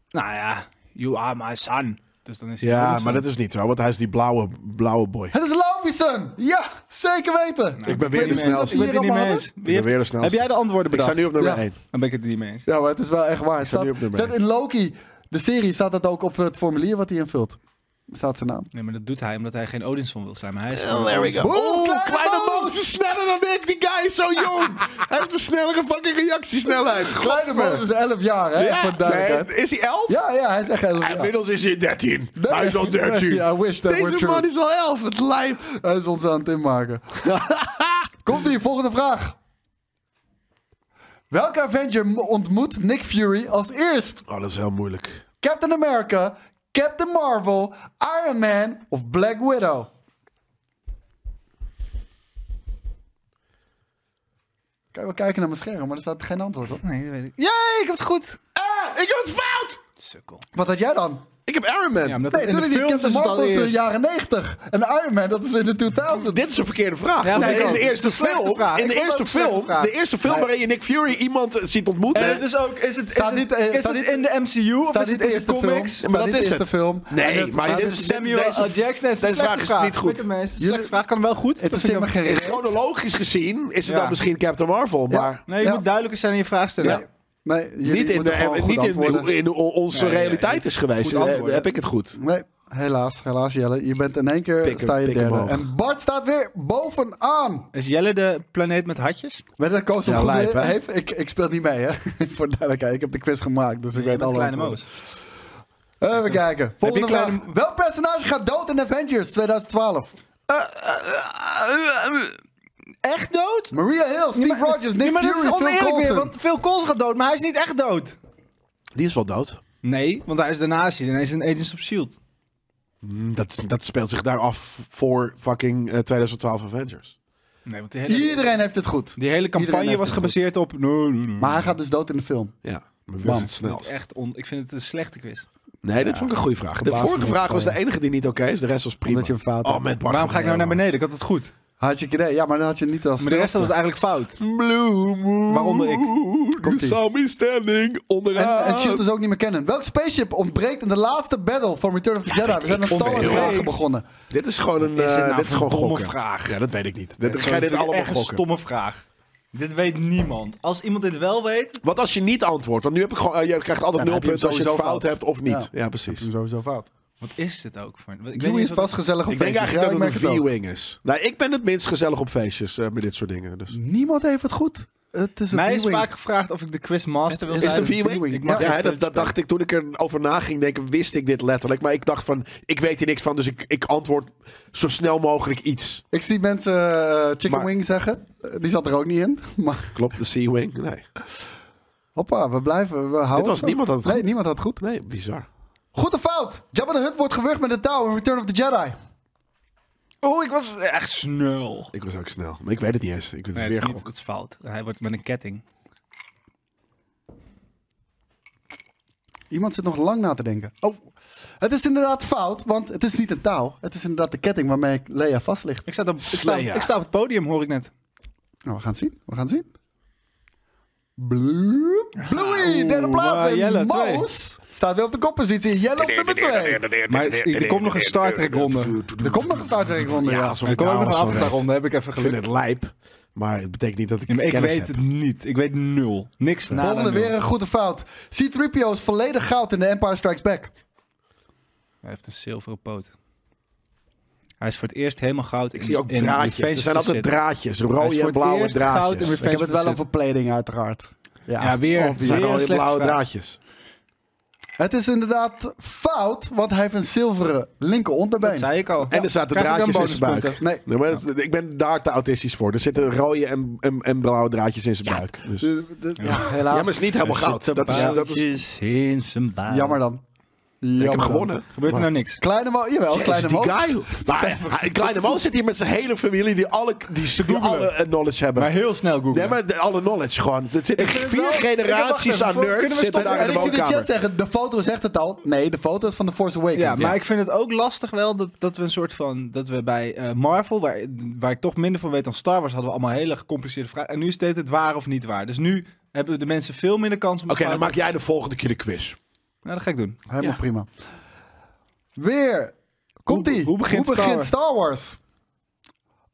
Speaker 3: Nou ja. You are my son. Dus dan is hij
Speaker 2: Ja,
Speaker 3: Robinson.
Speaker 2: maar dat is niet zo, want hij is die blauwe, blauwe boy.
Speaker 4: Het is Lovison! Ja, zeker weten.
Speaker 2: Ik ben weer
Speaker 4: weet
Speaker 2: de
Speaker 4: niet eens of
Speaker 2: snelste.
Speaker 4: je-
Speaker 2: Ik
Speaker 3: Ik ben het niet
Speaker 4: allemaal
Speaker 3: mee
Speaker 4: hadden?
Speaker 3: eens.
Speaker 4: Ik
Speaker 3: Wie
Speaker 2: ben
Speaker 3: heeft-
Speaker 2: weer de snelste.
Speaker 3: Heb jij de antwoorden
Speaker 2: sta
Speaker 3: bedacht?
Speaker 2: nu op nummer
Speaker 4: Ja.
Speaker 2: 1.
Speaker 3: Dan ben ik het niet mee eens.
Speaker 4: Ja, maar het is wel echt waar. Het
Speaker 2: sta
Speaker 4: Staat,
Speaker 2: nu op nummer
Speaker 4: staat
Speaker 2: één.
Speaker 4: in Loki, de serie, staat dat ook op het formulier wat hij invult. Staat zijn naam.
Speaker 3: Nee, maar dat doet hij omdat hij geen Odinson wil zijn. Maar hij is
Speaker 2: Oh, There we go.
Speaker 4: Oeh,
Speaker 2: Oeh,
Speaker 4: kleine
Speaker 2: kleine,
Speaker 4: Moos.
Speaker 2: man is sneller dan ik. Die guy is zo jong. hij heeft een snellere fucking reactiesnelheid.
Speaker 4: Kleine Moos is 11 jaar, hè?
Speaker 2: Ja,
Speaker 4: Voor de duidelijkheid.
Speaker 2: nee, is hij 11?
Speaker 4: Ja, ja, hij is echt 11 jaar.
Speaker 2: Inmiddels is hij 13.
Speaker 4: Nee.
Speaker 2: Hij is al 13.
Speaker 4: Ja, I wish that were
Speaker 2: Deze
Speaker 4: true.
Speaker 2: man is al 11. Het lijf.
Speaker 4: Hij is ons aan het inmaken. Komt ie, volgende vraag. Welke Avenger m- ontmoet Nick Fury als eerst?
Speaker 2: Oh, dat is heel moeilijk.
Speaker 4: Captain America, Captain Marvel, Iron Man of Black Widow? Kijk, we kijken naar mijn scherm, maar er staat geen antwoord op.
Speaker 3: Nee, dat weet ik. Jee, ik heb het goed!
Speaker 2: Ah, ik heb het fout.
Speaker 3: Sukkel.
Speaker 4: Wat had jij dan?
Speaker 2: Ik heb Iron Man.
Speaker 3: Ja, omdat
Speaker 4: Nee,
Speaker 3: in de
Speaker 4: toen die
Speaker 3: films
Speaker 4: Captain
Speaker 3: is het
Speaker 4: Marvel is in de
Speaker 3: allereerst.
Speaker 4: jaren 90. En Iron Man, dat is in de 2000.
Speaker 2: Dit is een verkeerde vraag.
Speaker 3: Ja,
Speaker 2: Nee,
Speaker 3: vind ik
Speaker 2: in de
Speaker 3: ook.
Speaker 2: eerste
Speaker 3: Slechte
Speaker 2: film,
Speaker 3: vraag.
Speaker 2: in
Speaker 3: Ik
Speaker 2: de
Speaker 3: vond
Speaker 2: eerste
Speaker 3: het een slechte
Speaker 2: film,
Speaker 3: vraag.
Speaker 2: de eerste film waarin je Nick Fury iemand ziet ontmoeten.
Speaker 3: En het is ook, is het, is
Speaker 4: Staat
Speaker 3: het,
Speaker 4: niet, eh,
Speaker 3: is
Speaker 4: staat
Speaker 3: het
Speaker 4: niet-
Speaker 3: in de MCU of
Speaker 4: staat
Speaker 3: is het
Speaker 4: niet
Speaker 3: in de
Speaker 4: eerste
Speaker 3: comics?
Speaker 4: film.
Speaker 2: maar
Speaker 4: staat
Speaker 2: dat
Speaker 4: niet
Speaker 2: is
Speaker 4: eerste
Speaker 2: het.
Speaker 4: film.
Speaker 2: Nee,
Speaker 4: En het-
Speaker 2: maar dit
Speaker 3: Dit
Speaker 2: is-
Speaker 3: is
Speaker 2: dit-
Speaker 3: Samuel
Speaker 2: deze-
Speaker 3: L. Jackson.
Speaker 2: deze vraag is niet goed.
Speaker 3: Slechte vraag kan wel goed.
Speaker 4: Het
Speaker 3: Dat
Speaker 4: is
Speaker 3: vind ik
Speaker 4: helemaal geen
Speaker 2: Is
Speaker 4: reet.
Speaker 2: chronologisch gezien is het
Speaker 3: Ja.
Speaker 2: dan misschien Captain Marvel,
Speaker 4: Ja.
Speaker 2: maar
Speaker 3: Nee, je
Speaker 4: Ja.
Speaker 3: moet duidelijker zijn in je vraagstelling.
Speaker 4: Nee, nee, jullie
Speaker 2: niet in,
Speaker 4: moeten gewoon
Speaker 2: de,
Speaker 4: goed
Speaker 2: niet in,
Speaker 4: antwoorden.
Speaker 2: hoe- in hoe onze
Speaker 3: Nee, nee,
Speaker 2: realiteit
Speaker 3: nee.
Speaker 2: is geweest.
Speaker 3: Goed
Speaker 2: Eh,
Speaker 3: antwoorden.
Speaker 2: heb ik het goed?
Speaker 4: Nee, helaas, helaas Jelle. Je bent in één keer
Speaker 2: Pik hem,
Speaker 4: sta je
Speaker 2: pik hem
Speaker 4: derde.
Speaker 2: hoog.
Speaker 4: En Bart staat weer bovenaan.
Speaker 3: Is Jelle de planeet met hartjes?
Speaker 4: Weet je dat Koos hem
Speaker 2: Ja,
Speaker 4: goed
Speaker 2: lijp, hè?
Speaker 4: heeft? Ik, ik speel niet mee, hè? Voor de duidelijkheid, ik heb de quiz gemaakt, dus ik weet
Speaker 3: met
Speaker 4: alle
Speaker 3: kleine
Speaker 4: antwoorden.
Speaker 3: moos.
Speaker 4: Even kijken. Volgende
Speaker 3: je kleine-
Speaker 4: vraag. Welk personage gaat dood in Avengers 2012?
Speaker 3: Eh, Echt dood?
Speaker 4: Maria Hill, Steve
Speaker 3: maar-
Speaker 4: Rogers, Nick
Speaker 3: Nee, maar dat is
Speaker 4: Fury, Phil
Speaker 3: oneerlijk weer,
Speaker 4: Coulson.
Speaker 3: want Phil Coulson gaat dood, maar hij is niet echt dood.
Speaker 2: Die is wel dood.
Speaker 3: Nee, want hij is daarna is hij ineens een Agents of S.H.I.E.L.D.
Speaker 2: Dat, dat speelt zich daar af voor fucking eh, 2012 Avengers.
Speaker 3: Nee, want die hele,
Speaker 4: Iedereen heeft het goed.
Speaker 3: die hele
Speaker 4: Iedereen
Speaker 3: campagne
Speaker 4: heeft
Speaker 3: was
Speaker 4: het
Speaker 3: gebaseerd op... No, no, no.
Speaker 4: Maar hij gaat dus dood in de film.
Speaker 2: Ja, maar wie
Speaker 4: Bam.
Speaker 2: is het snelst?
Speaker 3: Echt on, ik vind het een slechte quiz.
Speaker 2: Nee, dit vond ik een goede vraag. De
Speaker 4: Gebaasd
Speaker 2: vorige
Speaker 4: van
Speaker 2: vraag
Speaker 4: het
Speaker 2: was de
Speaker 4: gooien.
Speaker 2: enige die niet oké is. De rest was prima.
Speaker 4: Omdat je hem fout
Speaker 2: Oh,
Speaker 4: had.
Speaker 2: met Bart
Speaker 3: Waarom ga ik nou naar
Speaker 2: van
Speaker 3: beneden?
Speaker 2: Nederland.
Speaker 3: Ik had het goed.
Speaker 4: Had je idee. Ja, maar dan had je niet als
Speaker 3: Maar de rest had het eigenlijk fout. Waaronder ik.
Speaker 2: You
Speaker 4: Komt ie.
Speaker 2: saw me standing
Speaker 4: En,
Speaker 2: onderaan.
Speaker 4: en Shield dus ook niet meer kennen. Welk spaceship ontbreekt in de laatste battle van Return of the Jedi? We zijn aan Star Wars
Speaker 2: weet ik.
Speaker 4: vragen begonnen.
Speaker 2: Dit is gewoon een,
Speaker 3: Is het
Speaker 2: eh,
Speaker 3: nou
Speaker 2: dit is
Speaker 3: voor
Speaker 2: gewoon
Speaker 3: een domme
Speaker 2: gokken.
Speaker 3: vraag?
Speaker 2: Ja, dat weet ik niet. Dit, ik
Speaker 3: Sorry,
Speaker 2: ga dit
Speaker 3: vind ik
Speaker 2: allemaal
Speaker 3: echt een
Speaker 2: gokken.
Speaker 3: stomme vraag. Dit weet niemand. Als iemand dit wel weet...
Speaker 2: Want als je niet antwoordt, want nu heb ik gewoon, eh, je krijgt altijd nul
Speaker 4: dan heb je hem
Speaker 2: punten als je het
Speaker 4: sowieso
Speaker 2: fout,
Speaker 4: fout.
Speaker 2: hebt of niet. Ja, precies.
Speaker 4: Sowieso fout.
Speaker 3: Wat is dit ook voor... Ik weet
Speaker 4: Joey
Speaker 3: niet
Speaker 4: is
Speaker 3: wat-
Speaker 4: vast gezellig op
Speaker 2: Ik denk
Speaker 4: feestjes.
Speaker 2: eigenlijk
Speaker 4: Ja,
Speaker 2: dat het
Speaker 4: ik merk
Speaker 2: een
Speaker 4: het ook.
Speaker 2: viewing is. Nou, ik ben het minst gezellig op feestjes eh, met dit soort dingen. Dus.
Speaker 4: Niemand heeft het goed. Het is een
Speaker 3: Mij is
Speaker 4: viewing.
Speaker 3: vaak gevraagd of ik de quizmaster wil
Speaker 4: Is
Speaker 2: Is
Speaker 3: zijn.
Speaker 2: het een
Speaker 4: een
Speaker 2: viewing?
Speaker 4: viewing?
Speaker 3: Ik
Speaker 2: Ja,
Speaker 3: mag dus
Speaker 4: geen
Speaker 2: hè, dat, dat dacht ik toen ik erover na ging denken, wist ik dit letterlijk. Maar ik dacht van, ik weet hier niks van, dus ik, ik antwoord zo snel mogelijk iets.
Speaker 4: Ik zie mensen eh, chicken
Speaker 2: Maar-
Speaker 4: wing zeggen. Eh, die zat er ook niet in. Maar
Speaker 2: Klopt, de C-Wing? Nee.
Speaker 4: hoppa, we blijven. We houden
Speaker 2: Dit was
Speaker 4: het zo.
Speaker 2: niemand had het
Speaker 4: Nee,
Speaker 2: goed.
Speaker 4: niemand had het goed.
Speaker 2: Nee, bizar.
Speaker 4: Goed of fout? Jabba the Hutt wordt gewurgd met een touw in Return of the Jedi.
Speaker 3: Oh, ik was echt snel.
Speaker 2: Ik was ook snel, maar ik weet het niet eens. Ik weet het
Speaker 3: Nee, het
Speaker 2: weer
Speaker 3: is niet,
Speaker 2: gokken.
Speaker 3: het is fout. Hij wordt met een ketting.
Speaker 4: Iemand zit nog lang na te denken. Oh, het is inderdaad fout, want het is niet een touw. Het is inderdaad de ketting waarmee Leia vast ligt.
Speaker 3: Ik sta, op, ik, sta,
Speaker 2: Slayer.
Speaker 3: ik sta op het podium, hoor ik net.
Speaker 4: Nou, we gaan het zien. We gaan het zien. Blue, Bluey, derde plaats.
Speaker 3: maar Jelle,
Speaker 4: En
Speaker 3: twee.
Speaker 4: Moos staat weer op de koppositie. Jelle op nummer 2.
Speaker 3: Maar er komt nog een Star Trek ronde.
Speaker 4: Er komt nog een Star Trek ronde, ja.
Speaker 2: Ja, alsof
Speaker 3: Er
Speaker 2: ik
Speaker 3: komt ook
Speaker 2: nou
Speaker 3: nog een
Speaker 2: was van
Speaker 3: Avatar ronde, heb ik even
Speaker 2: Ik vind
Speaker 3: gelukkig.
Speaker 2: het lijp, maar het betekent niet dat ik
Speaker 3: Ja, maar ik
Speaker 2: kennis
Speaker 3: weet
Speaker 2: heb.
Speaker 3: het niet. Ik weet nul. Niks na
Speaker 4: Volgende weer een goede fout. C-3PO is volledig goud in de Empire Strikes Back.
Speaker 3: Hij heeft een zilveren poot. Hij is voor het eerst helemaal goud.
Speaker 2: Ik zie ook draadjes. Er zijn altijd draadjes. Rode
Speaker 3: voor
Speaker 2: en
Speaker 3: het
Speaker 2: blauwe
Speaker 3: eerst goud
Speaker 2: draadjes.
Speaker 3: in mijn
Speaker 2: Het
Speaker 4: Ik heb
Speaker 3: Feestje
Speaker 4: het wel
Speaker 3: zit.
Speaker 4: over plating uiteraard. Ja,
Speaker 3: Ja, weer.
Speaker 4: obvious.
Speaker 2: zijn
Speaker 3: Weer
Speaker 2: al
Speaker 3: een
Speaker 2: die
Speaker 3: slechte
Speaker 2: blauwe
Speaker 3: vraag.
Speaker 2: draadjes.
Speaker 4: Het is inderdaad fout, want hij heeft een zilveren linker onderbeen.
Speaker 3: Dat zei ik al.
Speaker 2: En er zaten
Speaker 3: Krijg ik dan
Speaker 2: draadjes in zijn buik.
Speaker 3: bonuspunten?
Speaker 2: Nee,
Speaker 4: Nee.
Speaker 2: maar dat- ik ben daar te autistisch voor. Er zitten rode en, en, en blauwe draadjes in zijn buik. Dus. Ja,
Speaker 4: De- de- ja, helaas.
Speaker 2: maar het is niet helemaal goud. Dat is, dat is,
Speaker 3: in zijn buik.
Speaker 4: Jammer dan.
Speaker 2: ik
Speaker 4: Jammer
Speaker 2: heb
Speaker 4: dan.
Speaker 2: gewonnen.
Speaker 3: Gebeurt er nou niks?
Speaker 4: Kleine Mo, jawel,
Speaker 2: Jezus,
Speaker 4: Kleine Mo.
Speaker 2: die guy. Maar, hij- Kleine Mo zit hier met zijn hele familie die alle, die, die
Speaker 3: googelen.
Speaker 2: alle eh, knowledge hebben.
Speaker 3: Maar heel snel googlen.
Speaker 2: Nee, maar de- alle knowledge gewoon. Er zitten
Speaker 4: vind het
Speaker 2: vier
Speaker 4: wel-
Speaker 2: generaties aan nerds zitten daar in
Speaker 4: En
Speaker 2: de
Speaker 4: ik zie de chat
Speaker 2: woonkamer.
Speaker 4: zeggen, de foto zegt het al. Nee, de foto is van The Force Awakens.
Speaker 3: Ja, maar ik vind het ook lastig wel dat, dat we een soort van... Dat we bij eh, Marvel, waar, waar ik toch minder van weet dan Star Wars... hadden we allemaal hele gecompliceerde vragen. En nu is dit het waar of niet waar. Dus nu hebben de mensen veel minder kans om...
Speaker 2: Oké,
Speaker 3: te
Speaker 2: dan maak
Speaker 3: fouten-
Speaker 2: jij de volgende keer de quiz.
Speaker 3: Nou, dat ga ik doen.
Speaker 4: Helemaal
Speaker 2: Ja.
Speaker 4: prima. Weer. Komt-ie.
Speaker 3: Hoe- hoe begint Star Wars?
Speaker 4: Star Wars?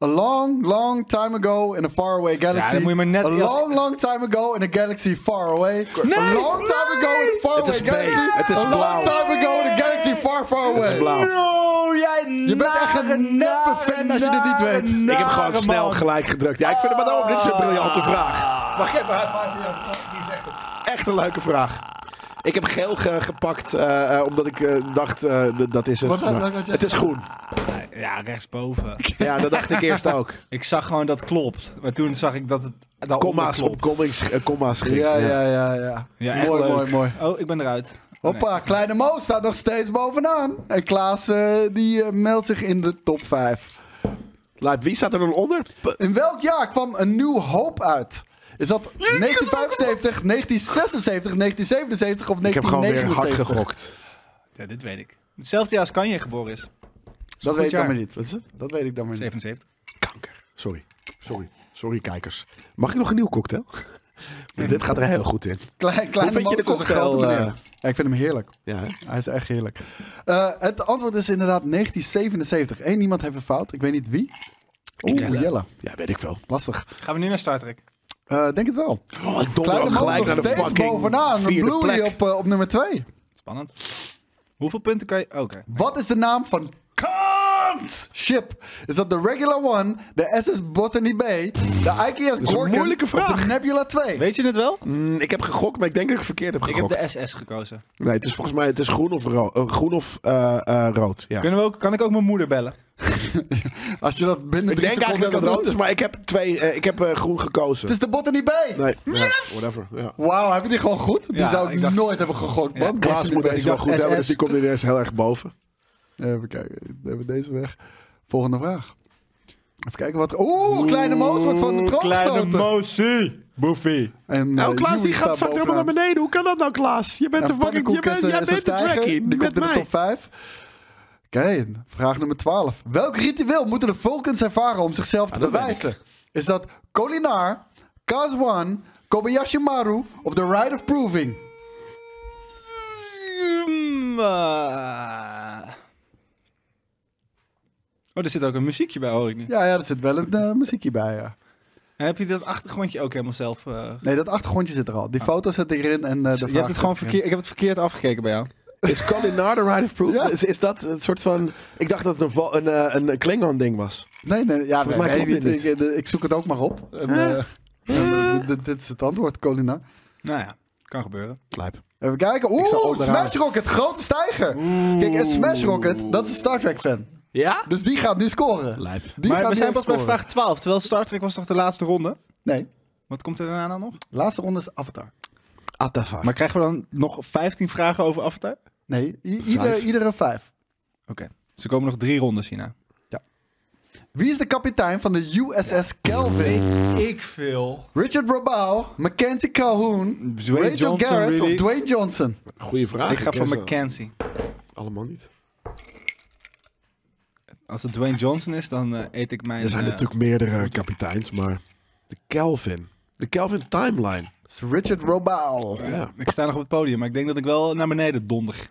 Speaker 4: A long, long time ago in a faraway galaxy.
Speaker 3: dan moet je maar net
Speaker 4: a
Speaker 3: als-
Speaker 4: long, long time ago in a galaxy far away. a long time ago in a faraway
Speaker 2: Het is B.
Speaker 4: galaxy.
Speaker 2: Het is
Speaker 4: a
Speaker 2: blauw.
Speaker 4: long time ago in a galaxy far, far away.
Speaker 2: Het is blauw.
Speaker 3: Oh, jij
Speaker 4: Je bent echt een neppe fan als je dit niet weet.
Speaker 2: Ik heb gewoon snel gelijk gedrukt. Ja, ik vind het maar ook. Dit is een briljante vraag. Mag ik even high five hier? Die is echt een, echt een leuke vraag. Ik heb geel ge- gepakt eh, eh, omdat ik eh, dacht eh, d- dat is het.
Speaker 4: Wat- wat-
Speaker 2: maar
Speaker 4: wat- wat-
Speaker 2: het is groen.
Speaker 3: Ja, rechtsboven.
Speaker 2: Ja, dat dacht ik eerst ook.
Speaker 3: ik zag gewoon dat klopt. Maar toen zag ik dat het daaronder
Speaker 2: Komma's,
Speaker 3: klopt.
Speaker 2: op komma's, eh, komma's ging.
Speaker 4: Ja, ja, ja, ja.
Speaker 3: Ja, echt
Speaker 4: mooi,
Speaker 3: leuk.
Speaker 4: mooi, mooi.
Speaker 3: Oh, ik ben eruit.
Speaker 4: Hoppa, Kleine Mo staat nog steeds bovenaan. En Klaas, eh, die eh, meldt zich in de top 5.
Speaker 2: Lijp, wie staat er dan onder? P-
Speaker 4: In welk jaar kwam een nieuw hoop uit? Is dat 1975, 1976, 1977 of 1979?
Speaker 2: Ik heb gewoon weer hard gegokt.
Speaker 3: Ja, dit weet ik. Hetzelfde jaar als Kanye geboren is.
Speaker 4: Dat weet ik dan
Speaker 3: jaar.
Speaker 4: maar niet.
Speaker 2: Wat is het?
Speaker 4: Dat weet ik dan maar niet.
Speaker 3: 77.
Speaker 2: Kanker. Sorry. Sorry. Sorry, kijkers. Mag ik nog een nieuw cocktail? Want Dit gaat er heel goed in.
Speaker 4: Klein, kleine
Speaker 2: Hoe vind je de
Speaker 4: Mo is een
Speaker 2: cocktail,
Speaker 4: grote meneer.
Speaker 2: eh?
Speaker 4: Ja, ik vind hem heerlijk.
Speaker 2: Ja, hè?
Speaker 4: Hij is echt heerlijk. Eh, het antwoord is inderdaad 1977. Eén iemand heeft een fout. Ik weet niet wie. Oeh, Jelle.
Speaker 2: ja weet ik wel.
Speaker 4: Lastig.
Speaker 3: Gaan we nu naar Star Trek?
Speaker 4: Eh, denk het wel.
Speaker 2: Oh, ik donder
Speaker 4: Kleine
Speaker 2: ook
Speaker 4: Mo
Speaker 2: gelijk
Speaker 4: nog
Speaker 2: naar de
Speaker 4: steeds
Speaker 2: fucking
Speaker 4: bovenaan. Een
Speaker 2: vierde
Speaker 4: Bluey
Speaker 2: plek.
Speaker 4: op, eh, op nummer 2.
Speaker 3: Spannend. Hoeveel punten kan je... Oké.
Speaker 4: Wat is de naam van Kant's ship? Is dat de Regular One, de SS Botany Bay, de IKS
Speaker 2: is een
Speaker 4: Gorgon,
Speaker 2: moeilijke vraag.
Speaker 4: of de Nebula 2?
Speaker 3: Weet je het wel?
Speaker 2: Mm, ik heb gegokt, maar ik denk dat ik verkeerd heb
Speaker 3: Ik
Speaker 2: gegokt.
Speaker 3: heb de SS gekozen.
Speaker 2: Nee, het is volgens mij het is groen of, ro- eh, groen of eh, eh, rood. Ja.
Speaker 3: Kunnen we ook, kan ik ook mijn moeder bellen?
Speaker 4: Als je dat binnen
Speaker 2: Ik
Speaker 4: drie
Speaker 2: denk
Speaker 4: seconden
Speaker 2: eigenlijk dat
Speaker 4: kan
Speaker 2: het
Speaker 4: doen.
Speaker 2: rood is, maar ik heb, twee, eh, ik heb eh, groen gekozen.
Speaker 4: Het is de Botany Bay.
Speaker 2: Nee, ja, whatever. Ja.
Speaker 4: Wauw, heb je die gewoon goed? Die
Speaker 3: Ja,
Speaker 4: zou ik,
Speaker 3: ik dacht-
Speaker 4: nooit hebben gegokt, man.
Speaker 2: Klaas moet
Speaker 4: Botany
Speaker 2: deze wel
Speaker 4: Bay.
Speaker 2: goed
Speaker 3: dacht
Speaker 2: hebben, dus
Speaker 3: SS.
Speaker 2: die komt nu eerst heel erg boven.
Speaker 4: Even kijken, we hebben deze weg. Volgende vraag. Even kijken wat... Oeh, Kleine Moos wordt van de troon gestoten.
Speaker 3: Mosie. Boefie.
Speaker 4: En, eh,
Speaker 2: nou, Klaas,
Speaker 4: Joey
Speaker 2: die gaat
Speaker 4: staat
Speaker 2: straks helemaal naar
Speaker 4: bovenaan.
Speaker 2: beneden. Hoe kan dat nou, Klaas? Je bent
Speaker 4: Ja,
Speaker 2: de fucking... Je
Speaker 4: pannenkoek
Speaker 2: bent,
Speaker 4: is, eh,
Speaker 2: jij
Speaker 4: is
Speaker 2: bent de
Speaker 4: een stijger.
Speaker 2: track in. met
Speaker 4: Die komt in de
Speaker 2: mij.
Speaker 4: top 5. Oké, vraag nummer 12. Welk ritueel moeten de Vulcans ervaren om zichzelf te
Speaker 2: dat weet
Speaker 4: bewijzen? Is dat Kolinar, Kazwan, Kobayashi Maru of The Rite of Proving?
Speaker 3: Mm, eh. Oh, er zit ook een muziekje bij, hoor ik nu.
Speaker 4: Ja, ja, er zit wel een eh, muziekje bij, ja.
Speaker 3: En heb je dat achtergrondje ook helemaal zelf... eh, ge-
Speaker 4: Nee, dat achtergrondje zit er al. Die
Speaker 2: Ah.
Speaker 4: foto zit erin en eh, de vraag
Speaker 3: je hebt het
Speaker 4: zit
Speaker 3: gewoon
Speaker 4: erin.
Speaker 3: verkeerd... Ik heb het verkeerd afgekeken bij jou.
Speaker 2: Is Kalinar de Rite of Proof?
Speaker 4: Ja.
Speaker 2: Is, is dat een soort van... Ik dacht dat het een, val- een, eh, een Klingon-ding was.
Speaker 4: Nee, nee, ja,
Speaker 2: Volgens mij
Speaker 4: nee,
Speaker 2: klopt
Speaker 4: nee,
Speaker 2: dit
Speaker 4: Ik, ik- ik zoek het ook maar op. En, eh, eh, dit- dit is het antwoord, Colina.
Speaker 3: Nou ja, kan gebeuren.
Speaker 2: Lijp.
Speaker 4: Even kijken. Oeh,
Speaker 2: zal ook eraan.
Speaker 4: Smash Rocket, grote stijger. Kijk, en Smash Rocket, dat is een Star Trek fan.
Speaker 2: Ja?
Speaker 4: Dus die gaat nu scoren.
Speaker 2: Lijp.
Speaker 4: Die
Speaker 3: maar
Speaker 4: gaat
Speaker 3: we
Speaker 4: nu
Speaker 3: zijn
Speaker 4: echt
Speaker 3: pas bij
Speaker 4: scoren.
Speaker 3: vraag 12, terwijl Star Trek was toch de laatste ronde?
Speaker 4: Nee,
Speaker 3: Wat komt er daarna dan nog?
Speaker 4: laatste ronde is Avatar.
Speaker 2: Atafa.
Speaker 3: Maar krijgen we dan nog 15 vragen over Avatar?
Speaker 4: Nee, i- ieder,
Speaker 2: Vijf.
Speaker 4: iedere vijf.
Speaker 3: Oké. Dus er komen nog drie rondes hierna.
Speaker 4: Wie is de kapitein van de USS Kelvin?
Speaker 3: Ik veel.
Speaker 4: Richard Rabau, Mackenzie Calhoun,
Speaker 3: Dwayne
Speaker 4: Rachel
Speaker 3: Johnson,
Speaker 4: Garrett
Speaker 3: really?
Speaker 4: of Dwayne Johnson?
Speaker 2: Goeie vraag.
Speaker 3: Ik ga
Speaker 2: ken
Speaker 3: voor
Speaker 2: ze
Speaker 3: Mackenzie.
Speaker 2: Allemaal niet.
Speaker 3: Als het Dwayne Johnson is, dan eh, eet ik mijn...
Speaker 2: Er zijn
Speaker 3: eh,
Speaker 2: natuurlijk meerdere kapiteins, maar... De Kelvin. De Kelvin Timeline.
Speaker 4: It's Richard Rabau.
Speaker 2: Ja.
Speaker 3: Ik sta nog op het podium, maar ik denk dat ik wel naar beneden donder.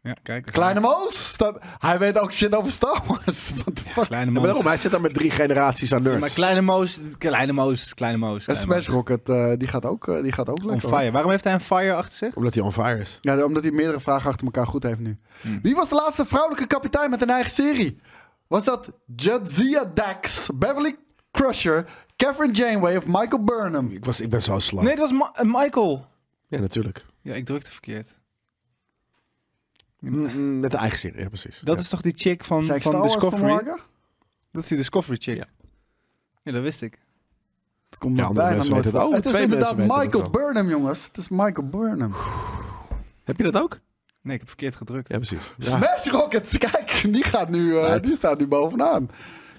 Speaker 3: Ja, kijk. daar
Speaker 4: Kleine
Speaker 3: gaan
Speaker 4: Moos. staat- Hij weet ook shit over Star Wars. What the
Speaker 3: we.
Speaker 4: fuck?
Speaker 3: Kleine
Speaker 2: Ja,
Speaker 3: moos.
Speaker 2: maar daarom, hij zit daar met drie generaties aan nerds.
Speaker 3: maar kleine moos, kleine moos, kleine moos.
Speaker 4: En
Speaker 3: kleine
Speaker 4: Smash
Speaker 3: moos.
Speaker 4: Rocket, eh, die, gaat ook, eh, die gaat ook
Speaker 3: On
Speaker 4: lekker. hoor.
Speaker 3: fire. Waarom heeft hij een fire achter zich?
Speaker 2: Omdat hij on fire is.
Speaker 4: Ja, omdat hij meerdere vragen achter elkaar goed heeft nu.
Speaker 2: Hmm.
Speaker 4: Wie was de laatste vrouwelijke kapitein met een eigen serie? Was dat Jadzia Dax, Beverly Crusher, Catherine Janeway of Michael Burnham?
Speaker 2: Ik, was, ik ben zo slap.
Speaker 3: Nee, dat was Ma- eh, Michael.
Speaker 2: Ja, natuurlijk.
Speaker 3: Ja, ik drukte verkeerd.
Speaker 2: Mm, mm, Met de eigen zin, ja precies.
Speaker 3: Dat
Speaker 2: Ja.
Speaker 3: is toch die chick van,
Speaker 4: Zei ik
Speaker 3: van
Speaker 4: Star Wars
Speaker 3: Discovery?
Speaker 4: vanmorgen?
Speaker 3: Dat is die Discovery chick. Ja, dat wist ik.
Speaker 4: Het komt
Speaker 2: Ja,
Speaker 4: nog
Speaker 2: andere
Speaker 4: bijna
Speaker 2: mensen
Speaker 4: nooit
Speaker 2: weten het
Speaker 4: voor.
Speaker 2: ook.
Speaker 4: Het is
Speaker 2: Twee mensen
Speaker 4: inderdaad
Speaker 2: weten het
Speaker 4: Michael
Speaker 2: wel.
Speaker 4: Burnham, jongens. Het is Michael Burnham.
Speaker 2: Heb je dat ook?
Speaker 3: Nee, ik heb verkeerd gedrukt.
Speaker 2: Ja, precies. Ja.
Speaker 4: Smash Rockets, kijk, die, gaat nu, eh,
Speaker 2: Lijp.
Speaker 4: die staat nu bovenaan.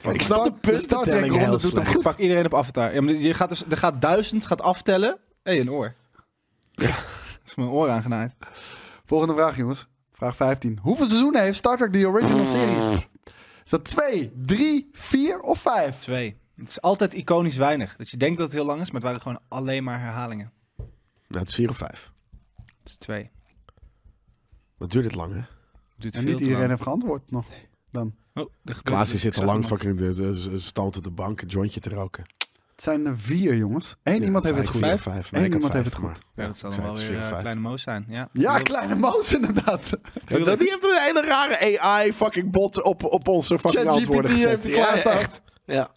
Speaker 4: Kijk,
Speaker 2: Ik snap de
Speaker 4: Star
Speaker 2: puntentelling
Speaker 4: Trek ronde
Speaker 2: heel
Speaker 4: doet hem
Speaker 2: slecht.
Speaker 4: goed.
Speaker 3: Ik pak iedereen op avatar. Ja, maar je gaat dus, er gaat duizend, gaat aftellen. Hé, hey, een oor. Dat is mijn oor aangenaaid.
Speaker 4: Volgende vraag, jongens. Vraag 15. Hoeveel seizoenen heeft Star Trek The Original Series? Is dat 2, 3, 4 of 5?
Speaker 3: Twee. Het is altijd iconisch weinig. Dat je denkt dat het heel lang is, maar het waren gewoon alleen maar herhalingen.
Speaker 2: Nou, het is vier of vijf.
Speaker 3: Het is twee.
Speaker 2: Wat duurt dit lang, hè?
Speaker 3: Duurt
Speaker 4: En
Speaker 3: veel
Speaker 4: niet
Speaker 3: te
Speaker 4: iedereen
Speaker 3: lang.
Speaker 4: heeft geantwoord nog. Dan.
Speaker 3: Oh, er gebeurt
Speaker 2: Klaas die
Speaker 3: iets.
Speaker 2: zit al
Speaker 3: Ik zag
Speaker 2: lang
Speaker 3: iemand.
Speaker 2: fucking de, de, de- stond op de bank een jointje te roken.
Speaker 4: Het zijn er vier, jongens. Eén iemand heeft het goed.
Speaker 2: Vier,
Speaker 4: Eén
Speaker 2: of vijf. Nee, ik had
Speaker 4: iemand heeft het
Speaker 2: vijf,
Speaker 4: goed.
Speaker 3: Ja, dat zal
Speaker 2: Ik
Speaker 3: dan
Speaker 2: zei
Speaker 3: wel
Speaker 2: het is
Speaker 3: weer
Speaker 2: vier of
Speaker 3: eh,
Speaker 2: vijf.
Speaker 3: kleine moos zijn. Ja,
Speaker 4: Ja,
Speaker 3: Wil-
Speaker 4: Kleine Moos inderdaad.
Speaker 2: Maar dat- Die heeft een hele rare AI-fucking bot op, op onze fucking
Speaker 4: ChatGPT
Speaker 2: antwoorden gezet.
Speaker 4: heeft het klaarstaan.
Speaker 2: echt. Ja.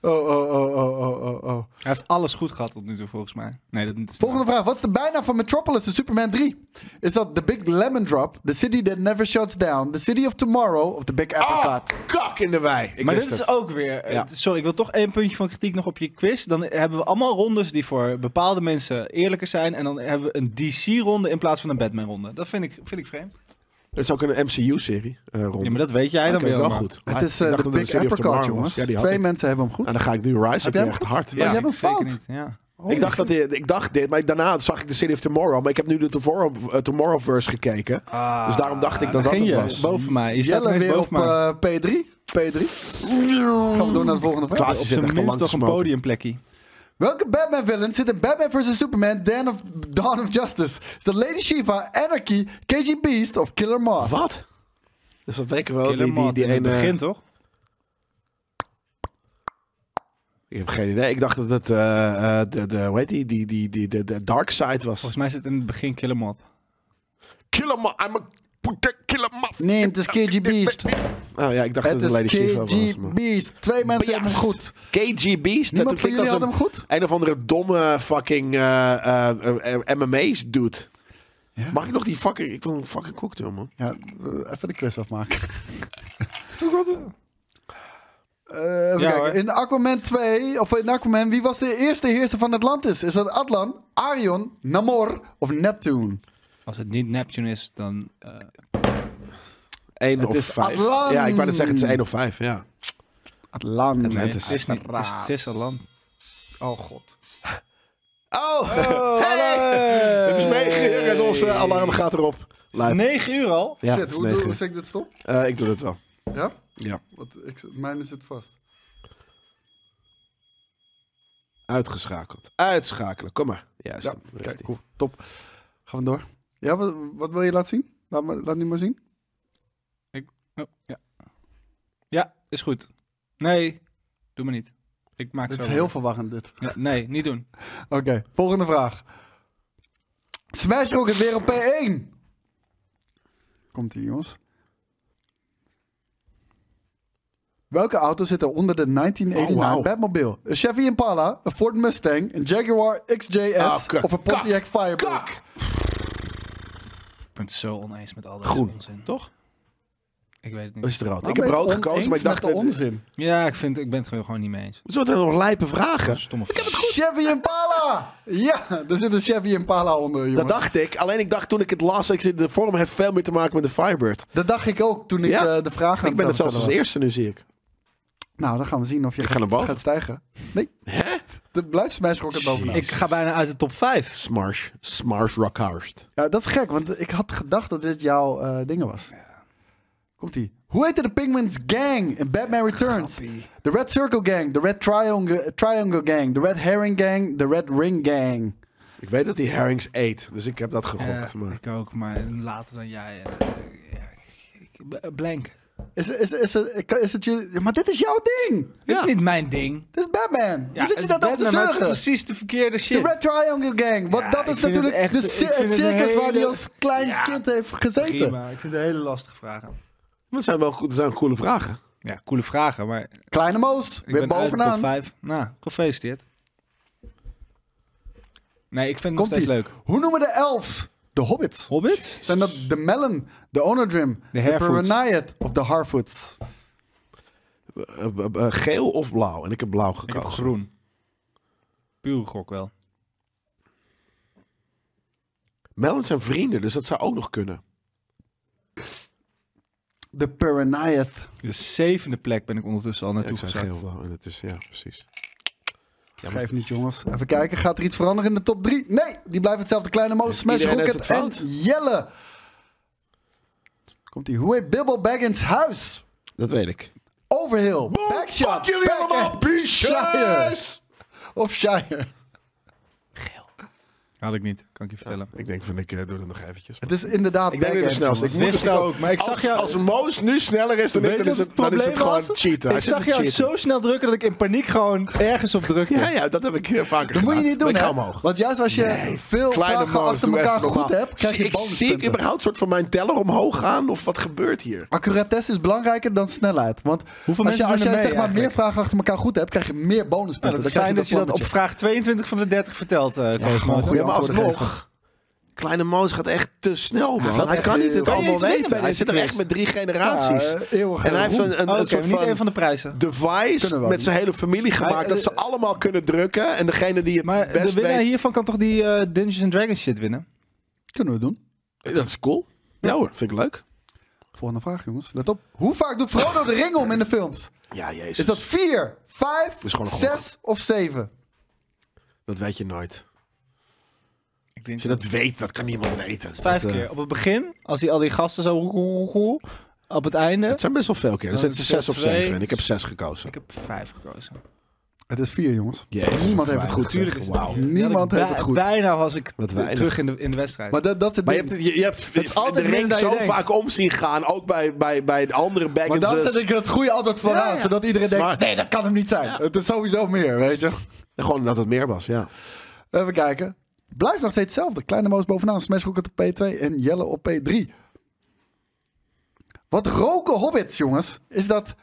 Speaker 4: Oh, oh, oh, oh, oh, oh, oh.
Speaker 3: Hij heeft alles goed gehad tot nu toe, volgens mij. Nee, dat is
Speaker 4: Volgende vraag. Wat is de bijnaam van Metropolis in Superman 3? Is dat The Big Lemon Drop, The City That Never Shuts Down, The City of Tomorrow of The Big Apple
Speaker 2: Ah,
Speaker 4: Cart?
Speaker 2: kak in de wei. Ik
Speaker 3: Maar
Speaker 2: wist
Speaker 3: dit is
Speaker 2: het.
Speaker 3: ook weer...
Speaker 2: Ja.
Speaker 3: Sorry, ik wil toch één puntje van kritiek nog op je quiz. Dan hebben we allemaal rondes die voor bepaalde mensen eerlijker zijn. En dan hebben we een DC-ronde in plaats van een Batman-ronde. Dat vind ik, vind ik vreemd.
Speaker 2: Het is ook een MCU-serie eh rond.
Speaker 3: Ja, maar dat weet jij
Speaker 2: Ik
Speaker 3: dan
Speaker 2: heb
Speaker 3: weer
Speaker 2: het wel
Speaker 3: allemaal.
Speaker 2: goed.
Speaker 4: Het
Speaker 2: Ik
Speaker 4: is eh
Speaker 2: dacht dat
Speaker 4: The
Speaker 2: het
Speaker 4: Big
Speaker 2: City of
Speaker 4: Apple
Speaker 2: Tomorrow
Speaker 4: Cart,
Speaker 2: was.
Speaker 4: jongens.
Speaker 2: Ja, die had
Speaker 4: Twee
Speaker 2: ik.
Speaker 4: mensen hebben hem goed.
Speaker 2: En dan ga ik nu Rise heb
Speaker 4: Heb jij
Speaker 2: je
Speaker 4: hem
Speaker 2: echt
Speaker 4: goed?
Speaker 2: hard.
Speaker 4: Maar
Speaker 2: Ja.
Speaker 4: jij hebt hem
Speaker 3: ik zeker
Speaker 4: fout.
Speaker 3: niet, Ja.
Speaker 2: ik, dacht dat, die- ik dacht dit, maar ik- daarna zag ik de City of Tomorrow. Maar ik heb nu de Tomorrow, eh, Tomorrowverse gekeken. dus daarom dacht ik dat dat
Speaker 3: Ah. Ging
Speaker 2: het
Speaker 3: je
Speaker 2: was.
Speaker 3: boven mij. Je staat
Speaker 4: Jelle
Speaker 3: ineens
Speaker 4: weer op
Speaker 3: boven mij.
Speaker 4: eh, P3. P3. Gaan we door naar de volgende vraag.
Speaker 2: Klaas
Speaker 3: Op
Speaker 2: die zit
Speaker 3: zijn
Speaker 2: echt al
Speaker 3: minst
Speaker 2: lang
Speaker 3: toch een
Speaker 2: podium.
Speaker 3: podiumplekje.
Speaker 4: Welke Batman villain zit in Batman vs Superman Dawn of, Dawn of Justice? Is dat Lady Shiva, Anarchy, KG Beast of Killer Moth?
Speaker 2: Wat? Dus dat weet ik wel.
Speaker 3: Killer
Speaker 2: Die, die,
Speaker 3: Moth
Speaker 2: die
Speaker 3: in het
Speaker 2: ene...
Speaker 3: begin, toch?
Speaker 2: Ik heb geen idee. Ik dacht dat het eh, eh, de, de, hoe heet die? Die, die, die, de, de Dark Side was.
Speaker 3: Volgens mij zit in het begin Killer Moth.
Speaker 2: Kill him, I'm a killer moth.
Speaker 4: Nee, het is KG Beast.
Speaker 2: Oh ja, ik dacht
Speaker 4: Het
Speaker 2: dat het
Speaker 4: is
Speaker 2: Lady Shiva was.
Speaker 4: KG
Speaker 2: maar-
Speaker 4: Beast. Twee mensen hebben hem
Speaker 2: Beast.
Speaker 4: goed.
Speaker 2: KG Beast.
Speaker 4: Niemand
Speaker 2: dat
Speaker 4: van
Speaker 2: vind ik
Speaker 4: jullie
Speaker 2: als
Speaker 4: had
Speaker 2: een,
Speaker 4: hem goed?
Speaker 2: Een of andere domme fucking eh, eh, eh, eh, MMA's dude.
Speaker 4: Ja.
Speaker 2: Mag ik nog die fucking... Ik wil een fucking cocktail, man.
Speaker 4: Ja, eh, even de quiz afmaken. Eh, even
Speaker 3: Ja,
Speaker 4: kijken.
Speaker 3: hoor.
Speaker 4: In Aquaman 2, of in Aquaman, wie was de eerste heerser van Atlantis? Is dat Atlan, Arion, Namor of Neptune?
Speaker 3: Als het niet Neptune is, dan... eh,
Speaker 2: Eén
Speaker 4: Het
Speaker 2: of
Speaker 4: is
Speaker 2: vijf.
Speaker 4: Atlan.
Speaker 2: Ja, ik wou net zeggen, het is één of vijf, ja.
Speaker 4: Atlan.
Speaker 3: nee,
Speaker 2: Atlantis.
Speaker 3: het is niet. Het is, het is Atlant.
Speaker 4: Oh god.
Speaker 2: Oh! Het is negen uur en onze alarm gaat erop. Lijp.
Speaker 3: 9 uur al?
Speaker 2: Ja, het
Speaker 4: Shit,
Speaker 2: is
Speaker 4: hoe,
Speaker 2: negen
Speaker 4: doe, hoe
Speaker 2: uur.
Speaker 4: zet ik dit stop?
Speaker 2: Eh, ik doe het wel.
Speaker 4: Ja?
Speaker 2: Ja.
Speaker 4: Want ik, mijn zit vast.
Speaker 2: Uitgeschakeld. Uitschakelen. Kom maar. Juist.
Speaker 4: Ja,
Speaker 2: daar is
Speaker 4: kijk,
Speaker 2: die.
Speaker 4: cool. Top. Gaan we door. Ja, wat, wat wil je laten zien? Laat, maar, laat nu maar zien.
Speaker 3: Oh, ja. ja, is goed. Nee, doe maar niet. Ik maak
Speaker 4: Dit
Speaker 3: zo.
Speaker 4: is heel verwarrend, dit.
Speaker 3: Ja, nee, niet doen.
Speaker 4: Oké, volgende vraag. Smash Rocket weer op P1. Komt ie, jongens. Welke auto zit er onder de 1989
Speaker 2: Oh, wauw.
Speaker 4: Batmobile? Een Chevy Impala, een Ford Mustang, een Jaguar XJS
Speaker 2: Ah, kak,
Speaker 4: of een Pontiac
Speaker 2: kak,
Speaker 4: Firebird?
Speaker 2: Kak!
Speaker 3: Ik ben het zo oneens met al deze
Speaker 2: Groen,
Speaker 3: onzin.
Speaker 2: toch?
Speaker 3: Ik weet het
Speaker 2: Of
Speaker 3: niet.
Speaker 2: is het rood?
Speaker 4: Waarom
Speaker 2: ik heb
Speaker 4: Nou, ben je
Speaker 2: rood
Speaker 4: het
Speaker 2: gekozen, maar ik
Speaker 4: oneens
Speaker 2: dacht...
Speaker 4: met de onzin.
Speaker 3: Ja, ik, vind, ik ben het gewoon niet mee eens.
Speaker 2: Zo zijn nog lijpe vragen.
Speaker 3: Stomme
Speaker 4: Chevy Impala! Ja, er zit een Chevy Impala onder, jongens.
Speaker 2: Dat dacht ik. Alleen ik dacht toen ik het las, ik zit, de vorm heeft veel meer te maken met de Firebird.
Speaker 4: Dat dacht ik ook toen ik
Speaker 2: Ja?
Speaker 4: eh, de vraag aan
Speaker 2: ik ben het
Speaker 4: zelf
Speaker 2: zelfs als eerste nu, zie ik.
Speaker 4: Nou, dan gaan we zien of je
Speaker 2: Ik ga
Speaker 4: gaat,
Speaker 2: naar boven.
Speaker 4: gaat stijgen. Nee.
Speaker 2: Hè?
Speaker 4: Er blijft Smash Rocket bovenaan.
Speaker 3: Ik ga bijna uit de top 5.
Speaker 2: Smarsh. Smarsh Rockhurst.
Speaker 4: Ja, dat is gek, want ik had gedacht dat dit jouw eh, dingen was. Komt-ie. Hoe heette de Penguins Gang in Batman Returns? De Red Circle Gang, de Red Triangle, Triangle Gang, de Red Herring Gang, de Red Ring Gang.
Speaker 2: Ik weet dat hij herrings eet, dus ik heb dat gegokt. maar...
Speaker 3: Eh, ik ook, maar later dan jij. eh, eh, ja, ik- b- Blank.
Speaker 4: Is, is, is, is, is het jullie... ja, Maar dit is jouw ding!
Speaker 3: Dit is niet mijn ding.
Speaker 4: Dit is Batman! Hoe zit je
Speaker 3: het
Speaker 4: dat nou te
Speaker 3: Batman, maar het is
Speaker 4: zeuren?
Speaker 3: precies de verkeerde
Speaker 4: De
Speaker 3: shit.
Speaker 4: Red Triangle Gang, want
Speaker 3: Ja,
Speaker 4: dat
Speaker 3: ik
Speaker 4: is
Speaker 3: vind het
Speaker 4: natuurlijk
Speaker 3: echt-
Speaker 4: de
Speaker 3: ik
Speaker 4: cir-
Speaker 3: vind
Speaker 4: het
Speaker 3: het een
Speaker 4: circus waar hij
Speaker 3: hele-
Speaker 4: als klein
Speaker 3: Ja,
Speaker 4: kind heeft gezeten.
Speaker 3: Prima. Ik vind het hele lastige vragen.
Speaker 2: Maar het zijn wel dat zijn coole vragen.
Speaker 3: Ja, coole vragen, maar ik
Speaker 4: Kleine Moos,
Speaker 3: ben
Speaker 4: weer
Speaker 3: uit de
Speaker 4: bovenaan.
Speaker 3: top 5. Nou, gefeliciteerd. Nee, ik vind het nog
Speaker 4: Komt
Speaker 3: steeds
Speaker 4: ie.
Speaker 3: leuk.
Speaker 4: Hoe noemen de elves de hobbits?
Speaker 3: Hobbit?
Speaker 4: Zijn dat de Melon, de Onodrim, de, de
Speaker 3: Harefoots.
Speaker 4: Peroniat of de Harfoots?
Speaker 2: Eh, eh, eh, geel of blauw? En ik heb blauw
Speaker 3: Ik
Speaker 2: gekozen.
Speaker 3: heb groen. Puur gok wel.
Speaker 2: Melon zijn vrienden, dus dat zou ook nog kunnen.
Speaker 4: De Peroniat.
Speaker 3: De zevende plek ben ik ondertussen al
Speaker 2: Ja, ik
Speaker 3: naartoe
Speaker 2: zei
Speaker 3: gezakt.
Speaker 2: geel, blauw. En het is, ja, precies.
Speaker 4: Geef niet, jongens. Even kijken, gaat er iets veranderen in de top 3? Nee, die blijft hetzelfde. Kleine Moos, Smash
Speaker 2: iedereen heeft
Speaker 4: Rocket
Speaker 2: het
Speaker 4: en
Speaker 2: fout.
Speaker 4: Jelle. Komt ie. Hoe heet Bibble Baggins huis?
Speaker 2: Dat weet ik.
Speaker 4: Overhill, Backshot,
Speaker 2: fuck jullie
Speaker 4: Backhand,
Speaker 2: allemaal,
Speaker 4: Shire
Speaker 2: biesjes!
Speaker 4: of Shire.
Speaker 3: Had ik niet, kan ik je vertellen.
Speaker 2: Ik denk van, ik eh, doe dat nog eventjes.
Speaker 4: Het is inderdaad
Speaker 2: Ik denk dat ik de
Speaker 4: backhand,
Speaker 2: snelste. Ik moet
Speaker 4: jongens.
Speaker 3: Wist
Speaker 2: er
Speaker 3: ik
Speaker 2: snel.
Speaker 3: ook, maar ik zag
Speaker 2: als,
Speaker 3: jou-
Speaker 2: als Moos nu sneller is dan
Speaker 3: Weet
Speaker 2: ik,
Speaker 3: je
Speaker 2: dan is
Speaker 3: wat
Speaker 2: het, dan is het gewoon
Speaker 3: was?
Speaker 2: cheaten. Hij
Speaker 3: Ik
Speaker 2: zit
Speaker 3: zag
Speaker 2: te
Speaker 3: jou
Speaker 2: cheaten.
Speaker 3: zo snel drukken dat ik in paniek gewoon ergens op drukte.
Speaker 2: Ja, ja, dat heb ik eh, vaker
Speaker 4: Dat moet je niet doen,
Speaker 2: Ik
Speaker 4: hè?
Speaker 2: ga omhoog.
Speaker 4: Want juist als je veel
Speaker 2: Kleine
Speaker 4: vragen
Speaker 2: Moos,
Speaker 4: achter
Speaker 2: doe
Speaker 4: elkaar
Speaker 2: even
Speaker 4: goed
Speaker 2: normaal.
Speaker 4: hebt, krijg
Speaker 2: Zie-
Speaker 4: je
Speaker 2: ik- Zie ik
Speaker 4: bonuspunten.
Speaker 2: überhaupt soort van mijn teller omhoog gaan? Of wat gebeurt hier?
Speaker 4: Accuratesse is belangrijker dan snelheid. Want als je,
Speaker 3: mensen
Speaker 4: als
Speaker 3: doen
Speaker 4: jij
Speaker 3: er mee
Speaker 4: zeg maar meer
Speaker 3: eigenlijk?
Speaker 4: vragen achter elkaar goed hebt, krijg je meer
Speaker 3: Nou,
Speaker 4: bonuspunten.
Speaker 3: dat is
Speaker 4: Dan
Speaker 3: fijn dat
Speaker 4: krijg
Speaker 3: je dat op vraag 22 van de 30 vertelt, eh Koos
Speaker 4: gewoon
Speaker 3: Moten.
Speaker 4: goede
Speaker 2: Ja, maar
Speaker 4: antwoorden
Speaker 2: alsnog. Kleine Moos gaat echt te snel, man.
Speaker 4: gaat
Speaker 2: Hij
Speaker 4: echt
Speaker 2: kan niet
Speaker 4: heel-
Speaker 2: het
Speaker 4: Kan je
Speaker 2: allemaal
Speaker 3: iets winnen bij
Speaker 2: weten. Hij
Speaker 3: deze
Speaker 2: zit er
Speaker 3: quiz?
Speaker 2: echt met drie generaties.
Speaker 4: Ja, eh, eeuwige
Speaker 2: en hij heeft
Speaker 4: roem.
Speaker 2: een, een,
Speaker 3: Oh,
Speaker 2: een
Speaker 3: oké,
Speaker 2: soort
Speaker 3: niet een
Speaker 2: van
Speaker 3: van de prijzen.
Speaker 2: device
Speaker 4: Kunnen we
Speaker 2: met
Speaker 4: ook
Speaker 2: zijn hele familie
Speaker 3: Hij-
Speaker 2: gemaakt.
Speaker 3: eh,
Speaker 2: Dat ze allemaal kunnen drukken. En degene die het
Speaker 3: Maar de
Speaker 2: best
Speaker 3: winnaar
Speaker 2: weet...
Speaker 3: hiervan kan toch die eh, Dungeons and Dragons shit winnen?
Speaker 4: Kunnen we doen.
Speaker 2: Dat is cool. Ja hoor, vind ik leuk.
Speaker 4: Volgende vraag, jongens. Let op. Hoe vaak doet Frodo de ring om in de films?
Speaker 2: Ja, jezus.
Speaker 4: Is dat 4, 5,
Speaker 2: is gewoon een
Speaker 4: 6 of 7?
Speaker 2: Dat weet je nooit.
Speaker 3: Ik denk
Speaker 2: Als je dat weet, dat kan niemand weten.
Speaker 3: vijf
Speaker 2: Dat, eh,
Speaker 3: keer. Op het begin, als hij al die gasten zo... Op het einde.
Speaker 2: Het zijn best wel veel keer. Er
Speaker 3: Dan
Speaker 2: zitten
Speaker 3: is
Speaker 2: zes
Speaker 3: het
Speaker 2: of zeven.
Speaker 3: Nou, twee.
Speaker 2: En ik heb zes gekozen.
Speaker 3: Ik heb vijf gekozen.
Speaker 4: Het is 4, jongens.
Speaker 2: Jezus,
Speaker 4: Niemand
Speaker 2: wat
Speaker 4: heeft het goed.
Speaker 2: weinig, zeg.
Speaker 3: Tuurlijk is het
Speaker 2: Wauw.
Speaker 3: hier.
Speaker 4: Niemand
Speaker 3: Ja,
Speaker 4: heeft
Speaker 3: bij-
Speaker 4: het goed.
Speaker 3: Bijna was ik
Speaker 2: Wat weinig.
Speaker 3: terug in de, in de wedstrijd.
Speaker 4: Maar dat, dat is het
Speaker 2: Maar je
Speaker 4: ding.
Speaker 2: hebt, het- je, je hebt
Speaker 3: Dat is altijd
Speaker 2: de
Speaker 3: minder
Speaker 2: ring
Speaker 3: dan je
Speaker 2: zo
Speaker 3: denkt.
Speaker 2: vaak om zien gaan. Ook bij, bij, bij de andere
Speaker 4: Maar daarom
Speaker 2: baggins.
Speaker 4: zet ik het goede antwoord vooraan,
Speaker 3: dus- ja.
Speaker 4: zodat iedereen
Speaker 2: Smart.
Speaker 4: denkt, nee, dat kan hem niet zijn. Het is sowieso meer, weet je.
Speaker 2: Gewoon dat het meer was, ja.
Speaker 4: Even kijken. Blijft nog steeds hetzelfde. Kleine Moos bovenaan, Smash Rocket op P2 en Jelle op P3. Wat roken hobbits, jongens, is dat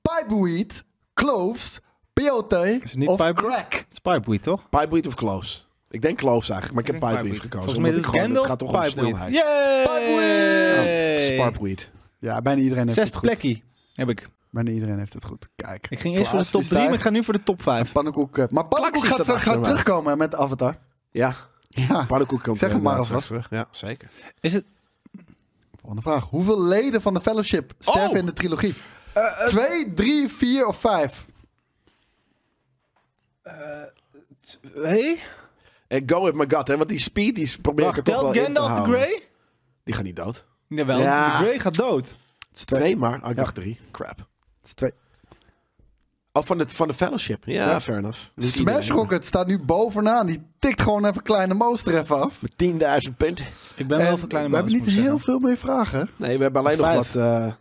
Speaker 4: pipeweed, cloves, peyote
Speaker 3: Is het niet
Speaker 4: of
Speaker 3: pipeweed?
Speaker 4: crack.
Speaker 3: Het is Pipeweed, toch?
Speaker 2: Pipeweed of Cloves? Ik denk Cloves eigenlijk, maar ik heb
Speaker 3: denk
Speaker 2: Pipeweed
Speaker 3: Pipeweed.
Speaker 2: gekozen.
Speaker 3: Volgens mij is
Speaker 2: omdat
Speaker 3: het
Speaker 2: ik gewoon-
Speaker 3: Gandalf
Speaker 2: gaat toch om de
Speaker 3: Pipeweed.
Speaker 2: snelheid.
Speaker 3: Yay!
Speaker 2: Sparkweed.
Speaker 4: Ja, bijna iedereen heeft
Speaker 3: Zesde
Speaker 4: het goed.
Speaker 3: plekkie heb ik.
Speaker 4: Bijna iedereen heeft het goed. Kijk.
Speaker 3: Ik ging eerst
Speaker 4: Klaas,
Speaker 3: voor de top
Speaker 4: die
Speaker 3: 3, maar ik
Speaker 4: stijgt.
Speaker 3: ga nu voor de top 5.
Speaker 4: Pannenkoek. eh, Maar
Speaker 2: Klax
Speaker 4: Pannenkoek
Speaker 2: is
Speaker 4: gaat
Speaker 2: dat
Speaker 4: straks gaan
Speaker 2: achter mij.
Speaker 4: terugkomen met Avatar.
Speaker 2: Ja,
Speaker 4: Ja.
Speaker 2: pannenkoek kan
Speaker 4: Zeg het maar
Speaker 2: inderdaad
Speaker 4: alvast.
Speaker 2: straks terug. Ja, zeker.
Speaker 3: Is het
Speaker 4: Volgende vraag. Hoeveel leden van de Fellowship sterven
Speaker 2: Oh!
Speaker 4: in de trilogie?
Speaker 3: Eh,
Speaker 4: Twee, drie, vier of vijf?
Speaker 3: Hey?
Speaker 2: En go with my gut, hè. Want die speed, die probeer ik er
Speaker 3: Wacht,
Speaker 2: toch wel
Speaker 3: telt
Speaker 2: in te
Speaker 3: Gandalf de
Speaker 2: houden.
Speaker 3: Grey?
Speaker 2: Die gaat niet dood.
Speaker 3: Jawel,
Speaker 2: Ja.
Speaker 3: de Grey gaat dood.
Speaker 4: Het is
Speaker 2: Twee maar. Ah, ik dacht drie. Crap.
Speaker 4: Het is twee.
Speaker 2: Oh, van de, van de Fellowship. Ja, fair enough. Niet
Speaker 4: Smash
Speaker 2: iedereen.
Speaker 4: Rocket staat nu bovenaan. Die tikt gewoon even kleine Moos er even af.
Speaker 2: Met 10.000 punten.
Speaker 3: Ik ben wel
Speaker 4: En
Speaker 3: van kleine
Speaker 4: we hebben
Speaker 3: Moos,
Speaker 4: niet
Speaker 3: moet ik
Speaker 4: heel
Speaker 3: zeggen.
Speaker 4: veel meer vragen.
Speaker 2: Nee, we hebben alleen nog wat...
Speaker 3: Vijf.
Speaker 2: eh,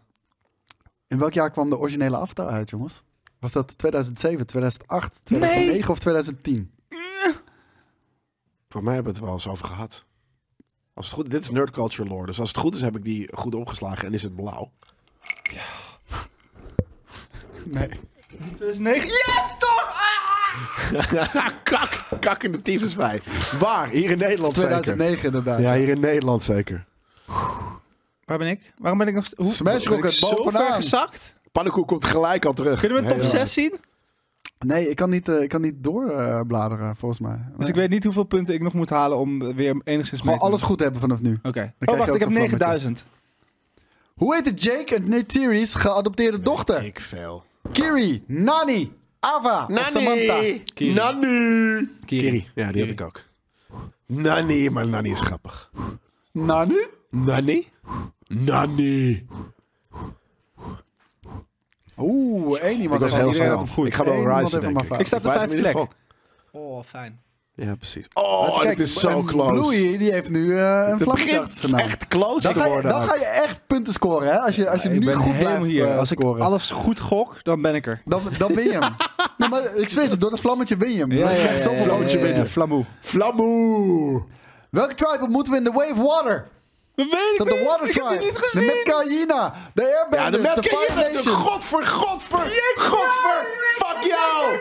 Speaker 4: In welk jaar kwam de originele Avatar uit, jongens? Was dat 2007, 2008, 2009 of 2010?
Speaker 2: voor mij hebben we het wel eens over gehad. Als het goed dit is Nerd Culture Lore. Dus als het goed is, heb ik die goed opgeslagen en is het blauw.
Speaker 4: Nee.
Speaker 3: 2009? Yes, toch!
Speaker 2: kak, kak in de tyfus bij. Waar? Hier in Nederland 2009.
Speaker 4: 2009 inderdaad.
Speaker 2: zeker. Ja, hier in Nederland zeker.
Speaker 3: Waar ben ik? Waarom ben ik nog... st- Hoe,
Speaker 4: Smash
Speaker 3: ben ik
Speaker 4: Rocket
Speaker 3: zo ver
Speaker 4: bovenaan.
Speaker 3: gezakt?
Speaker 2: Pannenkoek komt gelijk al terug.
Speaker 3: Kunnen we een top
Speaker 2: Heel
Speaker 3: 6 zien?
Speaker 4: Nee, ik kan niet, eh, ik kan niet doorbladeren, eh, volgens mij.
Speaker 3: Dus ik weet niet hoeveel punten ik nog moet halen om weer enigszins mee
Speaker 4: Gewoon
Speaker 3: te doen.
Speaker 4: alles goed hebben vanaf nu.
Speaker 3: Oké.
Speaker 4: krijg je
Speaker 3: Oh, wacht,
Speaker 4: ook
Speaker 3: ik heb
Speaker 4: zo'n vlammetje.
Speaker 3: 9000.
Speaker 4: Hoe heet de Jake en Neytiri's geadopteerde dochter?
Speaker 2: Ik veel.
Speaker 4: Kiri, Nani, Ava of Samantha?
Speaker 2: Nani! Nani! Kiri. Ja, die had
Speaker 3: Kiri.
Speaker 2: ik ook. Nani, maar Nani is grappig.
Speaker 4: Nani?
Speaker 2: Nani? Nani.
Speaker 4: Oeh, één
Speaker 2: Ik
Speaker 4: iemand
Speaker 2: was
Speaker 4: heeft
Speaker 2: heel
Speaker 4: al-
Speaker 3: iedereen
Speaker 2: snel.
Speaker 3: had hem goed.
Speaker 2: Ik ga wel
Speaker 4: Eén iemand
Speaker 2: Ryzen,
Speaker 4: heeft hem
Speaker 2: denk ik.
Speaker 4: afgehaald.
Speaker 3: Ik sta op de
Speaker 2: Blijf hem in
Speaker 3: vijfde
Speaker 2: ieder
Speaker 3: plek.
Speaker 2: geval.
Speaker 3: Oh, fijn.
Speaker 2: Ja, precies. Oh,
Speaker 4: Kijk,
Speaker 2: dit is zo
Speaker 4: en
Speaker 2: close.
Speaker 4: Bluey, die heeft nu eh, een
Speaker 2: Het
Speaker 4: vlaggetje
Speaker 2: begint
Speaker 4: achter zijn naam.
Speaker 2: echt close
Speaker 4: Dan
Speaker 2: te
Speaker 4: ga, je,
Speaker 2: worden
Speaker 4: dan
Speaker 2: ook.
Speaker 4: ga je echt punten scoren, hè? Als je, als je
Speaker 3: ik
Speaker 4: nu
Speaker 3: ben
Speaker 4: goed
Speaker 3: helemaal
Speaker 4: blijft
Speaker 3: hier.
Speaker 4: eh,
Speaker 3: Als ik
Speaker 4: scoren.
Speaker 3: alles goed gok, dan ben ik er.
Speaker 4: Dan, dan win je hem. nee, maar ik zweer het, door dat vlammetje win je hem. Dan krijg je zoveel vlammetje
Speaker 2: ja, ja.
Speaker 4: winnen.
Speaker 3: Flamoe.
Speaker 2: Flamoe!
Speaker 4: Welke tribe moeten we in de Wave Water?
Speaker 3: Dat weet
Speaker 4: Is
Speaker 3: ik
Speaker 4: dat de
Speaker 3: niet.
Speaker 4: Water
Speaker 3: Ik heb die
Speaker 4: Tribe?
Speaker 3: niet
Speaker 4: De
Speaker 3: gezien.
Speaker 4: Metcalina, de Airbenders,
Speaker 2: Ja, de
Speaker 4: de,
Speaker 2: Mad
Speaker 4: Fire
Speaker 2: King
Speaker 4: Nation.
Speaker 2: Godver, godver, godver, fuck jou!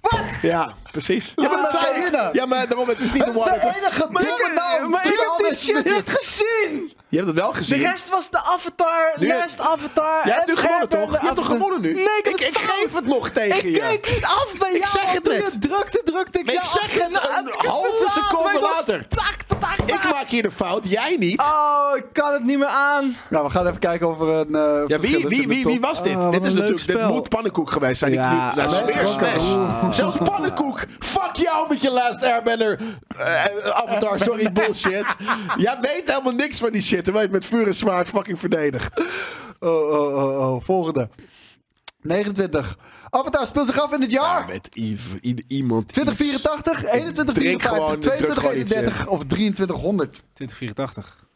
Speaker 4: Wat?
Speaker 2: Ja, precies. Ja,
Speaker 4: Laat
Speaker 2: maar dat
Speaker 4: het
Speaker 2: zei
Speaker 4: erin.
Speaker 2: Ja, maar daarom, het is niet de
Speaker 4: Het is de
Speaker 2: water.
Speaker 4: enige domme naam.
Speaker 3: Maar ik
Speaker 4: tussen
Speaker 3: heb
Speaker 4: al
Speaker 3: die
Speaker 4: deze
Speaker 3: shit
Speaker 4: dingen.
Speaker 3: niet gezien.
Speaker 2: Je hebt het wel gezien.
Speaker 3: De rest was de Avatar,
Speaker 2: Nu-
Speaker 3: Last Avatar.
Speaker 2: Jij
Speaker 3: en
Speaker 2: hebt nu gewonnen,
Speaker 3: Airbender
Speaker 2: toch? Je hebt toch
Speaker 3: Avatar.
Speaker 2: gewonnen nu?
Speaker 3: Nee, ik, heb
Speaker 2: ik,
Speaker 3: het
Speaker 2: ik
Speaker 3: fout.
Speaker 2: geef het nog tegen
Speaker 3: Ik
Speaker 2: je.
Speaker 3: keek niet af bij jou.
Speaker 2: zeg het
Speaker 3: Toen je
Speaker 2: net.
Speaker 3: drukte, drukte ik
Speaker 2: Ik
Speaker 3: jou
Speaker 2: zeg
Speaker 3: af.
Speaker 2: het
Speaker 3: Nou,
Speaker 2: een
Speaker 3: ik heb
Speaker 2: halve
Speaker 3: te laat,
Speaker 2: seconde
Speaker 3: maar ik was-
Speaker 2: later.
Speaker 3: Tak, tak, tak.
Speaker 2: Ik maak hier de fout, jij niet.
Speaker 3: Oh, ik kan het niet meer aan.
Speaker 4: Nou, we gaan even kijken of er een eh,
Speaker 2: Ja,
Speaker 4: verschil
Speaker 2: wie,
Speaker 4: is
Speaker 2: wie,
Speaker 4: in de
Speaker 2: wie,
Speaker 4: top.
Speaker 2: wie was dit?
Speaker 3: Ah, wat
Speaker 2: dit is
Speaker 3: een leuk
Speaker 2: natuurlijk, dit
Speaker 3: spel.
Speaker 2: moet pannenkoek geweest zijn. Die
Speaker 3: Ja,
Speaker 2: knie, nou,
Speaker 3: Smash
Speaker 2: smeer,
Speaker 4: Rocket.
Speaker 2: smash. Zelfs pannenkoek. Fuck jou met je last airbender. eh, eh, avatar, sorry, bullshit. Jij weet helemaal niks van die shit. Terwijl je het met vuur en zwaard fucking verdedigt.
Speaker 4: Oh, oh, oh, oh. Volgende. 29. Avatar speelt zich af in het jaar.
Speaker 2: Met iemand.
Speaker 4: 2084, 21,
Speaker 2: drink
Speaker 4: 54,
Speaker 2: gewoon- druk
Speaker 4: 22,
Speaker 2: gewoon iets
Speaker 4: 31 of 2300.
Speaker 3: 2084.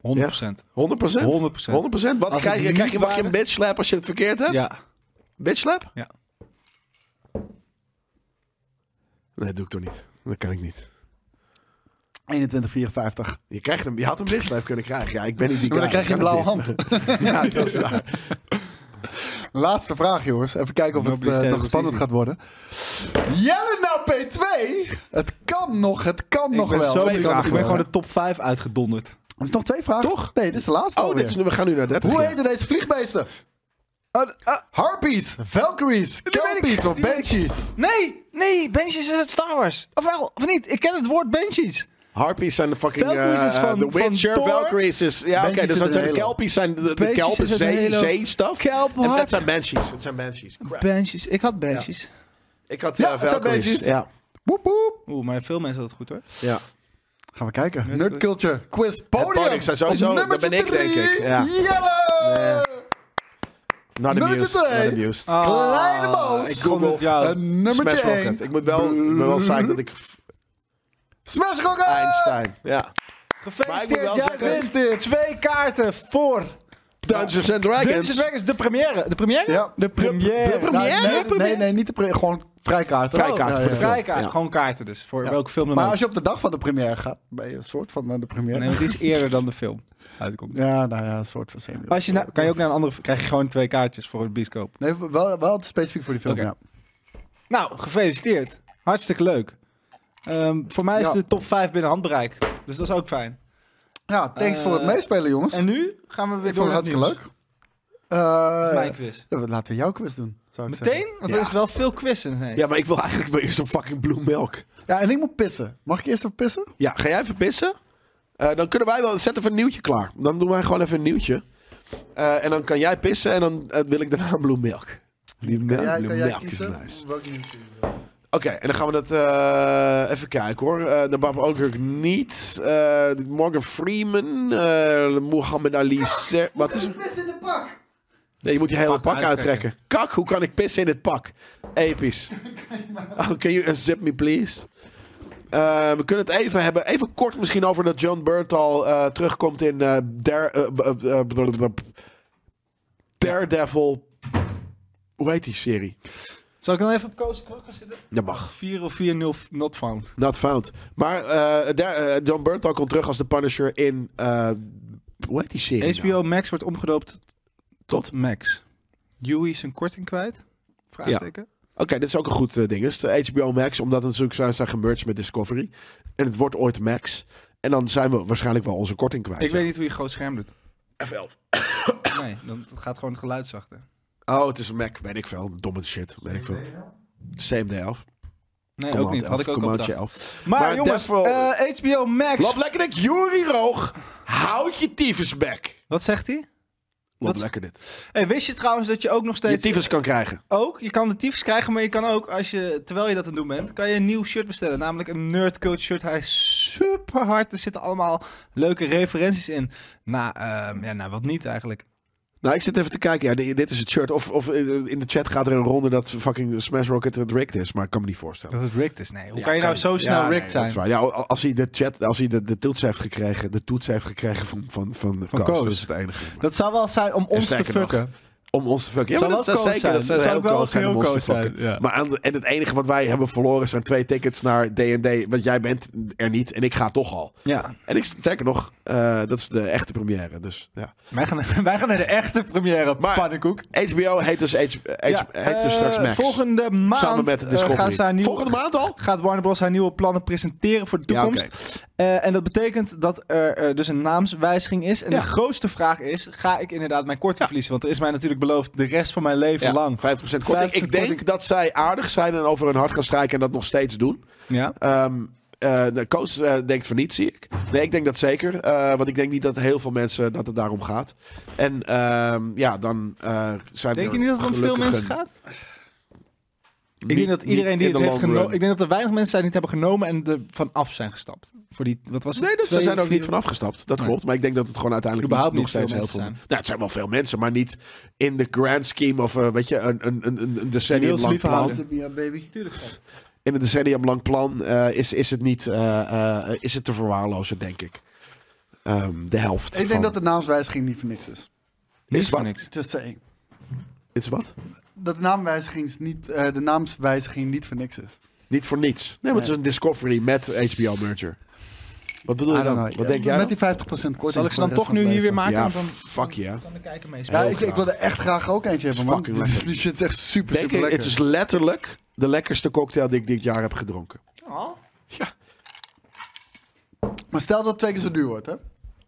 Speaker 2: 100%. 100
Speaker 3: 100%.
Speaker 2: 100%. Wat
Speaker 3: Als
Speaker 2: krijg
Speaker 3: het
Speaker 2: je?
Speaker 3: niet
Speaker 2: Krijg je, mag je
Speaker 3: waren-
Speaker 2: een bitch slap als je het verkeerd hebt?
Speaker 3: Ja.
Speaker 2: Bitch slap?
Speaker 3: ja.
Speaker 2: Nee, dat doe ik toch niet. Dat kan ik niet.
Speaker 4: 21, 54.
Speaker 2: Je, krijgt hem, je had een bitch slap kunnen krijgen. Ja, ik ben niet die
Speaker 4: Maar dan
Speaker 2: guy.
Speaker 4: krijg je een
Speaker 2: Ik kan
Speaker 4: blauwe hand.
Speaker 2: het niet. Ja, dat is waar.
Speaker 4: Laatste vraag, jongens. Even kijken of het
Speaker 3: Nobody
Speaker 4: eh,
Speaker 3: said it
Speaker 4: nog
Speaker 3: was
Speaker 4: spannend
Speaker 3: easy.
Speaker 4: gaat worden. Jelle naar P2. Het kan nog, het kan nog
Speaker 3: ik ben
Speaker 4: wel.
Speaker 3: Zo
Speaker 4: Het kan
Speaker 3: benieuwd.
Speaker 4: nog
Speaker 3: ik ben
Speaker 4: wel.
Speaker 3: gewoon de top 5 uitgedonderd.
Speaker 4: Er is nog twee vragen. Toch? Nee, dit is de laatste
Speaker 2: Oh,
Speaker 4: alweer.
Speaker 2: dit is, nu- we gaan nu naar 30.
Speaker 4: Hoe
Speaker 2: ja.
Speaker 4: heten deze vliegbeesten?
Speaker 3: Oh, ah,
Speaker 4: Harpies, Valkyries,
Speaker 3: weet ik.
Speaker 4: Kelpies of
Speaker 3: Die weet ik.
Speaker 4: Banshees?
Speaker 3: nee, nee, Benchies is uit Star Wars. Of wel, of niet? Ik ken het woord Benchies.
Speaker 2: Harpies zijn de fucking...
Speaker 3: Valkyries is
Speaker 2: eh,
Speaker 3: van-
Speaker 2: The
Speaker 3: van
Speaker 2: Witcher,
Speaker 3: Thor.
Speaker 2: Valkyries is... Ja, oké,
Speaker 4: Banshees
Speaker 2: dus
Speaker 4: is
Speaker 2: dat
Speaker 4: een
Speaker 2: zijn de
Speaker 4: hele-
Speaker 2: kelpies, zijn de, de, de
Speaker 3: Banshees
Speaker 2: kelpen,
Speaker 3: is een
Speaker 2: zee,
Speaker 3: hele-
Speaker 2: zeestuff.
Speaker 3: Kelp,
Speaker 2: en
Speaker 3: harp.
Speaker 2: dat zijn banshees. Dat zijn banshees. Crap.
Speaker 3: Benchies, ik had Benchies.
Speaker 2: ik had
Speaker 4: Ja,
Speaker 2: eh,
Speaker 4: het zijn
Speaker 2: Valkyries.
Speaker 4: banshees.
Speaker 2: Ja,
Speaker 4: Woep woep.
Speaker 3: Oeh, maar veel mensen hadden het goed hoor.
Speaker 2: ja.
Speaker 4: Gaan we kijken. Nerd Culture Quiz Podium.
Speaker 2: podium, ik zei sowieso,
Speaker 4: Op
Speaker 2: dat
Speaker 4: nummertje
Speaker 2: ben ik, denk
Speaker 4: drie,
Speaker 2: ik. Ja.
Speaker 4: Jelle!
Speaker 2: Not
Speaker 4: Nummer
Speaker 2: amused.
Speaker 4: twee.
Speaker 2: Not amused.
Speaker 3: Ah,
Speaker 4: Kleine Moos.
Speaker 3: Ik kon het jou.
Speaker 4: En nummertje
Speaker 2: Smash
Speaker 4: 1.
Speaker 2: Rocket. Ik moet wel, ik ben wel saai dat ik
Speaker 4: Smash Rocket!
Speaker 2: Einstein. Ja. Maar ik
Speaker 3: Gefeliciteerd,
Speaker 2: moet wel
Speaker 3: jij
Speaker 2: zeggen-
Speaker 3: wint twee kaarten voor
Speaker 2: Dungeons and
Speaker 3: Dungeons
Speaker 2: Dragons.
Speaker 3: Dragons, de première. De première?
Speaker 4: Ja.
Speaker 3: De première. Oh,
Speaker 2: de
Speaker 4: Nou,
Speaker 2: première?
Speaker 4: nee,
Speaker 3: De
Speaker 4: nee, nee, niet de pre- gewoon
Speaker 2: Vrijkaarten
Speaker 4: vrijkaarten. Ja,
Speaker 2: voor
Speaker 4: ja,
Speaker 2: de
Speaker 4: ja.
Speaker 2: film.
Speaker 3: Vrijkaarten,
Speaker 2: Ja.
Speaker 3: gewoon kaarten dus, voor welke film dan
Speaker 4: Maar
Speaker 3: ook.
Speaker 4: als je op de dag van de première gaat, ben je een soort van eh, de première.
Speaker 3: Nee, want die is eerder dan de film uitkomt.
Speaker 4: Ja, nou ja, een soort van semi.
Speaker 3: Als je nou, kan je ook naar een andere, krijg je gewoon twee kaartjes voor het bioscoop.
Speaker 4: Nee, wel, wel specifiek voor die film,
Speaker 3: Oké.
Speaker 4: ja.
Speaker 3: Nou, gefeliciteerd. Hartstikke leuk. Ehm, voor mij is
Speaker 4: Ja.
Speaker 3: de top 5 binnen handbereik. Dus dat is ook fijn.
Speaker 4: Ja, thanks
Speaker 3: Eh,
Speaker 4: voor het meespelen, jongens.
Speaker 3: En nu gaan we weer
Speaker 4: ik
Speaker 3: door
Speaker 4: vond het
Speaker 3: naar
Speaker 4: hartstikke
Speaker 3: nieuws.
Speaker 4: leuk. Eh,
Speaker 3: Mijn quiz.
Speaker 4: ja, laten we jouw quiz doen, zou ik zeggen.
Speaker 3: Meteen? Want er is wel veel quiz in.
Speaker 2: Ja, maar ik wil eigenlijk wel eerst een fucking bloemmelk.
Speaker 4: Ja, en ik moet pissen. Mag ik eerst even pissen?
Speaker 2: Ja, ga jij even pissen? Eh, dan kunnen wij wel... Zet even een nieuwtje klaar. Dan doen wij gewoon even een nieuwtje. Eh, en dan kan jij pissen en dan eh, wil ik daarna een bloemmelk. Die mel-
Speaker 4: Ja, kan jij
Speaker 2: bloemmelk is
Speaker 4: kiezen?
Speaker 2: nice.
Speaker 4: Welke nieuwtje?
Speaker 2: Oké, en dan gaan we dat eh, even kijken hoor. Eh de Bob Odenkirk niet. eh, Morgan Freeman. eh Muhammad Ali. Ser- Wat is er?
Speaker 4: Pissen in de pak!
Speaker 2: Nee, je moet je hele
Speaker 3: Pak
Speaker 2: pak
Speaker 3: uittrekken.
Speaker 2: uittrekken. Kak, hoe kan ik pissen in het pak? Episch. Oh, can you unzip me, please? Eh, we kunnen het even hebben, even kort misschien over dat John Bernthal eh, terugkomt in eh, Dare- eh, b- eh, b- b- b- Daredevil. Hoe heet die serie?
Speaker 3: Zal ik dan even op Koos Kruk gaan zitten?
Speaker 2: Dat mag.
Speaker 3: 4 of 4-0 not found.
Speaker 2: Not found. Maar eh, daar, eh, John Bernthal komt terug als de Punisher in... eh, hoe heet die serie nou?
Speaker 3: HBO Max wordt omgedoopt tot Max. Huey is een korting kwijt? Vraagteken.
Speaker 2: Oké, dit is ook een goed eh, ding. Het is de HBO Max, omdat het natuurlijk zijn, zijn gemerged met Discovery. En het wordt ooit Max. En dan zijn we waarschijnlijk wel onze korting kwijt.
Speaker 3: Ik weet niet hoe je groot scherm doet.
Speaker 2: F11.
Speaker 3: Nee, dan gaat gewoon het geluid zachter.
Speaker 2: Oh, het is een Mac, weet ik veel. Domme shit, weet ik veel. Same day af.
Speaker 3: Nee, ook niet. Had ik ook al
Speaker 2: Command
Speaker 3: bedacht.
Speaker 2: 11.
Speaker 3: Maar,
Speaker 2: Maar
Speaker 3: jongens,
Speaker 2: Death Row-
Speaker 3: eh, HBO Max.
Speaker 2: Lap lekker dit, Jury Roog. Houd je tyfus back.
Speaker 3: Wat zegt hij?
Speaker 2: Lap
Speaker 3: Wat?
Speaker 2: lekker dit.
Speaker 3: Hey, wist je trouwens dat je ook nog
Speaker 2: Je
Speaker 3: steeds...
Speaker 2: tyfus kan krijgen.
Speaker 3: Ook, je kan de tyfus krijgen, maar je kan ook, als je, terwijl je dat aan het doen bent, kan je een nieuw shirt bestellen. Namelijk een Nerd Cult shirt. Hij is super hard. Er zitten allemaal leuke referenties in. Nou, ehm, ja, nou wat niet eigenlijk.
Speaker 2: Nou, ik zit even te kijken. Ja, di- dit is het shirt. Of, of eh, in de chat gaat er een ronde dat fucking Smash Rocket het rigged is. Maar ik kan me niet voorstellen.
Speaker 3: Dat het rigged is, nee. Hoe
Speaker 2: Ja,
Speaker 3: kan je nou zo
Speaker 2: niet.
Speaker 3: snel
Speaker 2: Ja,
Speaker 3: rigged
Speaker 2: nee, dat
Speaker 3: zijn?
Speaker 2: is waar. Ja, al- als hij de chat, als hij de, de toets heeft gekregen, de toets heeft gekregen van van van,
Speaker 3: Van
Speaker 2: Koos,
Speaker 3: Koos.
Speaker 2: dat is het enige.
Speaker 3: Dat zou wel zijn om ons te
Speaker 2: sterker nog,
Speaker 3: fucken.
Speaker 2: Om ons te fucken. Ja,
Speaker 3: Zou
Speaker 2: maar dat
Speaker 3: wel
Speaker 2: zou
Speaker 3: Koos
Speaker 2: zeker dat
Speaker 3: zijn.
Speaker 2: zou,
Speaker 3: Zou
Speaker 2: heel
Speaker 3: ook wel
Speaker 2: Koos zijn om
Speaker 3: heel
Speaker 2: ons te
Speaker 3: Koos zijn,
Speaker 2: fucken.
Speaker 3: ja.
Speaker 2: Maar aan, de- en het enige wat wij hebben verloren zijn twee tickets naar D&D, want jij bent er niet en ik ga toch al.
Speaker 3: Ja,
Speaker 2: En ik sterker nog, eh, dat is de echte première. Dus ja.
Speaker 3: wij gaan, wij gaan naar de echte première,
Speaker 2: Maar-
Speaker 3: pannenkoek.
Speaker 2: HBO heet dus, H- eh, H-
Speaker 3: Ja,
Speaker 2: heet dus
Speaker 3: eh,
Speaker 2: straks Max.
Speaker 3: Volgende maand
Speaker 2: samen met
Speaker 3: eh,
Speaker 2: Discovery.
Speaker 3: gaan ze haar nieuw-
Speaker 2: Volgende maand al?
Speaker 3: gaat Warner Bros. haar nieuwe plannen presenteren voor de
Speaker 2: Ja,
Speaker 3: toekomst. Eh, en dat betekent dat er eh, dus een naamswijziging is. En
Speaker 2: Ja.
Speaker 3: de grootste vraag is, ga ik inderdaad mijn korting verliezen? Want er is mij natuurlijk beloofd de rest van mijn leven
Speaker 2: Ja, 50%
Speaker 3: lang.
Speaker 2: korting.
Speaker 3: 50%
Speaker 2: Ik denk
Speaker 3: korting.
Speaker 2: dat zij aardig zijn en over hun hart gaan strijken en dat nog steeds doen.
Speaker 3: Ja.
Speaker 2: Ehm eh, de coach eh, denkt van niet, zie ik. Nee, ik denk dat zeker. eh, want ik denk niet dat heel veel mensen dat het daarom gaat. En ehm, ja, dan eh, zijn
Speaker 3: Denk
Speaker 2: er
Speaker 3: je niet dat het om veel
Speaker 2: gelukkig
Speaker 3: mensen
Speaker 2: een-
Speaker 3: gaat? Ik
Speaker 2: niet-
Speaker 3: denk dat iedereen
Speaker 2: niet
Speaker 3: die
Speaker 2: in
Speaker 3: het
Speaker 2: de long
Speaker 3: heeft
Speaker 2: run.
Speaker 3: genomen... Ik denk dat er weinig mensen zijn die het hebben genomen en er vanaf zijn gestapt. Voor die, wat was het?
Speaker 2: Nee, dat, ze
Speaker 3: Twee
Speaker 2: zijn
Speaker 3: of
Speaker 2: ook niet
Speaker 3: vier-
Speaker 2: vanaf gestapt. Dat
Speaker 3: Nee.
Speaker 2: klopt. Maar ik denk dat het gewoon uiteindelijk
Speaker 3: Überhaupt
Speaker 2: nog
Speaker 3: niet veel
Speaker 2: steeds heel
Speaker 3: mensen
Speaker 2: veel...
Speaker 3: zijn.
Speaker 2: Nou, het zijn wel veel mensen, maar niet in de grand scheme of eh, weet je, een, een, een, een decennium
Speaker 3: Niels
Speaker 2: lang
Speaker 3: lieve
Speaker 2: plan.
Speaker 3: handen.
Speaker 4: baby.
Speaker 2: In een decennium lang plan eh, is, is het niet eh, eh, is het te verwaarlozen, denk ik. Ehm, de helft.
Speaker 4: Ik
Speaker 2: van-
Speaker 4: denk dat de naamswijziging niet voor niks is.
Speaker 3: Niks voor
Speaker 2: wat?
Speaker 3: niks.
Speaker 4: Just saying.
Speaker 2: Is wat?
Speaker 4: Dat de naamwijziging is niet, eh, de naamswijziging niet voor niks is.
Speaker 2: Niet voor niets. Nee, maar het is een Discovery met HBO merger. Wat bedoel
Speaker 4: I
Speaker 2: je
Speaker 4: don't
Speaker 2: dan?
Speaker 4: know.
Speaker 2: Wat denk jij? dan?
Speaker 4: Met die 50% korting.
Speaker 3: Zal ik ze
Speaker 4: voor
Speaker 3: dan
Speaker 4: de
Speaker 3: toch
Speaker 4: rest
Speaker 3: nu
Speaker 4: van
Speaker 3: hier weer
Speaker 4: het leven.
Speaker 3: maken?
Speaker 2: Ja,
Speaker 3: Want dan,
Speaker 2: fuck yeah.
Speaker 3: Dan kan ik
Speaker 4: Ja,
Speaker 2: Heel
Speaker 4: ik, ik
Speaker 2: graag.
Speaker 4: wil er echt graag ook eentje
Speaker 2: Is
Speaker 4: hebben, man.
Speaker 2: fucking lekker.
Speaker 4: Die shit is echt super,
Speaker 2: Denk
Speaker 4: super
Speaker 2: ik,
Speaker 4: lekker.
Speaker 2: het is letterlijk de lekkerste cocktail die ik dit jaar heb gedronken.
Speaker 4: Maar stel dat het twee keer zo duur wordt, hè?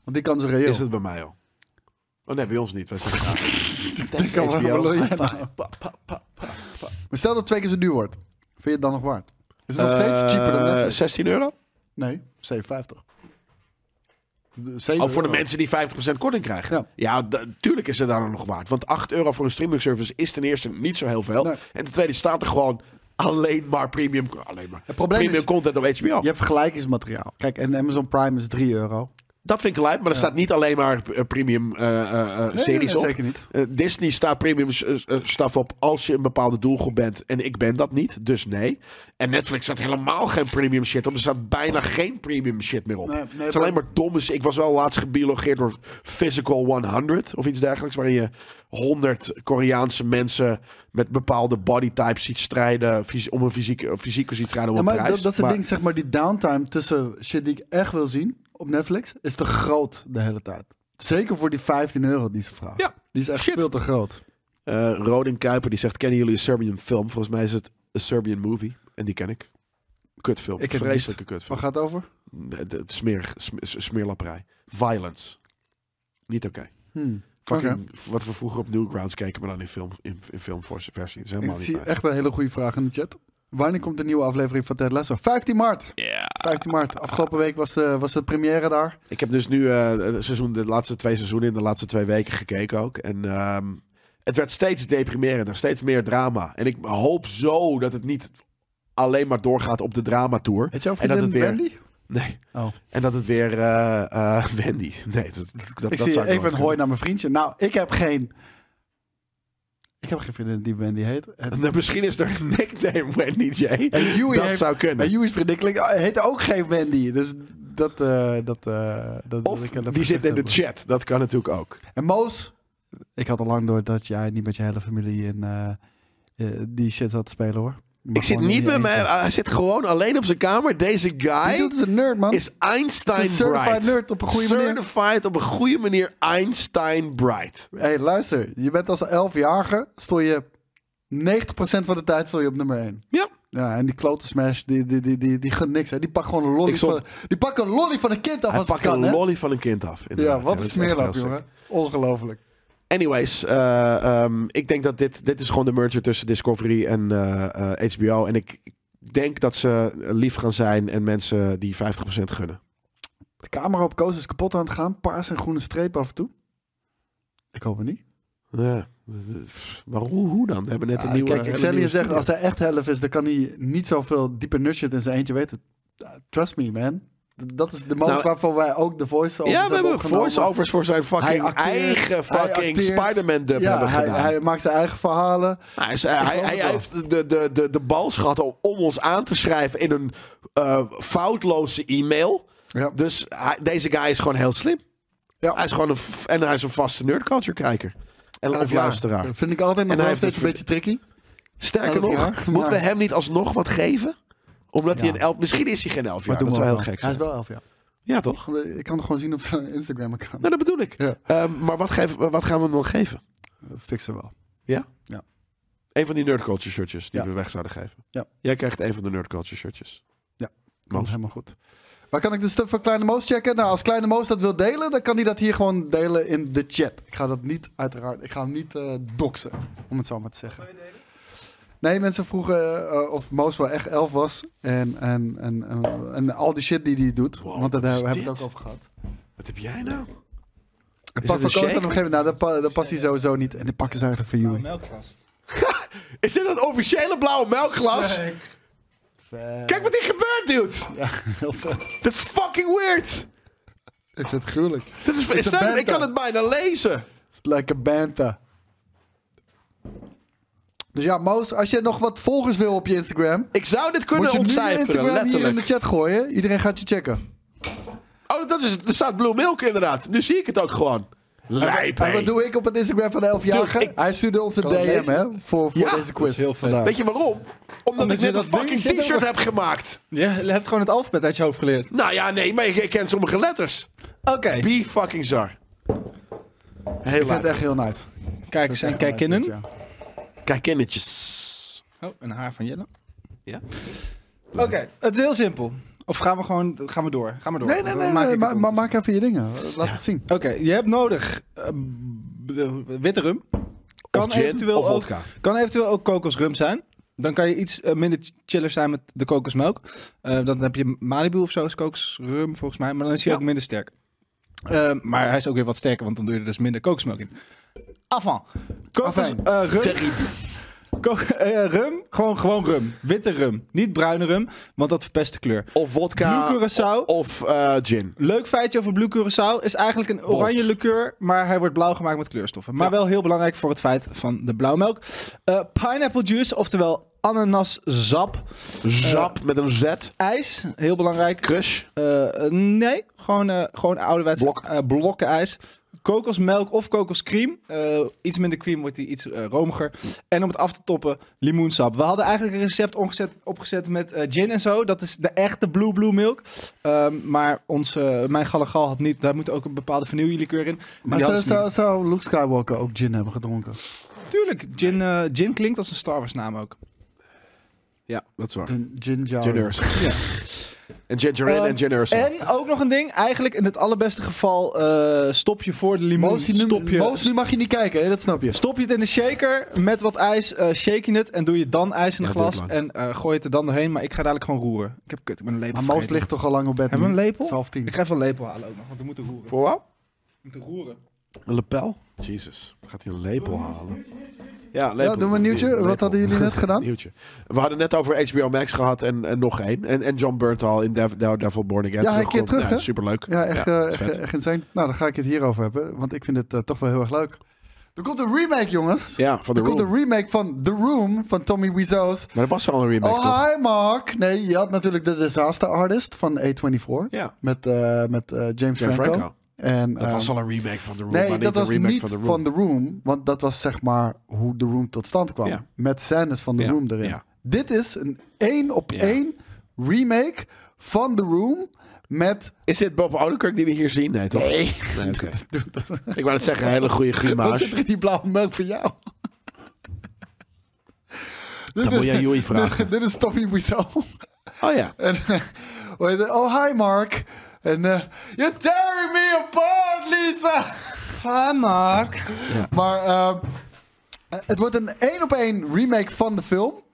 Speaker 4: Want die kans is reëel.
Speaker 2: Is het bij mij al? Oh nee, bij ons niet. Wij zijn graag. Thanks
Speaker 4: kan wel
Speaker 2: HBO.
Speaker 4: wel
Speaker 2: High
Speaker 4: loyaal.
Speaker 2: five. Pa, pa, pa, pa.
Speaker 4: Maar stel dat het twee keer zo duur wordt. Vind je het dan nog waard? Is het nog steeds cheaper dan
Speaker 2: Eh,
Speaker 4: Netflix?
Speaker 2: 16 euro?
Speaker 4: Nee, 7,50. De-
Speaker 2: Oh,
Speaker 4: 7
Speaker 2: voor de
Speaker 4: euro.
Speaker 2: mensen die 50% korting krijgen. Ja,
Speaker 4: Ja.
Speaker 2: d- tuurlijk is het daar nog waard. Want 8 euro voor een streaming service is ten eerste niet zo heel veel.
Speaker 4: Nee.
Speaker 2: En ten tweede staat er gewoon alleen maar premium, alleen maar,
Speaker 4: probleem
Speaker 2: premium
Speaker 4: is-
Speaker 2: content op HBO.
Speaker 4: Je hebt vergelijkingsmateriaal. Kijk, en Amazon Prime is 3 euro.
Speaker 2: Dat vind ik lijp, maar er staat niet alleen maar eh, premium eh, eh, eh, series
Speaker 4: nee,
Speaker 2: op.
Speaker 4: zeker niet.
Speaker 2: Eh, Disney staat premium s- eh, eh, stuff op als je een bepaalde doelgroep bent. En ik ben dat niet, dus nee. En Netflix staat helemaal geen premium shit op. Er staat bijna geen premium shit meer op.
Speaker 4: Nee, nee,
Speaker 2: het is
Speaker 4: maar-
Speaker 2: alleen maar domme shit. Ik was wel laatst gebiologeerd door Physical 100 of iets dergelijks. Waarin je 100 Koreaanse mensen met bepaalde bodytypes ziet strijden. fys- Om een fysiek, fysiek ziet strijden om
Speaker 4: Ja,
Speaker 2: een
Speaker 4: maar
Speaker 2: prijs.
Speaker 4: dat, dat is het
Speaker 2: Maar-
Speaker 4: ding, zeg maar, die downtime tussen shit die ik echt wil zien op Netflix is te groot de hele tijd. Zeker voor die 15 euro die ze vragen.
Speaker 2: Ja,
Speaker 4: Die is echt
Speaker 2: shit.
Speaker 4: veel te groot.
Speaker 2: Eh Rodin Kuiper die zegt: Kennen jullie een Serbian film? Volgens mij is het een Serbian movie. En die ken ik. Kutfilm.
Speaker 4: Ik heb het
Speaker 2: Vreselijke
Speaker 4: niet.
Speaker 2: kutfilm.
Speaker 4: Waar gaat het over?
Speaker 2: Nee, Het het smerig, sm- s- smeerlapperij. Violence. Niet oké.
Speaker 4: Hmm.
Speaker 2: Fucking Wat we vroeger op Newgrounds keken, maar dan in, film, in, in filmversie. Het is
Speaker 4: Ik
Speaker 2: helemaal niet
Speaker 4: zie
Speaker 2: fijn.
Speaker 4: echt een hele goede vraag in de chat. Wanneer komt de nieuwe aflevering van Ted Lasso? 15 maart. 15 maart. Afgelopen week was de, was de première daar.
Speaker 2: Ik heb dus nu eh, het seizoen, de laatste twee seizoenen in de laatste twee weken gekeken ook. En ehm, het werd steeds deprimerender, steeds meer drama. En ik hoop zo dat het niet alleen maar doorgaat op de drama-tour.
Speaker 4: Heet jouw
Speaker 2: En dat
Speaker 4: vriendin
Speaker 2: het weer-
Speaker 4: Wendy?
Speaker 2: Nee.
Speaker 4: Oh.
Speaker 2: En dat het weer eh, eh, Wendy. Nee, dat, dat, dat
Speaker 4: Ik
Speaker 2: zou
Speaker 4: zie
Speaker 2: ik wel
Speaker 4: even een
Speaker 2: kunnen.
Speaker 4: hooi naar mijn vriendje. Nou, ik heb geen Ik heb geen vriendin die Wendy heet. En
Speaker 2: Nou, Misschien is er een nickname Wendy J.
Speaker 4: Huey
Speaker 2: dat
Speaker 4: heeft-
Speaker 2: zou kunnen.
Speaker 4: en Joey's vriendin klinkt- eh, heet ook geen Wendy. Dus dat... eh, dat, eh, dat wil
Speaker 2: of
Speaker 4: ik even
Speaker 2: die zit in de
Speaker 4: gezegd hebben.
Speaker 2: chat. Dat kan natuurlijk ook.
Speaker 4: En Moos, ik had al lang door dat jij niet met je hele familie in eh, eh, die shit had te spelen hoor.
Speaker 2: Ik zit niet met mijn... Hij zit gewoon alleen op zijn kamer. Deze
Speaker 4: Hij
Speaker 2: guy
Speaker 4: is een nerd man.
Speaker 2: is Einstein
Speaker 4: Het is certified
Speaker 2: bright.
Speaker 4: nerd op een goede manier.
Speaker 2: Certified op een goede manier Einstein bright.
Speaker 4: hey, luister, je bent als 11-jarige, stond je 90% van de tijd stond je op nummer 1.
Speaker 2: Ja.
Speaker 4: Ja, en die klote smash, die, die, die, die, die gaat niks. Hè. Die pakt gewoon een lolly
Speaker 2: Ik stond-
Speaker 4: van, die pakt een lolly van een kind af
Speaker 2: Hij
Speaker 4: als het
Speaker 2: pakt
Speaker 4: kan,
Speaker 2: een
Speaker 4: hè?
Speaker 2: lolly van een kind af. inderdaad.
Speaker 4: Ja, wat
Speaker 2: dat
Speaker 4: een
Speaker 2: is echt heel
Speaker 4: smeerlap,
Speaker 2: sick.
Speaker 4: jongen. Ongelooflijk.
Speaker 2: Anyways, eh, ehm, ik denk dat dit, dit is gewoon de merger tussen Discovery en eh, eh, HBO. En ik denk dat ze lief gaan zijn en mensen die 50% gunnen.
Speaker 4: De camera op Koos is kapot aan het gaan. Paars en groene streep af en toe. Ik hoop het niet.
Speaker 2: Ja. Maar hoe, hoe dan? We hebben net een
Speaker 4: Ah,
Speaker 2: nieuwe...
Speaker 4: kijk, ik
Speaker 2: hele
Speaker 4: zal je
Speaker 2: nieuwe
Speaker 4: zeggen,
Speaker 2: studio.
Speaker 4: als hij echt helft is, dan kan hij niet zoveel diepe nutshit in zijn eentje weten. Ah, Trust me, man. D- Dat is de moment
Speaker 2: Nou,
Speaker 4: waarvoor wij ook de voice-overs
Speaker 2: Ja, we hebben
Speaker 4: opgenomen.
Speaker 2: voice-overs voor zijn
Speaker 4: Hij
Speaker 2: fucking
Speaker 4: acteert,
Speaker 2: eigen
Speaker 4: hij
Speaker 2: fucking
Speaker 4: acteert.
Speaker 2: Spider-Man-dub
Speaker 4: Ja,
Speaker 2: hebben
Speaker 4: hij,
Speaker 2: gedaan.
Speaker 4: hij maakt zijn eigen verhalen.
Speaker 2: Hij, is- eh, hij- hij-
Speaker 4: geloof het
Speaker 2: hij
Speaker 4: wel.
Speaker 2: heeft de, de, de, de bals gehad om, om ons aan te schrijven in een eh, foutloze e-mail.
Speaker 4: Ja.
Speaker 2: Dus hij- deze guy is gewoon heel slim.
Speaker 4: Ja.
Speaker 2: Hij is gewoon een, f- en hij is een vaste nerdculture-kijker. En of
Speaker 4: Ja,
Speaker 2: luisteraar.
Speaker 4: Vind ik altijd
Speaker 2: hij
Speaker 4: nog wel
Speaker 2: heeft
Speaker 4: steeds
Speaker 2: het
Speaker 4: een beetje tricky.
Speaker 2: Sterker
Speaker 4: elf
Speaker 2: nog,
Speaker 4: jaar.
Speaker 2: moeten we
Speaker 4: Ja.
Speaker 2: hem niet alsnog wat geven? Omdat hij
Speaker 4: Ja.
Speaker 2: een elf... Misschien is hij geen elf jaar.
Speaker 4: Maar doe
Speaker 2: Dat zou
Speaker 4: maar
Speaker 2: heel
Speaker 4: wel.
Speaker 2: gek
Speaker 4: Hij
Speaker 2: zijn.
Speaker 4: is wel elf jaar.
Speaker 2: Ja, toch?
Speaker 4: Ik kan het gewoon zien op zijn Instagram-account.
Speaker 2: Nou, dat bedoel ik.
Speaker 4: Ja.
Speaker 2: Ehm, maar wat, geef, wat gaan we hem dan geven?
Speaker 4: We Fixen wel.
Speaker 2: Een van die nerdculture shirtjes die
Speaker 4: Ja.
Speaker 2: we weg zouden geven.
Speaker 4: Ja.
Speaker 2: Jij krijgt een van de nerdculture shirtjes.
Speaker 4: Komt helemaal goed. Waar kan ik de stuff van Kleine Moos checken? Nou, als Kleine Moos dat wil delen, dan kan hij dat hier gewoon delen in de chat. Ik ga dat niet, uiteraard, ik ga hem niet eh doxen, om het zo maar te zeggen. Nee, mensen vroegen eh, of Moos wel echt elf was en, en, en, en, en al die shit die hij doet.
Speaker 2: Wow,
Speaker 4: want daar
Speaker 2: wat is
Speaker 4: hebben we het
Speaker 2: dit?
Speaker 4: ook over gehad.
Speaker 2: Wat heb jij nou? Is
Speaker 4: Het pak
Speaker 2: het
Speaker 4: van
Speaker 2: een
Speaker 4: Koos had
Speaker 2: shake?
Speaker 4: op een gegeven moment, nou, dat, pa- dat past hij sowieso niet. En de pak is eigenlijk voor
Speaker 3: Nou,
Speaker 4: Joey.
Speaker 3: melkglas.
Speaker 2: Is dit een officiële blauwe melkglas? Kijk wat hier gebeurt, dude!
Speaker 4: Ja, heel vet.
Speaker 2: Dat is fucking weird!
Speaker 4: Ik vind het gruwelijk.
Speaker 2: Dit is,
Speaker 4: een
Speaker 2: stel,
Speaker 4: band,
Speaker 2: ik kan
Speaker 4: hè?
Speaker 2: het bijna lezen.
Speaker 4: Het is lekker banta. Dus ja, Moos, als je nog wat volgers wil op je Instagram,
Speaker 2: Ik zou dit
Speaker 4: moet
Speaker 2: kunnen
Speaker 4: je nu je
Speaker 2: ontcijferen,
Speaker 4: Instagram hier in de
Speaker 2: letterlijk.
Speaker 4: chat gooien. Iedereen gaat je checken.
Speaker 2: Oh, dat is, het. er staat Blue Milk inderdaad. Nu zie ik het ook gewoon. Lijp,
Speaker 4: En
Speaker 2: hé.
Speaker 4: wat doe ik op het Instagram van de 11-jarige?
Speaker 2: Dude, ik-
Speaker 4: Hij stuurde ons een
Speaker 3: Kan
Speaker 4: DM,
Speaker 3: lezen.
Speaker 4: hè, voor, voor
Speaker 2: Ja,
Speaker 4: deze
Speaker 3: dat
Speaker 4: quiz.
Speaker 3: is heel vet.
Speaker 4: vandaag.
Speaker 2: Weet je waarom? Omdat,
Speaker 3: Omdat
Speaker 2: ik
Speaker 3: je
Speaker 2: net
Speaker 3: dat
Speaker 2: een fucking
Speaker 3: dingetje
Speaker 2: t-shirt
Speaker 3: hebt.
Speaker 2: heb gemaakt.
Speaker 3: Je hebt gewoon het alfabet uit je hoofd geleerd.
Speaker 2: Nou ja, nee, maar ik, ik ken sommige letters.
Speaker 3: Oké.
Speaker 2: Be fucking zar. Heel
Speaker 4: Ik vind het
Speaker 2: laat.
Speaker 4: echt heel nice.
Speaker 3: Kijkers en kijkinnen.
Speaker 4: Ja.
Speaker 2: Kijk, kindertjes.
Speaker 3: Oh, een haar van Jelle.
Speaker 2: Ja?
Speaker 3: Oké, het is heel simpel. Of gaan we gewoon gaan we door? Gaan we door.
Speaker 4: Nee, nee,
Speaker 3: Dan
Speaker 4: nee,
Speaker 3: maak ik
Speaker 4: nee,
Speaker 3: het
Speaker 4: maar, maar
Speaker 3: ondertussen.
Speaker 4: maak even je dingen. Laat het zien.
Speaker 3: Oké, je hebt nodig eh, b- de- witte rum. Kan,
Speaker 2: gin
Speaker 3: eventueel
Speaker 2: of
Speaker 3: ook,
Speaker 2: vodka.
Speaker 3: kan eventueel ook kokosrum zijn. Dan kan je iets eh, minder ch- chiller zijn met de kokosmelk. Eh, dan heb je Malibu of zo is kokosrum volgens mij. Maar dan is hij ook minder sterk. Eh, maar hij is ook weer wat sterker, want dan doe je er dus minder kokosmelk in. Afan. Kokos,
Speaker 4: Afijn.
Speaker 3: eh, rum. Ko- eh, rum, gewoon, gewoon rum. Witte rum. Niet bruine rum, want dat verpest de kleur.
Speaker 2: Of vodka.
Speaker 3: Blue Curaçao.
Speaker 2: Of eh, gin.
Speaker 3: Leuk feitje over Blue Curaçao is eigenlijk een oranje liqueur, maar hij wordt blauw gemaakt met kleurstoffen. Maar wel heel belangrijk voor het feit van de blauwmelk. Eh pineapple juice, oftewel ananaszap.
Speaker 2: Zap met een Z.
Speaker 3: IJs, heel belangrijk.
Speaker 2: Crush.
Speaker 3: Eh, eh, nee, gewoon, eh gewoon ouderwets
Speaker 2: Blok.
Speaker 3: eh, blokken ijs. Kokosmelk of kokoscream. Eh, iets minder cream wordt die iets eh, romiger. En om het af te toppen, limoensap. We hadden eigenlijk een recept omgezet, opgezet met eh, gin en zo. Dat is de echte Blue Blue Milk. Ehm, maar onze, mijn galagal had niet. Daar moet ook een bepaalde vanillelikeur in. Die
Speaker 4: Maar zou,
Speaker 3: hadden ze
Speaker 4: zou, zou Luke Skywalker ook gin hebben gedronken?
Speaker 3: niet. Tuurlijk, gin, eh, gin klinkt als een Star Wars naam ook.
Speaker 2: Ja, dat is waar.
Speaker 4: Een Gin jar.
Speaker 2: Gin Ursus. En ginger in
Speaker 3: Ehm,
Speaker 2: en gin Ursus.
Speaker 3: En ook nog een ding. Eigenlijk in het allerbeste geval eh, stop je voor de limoen.
Speaker 4: Moos, nu,
Speaker 3: Stop je,
Speaker 4: Moos, nu mag je niet kijken, hè? dat snap je.
Speaker 3: Stop je het in de shaker met wat ijs, eh shake je het en doe je dan ijs in een
Speaker 2: Ja,
Speaker 3: glas
Speaker 2: doe het
Speaker 3: en eh, gooi het er dan doorheen. Maar ik ga dadelijk gewoon roeren. Ik heb kut, ik ben een lepel
Speaker 4: Maar Moos
Speaker 3: vergeten. Hmm?
Speaker 4: ligt toch al lang op bed
Speaker 3: Hebben we
Speaker 4: nu?
Speaker 3: een lepel?
Speaker 4: Het is half tien.
Speaker 3: Ik ga even een lepel halen ook nog, want we moeten roeren.
Speaker 2: Voor wat?
Speaker 3: We moeten roeren.
Speaker 2: Een lepel? Jezus, gaat hij een lepel halen? Ja, lepel.
Speaker 4: Ja, doen we een nieuwtje?
Speaker 2: Lepel.
Speaker 4: Wat hadden jullie net gedaan?
Speaker 2: Nieuwtje. We hadden net over HBO Max gehad en, en nog één. En, en John Bernthal in Dev- Daredevil Born Again.
Speaker 4: Ja, hij keert
Speaker 2: terugkomt.
Speaker 4: terug,
Speaker 2: Ja,
Speaker 4: hè?
Speaker 2: Superleuk.
Speaker 4: Ja, echt, eh,
Speaker 2: vet.
Speaker 4: echt, echt insane. Nou, dan ga ik het hierover hebben, want ik vind het eh, toch wel heel erg leuk. Er komt een remake, jongens.
Speaker 2: Ja, van The
Speaker 4: er komt
Speaker 2: Room.
Speaker 4: een remake van The Room van Tommy Wiseau's.
Speaker 2: Maar er was al een remake, toch?
Speaker 4: Oh, hi Mark. Nee, je had natuurlijk de Disaster Artist van A24.
Speaker 2: Ja.
Speaker 4: Met, eh, met eh, James
Speaker 2: James
Speaker 4: Franco.
Speaker 2: Franco.
Speaker 4: En,
Speaker 2: Dat
Speaker 4: ehm,
Speaker 2: was al een remake van The Room, maar
Speaker 4: Nee,
Speaker 2: niet
Speaker 4: dat
Speaker 2: een
Speaker 4: was
Speaker 2: remake
Speaker 4: niet
Speaker 2: van The Room.
Speaker 4: van The Room. Want dat was zeg maar hoe The Room tot stand kwam.
Speaker 2: Ja.
Speaker 4: Met scènes van The
Speaker 2: Ja,
Speaker 4: Room erin.
Speaker 2: ja.
Speaker 4: Dit is een één op
Speaker 2: Ja.
Speaker 4: één remake van The Room met...
Speaker 2: Is dit Bob Odenkirk die we hier zien? Nee, toch? Nee. oké. Ik wou het zeggen, een hele goede
Speaker 4: Wat zit
Speaker 2: grimaas.
Speaker 4: er in die blauwe melk voor jou?
Speaker 2: Dan moet jij Joey vragen.
Speaker 4: Dit is Tommy Wiseau.
Speaker 2: Oh ja.
Speaker 4: En, eh, hoe heet het? oh, hi Mark. En eh you tear me apart, Lisa. Hi Mark. Maar ehm, het wordt een één op één remake van de film.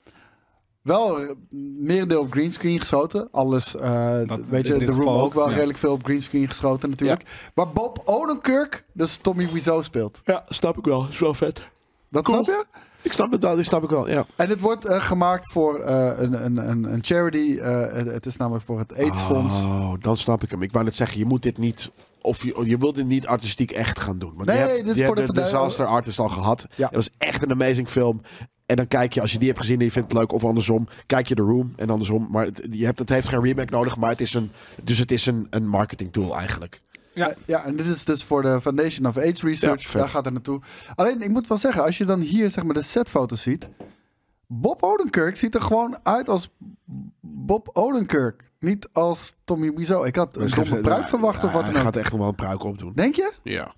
Speaker 4: Wel eh, merendeel op greenscreen geschoten. Alles, eh,
Speaker 3: Dat
Speaker 4: weet je,
Speaker 3: in
Speaker 4: de
Speaker 3: dit
Speaker 4: Room
Speaker 3: geval
Speaker 4: ook
Speaker 3: ook,
Speaker 4: wel
Speaker 3: ja.
Speaker 4: redelijk veel op greenscreen geschoten natuurlijk. Maar Bob Odenkirk, dus Tommy Wiseau speelt.
Speaker 2: Ja, snap ik wel. Is wel vet.
Speaker 4: Dat
Speaker 2: Cool.
Speaker 4: snap je?
Speaker 2: Ik snap het wel, die snap ik wel. Ja.
Speaker 4: En het wordt eh, gemaakt voor eh, een, een, een, een charity. eh, het, het is namelijk voor het AIDS Fonds.
Speaker 2: Oh, dan snap ik hem. Ik wou net zeggen, je moet dit niet... Of je, je wilt dit niet artistiek echt gaan doen. Want
Speaker 4: Nee,
Speaker 2: je
Speaker 4: nee,
Speaker 2: hebt,
Speaker 4: dit is
Speaker 2: je
Speaker 4: voor
Speaker 2: hebt
Speaker 4: de
Speaker 2: de
Speaker 4: verdu-
Speaker 2: Disaster Artist al gehad.
Speaker 4: Ja.
Speaker 2: Het was echt een amazing film. En dan kijk je, als je die hebt gezien en je vindt het leuk, of andersom, kijk je The Room en andersom. Maar het, je hebt, het heeft geen remake nodig, maar het is een, dus het is een, een marketing tool eigenlijk.
Speaker 4: Ja. ja, en dit is dus voor de Foundation of AIDS Research.
Speaker 2: Ja, vet.
Speaker 4: Daar gaat het naartoe. Alleen, ik moet wel zeggen, als je dan hier zeg maar de setfoto's ziet. Bob Odenkirk ziet er gewoon uit als Bob Odenkirk. Niet als Tommy Wiseau. Ik had een
Speaker 2: Dus
Speaker 4: domme
Speaker 2: even-
Speaker 4: bruid verwacht of
Speaker 2: Ja,
Speaker 4: wat dan
Speaker 2: Hij
Speaker 4: ook.
Speaker 2: gaat echt nog wel een pruik opdoen.
Speaker 4: Denk je?
Speaker 2: Ja.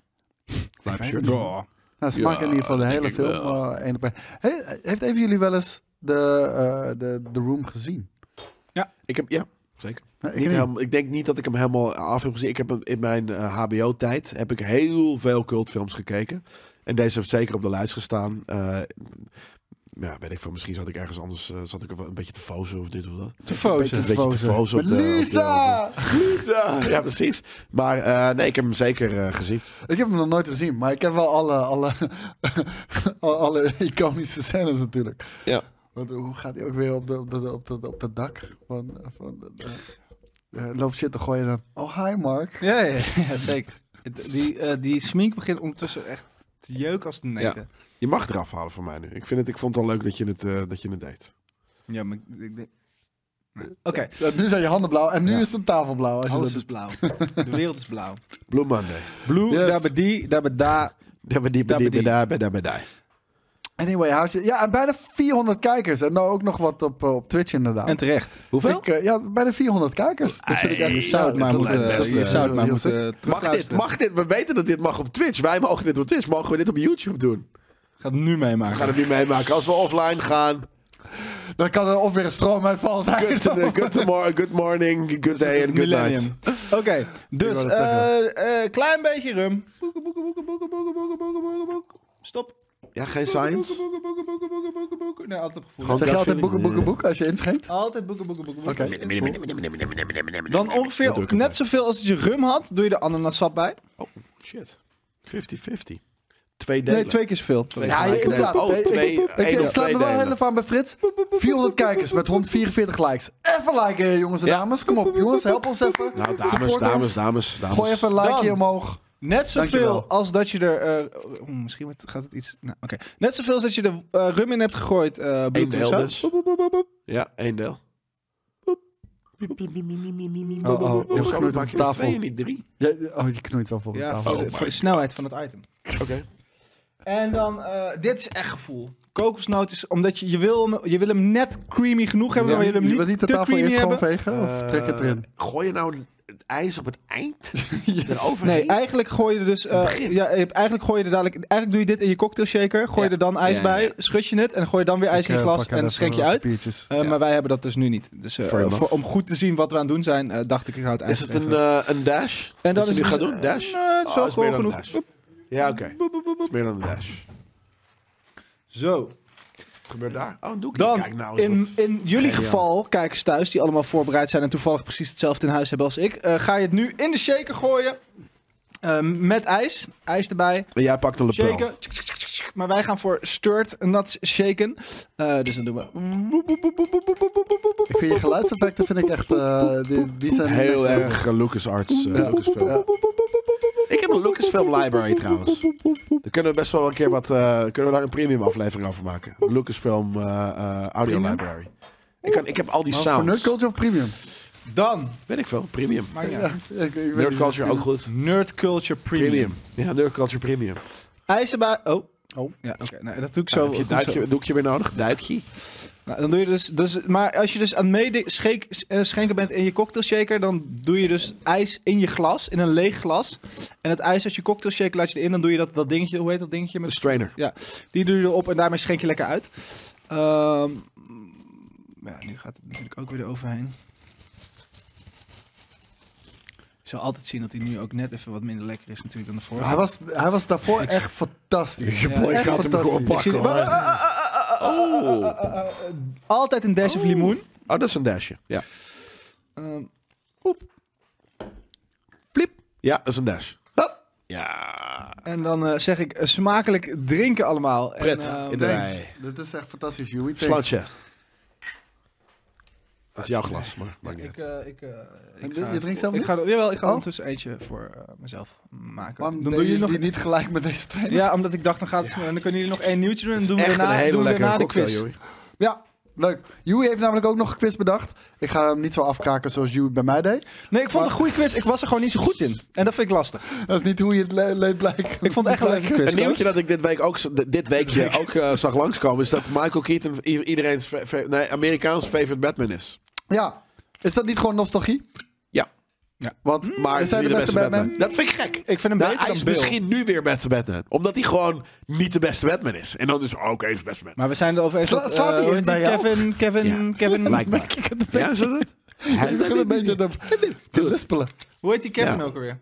Speaker 2: Live shirt.
Speaker 3: Ja.
Speaker 4: Nou, ze maken in ieder geval de hele film eh, één op één. He- heeft even jullie wel eens de, eh, de, de Room gezien?
Speaker 2: Ik heb, ja, zeker.
Speaker 4: Nee, ik
Speaker 2: Niet
Speaker 4: niet.
Speaker 2: helemaal- ik denk niet dat ik hem helemaal af heb gezien. Ik heb hem in mijn eh, HBO-tijd heb ik heel veel cultfilms gekeken. En deze heeft zeker op de lijst gestaan. Eh, ja, weet ik van, misschien zat ik ergens anders, eh, zat ik er wel een beetje te fozen of dit of dat.
Speaker 3: Te fozen.
Speaker 2: Een beetje te fozen. op
Speaker 4: Met
Speaker 2: de- op de-
Speaker 4: Lisa!
Speaker 2: op
Speaker 3: Ah!
Speaker 2: de- ja, precies. Maar eh, nee, ik heb hem zeker eh, gezien.
Speaker 4: Ik heb hem nog nooit gezien, maar ik heb wel alle, alle, al- alle iconische scènes natuurlijk.
Speaker 2: Ja.
Speaker 4: Want hoe gaat hij ook weer op dat op de, op de, op de dak? Van, van, de- de- eh, loopt shit te gooien en dan. Oh, hi Mark.
Speaker 3: Ja, ja, ja, zeker. Het- Die, eh die smink begint ondertussen echt te jeuken als te neten.
Speaker 2: Je mag eraf halen van mij nu. Ik, vind het, ik vond het al leuk dat je het, eh, dat je het deed.
Speaker 3: Ja, maar ik- ik denk... Nee. Oké,
Speaker 4: Eh, Nu zijn je handen blauw en nu is de tafel blauw. Als je
Speaker 3: alles
Speaker 4: dat-
Speaker 3: is blauw. De wereld is blauw.
Speaker 2: Blue Monday.
Speaker 3: Blue,
Speaker 4: Yes.
Speaker 3: daar bij die, daar bij daar.
Speaker 2: Dabbedi, dabbedi.
Speaker 4: Anyway, hou je- ja, en bijna 400 kijkers. En nou ook nog wat op, eh, op Twitch inderdaad.
Speaker 3: En terecht.
Speaker 2: Hoeveel?
Speaker 4: Ik, eh, ja, bijna 400 kijkers. Dat vind ik
Speaker 2: Ei,
Speaker 4: echt
Speaker 3: Je zou het
Speaker 4: ja,
Speaker 3: maar
Speaker 4: Nou, dat
Speaker 3: moeten,
Speaker 4: lijkt me best,
Speaker 3: je
Speaker 4: eh,
Speaker 3: zou het maar
Speaker 4: heel
Speaker 3: moeten
Speaker 4: sick.
Speaker 2: Mag dit,
Speaker 3: terugluisteren.
Speaker 2: mag dit? We weten dat dit mag op Twitch. Wij mogen dit op Twitch. Mogen we dit op YouTube doen?
Speaker 3: Gaat nu
Speaker 2: We
Speaker 3: meemaken.
Speaker 2: gaan het nu meemaken. Als we offline gaan.
Speaker 4: Dan kan er of weer een stroomuitval zijn.
Speaker 2: Good, eh, good, mor- good morning, good day en good night.
Speaker 3: Millennium. Oké, dus
Speaker 4: dat zeggen.
Speaker 3: eh, eh, klein beetje rum. Boeken, boeken, boeken, boeken, boeken, boeken, boeken, boeken, boeken. Stop.
Speaker 2: Ja, geen
Speaker 3: Boeken,
Speaker 2: science.
Speaker 3: boeken, boeken, boeken, boeken, boeken, boeken. Nee, altijd op gevoel.
Speaker 2: Gewoon-
Speaker 4: Zeg je
Speaker 2: Dat
Speaker 4: altijd
Speaker 2: vind ik-
Speaker 4: boeken, boeken, boeken als je inschenkt?
Speaker 3: Altijd boeken, boeken, boeken, boeken.
Speaker 4: Oké.
Speaker 3: Dan
Speaker 2: Dat doe
Speaker 3: ongeveer
Speaker 2: ik erbij.
Speaker 3: net zoveel als dat je rum had, doe je de ananassap bij.
Speaker 2: Oh, shit. 50-50. Twee delen.
Speaker 3: Nee, twee keer zoveel.
Speaker 4: Ja,
Speaker 2: gelijke
Speaker 4: inderdaad.
Speaker 2: delen. Oh,
Speaker 4: Ik- ik-
Speaker 2: twee-
Speaker 4: ik-
Speaker 2: één
Speaker 4: ik
Speaker 2: op
Speaker 4: sla
Speaker 2: twee
Speaker 4: me wel
Speaker 2: delen.
Speaker 4: heel even aan bij Frits. 400 kijkers met 144 likes. Even liken, eh, jongens en
Speaker 2: Ja.
Speaker 4: dames. Kom op, jongens. Help ons even.
Speaker 2: Nou, dames,
Speaker 4: Support
Speaker 2: dames,
Speaker 4: ons.
Speaker 2: dames, dames.
Speaker 4: Gooi even een like
Speaker 3: Dan.
Speaker 4: hier omhoog.
Speaker 2: Oh,
Speaker 3: Net zoveel
Speaker 4: Dankjewel.
Speaker 3: als dat je er... eh, oh, misschien wordt- gaat het iets... Nou, oké. Net zoveel als dat je er eh, rum in hebt gegooid. eh
Speaker 2: Eén
Speaker 3: bloemen
Speaker 2: deel
Speaker 3: of zo.
Speaker 2: dus. Ja, één deel.
Speaker 4: Oh, oh, je
Speaker 2: Hoezo
Speaker 4: hebt geknoeid op
Speaker 2: maak
Speaker 4: de
Speaker 2: je er
Speaker 4: tafel.
Speaker 2: twee en niet drie?
Speaker 4: Je- oh, je knoeit wel voor
Speaker 3: Ja,
Speaker 4: de
Speaker 3: voor
Speaker 4: tafel.
Speaker 3: de, voor de snelheid van het item.
Speaker 2: Oké.
Speaker 3: En dan, eh, dit is echt gevoel. Kokosnoot is, omdat je, je, wil, hem- je wil hem net creamy genoeg hebben, maar je wil hem
Speaker 4: je
Speaker 3: niet,
Speaker 4: wilt niet de
Speaker 3: te
Speaker 4: tafel
Speaker 3: creamy
Speaker 4: eerst
Speaker 3: hebben.
Speaker 4: gewoon vegen? Of trek je het erin?
Speaker 2: Eh, Gooi je nou het ijs op het eind? Eroverheen?
Speaker 3: Nee, eigenlijk gooi je er dus, eh,
Speaker 2: begin.
Speaker 3: ja, je hebt- eigenlijk gooi je er dadelijk, eigenlijk doe je dit in je cocktail shaker, gooi je
Speaker 2: Ja.
Speaker 3: er dan ijs
Speaker 2: Ja,
Speaker 3: bij,
Speaker 2: ja.
Speaker 3: schud je het en gooi je dan weer ijs
Speaker 4: Ik,
Speaker 3: in je
Speaker 4: eh,
Speaker 3: glas
Speaker 4: pak
Speaker 3: en
Speaker 4: even
Speaker 3: schenk je
Speaker 4: wat
Speaker 3: uit.
Speaker 4: papiertjes.
Speaker 3: Eh, Maar wij hebben dat dus nu niet. Dus eh,
Speaker 2: Fair enough.
Speaker 3: voor- om goed te zien wat we aan het doen zijn, eh, dacht ik, ik houd het
Speaker 2: Is
Speaker 3: ijs
Speaker 2: het
Speaker 3: even.
Speaker 2: een, eh, een dash?
Speaker 3: En
Speaker 2: Wat
Speaker 3: dan
Speaker 2: je
Speaker 3: is
Speaker 2: nu
Speaker 3: het
Speaker 2: gaat
Speaker 3: dus-
Speaker 2: doen? Dash?
Speaker 3: Nee, het is
Speaker 2: Oh,
Speaker 3: wel
Speaker 2: is
Speaker 3: gewoon
Speaker 2: meer dan
Speaker 3: genoeg.
Speaker 2: een dash. Ja, oké. Het is meer dan een dash.
Speaker 3: Zo.
Speaker 2: Wat gebeurt daar? Oh, een doekje.
Speaker 3: Dan,
Speaker 2: Kijk nou eens
Speaker 3: in,
Speaker 2: wat-
Speaker 3: in jullie
Speaker 2: Kijk, ja.
Speaker 3: geval, kijkers thuis die allemaal voorbereid zijn en toevallig precies hetzelfde in huis hebben als ik, eh, ga je het nu in de shaker gooien. Ehm, met ijs. Ijs erbij.
Speaker 2: En jij pakt een lapel.
Speaker 3: Shaken. Tsk, tsk, tsk, tsk, tsk. Maar wij gaan voor stirred nuts shaken. Eh, dus dan doen we.
Speaker 4: Ik vind je geluidseffecten vind ik echt... eh, die, die zijn
Speaker 2: Heel erg Lucas LucasArts. eh, Lucasfilm.
Speaker 4: Ja.
Speaker 2: Ik heb een Lucasfilm Library trouwens. Daar kunnen we best wel een keer wat. eh, kunnen we daar een premium aflevering over maken? Lucasfilm eh, eh, Audio
Speaker 4: Premium?
Speaker 2: Library. Ik, kan, ik heb al die
Speaker 4: Maar Voor Nerd
Speaker 2: sounds.
Speaker 4: Culture of Premium?
Speaker 3: Dan,
Speaker 2: Weet ik veel, premium.
Speaker 3: maar ja.
Speaker 4: Ja, ik- ik weet niet.
Speaker 2: Nerd Culture ook goed.
Speaker 3: Nerd Culture Premium.
Speaker 2: Premium. Ja, Nerd Culture Premium.
Speaker 3: IJzerba- Oh. Oh, ja, oké. Nou, dat doe ik zo.
Speaker 2: heb je
Speaker 3: goed
Speaker 2: een
Speaker 3: zo.
Speaker 2: duikje, doekje weer nodig? Duikje?
Speaker 3: Nou, dan doe je dus, dus... Maar als je dus aan het schenken bent in je cocktailshaker... dan doe je dus ijs in je glas, in een leeg glas. En het ijs uit je cocktailshaker laat je erin. Dan doe je dat, dat dingetje... Hoe heet dat dingetje?
Speaker 2: Een
Speaker 3: Met,
Speaker 2: strainer.
Speaker 3: ja, die doe je erop en daarmee schenk je lekker uit. Ehm, ja, nu gaat het natuurlijk ook weer eroverheen. Je zal altijd zien dat hij nu ook net even wat minder lekker is natuurlijk dan de vorige.
Speaker 4: Hij was, hij was daarvoor echt fantastisch.
Speaker 2: Je
Speaker 3: Ja,
Speaker 2: boy
Speaker 4: echt
Speaker 2: gaat hem
Speaker 4: fantastisch.
Speaker 2: gewoon pakken.
Speaker 3: Ik zie- Ah,
Speaker 2: hoor. Oh.
Speaker 3: Altijd een dash of limoen.
Speaker 2: oh, dat is een dashje. Ja.
Speaker 3: Ehm,
Speaker 2: ja, dat is een dash.
Speaker 3: Hop.
Speaker 2: Ja.
Speaker 3: en dan eh, zeg ik eh, smakelijk drinken allemaal.
Speaker 2: Pret,
Speaker 3: En, ehm,
Speaker 2: in de-
Speaker 4: Thanks.
Speaker 2: Nee.
Speaker 4: Dit is echt fantastisch, Joey. Thanks.
Speaker 2: Slantje. Dat is jouw glas, maar maakt niet
Speaker 3: Ik,
Speaker 2: uit.
Speaker 3: eh, ik, eh, ik
Speaker 4: je- je drinkt zelf
Speaker 3: ik
Speaker 4: niet?
Speaker 3: ga, Jawel, ik ga
Speaker 4: Oh.
Speaker 3: ondertussen eentje voor eh, mezelf maken.
Speaker 4: Waarom
Speaker 3: doen
Speaker 4: deden
Speaker 3: jullie nog...
Speaker 4: die niet gelijk met deze twee?
Speaker 3: Ja, omdat ik dacht, dan gaat het snel. En dan kunnen jullie nog één nieuwtje doen. En doen we
Speaker 2: Echt
Speaker 3: weer
Speaker 2: een
Speaker 3: na,
Speaker 2: hele
Speaker 3: doen we eh, weer na
Speaker 2: lekkere
Speaker 3: de
Speaker 2: cocktail,
Speaker 3: quiz.
Speaker 2: joh.
Speaker 4: Ja, leuk. Joey heeft namelijk ook nog een quiz bedacht. Ik ga hem niet zo afkraken zoals Joey bij mij deed.
Speaker 3: Nee, ik vond het een goede quiz. Ik was er gewoon niet zo goed in. En dat vind ik lastig.
Speaker 4: Dat is niet hoe je het le- leed blijkt.
Speaker 3: Ik vond het echt een leuke quiz.
Speaker 2: Een nieuwtje dat ik dit, week ook, z- dit weekje ook eh, zag langskomen is dat Michael Keaton i- iedereen's fa- fa- nee, Amerikaans favorite Batman is.
Speaker 4: Ja. Is dat niet gewoon nostalgie?
Speaker 2: Ja.
Speaker 3: Hmm,
Speaker 4: Want
Speaker 2: Maar
Speaker 4: is hij de beste Batman?
Speaker 2: Dat vind ik gek.
Speaker 3: Ik vind hem
Speaker 2: Nou,
Speaker 3: beter
Speaker 2: hij
Speaker 3: dan
Speaker 2: is
Speaker 3: Bill.
Speaker 2: misschien nu weer beste Batman. Omdat hij gewoon niet de beste Batman is. En dan is oh, oké, hij is beste Batman.
Speaker 3: Maar we zijn erover eens.
Speaker 4: Sla-
Speaker 3: dat,
Speaker 4: slaat
Speaker 3: eh,
Speaker 4: hij
Speaker 3: hoe
Speaker 4: in
Speaker 3: heet
Speaker 4: bij jou?
Speaker 3: Kevin, Kevin, Kevin.
Speaker 2: Blijkbaar. Ja, is dat het?
Speaker 4: Ik begin een beetje te, te
Speaker 2: Dude.
Speaker 4: lispelen.
Speaker 3: Hoe heet die Kevin
Speaker 2: Ja.
Speaker 3: ook alweer?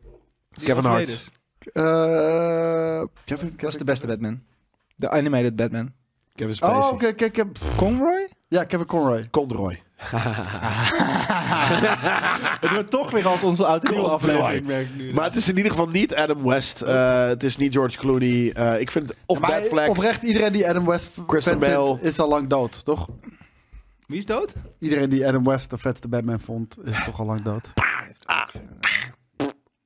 Speaker 3: Die
Speaker 2: Kevin
Speaker 3: overleden
Speaker 2: Hart.
Speaker 3: is.
Speaker 4: Eh, Kevin,
Speaker 3: Dat is
Speaker 4: Kevin.
Speaker 3: de beste Batman. De animated Batman.
Speaker 2: Kevin Spacey.
Speaker 4: Oh, oké, kijk, kijk.
Speaker 3: Conroy?
Speaker 4: Ja, Kevin Conroy.
Speaker 2: Conroy.
Speaker 3: Het wordt toch weer als onze oude nieuwe
Speaker 2: Conroy.
Speaker 3: aflevering, merk ik nu.
Speaker 2: Maar het is in ieder geval niet Adam West. eh, het is niet George Clooney. eh, ik vind het of
Speaker 4: Maar
Speaker 2: Bad Flag.
Speaker 4: oprecht, iedereen die Adam West v-
Speaker 2: Christian
Speaker 4: vet vindt,
Speaker 2: Bale.
Speaker 4: is al lang dood, toch?
Speaker 3: Wie is dood?
Speaker 4: Iedereen die Adam West de vetste Batman vond, is toch al lang dood.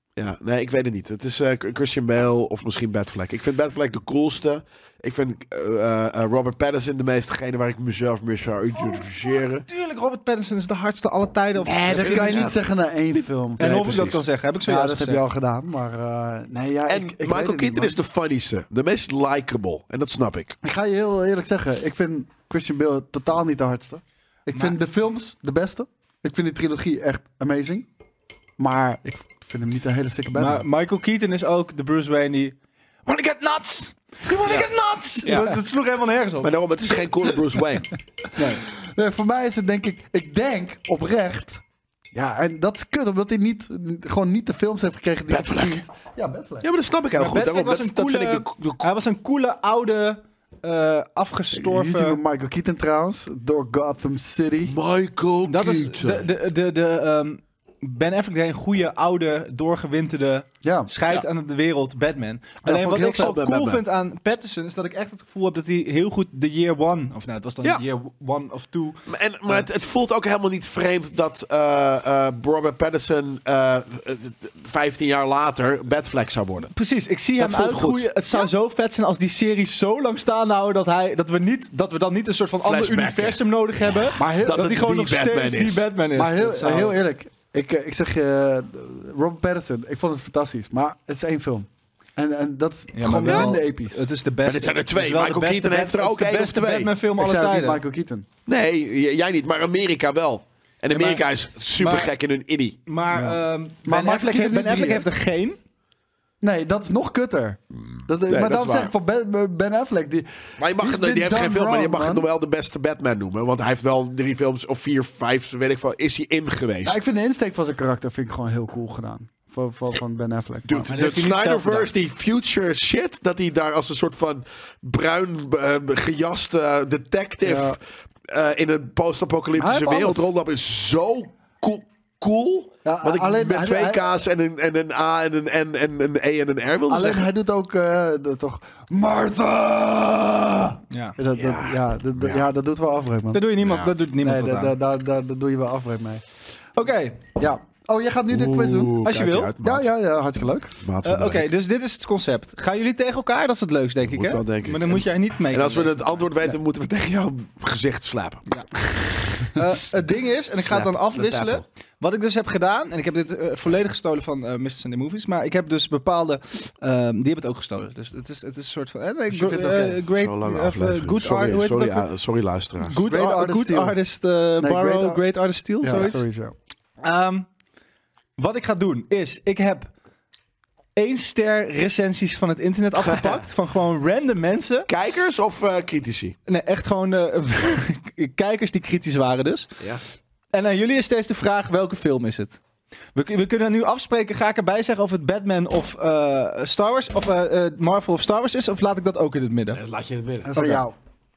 Speaker 2: Ja, nee, ik weet het niet. Het is eh, Christian Bale of misschien Bad Flag. Ik vind Bad Flag de coolste. Ik vind eh, eh, Robert Pattinson de meest degene waar ik mezelf mee zou identificeren.
Speaker 3: Tuurlijk, Robert Pattinson is de hardste alle tijden. Of...
Speaker 4: Eh, dat kan je niet zeggen na één film. dus-
Speaker 3: en
Speaker 2: Nee,
Speaker 3: of ik dat
Speaker 2: precies.
Speaker 3: kan zeggen, heb ik
Speaker 4: Ja,
Speaker 3: zojuist
Speaker 4: dat heb je
Speaker 3: gezegd.
Speaker 4: al gedaan, maar... eh, nee, ja,
Speaker 2: En
Speaker 4: ik, ik weet
Speaker 2: Michael
Speaker 4: het niet,
Speaker 2: Keaton
Speaker 4: man.
Speaker 2: is de funnieste. De meest likable. En dat snap ik.
Speaker 4: Ik ga je heel eerlijk zeggen, ik vind Christian Bale totaal niet de hardste. Ik
Speaker 3: Maar-
Speaker 4: vind de films de beste. Ik vind die trilogie echt amazing. Maar ik vind hem niet een hele sikke Batman.
Speaker 3: Maar Michael Keaton is ook de Bruce Wayne die... Wanna get nuts! You wanna get nuts! Dat, dat sloeg helemaal nergens op.
Speaker 2: Maar daarom, het is geen coole Bruce Wayne.
Speaker 4: Nee, voor mij is het denk ik, ik denk oprecht. Ja, en dat is kut, omdat hij niet, gewoon niet de films heeft gekregen die hij
Speaker 2: Bad Flag.
Speaker 4: verdient. Ja, Bad Flag.
Speaker 2: Ja, maar dat snap ik heel
Speaker 3: Maar
Speaker 2: goed.
Speaker 3: Batman
Speaker 2: Daarom,
Speaker 3: was
Speaker 2: dat,
Speaker 3: een
Speaker 2: dat vind
Speaker 3: coole-
Speaker 2: ik de, de-
Speaker 3: Hij was een coole, oude, eh,
Speaker 4: Hier zien we
Speaker 3: afgestorven...
Speaker 4: Michael Keaton trouwens, door Gotham City.
Speaker 2: Michael
Speaker 3: Dat is
Speaker 2: Keaton.
Speaker 3: de, de, de, de ehm, Ben Affleck deed een goede, oude, doorgewinterde,
Speaker 4: Ja.
Speaker 3: scheid aan de wereld Batman. Alleen
Speaker 4: vond
Speaker 3: wat
Speaker 4: ik heel eh,
Speaker 3: ik zo
Speaker 2: vet bij
Speaker 3: cool
Speaker 2: Batman.
Speaker 3: vind aan Pattinson is dat ik echt het gevoel heb dat hij heel goed de year one, of nou het was dan
Speaker 2: Ja.
Speaker 3: year one of two. Eh,
Speaker 2: Maar En, maar het, het voelt ook helemaal niet vreemd dat eh, eh, Robert Pattinson eh, eh, 15 jaar later Bad Flag zou worden.
Speaker 3: Precies, ik zie
Speaker 2: Dat
Speaker 3: hem
Speaker 2: voelt
Speaker 3: uitgroeien.
Speaker 2: goed.
Speaker 3: Het zou zo vet zijn als die serie zo lang staande houden dat, hij, dat, we, niet, dat we dan niet een soort van ander
Speaker 2: Flashbacken.
Speaker 3: universum nodig hebben.
Speaker 4: Maar heel,
Speaker 2: dat
Speaker 3: dat hij
Speaker 2: het die
Speaker 3: gewoon nog
Speaker 2: Batman
Speaker 3: steeds
Speaker 2: is.
Speaker 3: die Batman is.
Speaker 4: maar heel,
Speaker 3: Dat zou-
Speaker 4: heel eerlijk, ik, eh, ik zeg je, Robert Pattinson, ik vond het fantastisch. Maar het is één film. En, en dat is
Speaker 3: Ja, maar
Speaker 4: gewoon
Speaker 3: wel,
Speaker 4: minder episch.
Speaker 3: Het is de beste.
Speaker 2: Maar dit zijn er twee.
Speaker 3: Het is wel de
Speaker 2: Michael
Speaker 3: beste
Speaker 2: Keaton heeft er
Speaker 3: Bat-
Speaker 2: ook
Speaker 3: het is
Speaker 2: één
Speaker 3: de
Speaker 2: of
Speaker 3: beste
Speaker 2: twee.
Speaker 3: Batman film
Speaker 4: ik
Speaker 3: aller
Speaker 4: zei ook niet
Speaker 3: tijden.
Speaker 4: Michael Keaton.
Speaker 2: Nee, j- jij niet, maar Amerika wel. En Amerika is super gek in hun idee.
Speaker 3: Maar, ehm,
Speaker 4: Maar
Speaker 3: ben,
Speaker 4: Michael
Speaker 3: Affleck,
Speaker 4: Keaton
Speaker 3: ben
Speaker 4: niet
Speaker 3: Affleck
Speaker 4: drie,
Speaker 3: heeft er geen.
Speaker 4: Nee, dat is nog kutter. Dat, maar
Speaker 2: dat is
Speaker 4: daarom
Speaker 2: waar.
Speaker 4: zeg ik van Ben, Ben Affleck. Die,
Speaker 2: Maar je mag
Speaker 4: He's
Speaker 2: het, die
Speaker 4: been
Speaker 2: heeft geen
Speaker 4: done
Speaker 2: film, maar je
Speaker 4: wrong,
Speaker 2: mag het
Speaker 4: man.
Speaker 2: nog wel de beste Batman noemen. Want hij heeft wel drie films of vier, vijf, weet ik veel, is hij in geweest.
Speaker 4: Ja, ik vind de insteek van zijn karakter vind ik gewoon heel cool gedaan. Van, van, van Ben Affleck.
Speaker 2: Dude,
Speaker 3: Maar dat
Speaker 2: de
Speaker 3: heeft hij niet zelf
Speaker 2: Snyderverse, die future shit, dat hij daar als een soort van bruin eh, gejaste detective
Speaker 4: Ja.
Speaker 2: eh, in een
Speaker 4: Hij
Speaker 2: post-apocalyptische
Speaker 4: heeft
Speaker 2: wereld
Speaker 4: alles.
Speaker 2: rondloopt is zo cool. cool
Speaker 4: Ja,
Speaker 2: Want ik
Speaker 4: alleen-
Speaker 2: met
Speaker 4: hij-
Speaker 2: twee
Speaker 4: hij-
Speaker 2: K's en een, en een A en een N en een E en een R wilde
Speaker 4: Alleen
Speaker 2: zeggen.
Speaker 4: hij doet ook eh, de- toch... Martha!
Speaker 3: Ja.
Speaker 4: Ja, dat, dat-
Speaker 2: Ja.
Speaker 4: ja, dat, dat- ja, dat doet wel afbreuk, man.
Speaker 3: Dat doe je niemand,
Speaker 2: Ja.
Speaker 3: dat doet niemand
Speaker 4: Nee,
Speaker 3: wat
Speaker 4: daar
Speaker 3: aan.
Speaker 4: daar- daar- daar doe je wel afbreuk mee.
Speaker 3: Oké, eh,
Speaker 4: Ja, Oh, jij gaat nu de quiz doen?
Speaker 2: Oeh,
Speaker 3: Als je
Speaker 2: kijk
Speaker 3: wil.
Speaker 2: uit,
Speaker 4: Ja,
Speaker 2: maat.
Speaker 4: ja, ja, hartstikke leuk.
Speaker 2: Maat
Speaker 3: Eh,
Speaker 2: van
Speaker 3: Oké,
Speaker 2: de week.
Speaker 3: dus dit is het concept. Gaan jullie tegen elkaar? Dat is het leukste, denk ik,
Speaker 2: moet
Speaker 3: hè?
Speaker 2: wel, denk ik.
Speaker 3: Maar dan moet jij niet mee.
Speaker 2: En als we het antwoord weten, moeten we tegen jouw gezicht slapen.
Speaker 3: Eh, het ding is, en ik ga het dan
Speaker 2: Slap,
Speaker 3: afwisselen. Wat ik dus heb gedaan, en ik heb dit eh, volledig gestolen van eh Mr. Sunday Movies, maar ik heb dus bepaalde. ehm, die hebben het ook gestolen. Dus het is, het is een soort van. eh,
Speaker 2: Dus
Speaker 4: je vindt het
Speaker 3: eh, great.
Speaker 2: Zo'n lange
Speaker 3: eh,
Speaker 2: aflevering.
Speaker 3: good
Speaker 2: sorry,
Speaker 3: art. hoe heet het
Speaker 2: sorry,
Speaker 3: ook?
Speaker 2: ah, sorry, luisteraars.
Speaker 3: Good,
Speaker 4: Great
Speaker 3: ar-
Speaker 4: artist
Speaker 3: good
Speaker 4: steal.
Speaker 3: artist eh, borrow,
Speaker 4: great
Speaker 3: great,
Speaker 4: ar-
Speaker 3: artist steal,
Speaker 4: Ja,
Speaker 3: zoiets.
Speaker 4: sowieso.
Speaker 3: Ehm, wat ik ga doen is, ik heb één ster recensies van het internet afgepakt. van gewoon random mensen.
Speaker 2: Kijkers of eh, critici?
Speaker 3: Nee, echt gewoon eh, kijkers die kritisch waren dus.
Speaker 2: Ja.
Speaker 3: En aan jullie is steeds de vraag, welke film is het? We, we kunnen nu afspreken, ga ik erbij zeggen of het Batman of eh, Star Wars... of eh, eh, Marvel of Star Wars is, of laat ik dat ook in het midden?
Speaker 2: Dat laat je in het
Speaker 4: Dat
Speaker 2: midden.
Speaker 4: is aan jou.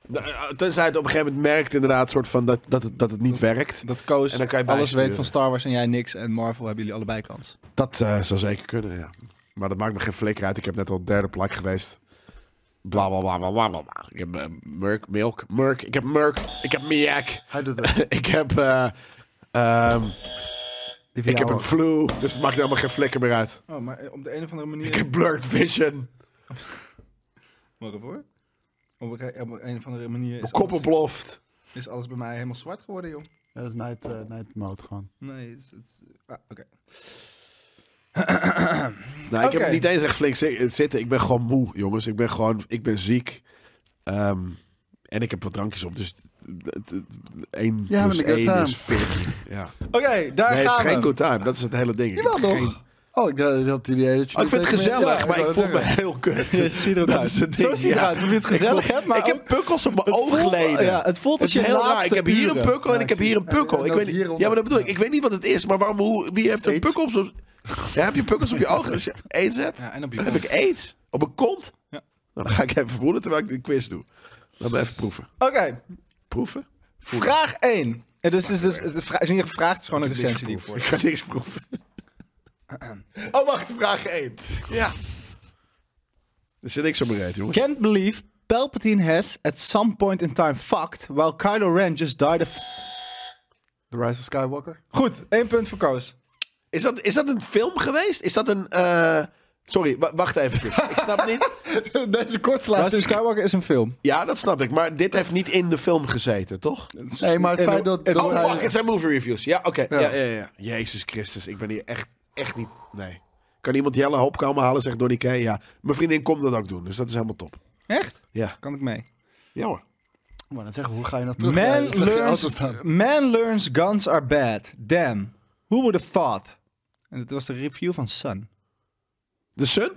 Speaker 2: Nou, eh, Tenzij het op een gegeven moment merkt inderdaad soort van dat, dat, het, dat het niet werkt.
Speaker 3: Dat Koos
Speaker 2: En dan kan je
Speaker 3: alles
Speaker 2: bijsturen.
Speaker 3: weet van Star Wars en jij niks. En Marvel hebben jullie allebei kans.
Speaker 2: Dat eh, zou zeker kunnen, ja. Maar dat maakt me geen flikker uit. Ik heb net al derde plak geweest. Bla bla bla bla bla bla, bla. Ik heb eh, Merk, Milk, Merk. Ik heb Merk. Ik heb Miak.
Speaker 4: Hij doet het.
Speaker 2: ik heb. eh, ehm,
Speaker 4: Die van
Speaker 2: ik heb
Speaker 4: jou
Speaker 2: een flu. Dus het maakt helemaal geen flikker meer uit.
Speaker 3: Oh, maar op de een of andere
Speaker 2: Ik
Speaker 3: manier...
Speaker 2: heb Blurred Vision.
Speaker 3: Waarvoor? Op een, of andere manier
Speaker 2: Mijn kop ontploft.
Speaker 3: is alles bij mij helemaal zwart geworden, joh.
Speaker 4: ook. Dat is night, eh, night mode gewoon.
Speaker 3: Nee, het is... Ah, Oké.
Speaker 2: Nou, ik heb
Speaker 3: Oké.
Speaker 2: het niet eens echt flink zi- zitten. Ik ben gewoon moe, jongens. Ik ben gewoon. Ik ben ziek. Ehm, en ik heb wat drankjes op. Dus 1
Speaker 4: Ja,
Speaker 2: plus
Speaker 4: maar een good
Speaker 2: 1 is
Speaker 4: time.
Speaker 2: 14. Ja.
Speaker 3: Oké, daar
Speaker 2: Nee, het is
Speaker 3: gaan we.
Speaker 2: geen good time. Dat is het hele ding. Ik
Speaker 4: Jawel
Speaker 2: heb
Speaker 4: toch?
Speaker 2: geen-
Speaker 4: Oh, ik dacht- ik had het idee dat je...
Speaker 2: Oh, ik vind het
Speaker 4: Ja,
Speaker 2: gezellig,
Speaker 4: ik
Speaker 2: maar
Speaker 4: wou
Speaker 2: ik
Speaker 4: dat
Speaker 2: voel me
Speaker 4: zeggen.
Speaker 2: heel kut.
Speaker 3: Ja, zie je
Speaker 2: Dat
Speaker 3: eruit.
Speaker 2: is het
Speaker 3: Zo
Speaker 2: ding,
Speaker 3: zie je
Speaker 2: ja.
Speaker 3: eruit, alsof je het
Speaker 2: Ik
Speaker 3: gezellig
Speaker 2: voel-
Speaker 3: hebt, maar
Speaker 2: ik heb
Speaker 3: ook-
Speaker 2: pukkels op mijn
Speaker 3: het voelt-
Speaker 2: oogleden.
Speaker 3: ja, het voelt
Speaker 2: Het
Speaker 3: als
Speaker 2: is
Speaker 3: je
Speaker 2: heel raar.
Speaker 3: laatste
Speaker 2: Ik heb hier
Speaker 3: uren.
Speaker 2: een pukkel en
Speaker 4: Ja,
Speaker 2: ik heb
Speaker 4: ik
Speaker 2: hier
Speaker 4: zie-
Speaker 2: een
Speaker 4: en
Speaker 2: pukkel. Ik
Speaker 4: ook
Speaker 2: weet niet,
Speaker 4: hieronder.
Speaker 2: ja, maar dat bedoel ik. Ik weet niet wat het is, maar waarom, hoe, wie heeft een
Speaker 4: Aids.
Speaker 2: pukkel op zijn... Ja, heb je pukkels op je ogen als je aids hebt?
Speaker 3: Ja, en op
Speaker 2: Dan heb ik aids. Op mijn kont? Nou, dan ga ik even voelen terwijl ik de quiz doe. Laat me even proeven.
Speaker 3: Oké,
Speaker 2: Proeven?
Speaker 3: vraag 1. En dus, dus, dus, de vraag is niet gevraagd, het is gewoon een recensie die ik
Speaker 2: Proeven. Ik
Speaker 3: voor.
Speaker 2: ga niks proeven. Oh, wacht. Vraag 1. Ja. Er zit niks op mijn reet, jongens.
Speaker 3: Can't believe Palpatine has at some point in time fucked while Kylo Ren just died of...
Speaker 4: The Rise of Skywalker.
Speaker 3: Goed, één punt voor Koos.
Speaker 2: Is dat, is dat een film geweest? Is dat een. eh, Sorry, wa- wacht even. Ik snap niet.
Speaker 4: Deze
Speaker 3: Rise of
Speaker 4: kortsluiting.
Speaker 3: Skywalker is een film.
Speaker 2: Ja, dat snap ik. Maar dit heeft niet in de film gezeten, toch?
Speaker 4: Nee, maar het
Speaker 3: En-
Speaker 4: feit dat...
Speaker 3: en-
Speaker 4: dat
Speaker 2: Oh,
Speaker 4: hij-
Speaker 2: fuck, het zijn movie reviews. Ja, oké.
Speaker 4: Ja.
Speaker 2: Ja. Ja, ja, ja. Jezus Christus, ik ben hier echt, echt niet. Nee. Kan iemand Jelle opkomen halen, zegt Donnie K. Ja, mijn vriendin komt dat ook doen, dus dat is helemaal top.
Speaker 3: Echt?
Speaker 2: Ja,
Speaker 3: Kan ik mee.
Speaker 2: ja hoor.
Speaker 4: Maar dan zeggen, hoe ga je nou terug?
Speaker 3: Man
Speaker 4: Dan zeg je auto
Speaker 3: learns,
Speaker 4: staan.
Speaker 3: man learns guns are bad. Damn. Who would have thought? En dat was de review van Sun.
Speaker 2: The Sun?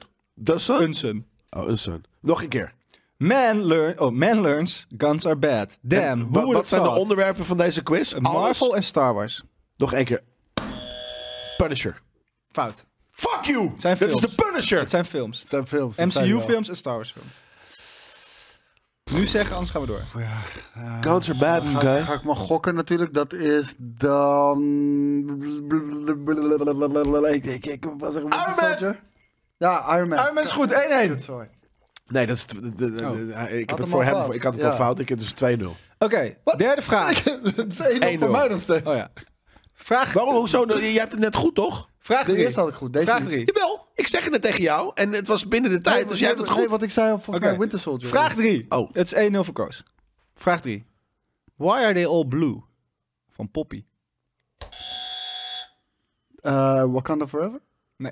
Speaker 2: The Sun?
Speaker 3: Een Sun.
Speaker 2: Oh, een Sun. Nog een keer.
Speaker 3: Man, learn, oh, man learns guns are bad. Damn. Who
Speaker 2: Wa-
Speaker 3: would
Speaker 2: wat
Speaker 3: have
Speaker 2: zijn de
Speaker 3: thought?
Speaker 2: onderwerpen van deze quiz? Alles.
Speaker 3: Marvel en Star Wars.
Speaker 2: Nog één keer. Punisher.
Speaker 3: Fout.
Speaker 2: Fuck you!
Speaker 3: zijn
Speaker 2: Dat is
Speaker 3: films.
Speaker 2: de Punisher!
Speaker 3: Het zijn films.
Speaker 4: Het zijn films. dat zijn wel.
Speaker 3: MCU-films en Star Wars-films. Nu zeggen, anders gaan we door.
Speaker 2: Guns are bad,
Speaker 4: Ga,
Speaker 2: guy.
Speaker 4: ga ik maar gokken natuurlijk. Dat is dan... Ik, ik, ik was er een
Speaker 2: Man!
Speaker 4: Soldier. Ja, Iron Man.
Speaker 3: Iron Man is goed, 1-1.
Speaker 4: Kut, Sorry.
Speaker 2: Nee, dat is. tw- de- de- de- ik heb
Speaker 4: Oh. hem
Speaker 2: het
Speaker 4: al
Speaker 2: voor hem.
Speaker 4: fout.
Speaker 2: voor- Ik had het al
Speaker 4: Ja.
Speaker 2: fout. Ik heb dus 2-0.
Speaker 3: Oké, derde vraag.
Speaker 4: Het is één op
Speaker 2: 1-0.
Speaker 4: voor mij nog steeds.
Speaker 3: Oh ja. Vraag,
Speaker 2: Waarom? Hoezo? Nou, Jij hebt het net goed, toch?
Speaker 3: vraag
Speaker 4: De
Speaker 3: drie.
Speaker 4: eerste had ik goed. Deze
Speaker 3: Vraag
Speaker 4: niet.
Speaker 3: drie.
Speaker 2: Jawel. Ik zeg het net tegen jou. En het was binnen de tijd. dus jij hebt het
Speaker 4: Nee,
Speaker 2: goed.
Speaker 4: wat ik zei al, volgens
Speaker 3: Oké.
Speaker 4: mij Winter Soldier.
Speaker 3: Vraag 3.
Speaker 2: Oh.
Speaker 3: Het is 1-0 voor Koos. Vraag 3. Why are they all blue? Van Poppy.
Speaker 4: Eh, Wakanda Forever?
Speaker 3: Nee.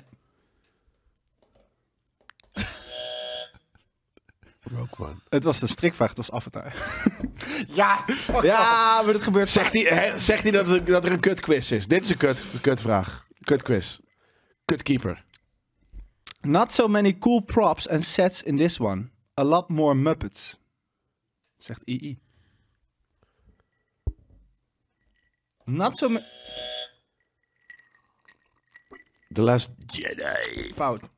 Speaker 3: Het was een strikvraag, het was Avatar.
Speaker 4: Ja!
Speaker 2: Oh.
Speaker 3: Ja, maar dat gebeurt
Speaker 2: Zegt hij, hè, zegt hij dat, het- dat er een kutquiz is? Dit is een kut, kutvraag. Kutquiz. Kutkeeper.
Speaker 3: Not so many cool props and sets in this one. A lot more Muppets. Zegt II. Not so many...
Speaker 2: The Last Jedi.
Speaker 3: Fout.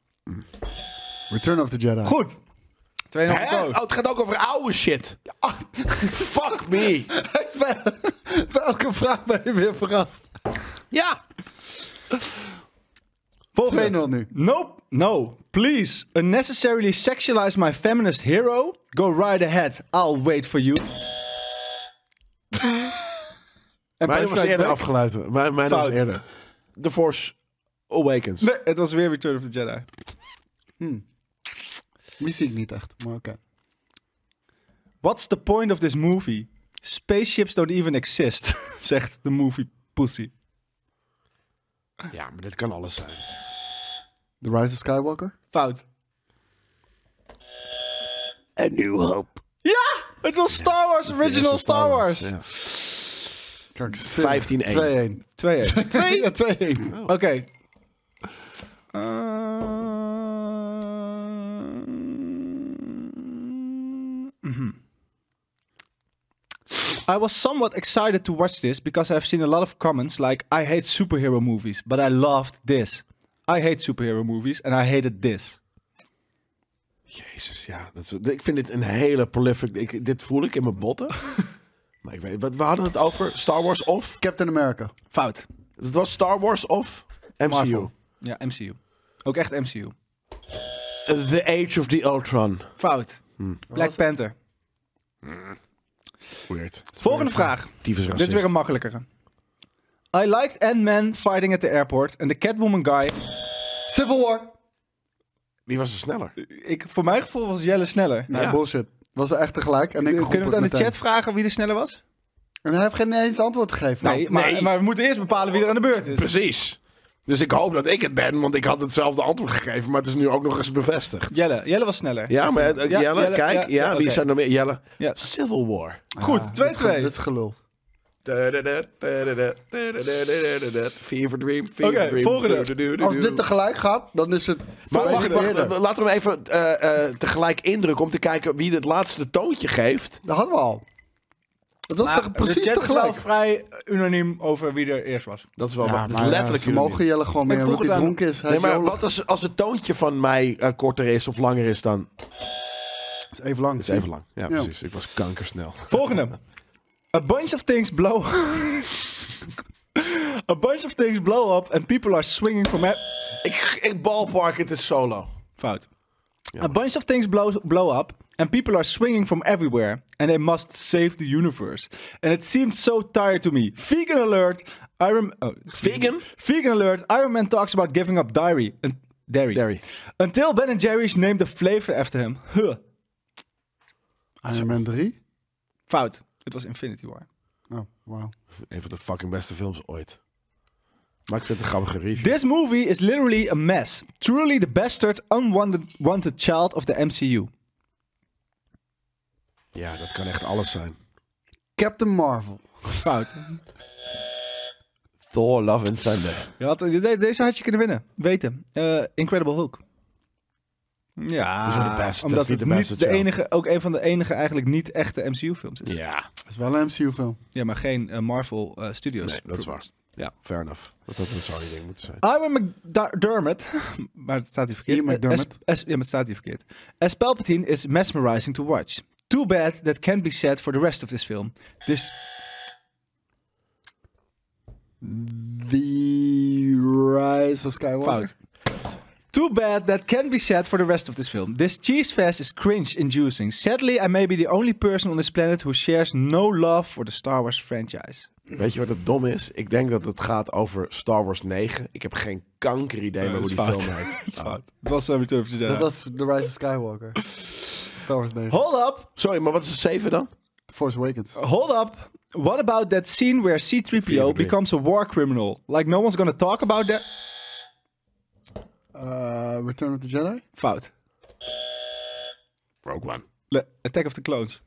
Speaker 4: Return of the Jedi.
Speaker 3: Goed. 2-0 voor
Speaker 2: Hè?
Speaker 3: Koos.
Speaker 2: Oh, het gaat ook over oude shit. Ah, Fuck me.
Speaker 4: Hij is bij, bij elke vraag ben je weer verrast. 2-0
Speaker 2: Ja.
Speaker 3: Volgende.
Speaker 4: nu.
Speaker 3: Nope. No. Please. Unnecessarily sexualize my feminist hero. Go right ahead. I'll wait for you.
Speaker 2: Mijn
Speaker 4: En
Speaker 2: was
Speaker 4: Punchline
Speaker 2: eerder
Speaker 4: Back?
Speaker 2: afgeluid. Mijn, mijn was
Speaker 3: Fout.
Speaker 2: eerder. The Force Awakens.
Speaker 3: Nee, het was weer Return of the Jedi.
Speaker 4: Die zie ik niet echt, maar oké.
Speaker 3: What's the point of this movie? Spaceships don't even exist, zegt de movie Pussy.
Speaker 2: Ja, maar dit kan alles zijn.
Speaker 4: The Rise of Skywalker?
Speaker 3: Fout.
Speaker 2: A New Hope.
Speaker 3: Ja! Het was Star Wars, original Star Wars.
Speaker 2: Ja.
Speaker 4: Kijk,
Speaker 2: 15-1.
Speaker 4: 2-1.
Speaker 3: 2-1.
Speaker 4: Twee? Ja, 2-1.
Speaker 3: Oké. Uh, mhm. I was somewhat excited to watch this because I've seen a lot of comments like I hate superhero movies, but I loved this. I hate superhero movies and I hated this.
Speaker 2: Jezus, ja. Dat is, ik vind dit een hele prolific... Ik, dit voel ik in mijn botten. maar ik weet... wat- We hadden het over Star Wars of...
Speaker 4: Captain America.
Speaker 3: Fout.
Speaker 2: Het was Star Wars of MCU.
Speaker 3: Marvel. Ja, MCU. Ook echt MCU.
Speaker 2: The Age of the Ultron.
Speaker 3: Fout. Black Panther.
Speaker 2: Weird.
Speaker 3: Volgende vraag.
Speaker 2: Tyfus
Speaker 3: Dit is weer een makkelijkere. I liked Ant-Man fighting at the airport and the Catwoman guy.
Speaker 4: Civil War.
Speaker 2: Wie was er sneller?
Speaker 3: Ik, voor mijn gevoel was Jelle sneller.
Speaker 4: Nee,
Speaker 2: Ja.
Speaker 4: bullshit. Was er echt tegelijk. En ik
Speaker 3: Kunnen
Speaker 4: Nou, roep
Speaker 3: we het aan de
Speaker 4: meteen.
Speaker 3: chat vragen wie er sneller was?
Speaker 4: En hij heeft geen eens antwoord gegeven. Nou,
Speaker 3: Nee, maar,
Speaker 2: nee.
Speaker 3: maar we moeten eerst bepalen wie er aan de beurt is.
Speaker 2: Precies. Dus ik hoop dat ik het ben, want ik had hetzelfde antwoord gegeven, maar het is nu ook nog eens bevestigd.
Speaker 3: Jelle, Jelle was sneller.
Speaker 2: Ja, maar eh,
Speaker 3: Ja,
Speaker 2: Jelle,
Speaker 3: Jelle,
Speaker 2: kijk.
Speaker 3: ja,
Speaker 2: Ja,
Speaker 3: ja,
Speaker 2: wie
Speaker 3: oké.
Speaker 2: zijn er meer? Jelle.
Speaker 3: Ja.
Speaker 2: Civil War.
Speaker 4: Ah,
Speaker 3: Goed,
Speaker 4: dit is ge- Dit
Speaker 3: 2-2.
Speaker 4: is gelul.
Speaker 2: Fever Dream, Fever
Speaker 3: Oké,
Speaker 2: Dream.
Speaker 3: volgende.
Speaker 2: Du-du-du-du-du.
Speaker 4: Als dit tegelijk gaat, dan is het...
Speaker 2: Maar
Speaker 4: Voor-
Speaker 2: wacht, wacht,
Speaker 4: eerder.
Speaker 2: wacht, laten we hem even eh, eh, tegelijk indrukken om te kijken wie het laatste toontje geeft.
Speaker 4: Dat hadden we al. Dat was toch
Speaker 3: de
Speaker 4: precies
Speaker 3: chat is wel
Speaker 4: tegelijk.
Speaker 3: vrij unaniem over wie er eerst was.
Speaker 2: Dat is wel
Speaker 4: Ja,
Speaker 2: waar. Dat is
Speaker 4: maar ja,
Speaker 2: letterlijk
Speaker 4: ze
Speaker 2: jullie.
Speaker 4: mogen Jelle gewoon mee,
Speaker 3: vroeg
Speaker 4: omdat
Speaker 3: het
Speaker 4: hij
Speaker 3: aan-
Speaker 4: dronken is. Hij
Speaker 2: Nee,
Speaker 4: is
Speaker 2: maar
Speaker 4: jolig.
Speaker 2: wat als, als het toontje van mij eh, korter is of langer is dan...
Speaker 4: is even lang.
Speaker 2: Het is even lang. Ja,
Speaker 4: Ja.
Speaker 2: precies. Ik was kankersnel.
Speaker 3: Volgende. A bunch of things blow A bunch of things blow up and people are swinging from... a-
Speaker 2: ik, ik ballpark het is solo.
Speaker 3: Fout. A bunch of things blow, blow up, and people are swinging from everywhere, and they must save the universe. And it seemed so tired to me. Vegan alert. Iron. Oh, excuse me.
Speaker 2: Vegan?
Speaker 3: Vegan alert. Iron Man talks about giving up dairy. And dairy.
Speaker 2: Dairy.
Speaker 3: Until Ben and Jerry's named the flavor after him. Huh.
Speaker 4: Iron Man 3?
Speaker 3: Fout. Het was Infinity War.
Speaker 4: Oh, wauw.
Speaker 2: Een van de fucking beste films ooit. Maar ik vind het een grappige review.
Speaker 3: This movie is literally a mess. Truly the bastard, unwanted wanted child of the MCU.
Speaker 2: Ja, dat kan echt alles zijn.
Speaker 4: Captain Marvel.
Speaker 3: Fout.
Speaker 2: Thor, Love and Thunder.
Speaker 3: Je had, de- deze had je kunnen winnen. Weten. Eh, Incredible Hulk. Ja,
Speaker 2: Hoezo de best? Dat
Speaker 3: omdat
Speaker 2: is niet
Speaker 3: het
Speaker 2: de best
Speaker 3: niet
Speaker 2: dat
Speaker 3: de
Speaker 2: je-
Speaker 3: enige, ook een van de enige eigenlijk niet echte MCU-films is.
Speaker 2: Ja,
Speaker 4: Dat is wel een MCU-film.
Speaker 3: Ja, maar geen eh, Marvel eh, Studios.
Speaker 2: nee, dat is waar. Ja, fair enough. Dat had een sorry ding moeten zijn.
Speaker 3: Iron McDermott, maar het staat hier verkeerd.
Speaker 4: Ian McDermott.
Speaker 3: Eh, as- as- ja, maar het staat hier verkeerd. As Palpatine is mesmerizing to watch. Too bad that can't be said for the rest of this film. This,
Speaker 4: The Rise of Skywalker.
Speaker 3: Fout. Too bad that can be said for the rest of this film. This cheese fest is cringe-inducing. Sadly, I may be the only person on this planet who shares no love for the Star Wars franchise.
Speaker 2: Weet je wat het dom is? Ik denk dat het gaat over Star Wars 9. Ik heb geen kanker idee meer hoe die film heet. Oh.
Speaker 3: Het was uh, zo Return of the
Speaker 4: Dat was The Rise of Skywalker. Star Wars 9.
Speaker 3: Hold up,
Speaker 2: Sorry, maar wat is de 7 dan?
Speaker 4: Force
Speaker 2: Oh.
Speaker 4: Awakens.
Speaker 3: hold up. What about that scene where
Speaker 2: Vier
Speaker 3: C-3PO
Speaker 2: voor drie.
Speaker 3: becomes a war criminal? Like no one's gonna talk about that?
Speaker 4: Uh, Return of the Jedi.
Speaker 3: Fout.
Speaker 2: Rogue One.
Speaker 3: Le- Attack of the Clones.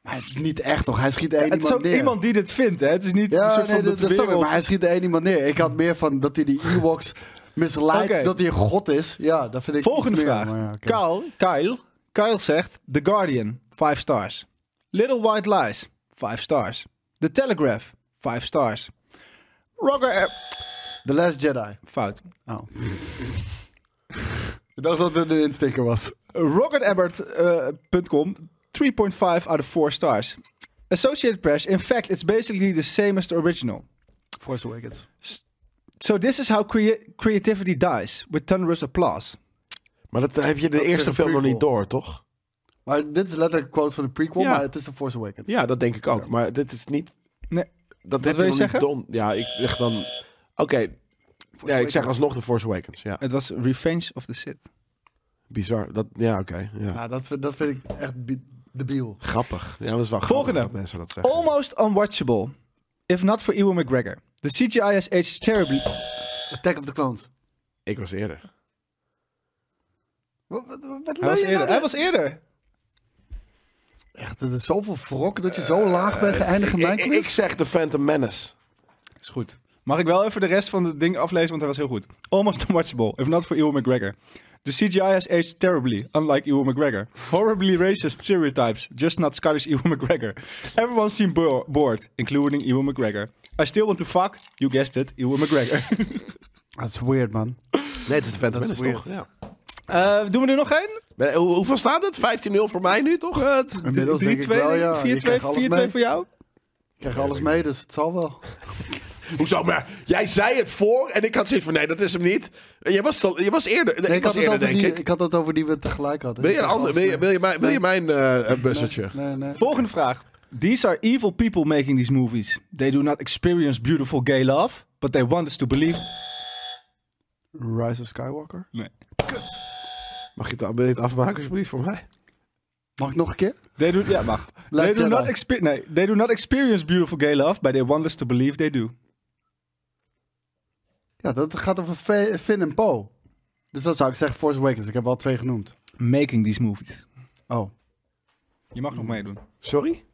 Speaker 4: Maar het is niet echt toch? Hij schiet één
Speaker 3: het
Speaker 4: iemand
Speaker 3: is ook
Speaker 4: neer.
Speaker 3: iemand die dit vindt, hè? Het is niet een
Speaker 4: Ja,
Speaker 3: soort
Speaker 4: nee,
Speaker 3: van
Speaker 4: dat, dat
Speaker 3: de
Speaker 4: snap ik.
Speaker 3: wereld-
Speaker 4: Maar hij schiet één iemand neer. Ik had meer van dat hij die Ewoks misleidt.
Speaker 3: Oké.
Speaker 4: Dat hij een god is. Ja, dat vind ik
Speaker 3: Volgende
Speaker 4: iets meer,
Speaker 3: vraag.
Speaker 4: maar ja, oké.
Speaker 3: Kyle, Kyle, Kyle zegt: The Guardian, 5 stars. Little White Lies, 5 stars. The Telegraph, 5 stars. Roger. Er-
Speaker 4: The Last Jedi.
Speaker 3: Fout.
Speaker 4: Oh. ik dacht dat het een insteker was.
Speaker 3: eh, RocketEbert.com, 3.5 out of 4 stars. Associated Press, in fact, it's basically the same as the original.
Speaker 4: Force Awakens.
Speaker 3: So this is how crea- creativity dies, with thunderous applause.
Speaker 2: Maar dat heb je de
Speaker 4: is
Speaker 2: eerste
Speaker 4: een
Speaker 2: film nog
Speaker 4: prequel.
Speaker 2: niet door, toch?
Speaker 4: Maar dit is letterlijk een quote van de prequel,
Speaker 2: Ja.
Speaker 4: maar het is de Force Awakens.
Speaker 2: Ja, dat denk ik ook. Maar dit is niet
Speaker 3: Nee,
Speaker 2: Dat heb
Speaker 3: wil
Speaker 2: nog
Speaker 3: je
Speaker 2: niet
Speaker 3: zeggen?
Speaker 2: dom. Ja, ik zeg dan. Oké, Ja, ik zeg alsnog The Force Awakens. Ja,
Speaker 3: Het was Revenge of the Sith.
Speaker 2: bizar. Dat, ja, oké. ja.
Speaker 4: Ja, dat, vind- dat vind ik echt bi- debiel.
Speaker 2: Grappig. Ja, dat is wel grappig
Speaker 3: Volgende.
Speaker 2: dat mensen dat zeggen.
Speaker 3: Almost unwatchable. If not for Ewan McGregor. The CGI has aged terribly.
Speaker 4: Attack of the Clones.
Speaker 2: Ik was eerder.
Speaker 4: Wat, wat, wat
Speaker 3: Hij
Speaker 4: lul
Speaker 3: was
Speaker 4: je nou
Speaker 3: eerder. Hij
Speaker 4: dit?
Speaker 3: was eerder.
Speaker 4: Echt, er is zoveel wrok dat je zo laag bent geëindigd in mijn
Speaker 2: Ik, ik zeg The Phantom Menace.
Speaker 3: Is goed. Mag ik wel even de rest van het ding aflezen, want hij was heel goed. Almost unwatchable, if not for Ewan McGregor. The CGI has aged terribly, unlike Ewan McGregor. Horribly racist stereotypes, just not Scottish Ewan McGregor. Everyone seemed bo- bored, including Ewan McGregor. I still want to fuck, you guessed it, Ewan McGregor.
Speaker 4: Dat is weird, man.
Speaker 2: Nee, het is The Phantom
Speaker 4: Dat is
Speaker 2: Menace, toch? Ja.
Speaker 3: Eh, doen we er nog één?
Speaker 2: Ben- hoe- hoeveel staat het? 15-0 voor mij nu, toch?
Speaker 3: Wat?
Speaker 4: Inmiddels denk ik wel, ja. Je krijgt alles
Speaker 3: 4-2
Speaker 4: mee.
Speaker 3: voor jou?
Speaker 4: Ik krijg alles mee, dus het zal wel.
Speaker 2: Hoezo? Maar jij zei het voor en ik had zoiets van, nee, dat is hem niet. Jij was, toch- je was eerder, ik
Speaker 4: had
Speaker 2: was
Speaker 4: het
Speaker 2: eerder
Speaker 4: over
Speaker 2: denk
Speaker 4: die,
Speaker 2: ik.
Speaker 4: had het over die we tegelijk hadden.
Speaker 2: Wil je, een
Speaker 4: Ik
Speaker 2: ander,
Speaker 4: had
Speaker 2: wil je,
Speaker 4: alles
Speaker 2: wil je mijn, wil je mijn eh, eh,
Speaker 4: mee.
Speaker 2: buzzeltje?
Speaker 4: Nee, nee.
Speaker 3: Volgende vraag. These are evil people making these movies. They do not experience beautiful gay love, but they want us to believe...
Speaker 4: Rise of Skywalker.
Speaker 3: Nee.
Speaker 2: Mag je het, wil je het afmaken, alsjeblieft, voor mij?
Speaker 4: Mag ik nog een keer?
Speaker 3: They do, ja, mag.
Speaker 4: Last
Speaker 3: they, do
Speaker 4: Jedi.
Speaker 3: not exper- nee, they do not experience beautiful gay love, but they want us to believe they do.
Speaker 4: Ja, dat gaat over Fe- Finn en Poe. Dus dat zou ik zeggen Force Awakens. Ik heb al twee genoemd.
Speaker 3: Making these movies.
Speaker 4: Oh.
Speaker 3: Je mag nog meedoen.
Speaker 2: Sorry?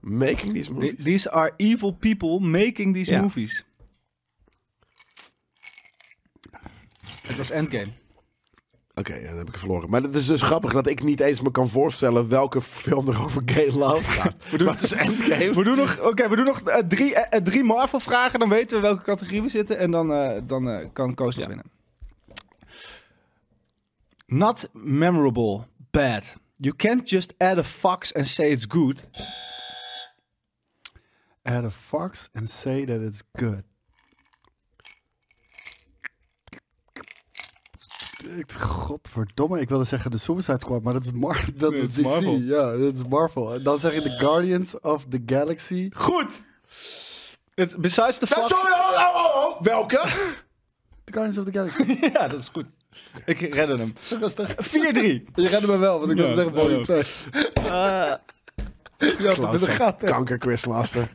Speaker 2: Making these
Speaker 3: The-
Speaker 2: movies?
Speaker 3: These are evil people making these
Speaker 2: Ja.
Speaker 3: movies. Het was Endgame.
Speaker 2: Oké, ja, dan heb ik verloren. Maar het is dus grappig dat ik niet eens me kan voorstellen welke film er over gay love gaat. Maar het is Endgame.
Speaker 3: We doen nog, oké, we doen nog eh, drie, eh, eh, drie Marvel-vragen. Dan weten we welke categorie we zitten. En dan, eh, dan eh, kan Koos nog winnen. Not memorable. Bad. You can't just add a fox and say it's good.
Speaker 4: Add a fox and say that it's good. Godverdomme, ik wilde zeggen de Suicide Squad, maar dat is, Mar dat
Speaker 3: Nee,
Speaker 4: is
Speaker 3: het is
Speaker 4: DC.
Speaker 3: Marvel.
Speaker 4: Ja, dat is Marvel. En dan zeg je de Guardians of the Galaxy.
Speaker 3: Goed. It's besides the
Speaker 2: Nou,
Speaker 3: fox...
Speaker 2: sorry, oh, oh, oh, oh. Welke?
Speaker 4: The Guardians of the Galaxy.
Speaker 3: ja, dat is goed. Ik redde hem.
Speaker 4: Rustig.
Speaker 3: 4-3.
Speaker 4: Je redde me wel, want ik wilde
Speaker 3: Ja,
Speaker 4: zeggen volume 2. ja, dat is een gat. hè.
Speaker 2: Kanker Chris Laster.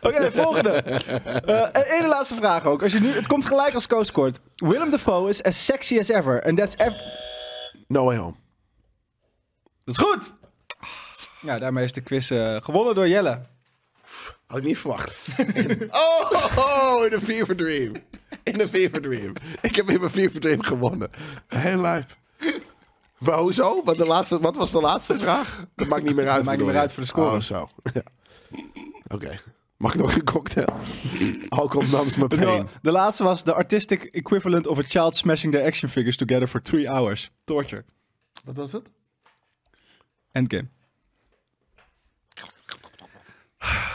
Speaker 3: Oké, volgende. Eh, en ene laatste vraag ook. Als je nu, het komt gelijk als Koos scoort. Willem Dafoe is as sexy as ever. And that's ev-
Speaker 2: No way home.
Speaker 3: Dat is goed! Ja, daarmee is de quiz eh, gewonnen door Jelle.
Speaker 2: Had ik niet verwacht. oh, oh, in een fever dream. In een fever dream. Ik heb in mijn fever dream gewonnen. Heel lijp. Maar hoezo? Wat, de laatste, wat was de laatste vraag? Dat maakt niet meer uit.
Speaker 3: maakt
Speaker 2: bedoel
Speaker 3: niet meer
Speaker 2: je?
Speaker 3: uit voor de score.
Speaker 2: Oh, zo. Ja. Oké. Mag ik nog een cocktail? Alcohol numbs my
Speaker 3: De,
Speaker 2: pain.
Speaker 3: de laatste was the artistic equivalent of a child smashing their action figures together for three hours. Torture.
Speaker 4: Wat was het?
Speaker 3: Endgame.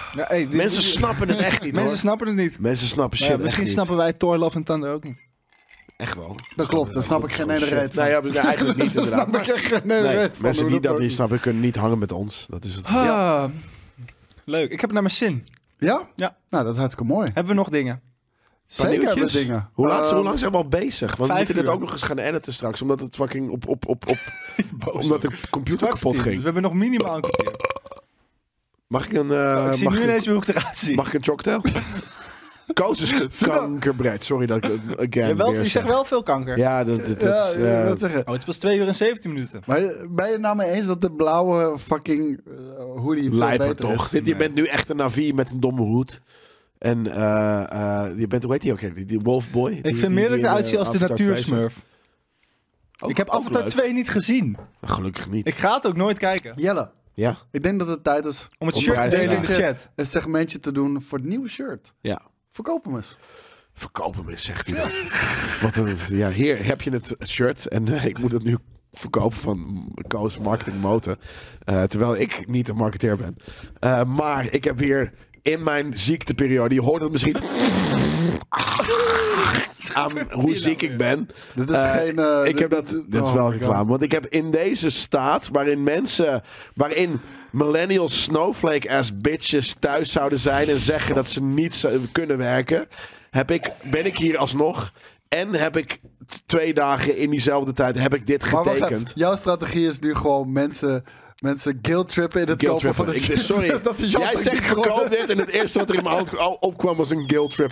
Speaker 3: Ja, hey, die-
Speaker 2: Mensen
Speaker 3: die-
Speaker 2: snappen het echt niet,
Speaker 3: mensen
Speaker 2: hoor.
Speaker 3: snappen het niet.
Speaker 2: Mensen snappen shit
Speaker 3: Maar ja, misschien
Speaker 2: echt
Speaker 3: snappen wij Thor Love en Thunder ook niet.
Speaker 2: niet. Echt wel.
Speaker 4: Dat klopt, dan snap ik geen ene reet van.
Speaker 2: Nee, ja, nee, eigenlijk niet inderdaad.
Speaker 4: snap ik echt geen ene
Speaker 2: Nee,
Speaker 4: reet van,
Speaker 2: mensen
Speaker 4: hoe
Speaker 2: die dat
Speaker 4: ook
Speaker 2: niet
Speaker 4: is.
Speaker 2: snappen kunnen niet hangen met ons. Dat is het. Ja.
Speaker 3: Ah, Leuk, ik heb het naar mijn zin.
Speaker 4: Ja?
Speaker 3: Ja.
Speaker 4: Nou, dat is hartstikke mooi.
Speaker 3: Hebben we nog dingen?
Speaker 4: Zeker hebben we
Speaker 2: nieuwtjes?
Speaker 4: dingen.
Speaker 2: Hoe, laat,
Speaker 4: Ehm,
Speaker 2: hoe lang zijn we al bezig? Want we
Speaker 3: vijf
Speaker 2: moeten dit
Speaker 3: uur.
Speaker 2: ook nog eens gaan editen straks. Omdat het fucking op... op, op, op Oh, omdat de computer
Speaker 3: Kwart voor
Speaker 2: kapot
Speaker 3: Oh, tien, dus We
Speaker 2: ging.
Speaker 3: hebben nog minimaal een kwartier.
Speaker 2: Mag ik een... eh,
Speaker 3: Oh, ik zie
Speaker 2: mag,
Speaker 3: nu
Speaker 2: ik,
Speaker 3: ineens weer hoe ik eruit zie.
Speaker 2: mag ik een cocktail? Koos is kankerbreid. Sorry dat ik het again
Speaker 3: je, wel,
Speaker 2: weer
Speaker 3: je
Speaker 2: zeg.
Speaker 3: zegt wel veel kanker.
Speaker 2: Ja, dat, dat, dat
Speaker 4: Ja,
Speaker 2: is...
Speaker 4: ik wil
Speaker 2: eh,
Speaker 4: het zeggen.
Speaker 3: Oh, het is pas 2 uur en 17 minuten.
Speaker 4: Maar je- ben je het nou mee eens dat de blauwe fucking eh, hoodie veel
Speaker 2: Lijper
Speaker 4: beter
Speaker 2: toch?
Speaker 4: is?
Speaker 2: Dit, je bent nu echt een navi met een domme hoed. En eh, eh, je bent, hoe heet die ook? weer? Die, die eh, Wolfboy?
Speaker 3: Ik vind meer dat ik eruit zie als de natuursmurf.
Speaker 2: Ook-
Speaker 3: Ik heb
Speaker 2: ook
Speaker 3: Avatar
Speaker 2: Oh, leuk.
Speaker 3: 2 niet gezien.
Speaker 2: Gelukkig niet.
Speaker 3: Ik ga het ook nooit kijken.
Speaker 4: Jelle,
Speaker 2: Ja,
Speaker 4: ik denk dat het tijd is
Speaker 3: Om het
Speaker 2: Op
Speaker 3: shirt te
Speaker 2: prijs,
Speaker 3: delen in
Speaker 2: ja.
Speaker 3: de chat.
Speaker 4: een segmentje te doen voor het nieuwe shirt.
Speaker 2: ja.
Speaker 4: Verkoop hem eens.
Speaker 2: Verkoop hem eens, zegt hij dan. Wat een, ja, hier heb je het shirt en eh, ik moet het nu verkopen van Koos Marketing Motor. Eh, terwijl ik niet een marketeer ben. Eh, maar ik heb hier in mijn ziekteperiode, je hoort het misschien aan hoe ziek ik ben.
Speaker 4: Dit is
Speaker 2: Eh,
Speaker 4: geen, eh,
Speaker 2: ik heb
Speaker 4: dit-
Speaker 2: dat,
Speaker 4: dit-
Speaker 2: dit is
Speaker 4: oh
Speaker 2: wel
Speaker 4: my
Speaker 2: reclame.
Speaker 4: God.
Speaker 2: Want ik heb in deze staat, waarin mensen, waarin millennial snowflake ass bitches thuis zouden zijn en zeggen dat ze niet zo- kunnen werken, heb ik, ben ik hier alsnog. En heb ik t- twee dagen in diezelfde tijd heb ik dit
Speaker 4: Maar wacht
Speaker 2: getekend.
Speaker 4: even, jouw strategie is nu gewoon mensen, mensen guilt trippen in het
Speaker 2: Guilt
Speaker 4: kopen van
Speaker 2: trippen.
Speaker 4: het
Speaker 2: Ik- sorry.
Speaker 4: dat is jouw
Speaker 2: Jij
Speaker 4: tactiek
Speaker 2: zegt
Speaker 4: geworden.
Speaker 2: verkoop dit en het eerste wat er in mijn hoofd al opkwam was een guilt trip.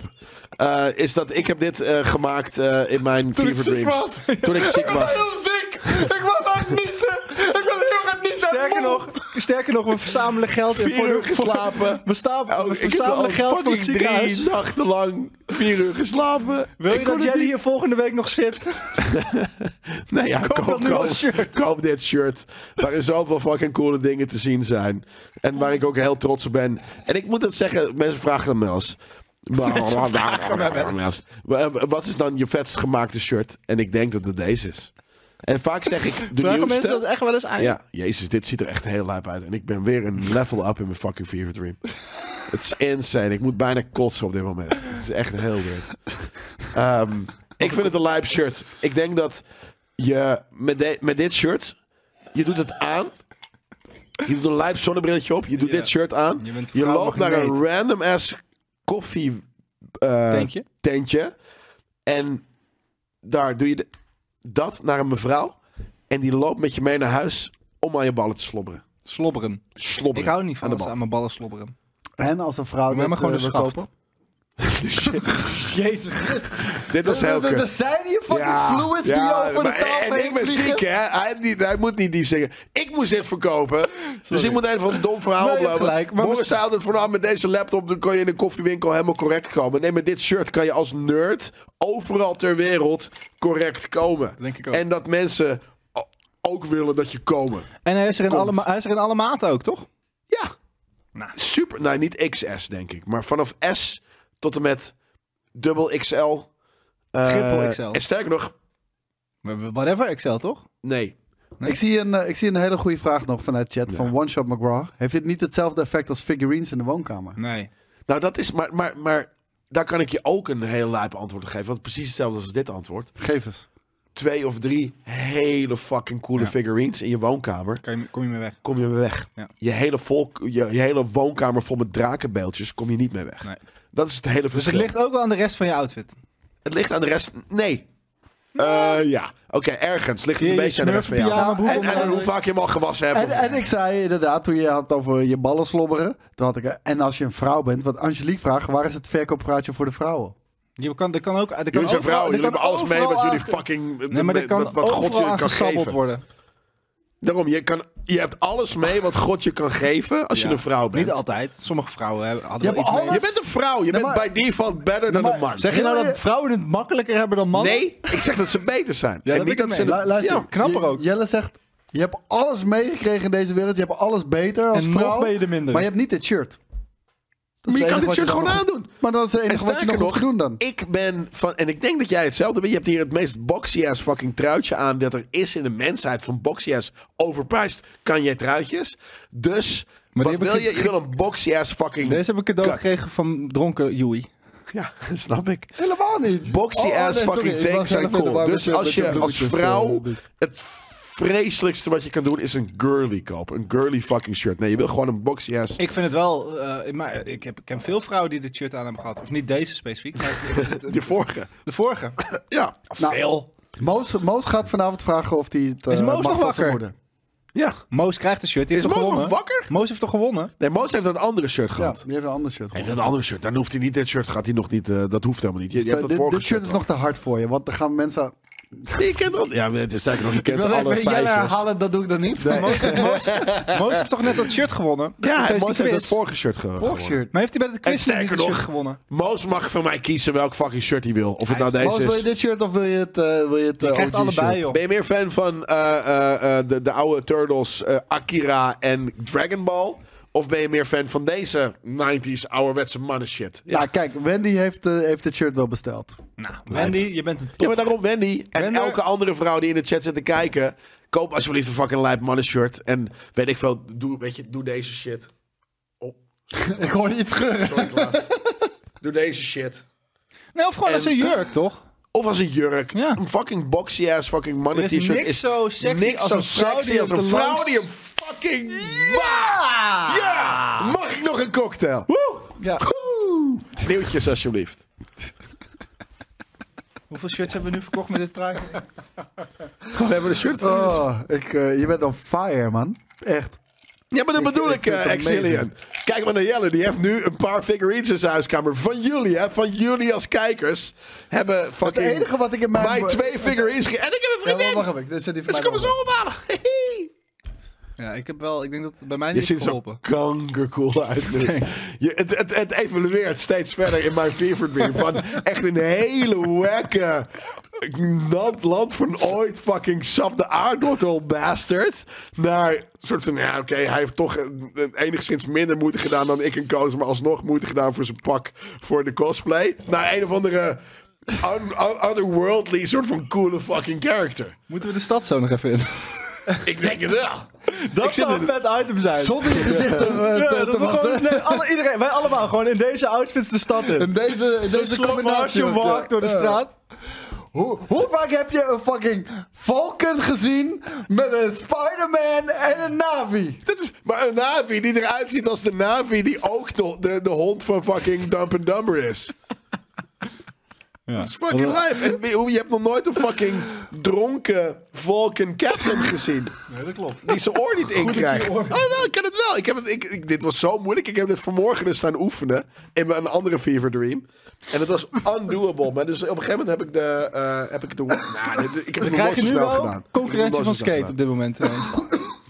Speaker 2: Eh, is dat ik heb dit eh, gemaakt eh, in mijn
Speaker 4: Toen ik
Speaker 2: fever
Speaker 4: ziek
Speaker 2: dreams.
Speaker 4: was.
Speaker 2: Toen ik ziek
Speaker 4: Ik was
Speaker 2: was.
Speaker 4: heel ziek! Ik was aan het niezen! Ik was heel aan het niezen!
Speaker 3: Sterker nog, sterker nog, we verzamelen geld in
Speaker 2: Vier
Speaker 3: voor
Speaker 2: uur
Speaker 3: voor-
Speaker 2: geslapen.
Speaker 3: We, sta-
Speaker 2: Oh,
Speaker 3: we
Speaker 2: ik heb al
Speaker 3: verzamelen geld voor
Speaker 2: fucking
Speaker 3: het ziekenhuis.
Speaker 2: drie nachten lang vier uur geslapen.
Speaker 3: Wil
Speaker 2: Ik
Speaker 3: je
Speaker 2: kon
Speaker 3: dat
Speaker 2: het
Speaker 3: Jelly
Speaker 2: niet.
Speaker 3: hier volgende week nog zit?
Speaker 2: Nee, ja, koop,
Speaker 3: dat
Speaker 2: koop,
Speaker 3: nieuwe
Speaker 2: koop,
Speaker 3: shirt.
Speaker 2: dit shirt. Waarin zoveel fucking coole dingen te zien zijn. En waar ik ook heel trots op ben. En ik moet het zeggen, mensen vragen het me wel eens. Wa- wa- Wat is dan je vetst gemaakte shirt? En ik denk dat het deze is. En vaak zeg ik de
Speaker 3: Vragen
Speaker 2: nieuwste.
Speaker 3: mensen dat echt wel eens aan?
Speaker 2: Ja, jezus, dit ziet er echt heel lijp uit. En ik ben weer een level up in mijn fucking fever dream. Het is insane. Ik moet bijna kotsen op dit moment. Het is echt heel weird. Ehm, ik vind het een lijp shirt. Ik denk dat je met, de- met dit shirt, je doet het aan. Je doet een lijp zonnebrilletje op. Je doet
Speaker 3: Ja.
Speaker 2: dit shirt aan.
Speaker 3: Je
Speaker 2: Je,
Speaker 3: bent
Speaker 2: loopt naar
Speaker 3: vrouwenmagneet.
Speaker 2: een random ass koffie eh,
Speaker 3: Tentje?
Speaker 2: tentje. En daar doe je de- dat naar een mevrouw. En die loopt met je mee naar huis om aan je ballen te slobberen.
Speaker 3: Slobberen.
Speaker 2: Slobberen.
Speaker 3: Ik hou niet van
Speaker 2: aan de
Speaker 3: als ze
Speaker 2: bal.
Speaker 3: aan mijn ballen slobberen.
Speaker 4: En als een vrouw
Speaker 3: Doe mij
Speaker 4: dat
Speaker 3: maar gewoon
Speaker 4: eh,
Speaker 3: een
Speaker 4: wil
Speaker 3: schaft.
Speaker 4: kopen?
Speaker 3: Jezus
Speaker 2: Dit was heel
Speaker 4: Er
Speaker 2: kut.
Speaker 4: zijn hier fucking fluids die
Speaker 2: ja,
Speaker 4: over
Speaker 2: maar-
Speaker 4: de tafel
Speaker 2: En ik
Speaker 4: heen
Speaker 2: ben ziek,
Speaker 4: vliegen.
Speaker 2: hè. Hij, heeft niet- hij moet niet die zingen. Ik moest dit verkopen. Dus ik moet even van een dom verhaal
Speaker 3: Nee, je hebt
Speaker 2: oplopen.
Speaker 3: gelijk, maar
Speaker 2: Morgen
Speaker 3: misschien-
Speaker 2: zei altijd van, nou, met deze laptop dan kon je in een koffiewinkel helemaal correct komen. Nee, met dit shirt kan je als nerd overal ter wereld correct komen.
Speaker 3: denk ik ook.
Speaker 2: En dat mensen o- ook willen dat je komen.
Speaker 3: En hij is, er in
Speaker 2: Komt.
Speaker 3: alle, ma- hij is er in alle maten ook, toch?
Speaker 2: Ja. Super. Nou, niet XS, denk ik. Maar vanaf S tot en met dubbel XL. eh,
Speaker 3: Triple XL.
Speaker 2: En sterker nog,
Speaker 3: Maar Whatever, Excel, toch?
Speaker 2: nee.
Speaker 4: Ik zie, een, eh, ik zie een hele goede vraag nog vanuit chat van One Shot McGraw. Heeft dit niet hetzelfde effect als figurines in de woonkamer?
Speaker 3: Nee.
Speaker 2: Nou, dat is... Maar, maar, maar daar kan ik je ook een heel lijp antwoord op geven. Want precies hetzelfde als dit antwoord.
Speaker 4: Geef eens.
Speaker 2: Twee of drie hele fucking coole
Speaker 3: Ja.
Speaker 2: figurines in je woonkamer.
Speaker 3: Kan je, kom je mee weg?
Speaker 2: Kom je mee weg.
Speaker 3: Ja.
Speaker 2: Je, hele volk, je, je hele woonkamer vol met drakenbeeldjes kom je niet mee weg.
Speaker 3: Nee.
Speaker 2: Dat is het hele
Speaker 3: Dus
Speaker 2: verschil.
Speaker 3: het ligt ook wel aan de rest van je outfit.
Speaker 2: Het ligt aan de rest. Nee. Eh, ja, oké, ergens ligt het
Speaker 3: Je-
Speaker 2: een
Speaker 3: je
Speaker 2: beetje aan de rest van jou.
Speaker 3: smurfpyjama broek
Speaker 2: en,
Speaker 3: onder
Speaker 2: en
Speaker 3: de-
Speaker 2: hoe vaak je hem al gewassen hebt.
Speaker 4: En, en ik zei inderdaad, toen je had over je ballen slobberen, toen had ik... eh, En als je een vrouw bent, wat Angelique vraagt, waar is het verkooppraatje voor de vrouwen?
Speaker 3: Je kan, er kan ook, er kan
Speaker 2: jullie zijn
Speaker 3: overal-
Speaker 2: vrouwen,
Speaker 3: er
Speaker 2: jullie hebben
Speaker 3: kan
Speaker 2: alles mee wat
Speaker 3: overal
Speaker 2: jullie
Speaker 3: aan-
Speaker 2: fucking...
Speaker 3: Nee, maar er kan
Speaker 2: wat, wat
Speaker 3: overal
Speaker 2: God je
Speaker 3: aan
Speaker 2: kan
Speaker 3: gesabbeld
Speaker 2: geven.
Speaker 3: worden.
Speaker 2: Daarom, je, kan, je hebt alles mee wat God je kan geven als
Speaker 3: Ja.
Speaker 2: je een vrouw bent.
Speaker 3: Niet altijd. Sommige vrouwen hebben- hadden
Speaker 4: Je
Speaker 3: wel
Speaker 4: hebt
Speaker 3: iets mee.
Speaker 4: alles?
Speaker 2: Je bent een vrouw, je bent
Speaker 4: maar-
Speaker 2: bij default better dan een
Speaker 4: maar-
Speaker 2: man.
Speaker 3: Zeg je nou dat vrouwen het makkelijker hebben dan mannen?
Speaker 2: Nee, ik zeg dat ze beter zijn.
Speaker 3: Ja,
Speaker 2: en
Speaker 3: dat
Speaker 2: niet
Speaker 3: ben
Speaker 2: dat
Speaker 3: ik
Speaker 2: ze...
Speaker 3: mee.
Speaker 4: Lu- luister,
Speaker 3: Ja, knapper
Speaker 4: Je-
Speaker 3: ook.
Speaker 4: Jelle zegt, je hebt alles meegekregen in deze wereld. Je hebt alles beter als
Speaker 3: En nog
Speaker 4: vrouw.
Speaker 3: ben je de mindere.
Speaker 4: Maar je hebt niet dit shirt. Dat is het
Speaker 2: Maar je
Speaker 4: enige
Speaker 2: kan dit shirt
Speaker 4: wat dan
Speaker 2: gewoon
Speaker 4: nog-
Speaker 2: aandoen.
Speaker 4: Maar dat is het
Speaker 2: En
Speaker 4: enige wat je nog
Speaker 2: sterker nog,
Speaker 4: hoeft te doen dan.
Speaker 2: ik ben van... En ik denk dat jij hetzelfde bent. Je hebt hier het meest boxy-ass fucking truitje aan... dat er is in de mensheid van boxy-ass overpriced. Kan jij truitjes? Dus,
Speaker 3: die
Speaker 2: wat
Speaker 3: heb ik
Speaker 2: wil je?
Speaker 3: ge-
Speaker 2: Je wil een boxy-ass fucking...
Speaker 3: Deze heb ik cadeau
Speaker 2: Kut.
Speaker 3: gekregen van dronken Joey.
Speaker 2: Ja, snap ik.
Speaker 4: Helemaal niet.
Speaker 2: Boxy
Speaker 4: Oh, oh,
Speaker 2: ass
Speaker 4: nee, sorry,
Speaker 2: fucking
Speaker 4: ik was
Speaker 2: things
Speaker 4: zelf
Speaker 2: zijn
Speaker 4: in de war
Speaker 2: cool.
Speaker 4: met
Speaker 2: Dus
Speaker 4: je- met
Speaker 2: als
Speaker 4: je
Speaker 2: je als
Speaker 4: bloemetjes,
Speaker 2: vrouw
Speaker 4: eh,
Speaker 2: het vreselijkste wat je kan doen is een girly kopen. Een girly fucking shirt. Nee, je wil gewoon een boxy ass.
Speaker 3: Ik vind het wel... eh, maar ik, heb, ik ken veel vrouwen die dit shirt aan hebben gehad. Of niet deze specifiek. maar
Speaker 2: Die vorige.
Speaker 3: de vorige.
Speaker 2: Ja.
Speaker 4: Nou, Moos, Moos gaat vanavond vragen of hij het eh,
Speaker 3: Is Moos nog
Speaker 4: mag van zijn
Speaker 3: wakker?
Speaker 4: moeder.
Speaker 2: Ja.
Speaker 3: Moos krijgt een shirt. Die
Speaker 2: Is
Speaker 3: heeft toch
Speaker 2: Moos nog
Speaker 3: gewonnen?
Speaker 2: wakker?
Speaker 3: Moos heeft toch gewonnen?
Speaker 2: Nee, Moos heeft dat andere shirt
Speaker 4: Ja,
Speaker 2: gehad.
Speaker 4: die heeft een ander shirt.
Speaker 2: Hij heeft dat andere shirt. Dan hoeft hij niet dit shirt. Gaat hij nog niet. eh, dat hoeft helemaal niet. Je, je hebt dat
Speaker 4: Dus, eh, dit,
Speaker 2: vorige
Speaker 4: dit shirt is nog te hard voor je, want dan gaan mensen...
Speaker 2: nog. Je kent dat. Ja, maar het is sterker nog. Je
Speaker 4: Ik
Speaker 2: kent
Speaker 4: wil
Speaker 2: alle
Speaker 4: even Jelle
Speaker 2: feitjes.
Speaker 4: herhalen, dat doe ik dan niet.
Speaker 3: Moos, heeft, Moos, Moos heeft toch net dat shirt gewonnen?
Speaker 2: Ja,
Speaker 3: Tijdens die
Speaker 2: Moos heeft dat
Speaker 3: quiz.
Speaker 2: vorige shirt ge-
Speaker 4: Vorig
Speaker 2: gewonnen.
Speaker 4: shirt.
Speaker 3: Maar heeft hij bij de
Speaker 2: En
Speaker 3: quiz nog niet
Speaker 2: sterker
Speaker 3: het shirt
Speaker 2: nog-
Speaker 3: gewonnen?
Speaker 2: Moos mag van mij kiezen welk fucking shirt hij wil. Of het nou
Speaker 4: Moos,
Speaker 2: deze
Speaker 4: wil
Speaker 2: is.
Speaker 4: je dit shirt of wil je het, eh, wil je het
Speaker 3: Je
Speaker 4: eh,
Speaker 3: krijgt
Speaker 4: OG
Speaker 3: allebei,
Speaker 4: shirt?
Speaker 3: joh.
Speaker 2: Ben je meer fan van eh, eh, eh, de, de oude Turtles, eh, Akira en Dragon Ball? Of ben je meer fan van deze 90s ouderwetse mannen shit? Ja,
Speaker 4: Nou, kijk, Wendy heeft, eh, heeft het shirt wel besteld.
Speaker 3: Nou, Wendy, je bent een
Speaker 2: ja,
Speaker 3: top.
Speaker 2: maar daarom Wendy en
Speaker 3: Wender-
Speaker 2: elke andere vrouw die in de chat zit te kijken. Koop alsjeblieft een fucking lijp mannen shirt. En weet ik veel, doe, weet je, doe deze shit.
Speaker 4: Ik hoorde iets geuren.
Speaker 2: Sorry, Klaas. doe deze shit.
Speaker 3: Nee, of gewoon als een jurk, toch?
Speaker 2: Of als een jurk.
Speaker 3: Ja.
Speaker 2: Een fucking boxy ass fucking
Speaker 3: Er
Speaker 2: mannen
Speaker 3: is
Speaker 2: t-shirt.
Speaker 3: niks zo sexy
Speaker 2: niks
Speaker 3: als
Speaker 2: zo
Speaker 3: een vrouw
Speaker 2: sexy
Speaker 3: die
Speaker 2: als
Speaker 3: op
Speaker 2: een
Speaker 3: de
Speaker 2: vrouw
Speaker 3: langs-
Speaker 2: die een fucking... Ja! Ja! Mag ik nog een cocktail?
Speaker 3: Ja.
Speaker 2: Nieuwtjes alsjeblieft.
Speaker 3: Hoeveel shirts hebben we nu verkocht met dit praatje?
Speaker 2: We hebben de shirt.
Speaker 4: Oh, ik, eh, je bent on fire, man. Echt.
Speaker 2: Ja, maar dat
Speaker 4: Ik-
Speaker 2: bedoel
Speaker 4: ik
Speaker 2: ik,
Speaker 4: vind
Speaker 2: eh
Speaker 4: het
Speaker 2: Exilian. Kijk maar naar Jelle. Die heeft nu een paar figurines in zijn huiskamer. Van jullie, hè. Van jullie als kijkers hebben
Speaker 4: Het
Speaker 2: fucking...
Speaker 4: enige wat ik in mijn...
Speaker 2: mij twee figurines ge- En ik heb een
Speaker 3: Oh,
Speaker 4: Ja, maar
Speaker 2: vriendin.
Speaker 4: wacht even. Dit zit die van
Speaker 2: dus
Speaker 4: mij
Speaker 2: kom eens
Speaker 4: nog.
Speaker 2: ophalen.
Speaker 3: Ja, ik heb wel. Ik denk dat het bij mij
Speaker 2: Je
Speaker 3: niet
Speaker 2: ziet
Speaker 3: is
Speaker 2: zo
Speaker 3: geholpen.
Speaker 2: kankercool uit nu.
Speaker 3: Thanks.
Speaker 2: Je, het, het, het evolueert steeds verder in mijn favorite weer. Van echt een hele wekke... Land, land van ooit fucking sap de aardwortel bastard. Naar soort van, ja oké, hij heeft toch een- een enigszins minder moeite gedaan dan ik en Koos. Maar alsnog moeite gedaan voor zijn pak voor de cosplay. Naar een of andere un- un- otherworldly soort van coole fucking character.
Speaker 3: Moeten we de stad zo nog even in?
Speaker 2: Ik denk het wel.
Speaker 3: Dat
Speaker 2: Ik zit
Speaker 3: zou een
Speaker 2: in-
Speaker 3: vet item zijn.
Speaker 4: Zonder je gezicht te, eh,
Speaker 3: Ja,
Speaker 4: te,
Speaker 3: dat
Speaker 4: te
Speaker 3: we gewoon,
Speaker 4: wassen.
Speaker 3: nee, alle, iedereen, wij allemaal gewoon in deze outfits de stad in.
Speaker 4: In deze, in
Speaker 3: Zo'n
Speaker 4: deze
Speaker 3: slow
Speaker 4: combinatie.
Speaker 3: motion
Speaker 4: ook, ja.
Speaker 3: walk door de
Speaker 4: Ja.
Speaker 3: straat.
Speaker 4: Hoe, hoe vaak heb je een fucking Falcon gezien met een Spider-Man en een Navi?
Speaker 2: Dat is, maar een Navi die eruit ziet als de Navi die ook nog de, de hond van fucking Dump and Dumber is. Dat is fucking lijp. En wie- hoe- je hebt nog nooit een fucking dronken Vulcan Captain gezien.
Speaker 3: Nee, dat klopt.
Speaker 2: Die zijn oor niet in krijgt.
Speaker 3: je
Speaker 2: Oh
Speaker 3: oor-
Speaker 2: wel, ik kan het wel. Ik heb het, ik, ik- dit was zo moeilijk. Ik heb dit vanmorgen dus staan oefenen in mijn andere Fever Dream. En het was undoable. Maar dus op een gegeven moment heb ik de... eh, heb ik de nou, dit- ik heb het nog
Speaker 3: Dan
Speaker 2: nooit zo
Speaker 3: krijg je nu
Speaker 2: snel
Speaker 3: wel
Speaker 2: gedaan.
Speaker 3: concurrentie van skate op
Speaker 2: Wat?
Speaker 3: dit moment. trouwens.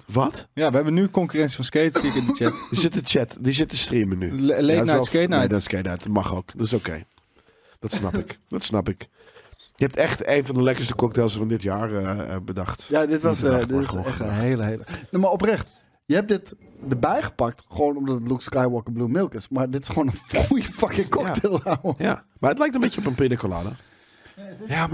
Speaker 2: Wat?
Speaker 3: ja, we hebben nu concurrentie van skate, zie ik in de chat.
Speaker 2: Die zit te chat, die zit te streamen nu.
Speaker 3: Le- late
Speaker 2: het is
Speaker 3: night,
Speaker 2: wel-
Speaker 3: skate night.
Speaker 2: Nee, dat is skate night. Mag ook. Dat is oké. Dat snap ik. Dat snap ik. Je hebt echt een van de lekkerste cocktails van dit jaar eh, eh, bedacht.
Speaker 4: Ja, dit was
Speaker 2: Die bedacht
Speaker 4: eh, dit
Speaker 2: wordt
Speaker 4: is
Speaker 2: gewoon
Speaker 4: echt een
Speaker 2: gedaan.
Speaker 4: hele, hele... Nee, maar oprecht, je hebt dit erbij gepakt gewoon omdat het Luke Skywalker Blue Milk is. Maar dit is gewoon een goede fucking cocktail, ouwe. Ja,
Speaker 2: Ja, maar het lijkt een beetje op een pina colada.
Speaker 4: maar...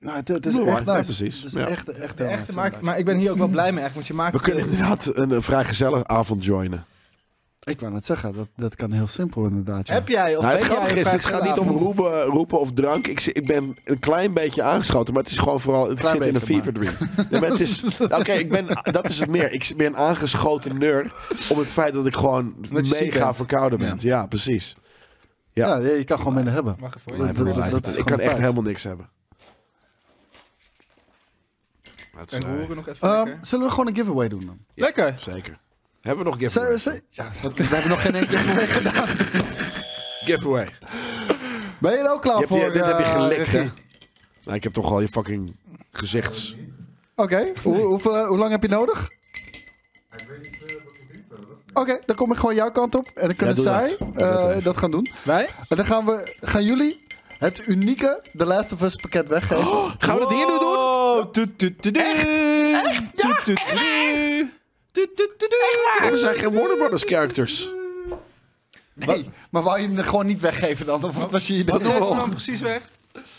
Speaker 4: Nou, het, het is
Speaker 2: Blue
Speaker 4: echt
Speaker 2: Wine, ja,
Speaker 4: nice.
Speaker 2: precies.
Speaker 4: Het is
Speaker 2: Ja.
Speaker 4: echt, echt
Speaker 3: De
Speaker 4: heel
Speaker 3: echte
Speaker 4: nice,
Speaker 3: maak,
Speaker 4: inderdaad.
Speaker 3: maar ik ben hier ook wel blij mee, echt, want je maakt...
Speaker 2: We kunnen inderdaad een, eh, vrij gezellig avond joinen.
Speaker 4: Ik wou net zeggen, dat, dat kan heel simpel inderdaad. ja.
Speaker 3: Heb jij of
Speaker 2: Nou, het
Speaker 3: ben jij
Speaker 2: grappige
Speaker 3: een
Speaker 2: is, het gaat
Speaker 3: vrijgezel
Speaker 2: niet om
Speaker 3: avond?
Speaker 2: roepen, roepen of drank. Ik, zi- ik ben een klein beetje aangeschoten, maar het is gewoon vooral... Het
Speaker 4: Klein
Speaker 2: zit in een
Speaker 4: beetje,
Speaker 2: fever dream. Ja, maar het is- Oké, ik ben- dat is het meer. Ik ben aangeschoten neur om het feit dat ik gewoon
Speaker 3: je ziek
Speaker 2: mega
Speaker 3: bent.
Speaker 2: verkouden ben. Ja, precies.
Speaker 4: Ja, ja, je kan gewoon minder hebben.
Speaker 3: Mag ervoor.
Speaker 2: Lijp,
Speaker 4: dat-
Speaker 2: lijp.
Speaker 4: dat
Speaker 2: ik
Speaker 4: is
Speaker 2: kan
Speaker 4: gewoon
Speaker 2: echt
Speaker 4: feit.
Speaker 2: helemaal niks hebben. Dat is,
Speaker 3: En
Speaker 2: eh,
Speaker 3: horen nog even
Speaker 4: Ehm,
Speaker 3: lekker.
Speaker 4: zullen we gewoon een giveaway doen dan?
Speaker 3: Lekker!
Speaker 2: Zeker. Hebben we nog een
Speaker 4: Ze-
Speaker 2: giveaway?
Speaker 4: ze- ja, we hebben nog geen één giveaway gedaan.
Speaker 2: Giveaway.
Speaker 4: Ben je er ook klaar
Speaker 2: Je hebt
Speaker 4: voor?
Speaker 2: die- dit heb je
Speaker 4: eh,
Speaker 2: gelikt, hè?
Speaker 4: regie?
Speaker 2: Nou, ik heb toch al je fucking gezichts...
Speaker 4: Oké, hoe, hoeveel- hoe lang heb je nodig? Oké, dan kom ik gewoon jouw kant op en dan kunnen
Speaker 2: doe
Speaker 4: zij
Speaker 2: dat. Doe
Speaker 4: eh,
Speaker 2: dat
Speaker 4: dat,
Speaker 2: even.
Speaker 4: gaan doen.
Speaker 3: Wij?
Speaker 4: En dan gaan, we, gaan jullie het unieke The Last of Us pakket weggeven.
Speaker 2: Gaan we dat hier nu doen?
Speaker 3: Oh, tu tu tu Echt? Ja,
Speaker 2: Ja, we zijn geen Warner Brothers characters.
Speaker 4: Nee, maar wou je hem gewoon niet weggeven dan? Of wat was je idee?
Speaker 2: Wat doen we
Speaker 3: dan
Speaker 2: nog?
Speaker 3: precies weg.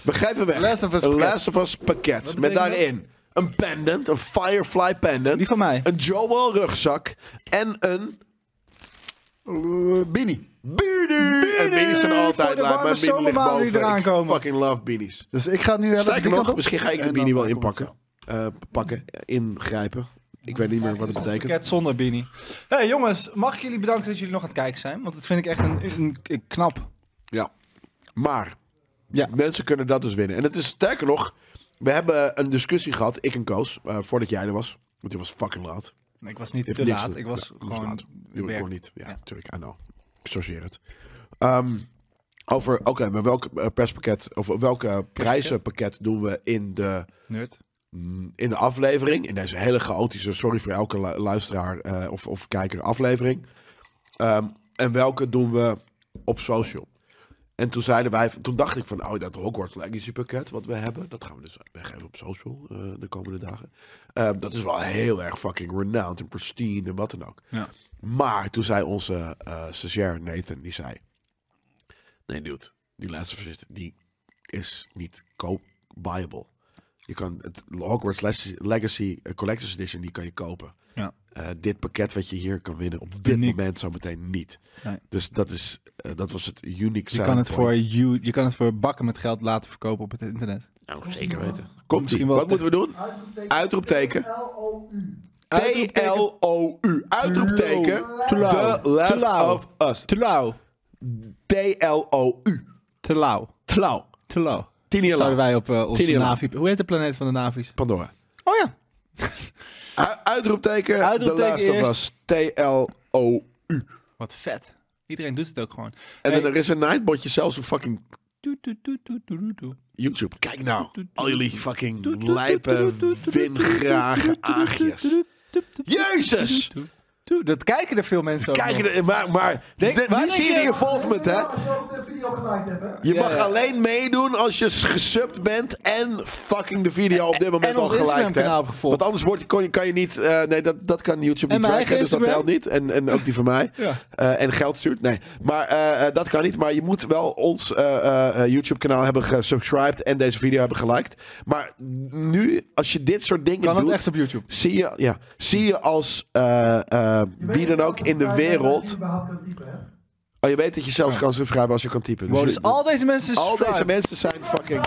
Speaker 2: We geven weg.
Speaker 4: Last of Us
Speaker 2: een
Speaker 4: pakket.
Speaker 2: Last of Us pakket. Met
Speaker 3: betekent dat?
Speaker 2: daarin een pendant, een Firefly pendant.
Speaker 3: Die van mij.
Speaker 2: Een Joel rugzak. En een
Speaker 4: Eh, Bini.
Speaker 2: beanie. En beanies zijn
Speaker 3: Voor
Speaker 2: altijd
Speaker 3: de
Speaker 2: laag. Mijn
Speaker 3: warme
Speaker 2: beanie ligt
Speaker 3: zomermaanden
Speaker 2: boven.
Speaker 3: die eraan
Speaker 2: Ik
Speaker 3: komen.
Speaker 2: fucking love beanies.
Speaker 4: Dus ik ga nu... eh, die
Speaker 2: Sterker
Speaker 4: kant
Speaker 2: nog,
Speaker 4: op.
Speaker 2: misschien ga ik de
Speaker 4: En
Speaker 2: beanie
Speaker 4: dan
Speaker 2: wel
Speaker 4: komt het
Speaker 2: inpakken. Eh, pakken, ingrijpen. Ik weet niet meer wat het betekent.
Speaker 3: Pakket zonder Bini. hey, jongens, mag ik jullie bedanken dat jullie nog aan het kijken zijn? Want dat vind ik echt een, een, een- knap.
Speaker 2: Ja. Maar
Speaker 3: Ja.
Speaker 2: mensen kunnen dat dus winnen. En het is sterker nog, we hebben een discussie gehad, ik en Koos, eh, voordat jij er was. Want je was fucking laat.
Speaker 3: Nee, ik was niet
Speaker 2: Je
Speaker 3: te
Speaker 2: hebt niks
Speaker 3: laat.
Speaker 2: te-
Speaker 3: Ik was
Speaker 2: Ja, je
Speaker 3: gewoon...
Speaker 2: laat. Je
Speaker 3: werk.
Speaker 2: kon niet. Ja,
Speaker 3: Ja.
Speaker 2: natuurlijk. I know. Ik chargeer het. Ehm, over, oké, maar welk eh, perspakket, of welke prijzenpakket doen we in de,
Speaker 3: Nerd.
Speaker 2: mm, in de aflevering? In deze hele chaotische, sorry voor elke lu- luisteraar eh, of, of kijker, aflevering. Ehm, en welke doen we op social? En toen zeiden wij, toen dacht ik van, oh, dat Hogwarts Legacy pakket wat we hebben, dat gaan we dus weggeven op social eh, de komende dagen. Ehm, dat is wel heel erg fucking renowned en pristine en wat dan ook.
Speaker 3: Ja.
Speaker 2: Maar toen zei onze eh stagiair Nathan, die zei, nee dude, die laatste verzit, die is niet koop-buyable. Je kan het Hogwarts Les- Legacy eh, Collector's Edition, die kan je kopen.
Speaker 3: Ja.
Speaker 2: Eh, dit pakket wat je hier kan winnen, op dit
Speaker 3: Uniek.
Speaker 2: moment zometeen niet.
Speaker 3: Nee.
Speaker 2: Dus dat, is, eh, dat was het unique
Speaker 3: Je
Speaker 2: selling
Speaker 3: kan, het
Speaker 2: point.
Speaker 3: voor you, je kan het voor bakken met geld laten verkopen op het internet.
Speaker 2: Nou, zeker weten. Komt ie.
Speaker 3: Misschien wel
Speaker 2: Wat
Speaker 3: te-
Speaker 2: moeten we doen? Uitroepteken. T-L-O-U. Uitroepteken. The Last
Speaker 3: Tlauw.
Speaker 2: of Us.
Speaker 3: Te lauw.
Speaker 2: T-L-O-U.
Speaker 3: Te lauw.
Speaker 2: Tlauw.
Speaker 3: Te lauw.
Speaker 2: Tien jaar
Speaker 3: Zouden
Speaker 2: lang.
Speaker 3: wij op eh, onze
Speaker 2: Tinian.
Speaker 3: Navi... Hoe heet de planeet van de Navi's?
Speaker 2: Pandora.
Speaker 3: Oh ja.
Speaker 2: U- uitroepteken,
Speaker 3: Uitroepteken
Speaker 2: de laatste
Speaker 3: eerst.
Speaker 2: was T-L-O.
Speaker 3: Wat vet. Iedereen doet het ook gewoon.
Speaker 2: En
Speaker 3: Hey.
Speaker 2: dan er is een nightbotje zelfs op fucking
Speaker 3: Doet, doet, doet, doet, doet, doet, doet.
Speaker 2: YouTube. Kijk nou, al jullie fucking lijpe, wingrage aagjes. Jezus!
Speaker 3: Doet. Dat kijken er veel mensen ook nog.
Speaker 2: Kijk, er- maar, maar
Speaker 3: Denk-
Speaker 2: de-
Speaker 3: waar
Speaker 2: nu
Speaker 3: denk
Speaker 2: zie je
Speaker 3: je-
Speaker 2: die involvement, hè? Je
Speaker 3: Ja,
Speaker 2: mag
Speaker 3: ja.
Speaker 2: alleen meedoen als je s- gesubt bent en fucking de video op dit moment
Speaker 3: ons
Speaker 2: al gelijk
Speaker 3: Instagram-kanaal
Speaker 2: hebt.
Speaker 3: opgevolgd.
Speaker 2: Want anders wordt, kon, je- kan je niet... eh, nee, dat, dat kan YouTube
Speaker 3: En
Speaker 2: niet
Speaker 3: mijn
Speaker 2: tracken,
Speaker 3: eigen
Speaker 2: dus dat
Speaker 3: Instagram?
Speaker 2: telt niet. En, en ook die van mij.
Speaker 3: Ja.
Speaker 2: Eh, en geld stuurt, nee. Maar eh, eh, dat kan niet. Maar je moet wel ons eh, eh, YouTube-kanaal hebben gesubscribed en deze video hebben geliked. Maar nu, als je dit soort dingen
Speaker 3: Kan
Speaker 2: doet...
Speaker 3: het echt op YouTube?
Speaker 2: Zie je, ja, zie je als eh, eh, wie dan ook in de wereld... Oh, je weet dat je zelfs kan subscriben als je kan typen.
Speaker 3: Wow,
Speaker 2: je-
Speaker 3: dus al deze mensen...
Speaker 2: al
Speaker 3: subscribe.
Speaker 2: deze mensen zijn fucking.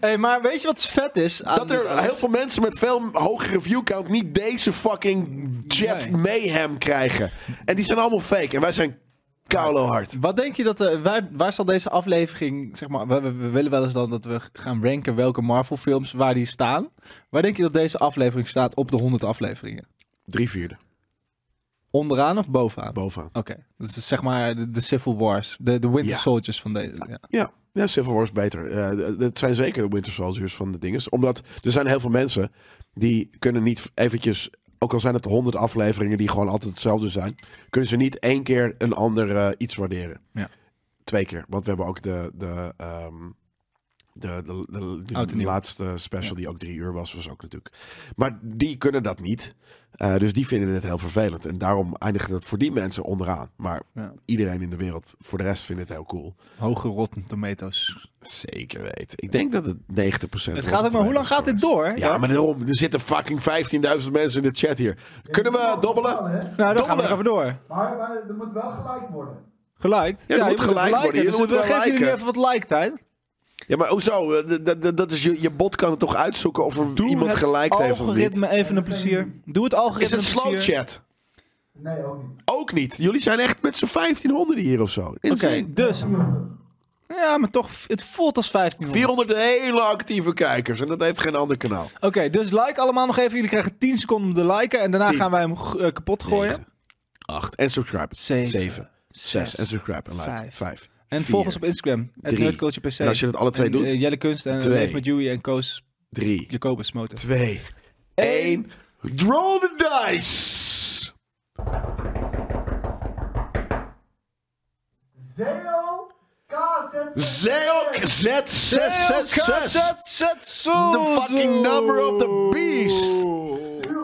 Speaker 3: Hey, maar weet je wat vet is? aan
Speaker 2: Dat
Speaker 3: dit
Speaker 2: er
Speaker 3: alles?
Speaker 2: heel veel mensen met veel hogere viewcount niet deze fucking chat
Speaker 3: Nee.
Speaker 2: mayhem krijgen. En die zijn allemaal fake. En wij zijn koulo hard.
Speaker 3: Wat denk je dat... eh, waar, waar zal deze aflevering... Zeg maar, we, we- we willen wel eens dan dat we gaan ranken welke Marvel films waar die staan. Waar denk je dat deze aflevering staat op de 100 afleveringen?
Speaker 2: Drie vierde.
Speaker 3: Onderaan of bovenaan?
Speaker 2: Bovenaan.
Speaker 3: Oké, dus zeg maar de, de Civil Wars, de, de Winter
Speaker 2: Ja.
Speaker 3: Soldiers van deze. Ja.
Speaker 2: Ja, ja Civil War is beter. Eh, dat zijn zeker de Winter Soldiers van de dinges. Omdat er zijn heel veel mensen die kunnen niet eventjes... Ook al zijn het honderd afleveringen die gewoon altijd hetzelfde zijn... kunnen ze niet één keer een ander eh, iets waarderen.
Speaker 3: Ja.
Speaker 2: Twee keer. Want we hebben ook de... de ehm, de, de, de- de
Speaker 3: Oud en nieuw.
Speaker 2: laatste special die ook drie uur was, was ook natuurlijk. Maar die kunnen dat niet. Eh, dus die vinden het heel vervelend. En daarom eindigt het voor die mensen onderaan. Maar
Speaker 3: Ja.
Speaker 2: iedereen in de wereld, voor de rest, vindt het heel cool.
Speaker 3: Hoge Rotten Tomatoes.
Speaker 2: Zeker weten. Ik denk dat het 90%
Speaker 3: Het gaat ook maar, hoe lang gaat dit door?
Speaker 2: Ja, maar daarom, er zitten fucking 15.000 mensen in de chat hier. Kunnen we dobbelen?
Speaker 3: nou, dan gaan
Speaker 2: dommelen.
Speaker 3: we nog even door.
Speaker 5: Maar, maar er moet wel gelijk worden.
Speaker 3: Geliked?
Speaker 2: Ja, er moet
Speaker 3: je
Speaker 2: geliked
Speaker 3: liken,
Speaker 2: worden, je
Speaker 3: dus
Speaker 2: moet
Speaker 3: we
Speaker 2: wel
Speaker 3: geven jullie
Speaker 2: liken.
Speaker 3: even wat like-tijd.
Speaker 2: Ja, maar hoezo? Eh, d- d- d- Dat is je, je bot kan het toch uitzoeken of er iemand gelijk heeft of niet?
Speaker 3: algoritme even een plezier. Doe het algoritme
Speaker 2: Is het
Speaker 3: een
Speaker 2: slow
Speaker 3: plezier.
Speaker 2: chat?
Speaker 5: Nee, ook niet.
Speaker 2: Ook niet. Jullie zijn echt met z'n 1500 hier of zo.
Speaker 3: Oké,
Speaker 2: Insane.
Speaker 3: dus. Ja, maar toch, het voelt als 1500.
Speaker 2: 400 hele actieve kijkers en dat heeft geen ander kanaal.
Speaker 3: Oké, dus like allemaal nog even. Jullie krijgen 10 seconden om te liken en daarna
Speaker 2: 10,
Speaker 3: gaan wij hem eh, kapot gooien.
Speaker 2: 8 en subscribe. 7,
Speaker 3: Zeven,
Speaker 2: 6
Speaker 3: zes,
Speaker 2: en subscribe. En like.
Speaker 3: vijf,
Speaker 2: 5.
Speaker 3: En volg ons op Instagram. Het
Speaker 2: drie.
Speaker 3: Nerdculture PC.
Speaker 2: En als je dat alle twee
Speaker 3: En,
Speaker 2: doet?
Speaker 3: eh, Jelle Kunst en
Speaker 2: Twee.
Speaker 3: Leef met Joey en Koos
Speaker 2: 3.
Speaker 3: Jacobus Moten.
Speaker 2: 2, 1. Roll the dice!
Speaker 5: Zeo KZ.
Speaker 2: Zeok Z666. The fucking number of the beast.
Speaker 5: Stuur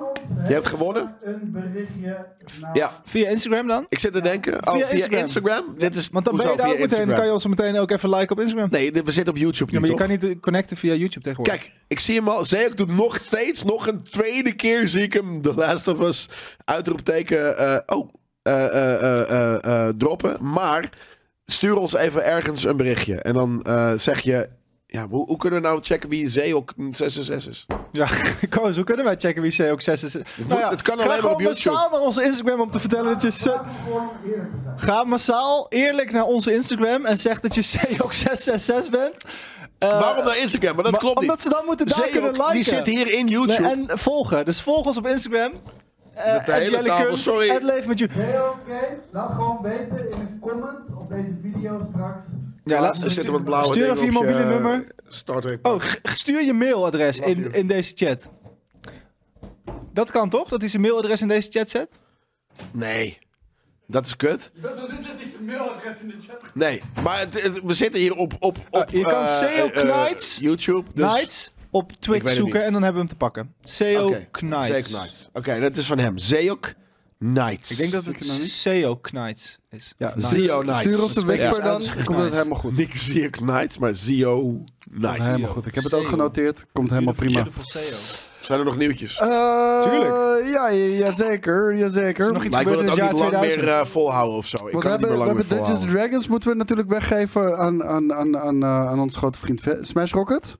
Speaker 5: ons
Speaker 2: Je hebt gewonnen?
Speaker 5: een berichtje naar
Speaker 2: Ja.
Speaker 3: Via Instagram dan?
Speaker 2: Ik zit te denken. Oh, via, Instagram.
Speaker 3: Instagram.
Speaker 2: Dit is,
Speaker 3: Want dan ben
Speaker 2: hoezo
Speaker 3: je
Speaker 2: via
Speaker 3: daar ook meteen,
Speaker 2: Instagram?
Speaker 3: kan je ons meteen ook even liken op Instagram.
Speaker 2: Nee, dit- we zitten op YouTube
Speaker 3: ja,
Speaker 2: nu,
Speaker 3: maar je
Speaker 2: toch?
Speaker 3: kan niet eh, connecten via YouTube tegenwoordig.
Speaker 2: Kijk, ik zie hem al. Zeok doet nog steeds, nog een tweede keer zie ik hem. The Last of Us, uitroepteken, eh, oh, eh, eh, eh, eh, eh, droppen. Maar stuur ons even ergens een berichtje. En dan eh, zeg je, ja, hoe, hoe kunnen we nou checken wie Zeok 666 is?
Speaker 3: Ja, Koos, hoe kunnen wij checken wie C ook 6 is? Nou
Speaker 2: het kan
Speaker 3: ga
Speaker 2: alleen maar
Speaker 3: gewoon
Speaker 2: op YouTube.
Speaker 3: massaal naar onze Instagram om te vertellen dat je... zo-
Speaker 5: gewoon eerlijk te zijn.
Speaker 3: Ga massaal eerlijk naar onze Instagram en zeg dat je C ook 666 bent. Eh,
Speaker 2: Waarom naar Instagram? Maar dat
Speaker 3: maar-
Speaker 2: klopt niet.
Speaker 3: Omdat ze dan moeten daar
Speaker 2: Zeok,
Speaker 3: kunnen liken.
Speaker 2: die zit hier in
Speaker 3: Nee,
Speaker 2: YouTube.
Speaker 3: en volgen. Dus volg ons op Instagram. Eh,
Speaker 2: Met de hele tafel, sorry.
Speaker 3: Het leef met je.
Speaker 5: Zeo, oké. Laat gewoon weten in een comment op deze video straks.
Speaker 3: Ja, laat-
Speaker 2: er zitten wat blauwe
Speaker 3: Stuur
Speaker 2: dingen
Speaker 3: even je
Speaker 2: op
Speaker 3: mobiele nummer.
Speaker 2: Star Trek.
Speaker 3: Oh, g- stuur je mailadres in, in deze chat. Dat kan toch? Dat hij zijn mailadres in deze chat zet?
Speaker 2: Nee. Dat is kut.
Speaker 5: Dit is de mailadres in de chat.
Speaker 2: Nee, maar het- het- we zitten hier op, op,
Speaker 4: Ah,
Speaker 2: op
Speaker 3: je kan
Speaker 2: eh,
Speaker 3: Seo
Speaker 2: eh,
Speaker 3: Knights-
Speaker 2: YouTube. Dus...
Speaker 3: Knights op
Speaker 2: Ik weet
Speaker 3: Twitch
Speaker 2: het
Speaker 3: zoeken
Speaker 2: niet.
Speaker 3: en dan hebben we hem te pakken. Seo
Speaker 4: E
Speaker 2: Oké, Zeok
Speaker 3: Knights.
Speaker 2: Knights. Oké, dat is van hem. Zeok Knights.
Speaker 4: Ik denk dat
Speaker 3: Het
Speaker 4: het nou niet.
Speaker 3: Seo E Knights is.
Speaker 4: Ja, E
Speaker 2: Zio Nights.
Speaker 4: Stuur op de Whisper
Speaker 2: Ja.
Speaker 4: dan, komt het helemaal goed.
Speaker 2: Nick Zeok Knights, maar Zio Knights.
Speaker 4: Helemaal goed. Ik heb het ook genoteerd. Komt helemaal prima.
Speaker 3: E
Speaker 2: Zijn er nog nieuwtjes?
Speaker 4: Eh,
Speaker 3: Tuurlijk.
Speaker 4: Ja, ja, jazeker, jazeker.
Speaker 3: nog iets
Speaker 2: maar ik wil het ook
Speaker 3: gebeurd in
Speaker 2: niet lang
Speaker 3: het jaar
Speaker 2: meer
Speaker 3: 2000.
Speaker 2: eh, volhouden of zo. Ik
Speaker 4: Want
Speaker 2: kan
Speaker 4: we
Speaker 2: het niet meer
Speaker 4: hebben, we
Speaker 2: lang meer
Speaker 4: hebben Dungeons
Speaker 2: volhouden.
Speaker 4: Dragons moeten we natuurlijk weggeven aan, aan, aan, aan, eh, aan onze grote vriend Ve- Smash Rocket.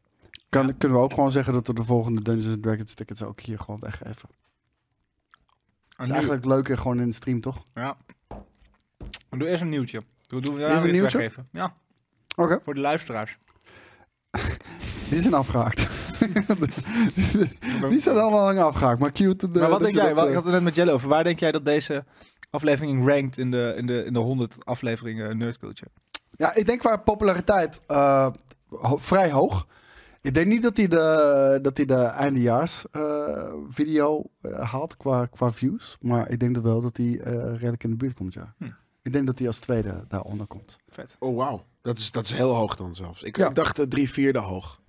Speaker 4: Kan, Kunnen we ook gewoon zeggen dat we de volgende Dungeons Dragons tickets ook hier gewoon weggeven.
Speaker 3: Ah,
Speaker 4: Dat is eigenlijk leuker gewoon in de stream, toch?
Speaker 3: Ja. Doe eerst een nieuwtje. Doe, doe,
Speaker 4: Eerst een
Speaker 3: iets
Speaker 4: nieuwtje?
Speaker 3: weggeven. Ja,
Speaker 4: Oké.
Speaker 3: voor de luisteraars.
Speaker 4: Die zijn afgehaakt. die zijn al lang afgehaakt, maar cute. eh,
Speaker 3: maar
Speaker 4: dat
Speaker 3: wat denk
Speaker 4: je
Speaker 3: jij?
Speaker 4: dat,
Speaker 3: Wat-
Speaker 4: eh,
Speaker 3: ik had het net met Jelle over. Waar denk jij dat deze aflevering rankt in de, in de, in de 100 afleveringen Nerd Culture?
Speaker 4: Ja, ik denk qua populariteit eh, ho- vrij hoog. Ik denk niet dat hij de, dat hij de eindejaars eh, video eh, haalt qua, qua views. Maar ik denk dat wel dat hij eh, redelijk in de buurt komt, ja.
Speaker 3: Hm.
Speaker 4: Ik denk dat hij als tweede daaronder komt.
Speaker 3: Vet.
Speaker 2: Oh, wauw. Dat is, dat is heel hoog dan zelfs. Ik,
Speaker 4: Ja.
Speaker 2: ik dacht eh, drie vierde hoog.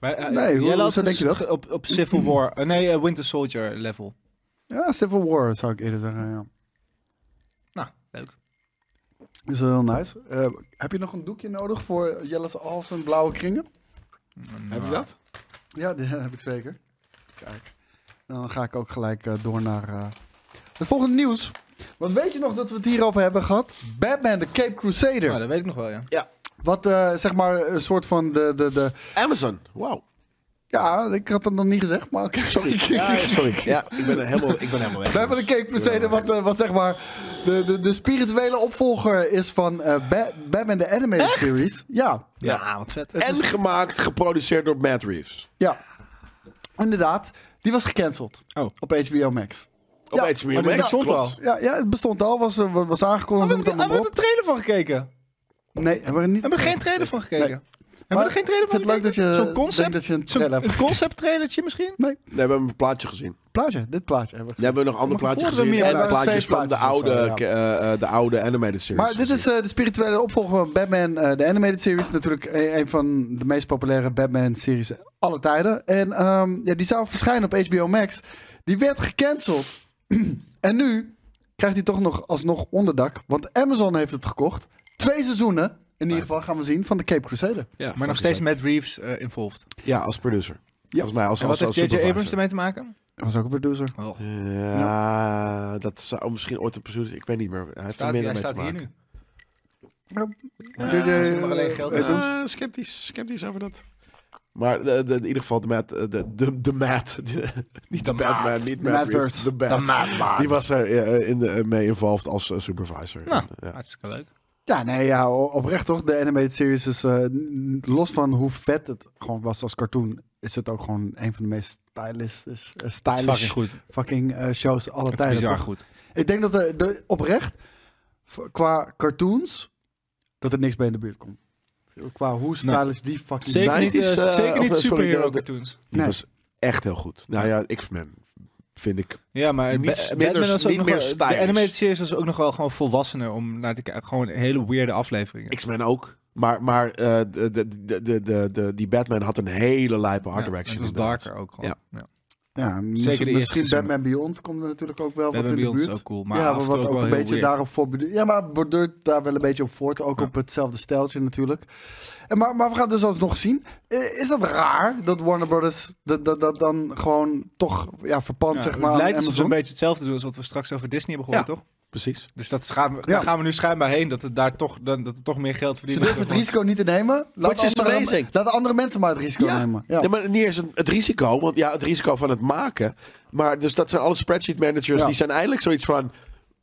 Speaker 3: Maar, eh,
Speaker 4: Nee, hoe-
Speaker 3: Jelle had
Speaker 4: hoezo denk je dat?
Speaker 3: ges- Op, op Civil War. eh, nee, eh, Winter Soldier level.
Speaker 4: Ja, Civil War zou ik eerder zeggen, ja.
Speaker 3: Nou, leuk.
Speaker 4: Is wel heel nice. Eh, heb je nog een doekje nodig voor Jelle's als en blauwe kringen? Nou.
Speaker 2: Heb je
Speaker 3: eh,
Speaker 2: dat?
Speaker 4: Ja, die heb ik zeker. Kijk. En dan ga ik ook gelijk eh, door naar eh, het volgende nieuws. Want weet je nog dat we het hierover hebben gehad? Batman, de Cape Crusader.
Speaker 3: Nou, dat weet ik nog wel, ja.
Speaker 4: Wat eh, zeg maar een soort van de, de, de...
Speaker 2: Amazon. Wauw.
Speaker 4: Ja, ik had dat nog niet gezegd, maar oké.
Speaker 2: Sorry. Ja, sorry. Ja, ik ben er helemaal, ik ben helemaal weg.
Speaker 4: We hebben de Cape Crusader, wat, eh, wat zeg maar de, de, de spirituele opvolger is van eh, Ba- Batman de Animated Series. Ja,
Speaker 3: Ja, wat vet.
Speaker 2: En gemaakt, geproduceerd door Matt Reeves.
Speaker 4: ja. Inderdaad. Die was gecanceld
Speaker 3: Oh.
Speaker 4: op HBO Max.
Speaker 2: Op
Speaker 4: Ja,
Speaker 2: HBO
Speaker 3: maar die
Speaker 2: Max,
Speaker 3: bestond
Speaker 2: klopt.
Speaker 4: Ja, ja, het bestond al, was, eh, was aangekondigd.
Speaker 3: Oh, we hebben er
Speaker 4: noem het allemaal
Speaker 3: we hebben de trailer van gekeken.
Speaker 4: op. Nee, hebben we er niet.
Speaker 3: We hebben er geen trailer van gekeken.
Speaker 4: Nee.
Speaker 3: Hebben we er geen trailer
Speaker 4: ik
Speaker 3: van
Speaker 4: vind het leuk
Speaker 3: gekeken?
Speaker 4: dat je-
Speaker 3: Zo'n
Speaker 4: denkt
Speaker 3: concept,
Speaker 4: dat je een
Speaker 3: zo'n-
Speaker 4: trailer hebt
Speaker 3: een concept trailertje misschien?
Speaker 4: Nee,
Speaker 2: Nee, we hebben een plaatje gezien.
Speaker 4: plaatje. Dit plaatje hebben we.
Speaker 2: We hebben nog een ander
Speaker 4: Maar
Speaker 2: plaatje
Speaker 4: voor de
Speaker 2: gezien.
Speaker 4: meer-
Speaker 2: en
Speaker 4: er waren
Speaker 2: plaatjes
Speaker 4: twee
Speaker 2: van de
Speaker 4: plaatjes of
Speaker 2: oude,
Speaker 4: zo,
Speaker 2: eh, eh, de oude animated series.
Speaker 4: Maar dit is eh, de spirituele opvolger van Batman, eh, de animated series. Natuurlijk eh, een, een van de meest populaire Batman-series alle tijden. En ehm, ja, die zou verschijnen op HBO Max. Die werd gecanceld. en nu krijgt hij toch nog alsnog onderdak. Want Amazon heeft het gekocht. Twee seizoenen, in ieder geval gaan we zien, van de Cape Crusader.
Speaker 2: Ja,
Speaker 3: Maar nog
Speaker 2: fucking
Speaker 3: steeds
Speaker 2: sick.
Speaker 3: Matt Reeves eh, involved.
Speaker 2: Ja, als producer. Volgens mij als,
Speaker 3: En
Speaker 2: als,
Speaker 3: wat
Speaker 2: als
Speaker 3: heeft J.J. Abrams
Speaker 2: supervisor.
Speaker 3: ermee te maken?
Speaker 4: Dat was ook een producer.
Speaker 2: Ja, dat zou misschien ooit een producer... Ik weet niet meer. Hij heeft er
Speaker 3: Staat,
Speaker 2: minder
Speaker 3: hij
Speaker 2: mee
Speaker 3: staat
Speaker 2: te
Speaker 3: hier
Speaker 2: maken.
Speaker 3: nu.
Speaker 4: Dit, eh,
Speaker 3: ze maar alleen geld
Speaker 4: eh,
Speaker 3: hebben.
Speaker 4: doen.
Speaker 2: Eh, sceptisch, sceptisch over dat. Maar eh, de, de- in ieder geval de Matt, eh, de, de, de Matt, de- niet de,
Speaker 3: Matt.
Speaker 2: Batman, niet
Speaker 4: De
Speaker 2: Matt Reeves,
Speaker 4: Mattverse.
Speaker 2: de Bat. Die was er eh, in de, eh, mee involved als eh, supervisor.
Speaker 3: Nou,
Speaker 2: En, ja.
Speaker 3: hartstikke leuk.
Speaker 4: Ja, nee, ja, o- oprecht toch. De animated series is, eh, n- los van hoe vet het gewoon was als cartoon, is het ook gewoon een van de meest stylish, eh, stylish
Speaker 3: fucking goed.
Speaker 4: fucking, eh, shows alle
Speaker 3: Het is
Speaker 4: tijden.
Speaker 3: bizar
Speaker 4: toch?
Speaker 3: goed.
Speaker 4: Ik denk dat er de, oprecht, v- qua cartoons, dat er niks bij in de buurt komt. Qua hoe stylish die fucking...
Speaker 3: Nou, Zeker niet, eh,
Speaker 2: 90s, eh,
Speaker 3: zeker
Speaker 2: of,
Speaker 3: niet
Speaker 2: eh, sorry,
Speaker 3: superhero
Speaker 2: de- de-
Speaker 3: cartoons.
Speaker 2: Die
Speaker 4: Nee.
Speaker 2: was echt heel goed. Nou ja, X-Men vind ik.
Speaker 3: Ja, maar
Speaker 2: Niet-
Speaker 3: Ba-
Speaker 2: minder-
Speaker 3: Batman was ook
Speaker 2: niet
Speaker 3: nog
Speaker 2: meer
Speaker 3: wel-
Speaker 2: stylish.
Speaker 3: De animated series was ook nog wel gewoon volwassener om naar te kijken. Gewoon hele weirde afleveringen.
Speaker 2: X-Men ook. Maar, maar eh, de, de, de, de, de, de- die Batman had een hele lijpe
Speaker 3: Ja,
Speaker 2: art direction.
Speaker 3: Het was
Speaker 2: inderdaad.
Speaker 3: darker ook gewoon.
Speaker 2: Ja.
Speaker 3: Ja.
Speaker 4: Ja, mis-
Speaker 3: eerste
Speaker 4: misschien
Speaker 3: seizoen.
Speaker 4: Batman Beyond komt er natuurlijk ook wel
Speaker 3: Batman
Speaker 4: wat in
Speaker 3: Beyond
Speaker 4: de
Speaker 3: is
Speaker 4: buurt.
Speaker 3: ook cool, maar
Speaker 4: ja,
Speaker 3: af en
Speaker 4: maar
Speaker 3: toe
Speaker 4: wat
Speaker 3: ook
Speaker 4: ook,
Speaker 3: wel
Speaker 4: een
Speaker 3: heel
Speaker 4: beetje
Speaker 3: weird.
Speaker 4: daarop voorbeduurt. Ja, maar borduurt daar wel een beetje op voort. Ook
Speaker 3: Ja.
Speaker 4: op hetzelfde stijltje natuurlijk. En maar, maar we gaan dus alsnog zien. Eh, Is dat raar dat Warner Brothers dat, dat, dat dan gewoon toch ja, verpand
Speaker 3: Ja,
Speaker 4: zeg
Speaker 3: het
Speaker 4: maar aan
Speaker 3: lijkt alsof ze
Speaker 4: Amazon?
Speaker 3: een beetje hetzelfde doen als wat we straks over Disney hebben gehoord,
Speaker 2: Ja.
Speaker 3: toch?
Speaker 2: Precies.
Speaker 3: Dus dat gaan we, daar gaan we nu schijnbaar heen, dat het daar toch, dan, dat het toch meer geld
Speaker 4: Ze
Speaker 3: verdienen.
Speaker 4: durven het risico niet te nemen. Laat
Speaker 2: Which is
Speaker 4: andere,
Speaker 2: amazing.
Speaker 4: laat andere mensen maar het risico
Speaker 2: Ja.
Speaker 4: nemen.
Speaker 2: Ja. maar niet eens een- het risico, want ja, het risico van het maken. Maar dus dat zijn alle spreadsheet managers
Speaker 4: Ja.
Speaker 2: die zijn eigenlijk zoiets van: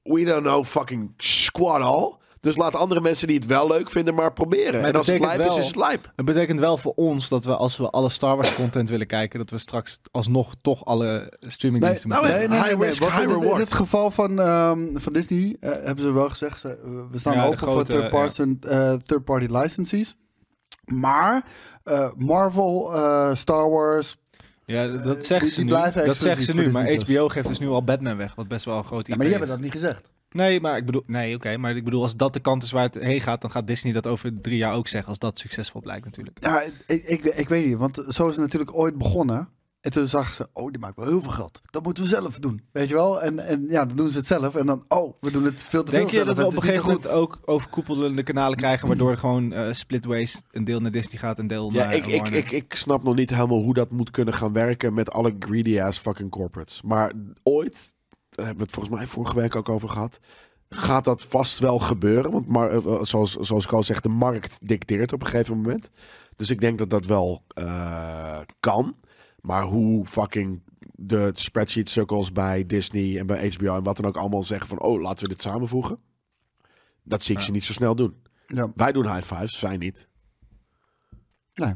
Speaker 2: we don't know fucking squat all. Dus laat andere mensen die het wel leuk vinden, maar proberen.
Speaker 3: Maar
Speaker 2: en als het
Speaker 3: betekent
Speaker 2: lijp is,
Speaker 3: wel-
Speaker 2: is het lijp.
Speaker 3: Het betekent wel voor ons dat we, als we alle Star Wars content willen kijken, dat we straks alsnog toch alle streamingdiensten
Speaker 2: nou,
Speaker 3: moeten
Speaker 2: hè.
Speaker 3: kijken.
Speaker 2: high risk,
Speaker 4: Want in
Speaker 2: high
Speaker 4: dit- In
Speaker 2: reward.
Speaker 4: het geval van, ehm, van Disney eh, hebben ze wel gezegd, ze- eh, we staan
Speaker 3: Ja, de
Speaker 4: open voor
Speaker 3: grote,
Speaker 4: third party, eh, third party licensees. Maar eh, Marvel, eh, Star Wars,
Speaker 3: Ja, d- dat zeggen
Speaker 4: die-
Speaker 3: ze
Speaker 4: die
Speaker 3: nu.
Speaker 4: blijven
Speaker 3: Dat
Speaker 4: exclusief
Speaker 3: zeggen ze
Speaker 4: voor
Speaker 3: nu, maar
Speaker 4: Disney+.
Speaker 3: HBO geeft dus nu al Batman weg, wat best wel een groot
Speaker 4: ja,
Speaker 3: IP
Speaker 4: maar die
Speaker 3: is.
Speaker 4: hebben dat niet gezegd.
Speaker 3: Nee, maar ik bedoel, nee, oké, maar ik bedoel, als dat de kant is waar het heen gaat, dan gaat Disney dat over drie jaar ook zeggen, als dat succesvol blijkt natuurlijk.
Speaker 4: Ja, ik, ik, ik weet niet, want zo is het natuurlijk ooit begonnen. En toen zagen ze, oh, die maakt wel heel veel geld. Dat moeten we zelf doen, weet je wel? En, en ja, dan doen ze het zelf. En dan, oh, we doen het veel te
Speaker 3: Denk
Speaker 4: veel
Speaker 3: je
Speaker 4: zelf.
Speaker 3: dat we
Speaker 4: Het
Speaker 3: op
Speaker 4: is
Speaker 3: een
Speaker 4: niet
Speaker 3: gegeven
Speaker 4: zo
Speaker 3: moment ook overkoepelende kanalen krijgen, waardoor gewoon eh, splitways een deel naar Disney gaat en deel
Speaker 2: Ja,
Speaker 3: naar
Speaker 2: ik, ik,
Speaker 3: Warner?
Speaker 2: ik, ik snap nog niet helemaal hoe dat moet kunnen gaan werken met alle greedy ass fucking corporates. Maar ooit, daar hebben we het volgens mij vorige week ook over gehad. Gaat dat vast wel gebeuren? Want maar, eh, zoals, zoals ik al zeg, de markt dicteert op een gegeven moment. Dus ik denk dat dat wel eh, kan. Maar hoe fucking de spreadsheet circles bij Disney en bij HBO en wat dan ook allemaal zeggen van oh, laten we dit samenvoegen. Dat zie ik ze niet zo snel doen.
Speaker 4: goed. Ja.
Speaker 2: Wij doen high fives, zij niet.
Speaker 4: Nee.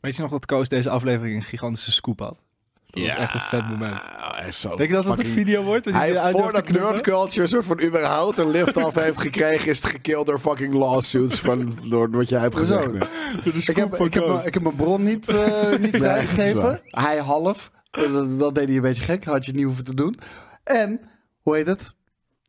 Speaker 3: Weet je nog dat Koos deze aflevering een gigantische scoop had? Dat was echt een vet moment. Denk je dat dat een video wordt? Met die die
Speaker 2: Hij,
Speaker 3: uit durft
Speaker 2: voordat
Speaker 3: te knippen?
Speaker 2: Nerd Culture een soort van überhaupt een lift-off heeft gekregen, is het gekild door fucking lawsuits van, door wat jij hebt
Speaker 4: Hoezo?
Speaker 2: gezegd. net.
Speaker 4: Ik heb, ik, heb, mijn- ik heb mijn bron niet, eh niet
Speaker 2: dat
Speaker 4: vrijgegeven. Hij half. Dat, dat deed hij een beetje gek. Had je het niet hoeven te doen. En, hoe heet het?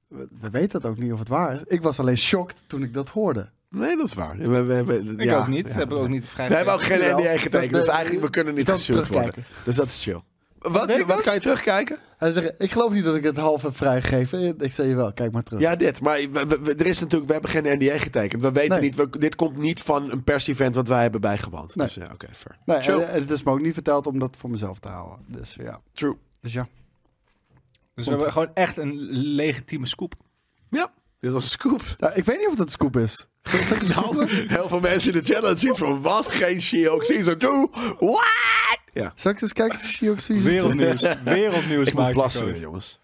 Speaker 4: We, we weten het ook niet of het waar is. Ik was alleen shocked toen ik dat hoorde.
Speaker 2: Nee, dat is waar. We, we- we-
Speaker 3: Ik
Speaker 2: ja,
Speaker 3: ook niet.
Speaker 2: ja.
Speaker 3: Dat hebben we ook niet vrij.
Speaker 2: We hebben ook geen
Speaker 4: Jawel.
Speaker 2: NDA getekend, dus
Speaker 4: Dat-
Speaker 2: eigenlijk we kunnen niet
Speaker 4: kan
Speaker 2: gesuurd worden.
Speaker 4: terugkijken.
Speaker 2: Dus dat is chill. Wat,
Speaker 4: ik
Speaker 2: wat
Speaker 4: ook.
Speaker 2: kan je terugkijken?
Speaker 4: Hij zegt, ik geloof niet dat ik het half heb vrijgegeven. Ik zei, wel, kijk maar terug.
Speaker 2: Ja, dit. Maar we- we- we- er is natuurlijk, we hebben geen NDA getekend. We weten
Speaker 4: Nee.
Speaker 2: niet, we- dit komt niet van een pers-event wat wij hebben bijgewoond.
Speaker 4: Nee.
Speaker 2: Dus ja, oké, fair.
Speaker 4: nee, eh,
Speaker 2: chill.
Speaker 4: en, en het is me ook niet verteld om dat voor mezelf te houden. Dus ja.
Speaker 2: True.
Speaker 4: Dus ja.
Speaker 3: Dus we hebben gewoon echt een legitieme scoop.
Speaker 2: Ja, dit was een scoop.
Speaker 4: Ja, ik weet niet of dat een scoop is.
Speaker 2: Nou, heel veel mensen in de challenge zien van wat? Geen She-Hulk season 2? What? Ja.
Speaker 4: Zal ik eens kijken of She-Hulk season two-
Speaker 3: Wereldnieuws. Wereldnieuws
Speaker 2: Ik moet
Speaker 3: maken.
Speaker 2: plassen
Speaker 3: Koos.
Speaker 2: weer, jongens.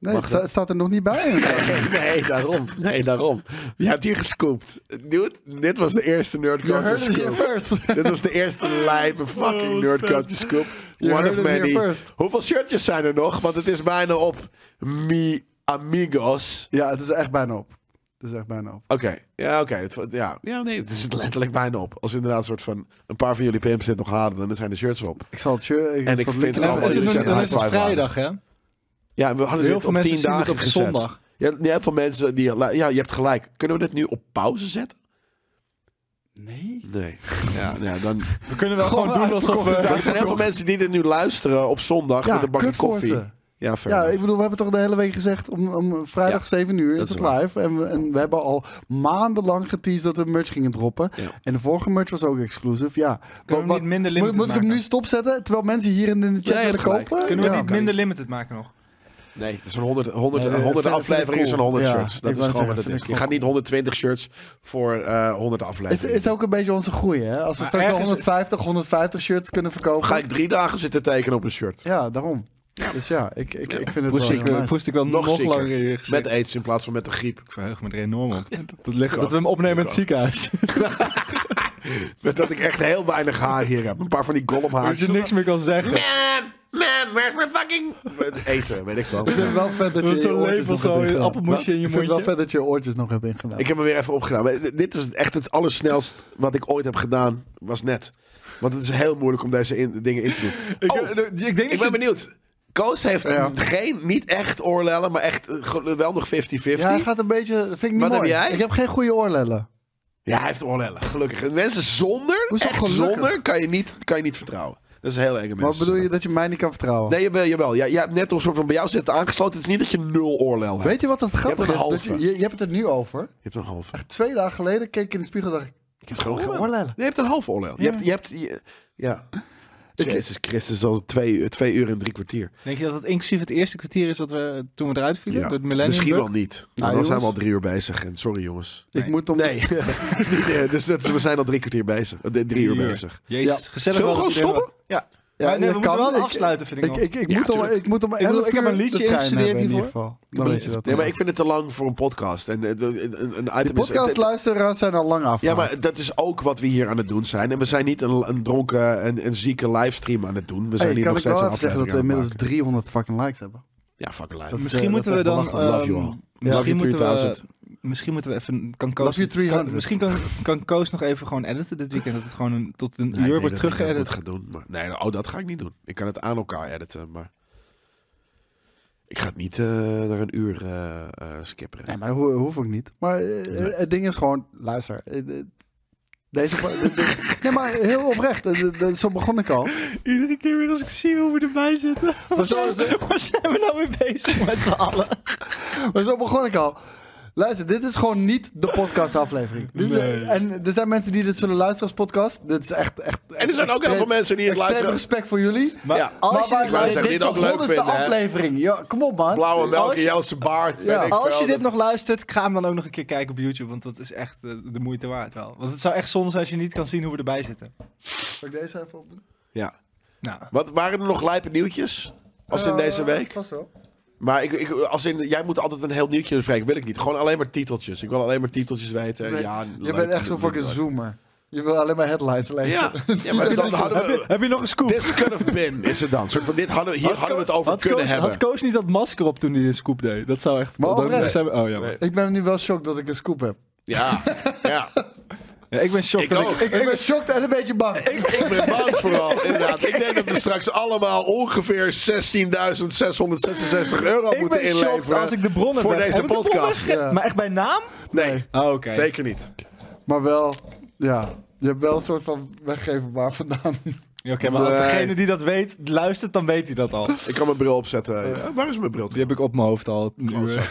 Speaker 4: Nee,
Speaker 2: Mag
Speaker 4: het sta-
Speaker 2: dat?
Speaker 4: staat er nog niet bij.
Speaker 2: Nee, daarom. Nee, daarom. Je hebt hier gescoopt. Dude, dit was de eerste
Speaker 4: You
Speaker 2: nerdculture
Speaker 4: heard it here
Speaker 2: scoop.
Speaker 4: first.
Speaker 2: Dit was de eerste lijpe fucking
Speaker 3: Oh,
Speaker 2: nerdculture scoop.
Speaker 4: You
Speaker 2: One
Speaker 4: heard
Speaker 2: of
Speaker 4: it here
Speaker 2: many.
Speaker 4: first.
Speaker 2: Hoeveel shirtjes zijn er nog? Want het is bijna op Mi Amigos.
Speaker 4: Ja, het is echt bijna op. Het is echt bijna op.
Speaker 2: Oké, ja, oké. Het- Ja. ja, nee, het is letterlijk bijna op. Als inderdaad een soort van een paar van jullie pimps dit nog halen, dan zijn de shirts op.
Speaker 4: Ik zal het shirt... Ik
Speaker 2: En
Speaker 4: zal
Speaker 2: ik vind
Speaker 4: het linkje
Speaker 2: het
Speaker 4: laten
Speaker 2: allemaal-
Speaker 3: En
Speaker 4: zien.
Speaker 2: jullie
Speaker 3: dan-
Speaker 2: zijn
Speaker 3: dan is het
Speaker 2: high five
Speaker 3: vrijdag, hè?
Speaker 2: Ja, we hadden
Speaker 3: Heel
Speaker 2: dit
Speaker 3: veel
Speaker 2: op
Speaker 3: mensen
Speaker 2: tien
Speaker 3: zien dit
Speaker 2: dagen
Speaker 3: op
Speaker 2: gezet.
Speaker 3: zondag.
Speaker 2: Ja, je hebt veel mensen die... Ja, je hebt gelijk. Kunnen we dit nu op pauze zetten?
Speaker 4: Nee.
Speaker 2: Nee. Ja, ja dan...
Speaker 3: We kunnen wel
Speaker 4: Gewoon
Speaker 3: gewoon doen alsof
Speaker 4: uitverkocht
Speaker 2: Er
Speaker 3: we...
Speaker 2: zijn heel veel mensen die dit nu luisteren op zondag
Speaker 4: Ja,
Speaker 2: met een bakje
Speaker 4: kut voor
Speaker 2: koffie.
Speaker 4: ze.
Speaker 2: Ja, fair
Speaker 4: Ja,
Speaker 2: enough.
Speaker 4: ik bedoel, we hebben toch de hele week gezegd... om, om vrijdag
Speaker 2: Ja,
Speaker 4: 7 uur
Speaker 2: dat
Speaker 4: is
Speaker 2: is
Speaker 4: het
Speaker 2: waar.
Speaker 4: live. En we, en we hebben al maandenlang geteased dat we merch gingen droppen.
Speaker 2: Ja.
Speaker 4: En de vorige merch was ook exclusive, ja.
Speaker 3: we
Speaker 4: Wat-
Speaker 3: niet minder limited
Speaker 4: moet, moet ik hem
Speaker 3: maken?
Speaker 4: nu stopzetten, terwijl mensen hier in de chat
Speaker 2: je hebt
Speaker 4: willen
Speaker 2: gelijk.
Speaker 4: kopen?
Speaker 3: Kunnen we
Speaker 4: Ja.
Speaker 3: niet minder limited maken nog?
Speaker 2: Nee, dat is een 100, 100,
Speaker 4: Nee, dat
Speaker 2: 100
Speaker 4: vind-
Speaker 2: afleveringen
Speaker 4: vind ik
Speaker 2: zijn 100
Speaker 4: cool.
Speaker 2: shirts.
Speaker 4: Ja,
Speaker 2: Dat
Speaker 4: ik
Speaker 2: is
Speaker 4: wou
Speaker 2: gewoon
Speaker 4: net
Speaker 2: wat het
Speaker 4: zeggen,
Speaker 2: is. Je
Speaker 4: vind ik
Speaker 2: gaat niet 120 shirts voor eh 100
Speaker 4: Is,
Speaker 2: afleveringen.
Speaker 4: is ook een beetje onze groei, hè? Als we
Speaker 3: Maar
Speaker 4: straks wel
Speaker 3: ergens-
Speaker 4: 150, 150 shirts kunnen verkopen.
Speaker 2: Ga ik drie dagen zitten tekenen op een shirt.
Speaker 4: Ja, daarom. Dus ja, ik, ik, ik vind het
Speaker 2: Precies.
Speaker 4: wel heel nice.
Speaker 3: Poest ik wel nog,
Speaker 2: Nog, zieker.
Speaker 3: langer in je gezicht.
Speaker 2: Met aids in plaats van met de griep.
Speaker 3: Ik verheug me er enorm op. Dat, ligt,
Speaker 2: ook.
Speaker 3: dat we hem opnemen
Speaker 2: Ik
Speaker 3: in het
Speaker 2: ook.
Speaker 3: ziekenhuis.
Speaker 2: Met dat ik echt heel weinig haar hier heb. Een paar van die
Speaker 3: Dat
Speaker 2: gollumhaartjes.
Speaker 3: je niks meer kan zeggen.
Speaker 2: Mam, mam, where's my fucking... Met eten, weet ik wel.
Speaker 4: Ik vind het wel vet dat
Speaker 3: Dat
Speaker 4: je
Speaker 3: is
Speaker 4: je
Speaker 3: zo'n
Speaker 4: oortjes
Speaker 3: lepel
Speaker 4: nog
Speaker 3: zo,
Speaker 4: hebt
Speaker 3: een
Speaker 4: ingedaan.
Speaker 3: appelmoesje in je
Speaker 4: Ik vind het wel
Speaker 3: mondje.
Speaker 4: vet dat je je oortjes nog hebt ingedaan.
Speaker 2: Ik heb hem weer even opgedaan. Maar Dit was echt het allersnelst wat ik ooit heb gedaan, was net. Want het is heel moeilijk om deze in- dingen in te doen.
Speaker 3: Ik,
Speaker 2: Oh,
Speaker 3: eh, ik denk
Speaker 2: ik ben
Speaker 3: dat je...
Speaker 2: benieuwd. Koos heeft geen, niet echt oorlellen, maar echt eh, gewoon wel nog 50-50.
Speaker 4: ja,
Speaker 2: Ja,
Speaker 4: hij gaat een beetje... Vind ik niet
Speaker 2: Wat heb
Speaker 4: mooi.
Speaker 2: jij?
Speaker 4: Ik heb geen goede oorlellen.
Speaker 2: hij heeft oorlellen, gelukkig. En mensen zonder,
Speaker 4: Hoezo
Speaker 2: echt
Speaker 4: gelukkig?
Speaker 2: zonder, kan je, niet, kan je niet vertrouwen. Dat is heel enge mensen.
Speaker 4: Maar bedoel je dat je mij niet kan vertrouwen?
Speaker 2: Nee, jawel, jawel. Jij, jij hebt net een soort van bij jou zitten aangesloten. Het is niet dat je nul oorlel hebt.
Speaker 4: Weet je wat het grappig
Speaker 2: hebt
Speaker 4: is?
Speaker 2: een
Speaker 4: Dat je,
Speaker 2: halve.
Speaker 4: je, je hebt het er nu over.
Speaker 2: Je hebt een half.
Speaker 4: Twee dagen geleden keek ik in de spiegel en dacht ik... Ik heb gewoon geen oorlellen.
Speaker 2: Je hebt een half oorlel. Je hebt, je hebt, je- ja. Jezus Christus, al twee, twee uur en drie kwartier.
Speaker 3: Denk je dat het inclusief het eerste kwartier is wat we toen we eruit vielen?
Speaker 2: Ja.
Speaker 3: Door het millennium
Speaker 2: Misschien
Speaker 3: bug?
Speaker 2: wel niet.
Speaker 4: Nou,
Speaker 2: Nou, dan zijn
Speaker 4: jongens.
Speaker 2: we al drie uur bezig. En sorry jongens.
Speaker 4: Ik
Speaker 3: Nee.
Speaker 4: moet om...
Speaker 2: Nee, Niet, eh, dus dat, we zijn al drie kwartier bezig. Eh, Drie uur bezig.
Speaker 3: Jezus,
Speaker 4: Ja.
Speaker 3: gezellig
Speaker 2: Zullen we
Speaker 3: wel dat
Speaker 2: gewoon
Speaker 3: iedereen
Speaker 2: stoppen?
Speaker 3: wel- Ja.
Speaker 4: Ja,
Speaker 3: Maar nee,
Speaker 4: dat
Speaker 3: we moeten
Speaker 4: kan.
Speaker 3: wel
Speaker 4: Ik-
Speaker 3: afsluiten, vind ik
Speaker 4: Ik,
Speaker 3: nog.
Speaker 4: ik, ik,
Speaker 2: Ja,
Speaker 4: moet om,
Speaker 2: tuurlijk.
Speaker 4: ik moet om
Speaker 3: bedoel,
Speaker 4: 11
Speaker 3: ik heb
Speaker 4: uur
Speaker 3: een liedje
Speaker 4: de trein
Speaker 3: ingestudeerd
Speaker 4: hebben in ieder
Speaker 3: hiervoor.
Speaker 4: geval.
Speaker 3: Ik
Speaker 4: Dan
Speaker 3: ben-
Speaker 4: weet je dat.
Speaker 2: Nee, maar ik vind het te lang voor een podcast. En eh, een, een, een
Speaker 4: De
Speaker 2: item is- het-
Speaker 4: podcastluisteraars zijn al lang af.
Speaker 2: Ja, maar dat is ook wat we hier aan het doen zijn. En we zijn niet een, een dronken en een zieke livestream aan het doen. We zijn
Speaker 4: Hey,
Speaker 2: hier
Speaker 4: kan
Speaker 2: nog
Speaker 4: ik
Speaker 2: steeds
Speaker 4: wel
Speaker 2: aan
Speaker 4: even
Speaker 2: het
Speaker 4: zeggen dat
Speaker 2: aflevering aan
Speaker 4: we inmiddels
Speaker 2: het maken.
Speaker 4: 300 fucking likes hebben?
Speaker 2: Ja, fucking
Speaker 4: Dat
Speaker 2: lijf.
Speaker 4: is,
Speaker 3: Misschien
Speaker 4: eh,
Speaker 3: moeten we
Speaker 4: dat is
Speaker 3: dan...
Speaker 4: belachelijk.
Speaker 2: Love you
Speaker 3: ehm,
Speaker 2: all. Love you
Speaker 3: Misschien moeten we...
Speaker 2: 3000.
Speaker 3: Misschien moeten we even... Kan Koos,
Speaker 4: Love you 300.
Speaker 3: kan- misschien kan, kan Koos nog even gewoon editen dit weekend. Dat het gewoon een, tot een
Speaker 2: Nee, ik
Speaker 3: uur
Speaker 2: denk
Speaker 3: wordt
Speaker 2: dat ik dat
Speaker 3: teruggeëdit.
Speaker 2: goed ga doen. Maar nee, oh, dat ga ik niet doen. Ik kan het aan elkaar editen, maar ik ga het niet eh, naar een uur eh eh, skipperen.
Speaker 4: Nee, maar dat ho- hoef ik niet. Maar eh, eh, het ding is gewoon, luister. eh, eh, Deze. de- de- nee, maar heel oprecht. eh, de- de- Zo begon ik al.
Speaker 3: Iedere keer weer als ik zie hoe we erbij zitten.
Speaker 4: Maar zo, zo,
Speaker 3: Waar zijn we nou mee bezig met z'n allen?
Speaker 4: maar zo begon ik al. Luister, dit is gewoon niet de podcastaflevering. Dit is-
Speaker 3: Nee.
Speaker 4: En er zijn mensen die dit zullen luisteren als podcast. Dit is echt. echt
Speaker 2: En er zijn ook heel veel mensen die het luisteren.
Speaker 4: respect voor jullie.
Speaker 3: Maar
Speaker 2: ja,
Speaker 4: Als
Speaker 2: maar
Speaker 4: je dit
Speaker 2: luisteraars
Speaker 4: luistert,
Speaker 2: die
Speaker 4: dit
Speaker 2: het
Speaker 4: is
Speaker 2: ook
Speaker 4: de
Speaker 2: leuk
Speaker 4: honderdste
Speaker 2: vinden, hè?
Speaker 4: aflevering. Ja, kom op man.
Speaker 2: Blauwe melk
Speaker 4: Als
Speaker 2: en
Speaker 4: je-
Speaker 2: Jelse baard.
Speaker 4: Ja,
Speaker 2: weet ik
Speaker 3: Als
Speaker 2: veel.
Speaker 3: je dit
Speaker 2: Dat-
Speaker 3: nog luistert, ga hem dan ook nog een keer kijken op YouTube. Want dat is echt eh, de moeite waard wel. Want het zou echt zonde zijn als je niet kan zien hoe we erbij zitten.
Speaker 4: Zal ik deze even opdoen?
Speaker 2: Ja.
Speaker 3: Nou,
Speaker 2: Wat waren er nog lijpe nieuwtjes? Als in
Speaker 4: Eh,
Speaker 2: deze week?
Speaker 4: Vast wel.
Speaker 2: Maar ik, ik, als in, jij moet altijd een heel nieuwtje bespreken. Wil ik niet. Gewoon alleen maar titeltjes. Ik wil alleen maar titeltjes weten.
Speaker 4: Nee,
Speaker 2: Eh, ja,
Speaker 4: je
Speaker 2: leuk,
Speaker 4: bent echt zo'n
Speaker 2: leuk,
Speaker 4: fucking
Speaker 2: leuk.
Speaker 4: zoomer. Je wil alleen maar headlines lezen.
Speaker 2: Ja, ja maar dan hadden we...
Speaker 3: Heb je nog een scoop?
Speaker 2: This could have been, is het dan. Soort van, dit hadden, we- hier hadden we het over
Speaker 3: had
Speaker 2: kunnen
Speaker 3: Koos,
Speaker 2: hebben.
Speaker 3: Had Koos niet dat masker op toen hij de scoop deed? Dat zou echt...
Speaker 4: Maar
Speaker 3: dat-
Speaker 4: oprecht.
Speaker 3: dat zou- oh, jammer.
Speaker 4: Ik ben nu wel shocked dat ik een scoop heb.
Speaker 2: Ja, ja.
Speaker 3: Ja, ik ben
Speaker 2: Ik
Speaker 3: shocked. dat
Speaker 2: ook.
Speaker 4: Ik, ik ben shocked en een beetje bang.
Speaker 2: Ik ben bang vooral, inderdaad. Ik denk dat we straks allemaal ongeveer 16.666 euro
Speaker 3: Ik
Speaker 2: moeten
Speaker 3: ben shocked
Speaker 2: inleveren
Speaker 3: als ik de bronnen
Speaker 2: voor
Speaker 3: heb.
Speaker 2: deze
Speaker 3: Heb ik de bronnen
Speaker 2: podcast.
Speaker 3: ge-
Speaker 4: Ja.
Speaker 3: Maar echt bij naam?
Speaker 2: Nee,
Speaker 3: Oh, oké.
Speaker 2: zeker niet.
Speaker 4: Maar wel, ja. Je hebt wel een soort van weggeven waar vandaan.
Speaker 3: Ja, Oké, maar als
Speaker 2: Nee.
Speaker 3: degene die dat weet, luistert, dan weet hij dat al.
Speaker 2: Ik kan mijn bril opzetten.
Speaker 3: Oh,
Speaker 2: Ja, waar is mijn bril?
Speaker 3: Die heb ik op mijn hoofd al. een uur.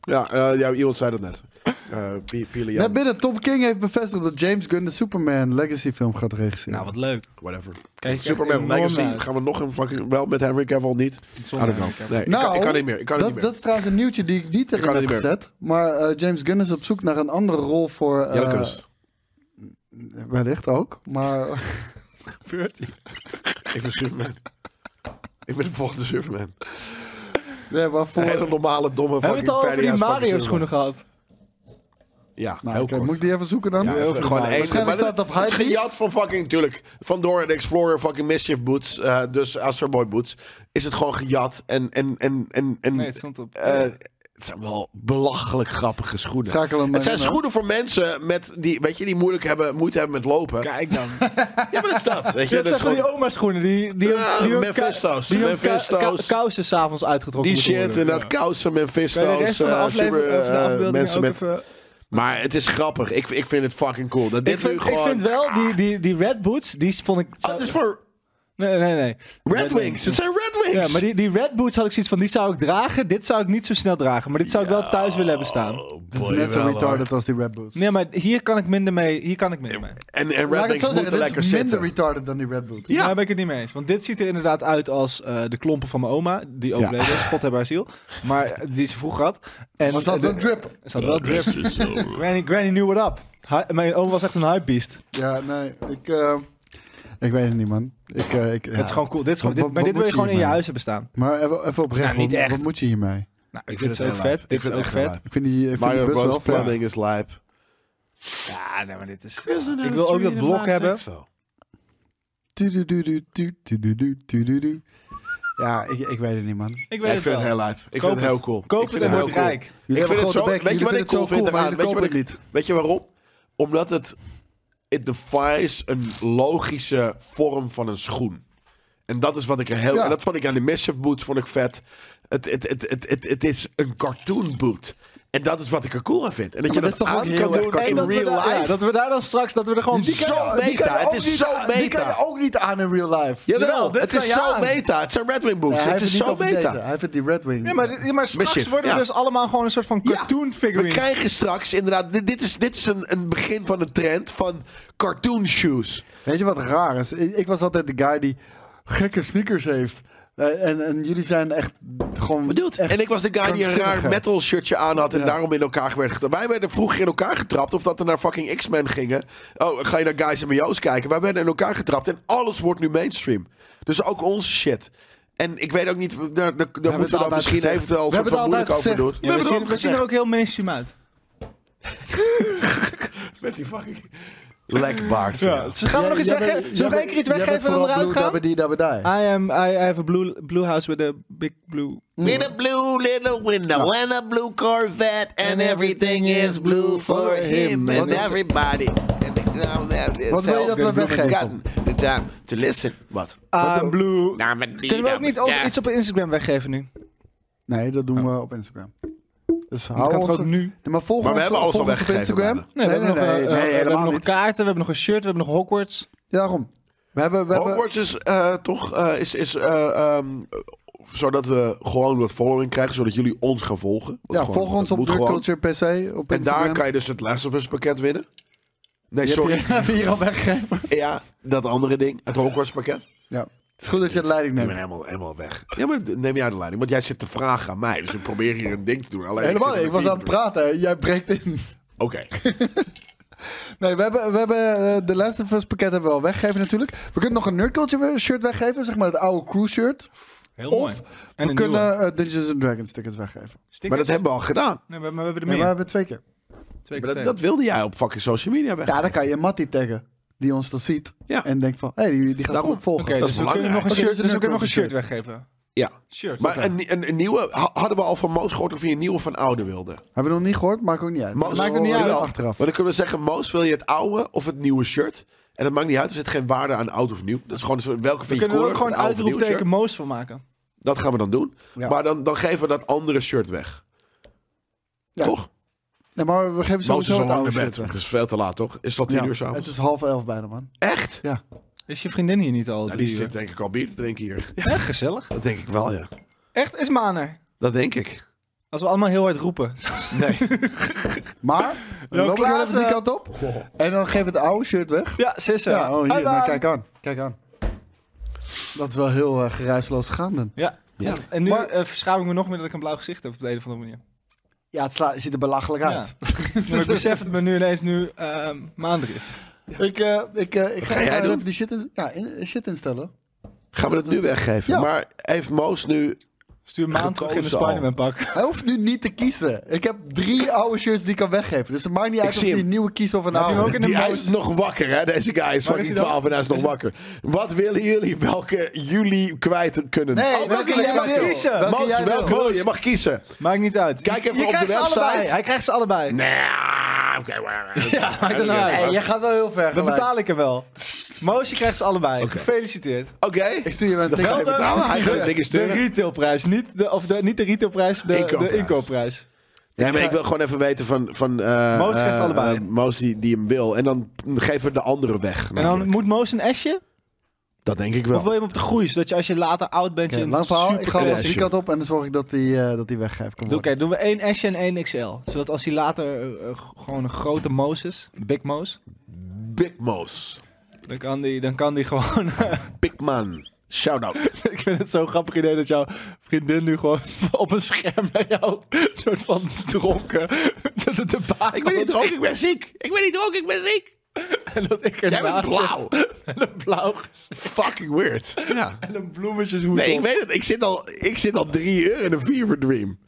Speaker 2: Ja, eh, ja, iemand zei dat net. Eh, P- Pili Jan,
Speaker 4: Net binnen, Tom King heeft bevestigd dat James Gunn de Superman Legacy film gaat regisseren.
Speaker 3: Nou, wat leuk.
Speaker 2: whatever.
Speaker 3: Kijk, ik
Speaker 2: Superman
Speaker 3: echt enorm
Speaker 2: Legacy,
Speaker 3: naar-
Speaker 2: gaan we nog een fucking... Wel met Henry Cavill niet? I don't know. Nee, ik, kan, ik
Speaker 3: Nou,
Speaker 2: kan niet meer. Ik kan
Speaker 4: Nou, dat,
Speaker 2: niet meer.
Speaker 4: dat is trouwens een nieuwtje die ik niet erin
Speaker 2: kan het
Speaker 4: heb
Speaker 2: niet meer.
Speaker 4: gezet. Maar eh, James Gunn is op zoek naar een andere rol voor... eh,
Speaker 2: Jelle Kunst.
Speaker 4: Wellicht ook, maar...
Speaker 3: gebeurt hier.
Speaker 2: Ik ben Superman. ik ben de volgende Superman.
Speaker 4: Nee, maar voor...
Speaker 2: Een hele normale, domme
Speaker 3: Hebben we
Speaker 2: fucking
Speaker 3: het al over die
Speaker 2: fatty-ass fucking
Speaker 3: Mario
Speaker 2: Superman.
Speaker 3: schoenen gehad?
Speaker 2: Ja,
Speaker 4: Nou,
Speaker 2: heel
Speaker 4: oké,
Speaker 2: kort.
Speaker 4: moet ik die even zoeken dan?
Speaker 2: Ja, gewoon
Speaker 4: Heel goed.
Speaker 2: één.
Speaker 4: Waarschijnlijk
Speaker 2: Maar
Speaker 4: staat
Speaker 2: dat-
Speaker 4: op
Speaker 2: Het is
Speaker 4: Hypebeast.
Speaker 2: gejat van fucking, natuurlijk. Van Dora de Explorer, fucking Mischief Boots. eh, dus Astro Boy Boots. Is het gewoon gejat. En, en, en, en, en
Speaker 3: Nee, het stond op.
Speaker 2: eh, het zijn wel belachelijk grappige schoenen.
Speaker 4: Schakel hem
Speaker 2: het zijn
Speaker 4: in, hè?
Speaker 2: schoenen voor mensen met die, weet je, die moeilijk hebben, moeite hebben met lopen.
Speaker 3: Kijk dan.
Speaker 2: Ja, maar dat is dat. Weet je, dat
Speaker 3: Dat zijn
Speaker 2: is
Speaker 3: van die
Speaker 2: gewoon
Speaker 3: oma schoenen. Die, die,
Speaker 2: Ja,
Speaker 3: die hun ka-
Speaker 2: Mephisto's.
Speaker 3: Die hun ka-
Speaker 2: Mephisto's.
Speaker 3: ka- kousen s'avonds uitgetrokken
Speaker 2: die
Speaker 3: moeten
Speaker 2: shit.
Speaker 3: worden.
Speaker 2: En dat
Speaker 3: Ja.
Speaker 2: kousen en
Speaker 3: Bij de
Speaker 2: vistos.
Speaker 3: rest van de aflevering, of de afbeelding
Speaker 2: eh, mensen
Speaker 3: ook
Speaker 2: met.
Speaker 3: even...
Speaker 2: Maar het is grappig. Ik, ik vind het fucking cool. Dat dit
Speaker 3: Ik vind,
Speaker 2: nu gewoon.
Speaker 3: ik vind wel, die, die, die Red Boots, die vond ik...
Speaker 2: Ah, het is voor
Speaker 3: Nee, nee, nee.
Speaker 2: Red Wings. Het zijn Red Wings.
Speaker 3: Ja, maar die, die Red Boots had ik zoiets van, die zou ik dragen. Dit zou ik niet zo snel dragen. Maar dit zou ik wel thuis willen hebben
Speaker 2: Oh,
Speaker 3: staan.
Speaker 4: Het is net zo retarded als die Red Boots.
Speaker 3: Nee, maar hier kan ik minder mee. Hier kan ik minder mee.
Speaker 2: En, en Red
Speaker 4: Laat ik
Speaker 2: Wings
Speaker 4: het zo
Speaker 2: moeten
Speaker 4: zeggen, dit is
Speaker 2: lekker
Speaker 4: minder
Speaker 2: zitten.
Speaker 4: retarded dan die Red Boots.
Speaker 3: Ja. Daar ben ik het niet mee eens. Want dit ziet er inderdaad uit als eh, de klompen van mijn oma. Die overleden is. God hebben haar ziel. Maar die ze vroeger had. En
Speaker 4: Was dat
Speaker 3: eh,
Speaker 4: een
Speaker 3: de-
Speaker 4: drip?
Speaker 3: Ze had wel drip. granny, granny knew what up. Hi- mijn oma was echt een hypebeest.
Speaker 4: Ja, nee, ik, eh, ik weet het niet, man. Ik, eh, ik,
Speaker 3: Het is gewoon cool. Dit is gewoon, dit,
Speaker 4: Wat-
Speaker 3: maar dit wil je
Speaker 4: wat moet je
Speaker 3: gewoon in je
Speaker 4: hiermee?
Speaker 3: huis hebben staan.
Speaker 4: Maar even, even oprecht,
Speaker 3: Nou, niet
Speaker 4: wat,
Speaker 3: echt.
Speaker 4: wat moet je hiermee?
Speaker 3: Nou,
Speaker 2: Ik
Speaker 3: dit
Speaker 2: vind
Speaker 3: is
Speaker 2: het
Speaker 3: ook
Speaker 2: heel
Speaker 3: vet.
Speaker 2: lijp. Ik
Speaker 3: Dit is
Speaker 2: vind
Speaker 3: ook
Speaker 2: het echt heel
Speaker 3: vet.
Speaker 2: lijp.
Speaker 4: Ik vind die, ik vind die
Speaker 2: Mario
Speaker 4: bus wel
Speaker 2: Bros.
Speaker 4: vet.
Speaker 2: planning is live.
Speaker 3: Ja, nee, maar dit is... Ik wil ook dat blok hebben.
Speaker 4: Tudududu, tudududu, tududu. Ja, ik, ik weet het niet, man.
Speaker 3: Ik
Speaker 2: Ja,
Speaker 3: weet
Speaker 2: ik
Speaker 3: het
Speaker 2: vind het
Speaker 3: wel.
Speaker 2: heel lijp. Ik
Speaker 3: Koop
Speaker 2: vind het heel cool. Ik
Speaker 3: Koop
Speaker 2: vind
Speaker 3: het en
Speaker 2: heel
Speaker 3: word
Speaker 2: cool.
Speaker 3: rijk.
Speaker 2: Ik vind het zo, weet je wat ik
Speaker 4: zo
Speaker 2: cool vind
Speaker 4: maar
Speaker 2: eraan?
Speaker 4: jullie
Speaker 2: Weet je,
Speaker 4: kopen
Speaker 2: wat
Speaker 4: het
Speaker 2: ik,
Speaker 4: niet.
Speaker 2: weet je waarom? Omdat het... It defies een logische vorm van een schoen. En dat is wat ik er heel...
Speaker 4: Ja.
Speaker 2: En dat vond ik aan de Mischief Boots vond ik vet. Het, het, het, het, het, het is een cartoon boot. En dat is wat ik er cool aan vind. En dat
Speaker 4: Maar
Speaker 2: je
Speaker 4: dat
Speaker 2: dat,
Speaker 4: is toch ook
Speaker 2: aan
Speaker 4: heel
Speaker 2: kan
Speaker 4: erg
Speaker 2: doen
Speaker 4: cartoon.
Speaker 2: in
Speaker 3: dat, we
Speaker 2: real
Speaker 3: daar, ja,
Speaker 2: life.
Speaker 3: dat we daar dan straks, dat we er gewoon...
Speaker 2: Zo
Speaker 4: Die kan
Speaker 2: meta.
Speaker 4: je
Speaker 2: Het
Speaker 4: ook
Speaker 2: is
Speaker 4: niet
Speaker 2: zo
Speaker 4: aan- Die kan
Speaker 2: meta.
Speaker 4: je ook niet aan in real life.
Speaker 3: Jawel,
Speaker 2: Jawel,
Speaker 3: dit
Speaker 2: het
Speaker 3: kan
Speaker 2: is
Speaker 3: je
Speaker 2: zo
Speaker 3: aan.
Speaker 2: meta. Het zijn Red Wing Boots.
Speaker 4: Nee, hij
Speaker 2: het
Speaker 4: heeft
Speaker 2: is
Speaker 4: niet
Speaker 2: zo
Speaker 4: over deze.
Speaker 2: meta.
Speaker 4: Hij vindt die Red Wing.
Speaker 3: Ja, maar, dit- ja, maar straks
Speaker 2: Mischief,
Speaker 3: worden we
Speaker 2: ja.
Speaker 3: dus allemaal gewoon een soort van
Speaker 2: Ja,
Speaker 3: cartoon
Speaker 2: We
Speaker 3: figurines.
Speaker 2: krijgen straks inderdaad... Dit, dit is, dit is een, een begin van een trend van cartoon shoes.
Speaker 4: Weet je wat raar is? Ik, ik was altijd de guy die gekke sneakers heeft. Eh, en, en jullie zijn echt gewoon...
Speaker 2: Bedoeld.
Speaker 4: echt
Speaker 2: En ik was de guy die een raar
Speaker 4: krankzinnige.
Speaker 2: metal shirtje aan had en
Speaker 4: Ja.
Speaker 2: daarom in elkaar werd getrapt. Wij werden vroeger in elkaar getrapt of dat we naar fucking X-Men gingen. Oh, ga je naar Guys en Mio's kijken. Wij werden in elkaar getrapt en alles wordt nu mainstream. Dus ook onze shit. En ik weet ook niet, daar, daar, daar
Speaker 4: het
Speaker 2: moeten we dan
Speaker 4: altijd
Speaker 2: misschien
Speaker 4: gezegd.
Speaker 2: eventueel
Speaker 4: We
Speaker 2: zo
Speaker 4: hebben het
Speaker 2: moeilijk
Speaker 4: altijd
Speaker 2: over
Speaker 4: gezegd.
Speaker 2: doen.
Speaker 4: Ja,
Speaker 2: We hebben
Speaker 3: Ja, we,
Speaker 2: het
Speaker 3: zien, we
Speaker 2: altijd
Speaker 3: zien er
Speaker 2: gezegd.
Speaker 3: ook heel mainstream uit.
Speaker 2: Met die fucking lekbaard. van jou.
Speaker 3: Ze gaan we nog iets
Speaker 4: Jij- jij
Speaker 3: weggeven? Zullen we
Speaker 4: bent- jij
Speaker 3: nog één keer iets
Speaker 4: bent- jij
Speaker 3: weggeven en
Speaker 4: bent
Speaker 3: dan eruit
Speaker 4: vooral
Speaker 3: gaan?
Speaker 4: blue dabbedai.
Speaker 3: I am, I, I have a blue, blue house with a big blue.
Speaker 4: Mm.
Speaker 2: In a blue little window and a blue Corvette and everything is blue for him
Speaker 4: Wat
Speaker 2: and
Speaker 4: is-
Speaker 2: everybody. And the- now that is
Speaker 4: Wat wil je dat we
Speaker 2: all good
Speaker 4: weggeven?
Speaker 2: gotten The time to listen. Wat?
Speaker 3: I'm
Speaker 2: Nou,
Speaker 3: blue.
Speaker 2: maar die
Speaker 3: Kunnen we ook
Speaker 2: dan-
Speaker 3: niet ons
Speaker 2: Ja.
Speaker 3: iets op Instagram weggeven nu?
Speaker 4: Nee, dat doen we op Instagram. Dus
Speaker 3: Dat
Speaker 4: hou
Speaker 3: kan toch
Speaker 4: ons...
Speaker 3: ook nu?
Speaker 4: Nee, maar volg
Speaker 2: Maar we
Speaker 4: ons,
Speaker 2: hebben alles
Speaker 4: volg
Speaker 2: al
Speaker 4: ons op
Speaker 2: weggegeven,
Speaker 4: Instagram.
Speaker 2: bijna.
Speaker 3: Nee, we hebben nog, eh, eh, we hebben
Speaker 4: helemaal
Speaker 3: nog
Speaker 4: niet.
Speaker 3: kaarten, we hebben nog een shirt, we hebben nog Hogwarts.
Speaker 4: Daarom. We hebben, we hebben,
Speaker 2: Hogwarts is eh, toch, eh, is, is, eh, ehm, zodat we gewoon wat following krijgen, zodat jullie ons gaan volgen. Want
Speaker 4: ja,
Speaker 2: gewoon,
Speaker 4: volg
Speaker 2: dat
Speaker 4: ons op
Speaker 2: moet
Speaker 4: Drug
Speaker 2: gewoon.
Speaker 4: Culture PC op
Speaker 2: En daar
Speaker 4: Instagram.
Speaker 2: kan je dus het Last of Us pakket winnen. Nee,
Speaker 4: Die heb je-
Speaker 2: sorry.
Speaker 4: heb je hier al weggegeven.
Speaker 2: Ja, dat andere ding, het Hogwarts pakket.
Speaker 4: Ja. Het is goed dat je de leiding
Speaker 2: Ik ben
Speaker 4: neemt.
Speaker 2: helemaal, helemaal weg. Ja, maar neem jij de leiding. Want jij zit te vragen aan mij. Dus ik probeer hier een ding te doen. Alleen
Speaker 4: Helemaal
Speaker 2: zit
Speaker 4: niet.
Speaker 2: in
Speaker 4: Ik
Speaker 2: de
Speaker 4: was aan het
Speaker 2: feed.
Speaker 4: praten. hè. Jij breekt in.
Speaker 2: Oké.
Speaker 4: Nee, we hebben, we hebben eh, de Last of Us pakket hebben we al weggegeven natuurlijk. We kunnen nog een Nerd Culture shirt weggeven. Zeg maar het oude crew shirt.
Speaker 3: Heel
Speaker 4: mooi.
Speaker 3: En
Speaker 4: we
Speaker 3: een
Speaker 4: kunnen
Speaker 3: nieuwe.
Speaker 4: eh, Dungeons and Dragons tickets weggeven.
Speaker 3: Stickers?
Speaker 2: Maar dat hebben we al gedaan.
Speaker 3: Nee, we, maar we hebben er
Speaker 4: Nee, maar we
Speaker 3: meer.
Speaker 4: hebben twee keer.
Speaker 3: Zeker,
Speaker 2: Maar dat,
Speaker 3: zeker.
Speaker 2: dat wilde jij op fucking social media weg.
Speaker 4: Ja, dan kan je Matty taggen. Die ons dan ziet.
Speaker 2: Ja.
Speaker 4: En denkt van, hé, hey, die, die gaat
Speaker 2: Daarom.
Speaker 4: ook volgen.
Speaker 3: Oké,
Speaker 2: dat
Speaker 3: dus
Speaker 2: is
Speaker 3: we kunnen
Speaker 2: belangrijk.
Speaker 3: nog een
Speaker 4: Oké,
Speaker 3: shirt,
Speaker 4: dus
Speaker 3: dus we
Speaker 4: een
Speaker 3: kunnen nog een
Speaker 4: shirt.
Speaker 3: shirt weggeven.
Speaker 2: Ja.
Speaker 3: Shirt.
Speaker 2: Maar
Speaker 3: oké.
Speaker 2: een, nie- een, een nieuwe, ha- hadden we al van Moos gehoord of hij een nieuwe van oude wilde?
Speaker 4: Hebben we nog niet gehoord? Maakt ook niet uit.
Speaker 2: Moos,
Speaker 4: Maakt ook niet
Speaker 2: oh,
Speaker 4: uit
Speaker 2: jawel.
Speaker 4: achteraf.
Speaker 2: Maar dan kunnen we zeggen, Moos, wil je het oude of het nieuwe shirt? En dat maakt niet uit, er zit geen waarde aan oud of nieuw. Dat is gewoon een soort- welke
Speaker 3: we
Speaker 2: vind je
Speaker 3: kunnen er ook
Speaker 2: cooler,
Speaker 3: gewoon
Speaker 2: het oude of nieuwe
Speaker 3: uitroepteken Moos van maken.
Speaker 2: shirt? Dat gaan we dan doen.
Speaker 4: Ja.
Speaker 2: Maar dan, dan geven we dat andere shirt weg.
Speaker 4: Ja.
Speaker 2: Toch?
Speaker 4: Nee, maar we geven
Speaker 2: Moos is
Speaker 4: sowieso
Speaker 2: al
Speaker 4: het
Speaker 2: lang
Speaker 4: oude
Speaker 2: naar
Speaker 4: shirt
Speaker 2: bed.
Speaker 4: weg.
Speaker 2: Het is veel te laat, toch? Is dat tien
Speaker 4: Ja,
Speaker 2: uur s'avonds?
Speaker 4: het is half elf bijna, man.
Speaker 2: Echt?
Speaker 4: Ja.
Speaker 3: Is je vriendin hier niet al
Speaker 2: Nou,
Speaker 3: drie
Speaker 2: die
Speaker 3: uur?
Speaker 2: zit denk ik al bier te drinken hier.
Speaker 3: Echt gezellig.
Speaker 2: Dat denk ik wel, ja.
Speaker 3: Echt is maner.
Speaker 2: Dat denk ik.
Speaker 3: Als we allemaal heel hard roepen.
Speaker 2: Nee.
Speaker 4: Maar, dan
Speaker 3: Jo,
Speaker 4: loop ik wel
Speaker 3: Klaas,
Speaker 4: even die
Speaker 3: eh,
Speaker 4: kant op. En dan geef het oude shirt weg.
Speaker 3: Ja, eh. sissen.
Speaker 4: Ja, oh,
Speaker 3: Hoi,
Speaker 4: hier. Maar
Speaker 3: baan.
Speaker 4: kijk aan. Kijk aan. Dat is wel heel eh, geruisloos gegaan dan.
Speaker 3: Ja.
Speaker 2: Ja.
Speaker 3: En nu
Speaker 4: Maar-
Speaker 3: eh, verschaam ik me nog meer dat ik een blauw gezicht heb op de een of andere manier.
Speaker 4: Ja, het sla- ziet er belachelijk uit.
Speaker 3: Maar ik besef het me nu ineens nu ehm maandag is.
Speaker 4: Ik, eh, ik, eh, ik ga,
Speaker 2: ga jij
Speaker 4: even
Speaker 2: doen?
Speaker 4: die shit, in- ja, in- shit instellen.
Speaker 2: Gaan we dat nu weggeven?
Speaker 4: Ja.
Speaker 2: Maar heeft Moos nu...
Speaker 3: Stuur maand terug in een
Speaker 2: Gekozen al.
Speaker 3: Spider-Man pak.
Speaker 4: Hij hoeft nu niet te kiezen. Ik heb drie oude shirts die ik kan weggeven. Dus het maakt niet uit
Speaker 2: Ik
Speaker 4: of
Speaker 2: zie
Speaker 4: hij
Speaker 2: hem.
Speaker 4: een nieuwe kiest of een
Speaker 3: Heb je hem
Speaker 4: oude.
Speaker 3: ook in de
Speaker 2: Die hij
Speaker 3: Moos?
Speaker 2: is nog wakker, hè? Deze guy is
Speaker 3: Waar is
Speaker 2: fucking
Speaker 3: hij dan?
Speaker 2: 12 en hij is nog wakker. Wat willen jullie welke jullie kwijt kunnen?
Speaker 4: Nee,
Speaker 2: Oh,
Speaker 4: welke
Speaker 2: jij
Speaker 4: jij
Speaker 2: kwijt
Speaker 4: wil.
Speaker 2: wil.
Speaker 3: Kiezen.
Speaker 4: Welke
Speaker 2: Moos,
Speaker 4: jij wil.
Speaker 2: welke wil je? Je mag kiezen.
Speaker 3: Maakt niet uit.
Speaker 2: Kijk
Speaker 3: Je-
Speaker 2: even
Speaker 3: je
Speaker 2: op de
Speaker 3: krijgt ze
Speaker 2: website.
Speaker 3: allebei. Hij krijgt ze allebei.
Speaker 2: Nee, oké. maar-
Speaker 3: Ja, maakt het nou uit.
Speaker 4: Nee, jij gaat wel heel ver
Speaker 3: Dan
Speaker 4: gelijk.
Speaker 3: betaal ik hem wel. Moosje krijgt ze allebei. Gefeliciterd.
Speaker 2: Oké.
Speaker 4: Ik stuur je wel een
Speaker 2: Dat ga je
Speaker 4: tikkie.
Speaker 2: betalen. Hij gaat het ding
Speaker 3: De
Speaker 2: sturen.
Speaker 3: retailprijs, niet de, of de, niet de retailprijs, de de inkoopprijs.
Speaker 2: Inkoopprijs. Nee, maar ik wil gewoon even weten van... van eh,
Speaker 3: eh, Moos geeft
Speaker 2: eh,
Speaker 3: allebei.
Speaker 2: eh, Moos die, die hem wil. En dan geven we de andere weg.
Speaker 3: En dan
Speaker 2: namelijk.
Speaker 3: moet Moos een esje?
Speaker 2: Dat denk ik
Speaker 3: Of wil
Speaker 2: wel.
Speaker 3: je hem op de groei, zodat je als je later oud bent...
Speaker 4: Oké,
Speaker 3: je een
Speaker 4: lang verhaal.
Speaker 3: super-
Speaker 4: Ik ga
Speaker 2: Superclash,
Speaker 4: wel die kant op en dan zorg ik dat die, eh, dat die weggeeft. Kom
Speaker 3: Doe-
Speaker 4: op.
Speaker 3: Oké, doen we één esje en één XL. Zodat als hij later eh, eh, gewoon een grote Moos is, Big Moos,
Speaker 2: Big Moos.
Speaker 3: dan kan die, dan kan die gewoon...
Speaker 2: Big Man. Shout-out.
Speaker 3: ik vind het zo'n grappig idee dat jouw vriendin nu gewoon op een scherm bij jou... een soort van dronken... dat het de baan
Speaker 2: Ik ben niet
Speaker 3: was.
Speaker 2: dronken, ik ben ziek. Ik ben niet dronken, ik ben ziek.
Speaker 3: En dat ik
Speaker 2: Jij bent
Speaker 3: ernaast
Speaker 2: blauw.
Speaker 3: zit en een blauw gezicht
Speaker 2: Fucking weird. Ja.
Speaker 3: en een bloemetjeshoed
Speaker 2: Nee, ik
Speaker 3: op.
Speaker 2: weet het. Ik zit al, ik zit al drie uur in een fever dream.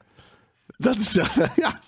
Speaker 2: Dat is... ja.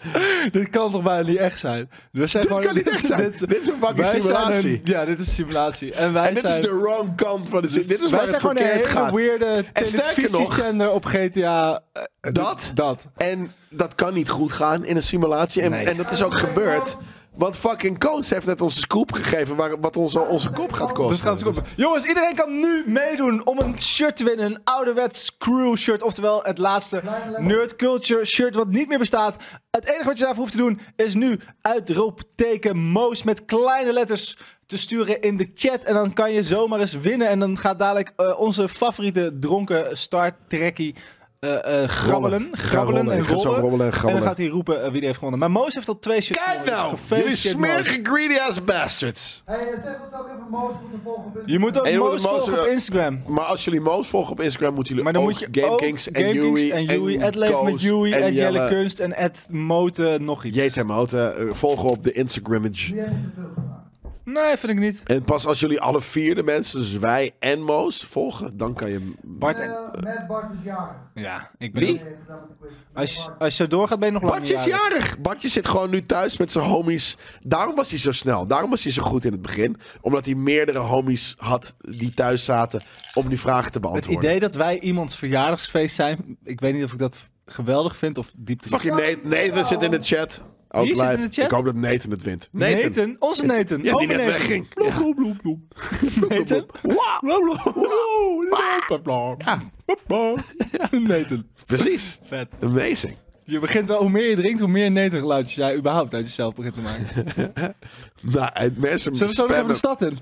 Speaker 3: Dit kan toch bijna niet echt zijn? We zijn
Speaker 2: Dit
Speaker 3: gewoon,
Speaker 2: kan niet echt zijn. Dit is een fucking
Speaker 3: wij zijn
Speaker 2: simulatie.
Speaker 3: een- ja, dit is simulatie. En wij
Speaker 2: En dit is
Speaker 3: zijn,
Speaker 2: de wrong kant van de zin. Dit is
Speaker 3: wij
Speaker 2: waar het
Speaker 3: zijn gewoon een
Speaker 2: verkeerd
Speaker 3: hele
Speaker 2: gaat.
Speaker 3: weirde
Speaker 2: En sterker nog-
Speaker 3: televisiezender op GTA. eh,
Speaker 2: Dat?
Speaker 3: Dat.
Speaker 2: En dat kan niet goed gaan in een simulatie. En, en dat is ook gebeurd. Want fucking Koos heeft net onze scoop gegeven... Waar, wat onze, onze kop gaat kosten.
Speaker 3: Dus gaat het komen. Jongens, iedereen kan nu meedoen om een shirt te winnen. Een ouderwets crew shirt. Oftewel het laatste nerd culture shirt wat niet meer bestaat. Het enige wat je daarvoor hoeft te doen is nu uitroepteken Moos met kleine letters te sturen in de chat. En dan kan je zomaar eens winnen. En dan gaat dadelijk eh, onze favoriete dronken Star Trekkie eh, eh, grabbelen.
Speaker 2: Rollen. Ja,
Speaker 3: Grabbelen
Speaker 2: rollen.
Speaker 3: en
Speaker 2: Ik ga zo
Speaker 3: rollen.
Speaker 2: robbelen en
Speaker 3: en dan
Speaker 2: grabbelen.
Speaker 3: gaat hij roepen eh, wie die heeft gewonnen. Maar Moos heeft al twee shirts
Speaker 2: Kijk
Speaker 3: gewonnen,
Speaker 2: nou!
Speaker 3: dus
Speaker 2: Jullie
Speaker 3: gefeliciteerd, Moos.
Speaker 2: smerige greedy ass bastards.
Speaker 5: Hey, eh, zeg ons ook even Moos moeten volgen. op
Speaker 3: Je moet ook
Speaker 2: En je moet
Speaker 3: Moos
Speaker 2: Moos,
Speaker 3: volgen op
Speaker 2: eh,
Speaker 3: Instagram.
Speaker 2: Maar als jullie Moos volgen op Instagram, moeten jullie
Speaker 3: Maar dan
Speaker 2: ook
Speaker 3: moet je ook
Speaker 2: GameKings en
Speaker 3: GameKings
Speaker 2: Yui
Speaker 3: en Yui, Ed Leef met
Speaker 2: Koos
Speaker 3: Yui, en Jelle
Speaker 2: Jelle
Speaker 3: Kunst en Ed Moten, nog iets.
Speaker 2: Jeet hem out, hè. Eh, Volgen op de Instagrammage.
Speaker 3: Nee, vind ik niet.
Speaker 2: En pas als jullie alle vier de mensen, dus wij en Moos, volgen, dan kan je...
Speaker 3: Bart en...
Speaker 5: Uh, Matt Bart is jarig.
Speaker 3: Ja, ik ben...
Speaker 2: Wie?
Speaker 5: Even dat met de quiz.
Speaker 3: Als, je- als je zo doorgaat ben je nog lang
Speaker 2: Bartje is
Speaker 3: niet jarig.
Speaker 2: jarig. Bartje zit gewoon nu thuis met zijn homies. Daarom was hij zo snel. Daarom was hij zo goed in het begin. Omdat hij meerdere homies had die thuis zaten om die vragen te
Speaker 6: Het
Speaker 2: beantwoorden.
Speaker 6: idee dat wij iemands verjaardagsfeest zijn, ik weet niet of ik dat geweldig vind of diepte.
Speaker 2: Fucking Nathan, Nathan zit in de chat. Ook
Speaker 3: Wie zit
Speaker 2: live.
Speaker 3: in de chat?
Speaker 2: Ik hoop dat Nathan het wint.
Speaker 3: Nathan. onze Nathan.
Speaker 2: Ja,
Speaker 3: Ome
Speaker 2: die net
Speaker 3: Nathan.
Speaker 2: wegging.
Speaker 3: Bloep,
Speaker 2: Ja.
Speaker 3: bloep, bloep, bloep. Nathan.
Speaker 2: Wow.
Speaker 3: Bloep, bloep, bloep, bloep, bloep. Bloep, bloep. Nathan.
Speaker 2: Precies.
Speaker 3: Vet.
Speaker 2: Amazing.
Speaker 3: Je begint wel, hoe meer je drinkt, hoe meer Nathan geluidjes jij überhaupt uit jezelf begint te maken. Zullen
Speaker 2: Nou, het mensen
Speaker 3: we zo nog even de
Speaker 2: spammen.
Speaker 3: stad in?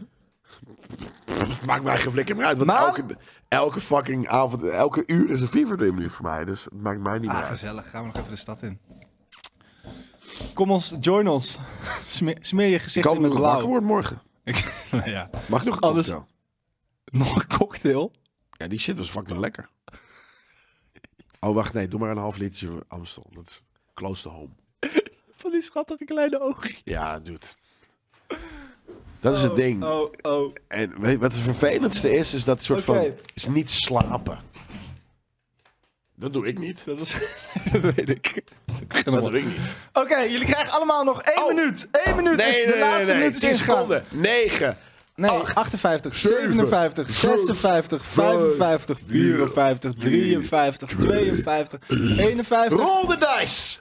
Speaker 2: Maakt mij geen flikker meer uit. Want
Speaker 3: Maar-
Speaker 2: elke, elke fucking avond, elke uur is een fever dream nu voor mij. Dus het maakt mij niet meer uit.
Speaker 3: Ah, gezellig. Gaan we nog even de stad in. Kom ons, join ons. Smeer, smeer je
Speaker 2: Ik
Speaker 3: gezicht
Speaker 2: hoop
Speaker 3: in
Speaker 2: dat
Speaker 3: met
Speaker 2: ik nog wakker
Speaker 3: blauw.
Speaker 2: word morgen.
Speaker 3: Ik- nou ja.
Speaker 2: Mag ik nog een
Speaker 3: Anders-
Speaker 2: cocktail?
Speaker 3: Nog een cocktail?
Speaker 2: Ja, die shit was fucking lekker. Oh, wacht. Nee, doe maar een half literje Amstel. Dat is close to home.
Speaker 3: Van die schattige kleine oogjes.
Speaker 2: Ja, dude. Dat is het ding.
Speaker 3: Oh, oh.
Speaker 2: En weet, wat het vervelendste is, is dat soort
Speaker 3: Oké.
Speaker 2: van... Is niet slapen. Dat doe ik niet. Dat,
Speaker 3: dat weet ik.
Speaker 2: doe
Speaker 3: Oké,
Speaker 2: ik niet.
Speaker 3: jullie krijgen allemaal nog één
Speaker 2: Oh.
Speaker 3: minuut. Eén minuut
Speaker 2: Nee,
Speaker 3: is
Speaker 2: nee,
Speaker 3: de
Speaker 2: nee,
Speaker 3: laatste
Speaker 2: nee, nee.
Speaker 3: minuut is
Speaker 2: 10
Speaker 3: ingegaan.
Speaker 2: seconden. 9.
Speaker 3: Nee,
Speaker 2: Acht,
Speaker 3: 58,
Speaker 2: zeven,
Speaker 3: 57,
Speaker 2: zes,
Speaker 3: 56,
Speaker 2: vijf,
Speaker 3: 55, 54, 53, 52, 51.
Speaker 2: Roll the dice.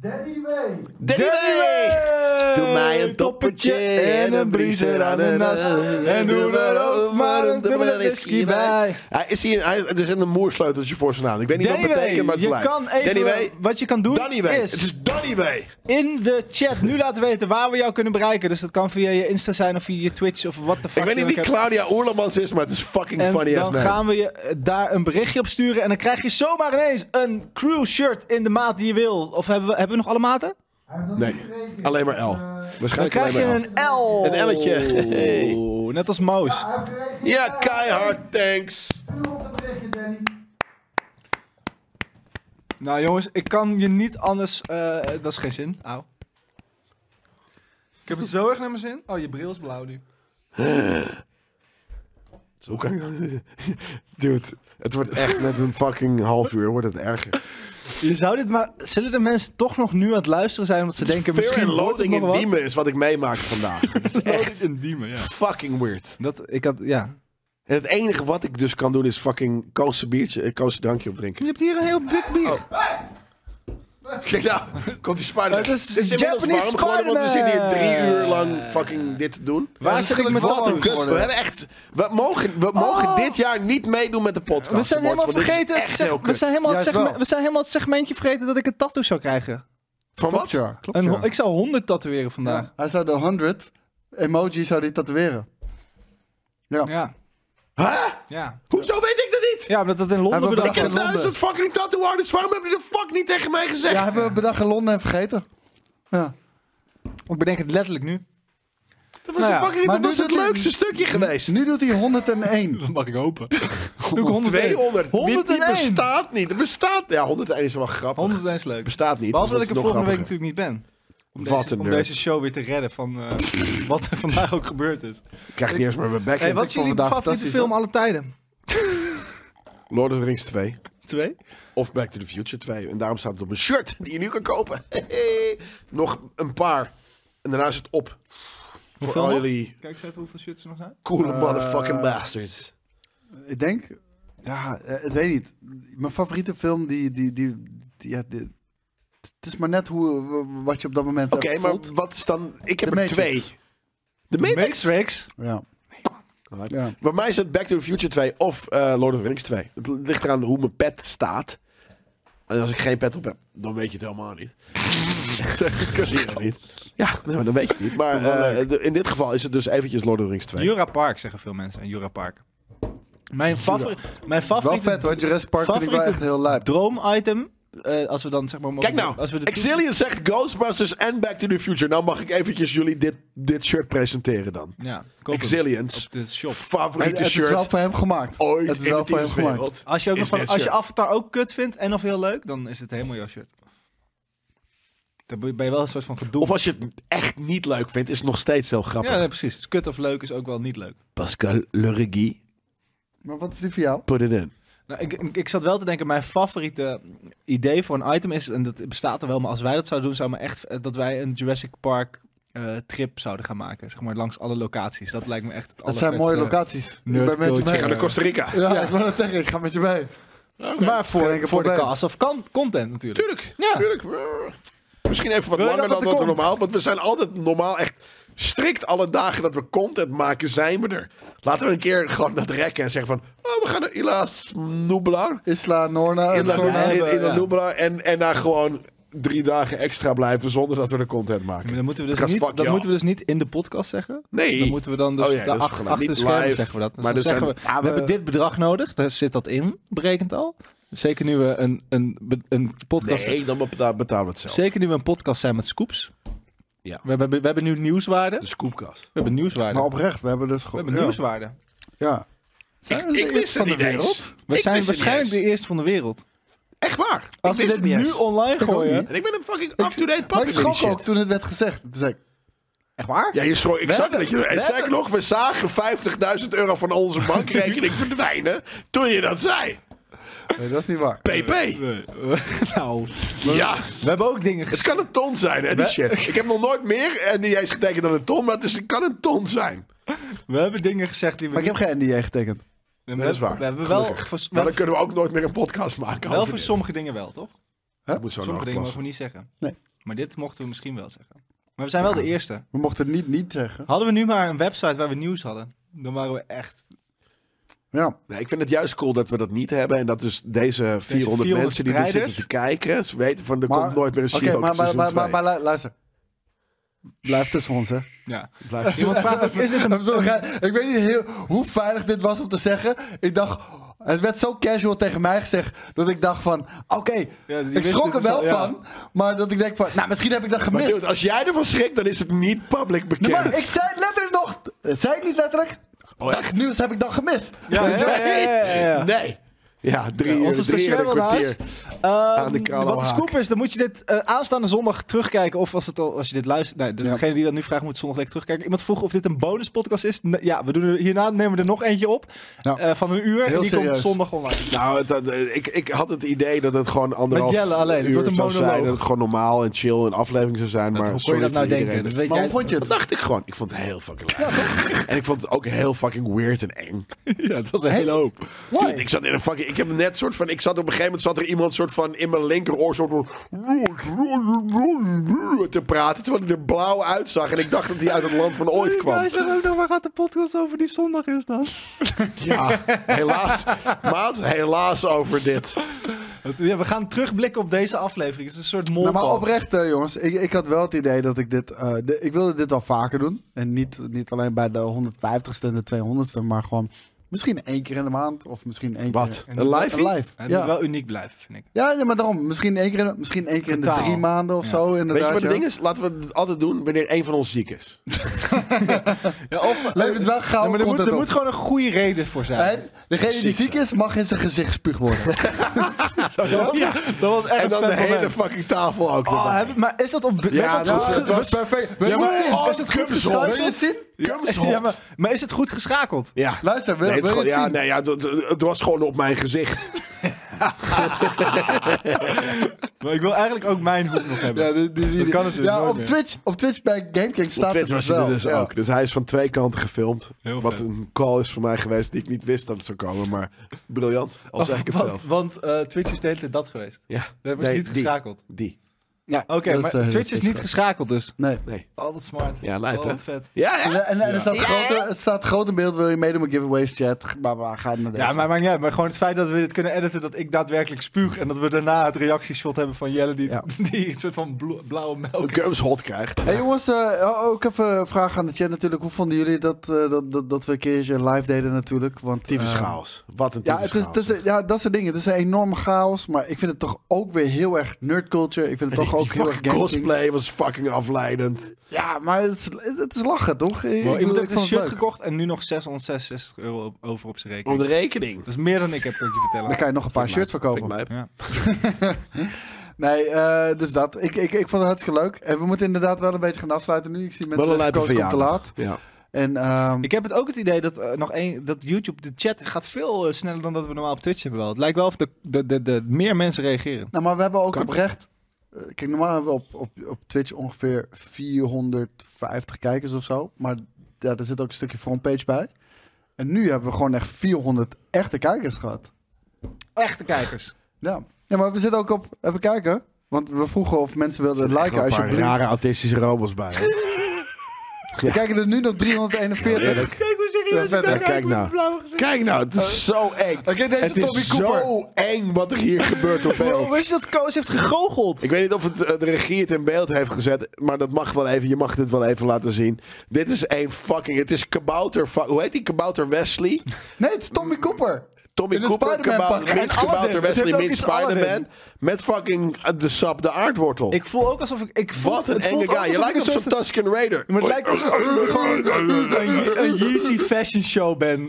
Speaker 5: Danny Way.
Speaker 2: Danny Way. Doe mij een toppertje en een briezer aan de nas. En doe er ook maar een dubbele whisky bij. Hij is hier, hij, er zit een moersleuteltje voor zijn naam. Ik weet niet
Speaker 3: Danny
Speaker 2: wat het
Speaker 3: Way,
Speaker 2: betekent, maar het
Speaker 3: je
Speaker 2: lijkt.
Speaker 3: kan even,
Speaker 2: Danny Way.
Speaker 3: wat je kan doen
Speaker 2: Danny Way.
Speaker 3: is-
Speaker 2: Het is Danny Way.
Speaker 3: In de chat nu laten weten waar we jou kunnen bereiken. Dus dat kan via je Insta zijn of via je Twitch of wat de fuck.
Speaker 2: Ik weet niet
Speaker 3: je
Speaker 2: wie
Speaker 3: ook hebt.
Speaker 2: Claudia Oerlemans is, maar het is fucking
Speaker 3: En
Speaker 2: funny as
Speaker 3: dan
Speaker 2: name.
Speaker 3: gaan we je eh, daar een berichtje op sturen. En dan krijg je zomaar ineens een crew shirt in de maat die je wil. Of hebben we, hebben we nog alle maten?
Speaker 5: Hij heeft nog
Speaker 2: Nee,
Speaker 5: niet gereageerd.
Speaker 2: alleen maar L.
Speaker 5: Eh,
Speaker 3: Dan
Speaker 2: Waarschijnlijk
Speaker 3: krijg je
Speaker 2: alleen maar L.
Speaker 3: een L.
Speaker 2: Een L'tje. Hey.
Speaker 3: Net als Moos.
Speaker 5: hij heeft gereageerd.
Speaker 2: Ja, keihard, thanks.
Speaker 5: Stuur ons een berichtje, Danny.
Speaker 3: Nou jongens, ik kan je niet anders... eh, dat is geen zin. Au. Ik heb het zo erg naar mijn zin. Oh, je bril is blauw nu.
Speaker 2: Zo kan ik dat- Dude, het wordt echt met een fucking half uur wordt het erger.
Speaker 3: Je zou dit maar... Zullen de mensen toch nog nu aan het luisteren zijn? Omdat ze denken,
Speaker 2: Fear
Speaker 3: misschien
Speaker 2: and
Speaker 3: wordt het
Speaker 2: loading
Speaker 3: nog
Speaker 2: in
Speaker 3: wat.
Speaker 2: Diemen is wat ik meemaak vandaag. Het is echt
Speaker 3: Loading in diemen, ja.
Speaker 2: fucking weird.
Speaker 3: Dat, ik had, ja.
Speaker 2: En het enige wat ik dus kan doen is fucking koos biertje, eh, koos drankje opdrinken.
Speaker 3: Je hebt hier een heel big
Speaker 2: Oh,
Speaker 3: bier.
Speaker 2: Kijk nou, komt die Spider-Man.
Speaker 3: Het is
Speaker 2: Dit inmiddels
Speaker 3: Japanese
Speaker 2: warm geworden, want we zitten
Speaker 3: Spider-Man.
Speaker 2: hier drie uur lang fucking dit te doen.
Speaker 3: Waar zit ik met
Speaker 2: Wat een
Speaker 3: alles?
Speaker 2: kut. We hebben echt. We mogen, we mogen
Speaker 3: Oh.
Speaker 2: dit jaar niet meedoen met de podcast.
Speaker 3: We zijn
Speaker 2: Awards,
Speaker 3: helemaal
Speaker 2: want dit is
Speaker 3: vergeten. het
Speaker 2: Echt
Speaker 3: seg-
Speaker 2: heel
Speaker 3: we,
Speaker 2: kut.
Speaker 3: zijn helemaal het
Speaker 4: Juist
Speaker 3: segme-
Speaker 4: wel.
Speaker 3: we zijn helemaal het segmentje vergeten dat ik een tattoo zou krijgen.
Speaker 2: Van
Speaker 4: Klopt
Speaker 2: wat?
Speaker 4: ja, klopt
Speaker 3: Een,
Speaker 4: ja.
Speaker 3: ho- ik zou 100 tatoeëren vandaag.
Speaker 4: Ja, Hij zou de 100 emoji zou die tatoeëren. Ja.
Speaker 3: Ja.
Speaker 2: Huh?
Speaker 3: Ja.
Speaker 2: Hoezo weet ik dat niet?
Speaker 3: Ja, omdat dat in Londen
Speaker 4: Hij wil
Speaker 3: bedacht
Speaker 2: Ik heb
Speaker 4: Londen.
Speaker 2: duizend fucking tattoo artists. Waarom heb je dat fuck niet tegen mij gezegd?
Speaker 4: Ja, hebben we bedacht in Londen en vergeten. Ja.
Speaker 3: wordt. Ik bedenk het letterlijk nu.
Speaker 2: dat was,
Speaker 3: nou ja,
Speaker 2: fucking niet,
Speaker 4: maar
Speaker 2: dat
Speaker 4: nu
Speaker 2: was het
Speaker 4: doet hij-
Speaker 2: leukste stukje geweest.
Speaker 4: Nu doet hij 101.
Speaker 3: Dat mag ik hopen. Doe ik 100
Speaker 2: 200. Die, die
Speaker 3: 101.
Speaker 2: bestaat niet. Het bestaat. Ja, 101 is wel grappig.
Speaker 3: 101 is leuk.
Speaker 2: Bestaat niet.
Speaker 3: Behalve dat
Speaker 2: dus
Speaker 3: ik er
Speaker 2: is nog
Speaker 3: volgende week
Speaker 2: grappiger.
Speaker 3: natuurlijk niet ben. Om
Speaker 2: Wat
Speaker 3: deze,
Speaker 2: een
Speaker 3: om
Speaker 2: nerd.
Speaker 3: deze show weer te redden van eh, wat er vandaag ook gebeurd is.
Speaker 2: Ik krijg niet eens meer mijn bek
Speaker 3: Hey,
Speaker 2: in.
Speaker 3: wat is jullie
Speaker 4: vandaag
Speaker 3: favoriete
Speaker 4: fantastisch,
Speaker 3: film alle tijden?
Speaker 2: Lord of the Rings 2.
Speaker 3: Twee?
Speaker 2: Of Back to the Future 2. En daarom staat het op mijn shirt die je nu kan kopen. Hehe. nog een paar. En daarna is het op. Voor
Speaker 3: Hoeveel
Speaker 2: al
Speaker 3: nog? Eh,
Speaker 2: jullie
Speaker 3: Kijk eens even hoeveel shirts er nog zijn.
Speaker 2: coole motherfucking bastards.
Speaker 4: Ik denk, ja, eh, ik weet niet. Mijn favoriete film, die, die, die, die- ja, die- het is maar net hoe, w- wat je op dat moment
Speaker 2: Oké,
Speaker 4: hebt
Speaker 2: maar
Speaker 4: gevoeld.
Speaker 2: wat is dan... Ik heb
Speaker 4: The
Speaker 2: er
Speaker 4: Matrix.
Speaker 2: twee. De Matrix?
Speaker 3: Matrix.
Speaker 4: Ja. Ja.
Speaker 2: Bij mij is het Back to the Future 2 of eh, Lord of the Rings 2. Het ligt eraan hoe mijn pet staat. En als ik geen pet op heb, dan weet je het helemaal niet. Zeg ik niet. Ja, nou, dan weet je het niet. Maar eh, de- in dit geval is het dus eventjes Lord of the Rings 2.
Speaker 3: Jura Park zeggen veel mensen. En Jura Park. Mijn, favori- mijn
Speaker 4: Wel
Speaker 3: favoriete
Speaker 4: vet hoor, Jurassic Park vind ik wel
Speaker 3: favoriete
Speaker 4: echt heel lijp.
Speaker 3: droomitem. eh, als we dan zeg maar. mogen-
Speaker 2: Kijk nou,
Speaker 3: Als we de
Speaker 2: Exilian zegt Ghostbusters en Back to the Future. Nou mag ik eventjes jullie dit, dit shirt presenteren dan.
Speaker 3: Ja, koop hem
Speaker 2: Exilians.
Speaker 3: Op de shop.
Speaker 4: Het,
Speaker 2: Favoriete
Speaker 4: het is
Speaker 2: shirt
Speaker 4: wel voor hem gemaakt.
Speaker 2: ooit
Speaker 4: het is
Speaker 2: in
Speaker 4: wel
Speaker 2: de
Speaker 4: voor hem
Speaker 2: TV
Speaker 4: gemaakt.
Speaker 2: wereld.
Speaker 3: Als je, ook
Speaker 2: Is
Speaker 3: nog van,
Speaker 2: dit
Speaker 3: als je
Speaker 2: shirt.
Speaker 3: Avatar ook kut vindt en of heel leuk, dan is het helemaal jouw shirt. Dan ben je wel een soort van gedoe.
Speaker 2: Of als je het echt niet leuk vindt, is het nog steeds heel grappig.
Speaker 3: ja, nee, precies. Dus kut of leuk is ook wel niet leuk.
Speaker 2: Pascal Lurigui,
Speaker 4: Maar wat is die voor jou?
Speaker 2: put it in.
Speaker 3: Nou, ik, ik, ik zat wel te denken, mijn favoriete idee voor een item is, en dat bestaat er wel, maar als wij dat zouden doen, zou me echt eh, dat wij een Jurassic Park eh, trip zouden gaan maken. Zeg maar langs alle locaties. Dat lijkt me echt het
Speaker 4: Dat zijn mooie
Speaker 3: allervetste.
Speaker 4: locaties. Ik
Speaker 3: Nerd
Speaker 4: ben met je
Speaker 3: culture.
Speaker 4: mee.
Speaker 2: Ga naar Costa Rica.
Speaker 4: Ja, ik wil dat zeggen, ik ga met je mee.
Speaker 3: Maar
Speaker 4: geen
Speaker 3: voor,
Speaker 4: enkel
Speaker 3: voor de
Speaker 4: probleem.
Speaker 3: cast of kan- content natuurlijk.
Speaker 2: Tuurlijk.
Speaker 3: Ja.
Speaker 2: tuurlijk. Brrr. Misschien even wat
Speaker 3: Wil je
Speaker 2: langer
Speaker 3: dat
Speaker 2: dan
Speaker 3: het
Speaker 2: wat
Speaker 3: er
Speaker 2: we
Speaker 3: komt?
Speaker 2: normaal. Want we zijn altijd normaal echt strikt alle dagen dat we content maken, zijn we er. Laten we een keer gewoon dat rekken en zeggen van... Oh, we gaan naar Ila Snoebelaar.
Speaker 4: Isla, Norna, en
Speaker 2: Ila,
Speaker 4: Sorna.
Speaker 3: Norna.
Speaker 2: in, in
Speaker 3: Ja.
Speaker 2: Snoebelaar. En, en daar gewoon drie dagen extra blijven zonder dat we de content maken.
Speaker 3: Maar dan moeten we dus,
Speaker 2: Because
Speaker 3: niet,
Speaker 2: fuck
Speaker 3: dan
Speaker 2: y'all.
Speaker 3: moeten we dus niet in de podcast zeggen.
Speaker 2: Nee.
Speaker 3: Dan moeten we dan dus
Speaker 2: Oh ja,
Speaker 3: de
Speaker 2: dat is
Speaker 3: ach-
Speaker 2: gelijk.
Speaker 3: achter
Speaker 2: Niet
Speaker 3: schermen
Speaker 2: live,
Speaker 3: zeggen we dat. Dus
Speaker 2: maar
Speaker 3: dan
Speaker 2: er zijn-
Speaker 3: zeggen we,
Speaker 2: Ja,
Speaker 3: we
Speaker 2: we-
Speaker 3: hebben dit bedrag nodig. Daar zit dat in, berekend al. Zeker nu we een, een, be- een podcast...
Speaker 2: Nee, dan beta- betalen we het zelf.
Speaker 3: Zeker nu we een podcast zijn met scoops.
Speaker 2: Ja. Dus-
Speaker 3: We, hebben, we hebben nu nieuwswaarde.
Speaker 2: De scoopkast.
Speaker 3: We hebben nieuwswaarde.
Speaker 4: Maar oprecht, we hebben dus
Speaker 3: we
Speaker 4: gewoon...
Speaker 3: hebben nieuwswaarde.
Speaker 4: Ja. ja. Zijn we
Speaker 2: Ik
Speaker 4: de
Speaker 2: wist
Speaker 4: eerste
Speaker 2: het niet eens.
Speaker 3: We
Speaker 2: Ik
Speaker 3: zijn
Speaker 2: wist het
Speaker 3: waarschijnlijk
Speaker 2: niet
Speaker 3: de eerste van de Ah. wereld.
Speaker 2: Echt waar.
Speaker 3: Als
Speaker 2: ik
Speaker 3: we
Speaker 2: wist
Speaker 3: dit
Speaker 2: het niet
Speaker 3: nu
Speaker 2: eens.
Speaker 3: online
Speaker 4: ook
Speaker 3: gooien...
Speaker 4: niet.
Speaker 2: En ik ben een fucking up-to-date
Speaker 4: Maar
Speaker 2: pakken met
Speaker 4: ik
Speaker 2: die
Speaker 4: schrok
Speaker 2: shit.
Speaker 4: ook toen het werd gezegd. Toen zei ik,
Speaker 3: Echt waar?
Speaker 2: Ja, je schrok. Ik zag
Speaker 3: hebben-
Speaker 2: dat je. En
Speaker 3: we
Speaker 2: sterker
Speaker 3: hebben-
Speaker 2: nog, we zagen 50.000 euro van onze bankrekening verdwijnen. toen je dat zei.
Speaker 4: Nee, dat is niet waar.
Speaker 2: PP!
Speaker 3: nou,
Speaker 2: Ja,
Speaker 3: we hebben ook dingen
Speaker 2: het
Speaker 3: gezien.
Speaker 2: kan een ton zijn, hè, die shit. Ik heb nog nooit meer en die is getekend dan een ton, maar het, is, het kan een ton zijn.
Speaker 3: We hebben dingen gezegd die we
Speaker 4: Maar ik heb geen NDA getekend.
Speaker 3: geen...
Speaker 2: Dat is waar.
Speaker 3: We hebben wel...
Speaker 2: Gelukkig.
Speaker 3: Voor,
Speaker 2: Maar
Speaker 3: wel,
Speaker 2: dan kunnen we ook nooit meer een podcast maken
Speaker 3: wel
Speaker 2: over
Speaker 3: voor
Speaker 2: dit.
Speaker 3: sommige dingen wel, toch?
Speaker 2: Dat moet zo
Speaker 3: sommige dingen mogen
Speaker 2: afklassen.
Speaker 3: we niet zeggen.
Speaker 4: Nee.
Speaker 3: Maar dit mochten we misschien wel zeggen. Maar we zijn wel de eerste.
Speaker 4: We mochten het niet niet zeggen.
Speaker 3: Hadden we nu maar een website waar we nieuws hadden, dan waren we echt...
Speaker 4: Ja.
Speaker 2: Nee, ik vind het juist cool dat we dat niet hebben. En dat dus deze 400,
Speaker 3: 400
Speaker 2: mensen die er
Speaker 3: strijders.
Speaker 2: zitten te kijken... ze weten van, er
Speaker 4: Maar-
Speaker 2: komt nooit meer een
Speaker 4: Oké,
Speaker 2: She-Hulk
Speaker 4: maar, maar,
Speaker 2: seizoen
Speaker 4: maar, maar,
Speaker 2: twee.
Speaker 4: maar lu- luister. Blijf tussen ons, hè.
Speaker 3: Ja.
Speaker 2: Blijf-
Speaker 3: Iemand vraagt of is dit een...
Speaker 4: I'm so ge- ik weet niet heel, hoe veilig dit was om te zeggen. Ik dacht, het werd zo casual tegen mij gezegd dat ik dacht van, oké,
Speaker 3: die
Speaker 4: ik
Speaker 3: wist
Speaker 4: schrok er
Speaker 3: dit is
Speaker 4: wel
Speaker 3: al- ja.
Speaker 4: van, maar dat ik denk van, nou, misschien heb ik dat
Speaker 2: Maar
Speaker 4: gemist.
Speaker 2: dude, als jij ervan schrikt, dan is het niet public bekend.
Speaker 4: Nee, maar ik zei het letterlijk nog, eh, zei ik niet letterlijk?
Speaker 2: Oh,
Speaker 4: dat nieuws heb ik dan gemist.
Speaker 3: Ja, ja, ja, ja, ja, ja.
Speaker 2: Nee. Ja, drie uur,
Speaker 3: onze
Speaker 2: drie uur en
Speaker 3: stagiair
Speaker 2: een
Speaker 3: wil naar
Speaker 2: kwartier.
Speaker 3: huis.
Speaker 2: Aan de
Speaker 3: Ehm,
Speaker 2: Kralauhaak.
Speaker 3: wat de scoop is, dan moet je dit eh, aanstaande zondag terugkijken. Of als, het al, als je dit luistert. Nee, dus
Speaker 4: Ja.
Speaker 3: degene die dat nu vraagt, moet zondag lekker terugkijken. Iemand vroeg of dit een bonuspodcast is. N- ja, we doen er, hierna nemen we er nog eentje op.
Speaker 4: Ja.
Speaker 3: eh, van een uur.
Speaker 4: Heel
Speaker 3: en die komt
Speaker 4: serieus.
Speaker 3: zondag online.
Speaker 2: Nou, het- dat- ik, ik had het idee dat het gewoon anderhalf
Speaker 3: Met Jelle alleen, het
Speaker 2: uur
Speaker 3: wordt een
Speaker 2: zou
Speaker 3: monoloog.
Speaker 2: zijn. Dat het gewoon normaal en chill een aflevering zou zijn. Maar
Speaker 8: Hoe kon
Speaker 2: sorry
Speaker 8: je dat nou
Speaker 2: voor
Speaker 8: denken?
Speaker 2: iedereen.
Speaker 8: Dat weet
Speaker 4: Maar
Speaker 8: jij-
Speaker 4: hoe vond je
Speaker 2: Dat
Speaker 4: het?
Speaker 2: dacht ik gewoon. Ik vond het heel fucking leuk. en ik vond het ook heel fucking weird en eng.
Speaker 8: Ja, dat was een hele hoop.
Speaker 4: Why?
Speaker 2: Dude, ik zat in een fucking... Ik heb net soort van... Ik zat op een gegeven moment... zat er iemand soort van in mijn linkeroor soort van... te praten. Terwijl hij er blauw uitzag. En ik dacht dat hij uit het land van ooit kwam.
Speaker 3: ook nog, waar gaat de podcast over die zondag is dan?
Speaker 2: Ja, helaas. Maat, helaas over dit.
Speaker 3: Ja, we gaan terugblikken op deze aflevering. Het is een soort mol.
Speaker 4: Nou, maar oprecht, eh, jongens, ik, ik had wel het idee dat ik dit. eh, de- ik wilde dit al vaker doen. En niet, niet alleen bij de 150ste en de 200ste, maar gewoon misschien één keer in de maand. Of misschien één
Speaker 2: Wat?
Speaker 4: keer.
Speaker 2: Een live?
Speaker 4: Een live.
Speaker 3: Het moet
Speaker 4: Ja.
Speaker 3: wel uniek blijven, vind ik.
Speaker 4: Ja, nee, maar daarom. Misschien één keer in, de- misschien één keer in de
Speaker 3: Totaal.
Speaker 4: drie maanden of
Speaker 3: Ja.
Speaker 4: zo.
Speaker 2: Weet je
Speaker 4: Inderdaad,
Speaker 2: wat het
Speaker 4: ja.
Speaker 2: ding is? Laten we het altijd doen wanneer één van ons ziek is.
Speaker 3: Ja, of,
Speaker 4: Levert wel gauw
Speaker 3: Ja, maar er moet,
Speaker 4: content
Speaker 3: er
Speaker 4: op.
Speaker 3: moet gewoon een goede reden voor zijn.
Speaker 4: En degene die ziek is, mag in zijn gezicht spuug worden.
Speaker 3: Ja, dat was echt
Speaker 2: En dan
Speaker 3: een
Speaker 2: de
Speaker 3: vet
Speaker 2: hele
Speaker 3: moment.
Speaker 2: fucking tafel ook.
Speaker 3: Oh,
Speaker 2: erbij.
Speaker 3: heb- maar is dat op... werd
Speaker 2: Ja,
Speaker 3: dat
Speaker 2: dat
Speaker 3: goed-
Speaker 2: was- het was
Speaker 4: perfect. Wil
Speaker 2: Ja,
Speaker 4: je
Speaker 2: maar-
Speaker 4: het zien?
Speaker 2: oh,
Speaker 3: is het goed
Speaker 2: Cumsel.
Speaker 4: Wil je het zien?
Speaker 2: Cumsel.
Speaker 3: Ja, maar, maar is het goed geschakeld?
Speaker 2: Ja.
Speaker 4: Luister, wil,
Speaker 2: Nee, het, is
Speaker 4: wil
Speaker 2: gewoon-
Speaker 4: je het
Speaker 2: ja,
Speaker 4: zien?
Speaker 2: nee, ja, het, het- het was gewoon op mijn gezicht.
Speaker 3: Maar ik wil eigenlijk ook mijn hoek nog hebben.
Speaker 4: Ja, die, die zie
Speaker 3: Dat
Speaker 4: je.
Speaker 3: kan natuurlijk
Speaker 4: Ja,
Speaker 3: nooit
Speaker 4: op
Speaker 3: meer.
Speaker 4: Twitch, op Twitch bij GameKing staat
Speaker 2: Op Twitch
Speaker 4: het
Speaker 2: was hij
Speaker 4: wel.
Speaker 2: er dus
Speaker 4: Ja.
Speaker 2: ook. Dus hij is van twee kanten gefilmd.
Speaker 3: Heel
Speaker 2: wat
Speaker 3: vet.
Speaker 2: een call is voor mij geweest die ik niet wist dat het zou komen. Maar briljant, al
Speaker 4: Oh,
Speaker 2: zeg ik het
Speaker 3: want
Speaker 2: zelf.
Speaker 3: want eh, Twitch is de hele tijd dat geweest.
Speaker 2: Ja.
Speaker 3: We hebben
Speaker 2: Nee,
Speaker 3: ze niet
Speaker 2: die.
Speaker 3: geschakeld.
Speaker 2: Die.
Speaker 4: Ja,
Speaker 3: Oké,
Speaker 4: dat
Speaker 3: maar
Speaker 4: eh, heel
Speaker 3: Twitch is niet
Speaker 4: interessant.
Speaker 3: geschakeld dus.
Speaker 4: Nee.
Speaker 2: Nee.
Speaker 3: Oh, wat smart.
Speaker 2: Ja, lijp,
Speaker 3: oh,
Speaker 2: hè?
Speaker 3: wat vet.
Speaker 2: Ja,
Speaker 4: En,
Speaker 2: ja.
Speaker 4: en, en er staat, grote, er staat groot in beeld, wil je meedoen met giveaways, chat, bla bla, ga naar deze.
Speaker 3: Ja, maar maakt niet uit. Maar gewoon het feit dat we dit kunnen editen, dat ik daadwerkelijk spuug. En dat we daarna het reactieshot hebben van Jelle die,
Speaker 4: Ja.
Speaker 3: die een soort van blo- blauwe melk.
Speaker 2: Een Gums hot krijgt.
Speaker 4: Hey jongens, eh, ook even een vraag aan de chat natuurlijk. Hoe vonden jullie dat, eh, dat, dat, dat we een keertje live deden natuurlijk? Want,
Speaker 2: Tyfus
Speaker 4: eh,
Speaker 2: chaos. Wat een
Speaker 4: Ja,
Speaker 2: tyfus
Speaker 4: het is, het
Speaker 2: chaos.
Speaker 4: is, ja, dat soort dingen. Het is een enorme chaos, maar ik vind het toch ook weer heel erg nerdculture. Ik vind het toch ook heel erg
Speaker 2: Fucking
Speaker 4: gaming.
Speaker 2: cosplay was fucking afleidend.
Speaker 4: Ja, maar het is, het is lachen, toch? Ik bedoel,
Speaker 3: Wow, iemand heeft
Speaker 4: ik
Speaker 3: een
Speaker 4: vond het
Speaker 3: shirt
Speaker 4: leuk.
Speaker 3: gekocht en nu nog 666 euro op- over op zijn
Speaker 2: Op
Speaker 3: rekening.
Speaker 2: de rekening.
Speaker 3: Dat is meer dan ik heb, kan ik je
Speaker 4: Dan
Speaker 3: vertellen.
Speaker 4: kan je nog een paar shirts verkopen.
Speaker 2: Vind ik mij.
Speaker 3: Ja.
Speaker 4: Nee, eh, dus dat. Ik, ik, ik vond het hartstikke leuk. En we moeten inderdaad wel een beetje gaan afsluiten nu. Ik zie mensen
Speaker 2: Wel een lijpe
Speaker 4: coach komt te
Speaker 2: verjaardag.
Speaker 4: laat.
Speaker 2: Ja.
Speaker 4: En ehm,
Speaker 3: Ik heb het ook het idee dat eh, nog één dat YouTube de chat gaat veel eh, sneller dan dat we normaal op Twitch hebben wel. Het lijkt wel of de, de, de, de meer mensen reageren.
Speaker 4: Nou, maar we hebben ook oprecht. eh, Kijk, normaal hebben we op, op, op Twitch ongeveer 450 kijkers of zo. Maar ja, er zit ook een stukje frontpage bij. En nu hebben we gewoon echt 400 echte kijkers gehad.
Speaker 3: Echte kijkers.
Speaker 4: Ja, ja maar we zitten ook op. Even kijken. Want we vroegen of mensen
Speaker 2: Er
Speaker 4: wilden
Speaker 2: zijn echt wel
Speaker 4: liken
Speaker 2: een paar
Speaker 4: alsjeblieft.
Speaker 2: rare autistische robots bij. hè.
Speaker 4: We kijken er nu nog 341.
Speaker 3: Kijk hoe
Speaker 4: Ja,
Speaker 3: serieus
Speaker 4: verder,
Speaker 3: ik
Speaker 2: kijk nou. Kijk nou, het is zo eng.
Speaker 4: Oké, deze
Speaker 2: Het
Speaker 4: Tommy
Speaker 2: is
Speaker 4: Cooper.
Speaker 2: zo eng wat er hier gebeurt op
Speaker 3: Hoe
Speaker 2: beeld.
Speaker 3: is dat Koos heeft gegoocheld?
Speaker 2: Ik weet niet of het, eh, de regie het in beeld heeft gezet, maar dat mag wel even. Je mag dit wel even laten zien. Dit is een fucking. Het is kabouter. fu- Hoe heet die kabouter Wesley?
Speaker 4: Nee, het is Tommy Cooper.
Speaker 2: Tommy
Speaker 4: In een
Speaker 2: Cooper,
Speaker 4: Spider-Man
Speaker 2: kabouter,
Speaker 4: pak.
Speaker 2: meets
Speaker 3: En Aladdin.
Speaker 2: kabouter
Speaker 3: Het heeft
Speaker 2: Wesley,
Speaker 3: ook
Speaker 2: meets
Speaker 3: iets Aladdin.
Speaker 2: Spider-Man. Met fucking eh, de sap, de aardwortel.
Speaker 3: Ik voel ook alsof ik... ik voel,
Speaker 2: Wat een
Speaker 3: het voelt
Speaker 2: enge
Speaker 3: ook
Speaker 2: guy. Je
Speaker 3: alsof
Speaker 2: lijkt
Speaker 3: ik
Speaker 2: op
Speaker 3: een
Speaker 2: zo'n
Speaker 3: soort-
Speaker 2: Tusken Raider.
Speaker 3: Maar het lijkt alsof ik gewoon een, een Yeezy fashion show ben.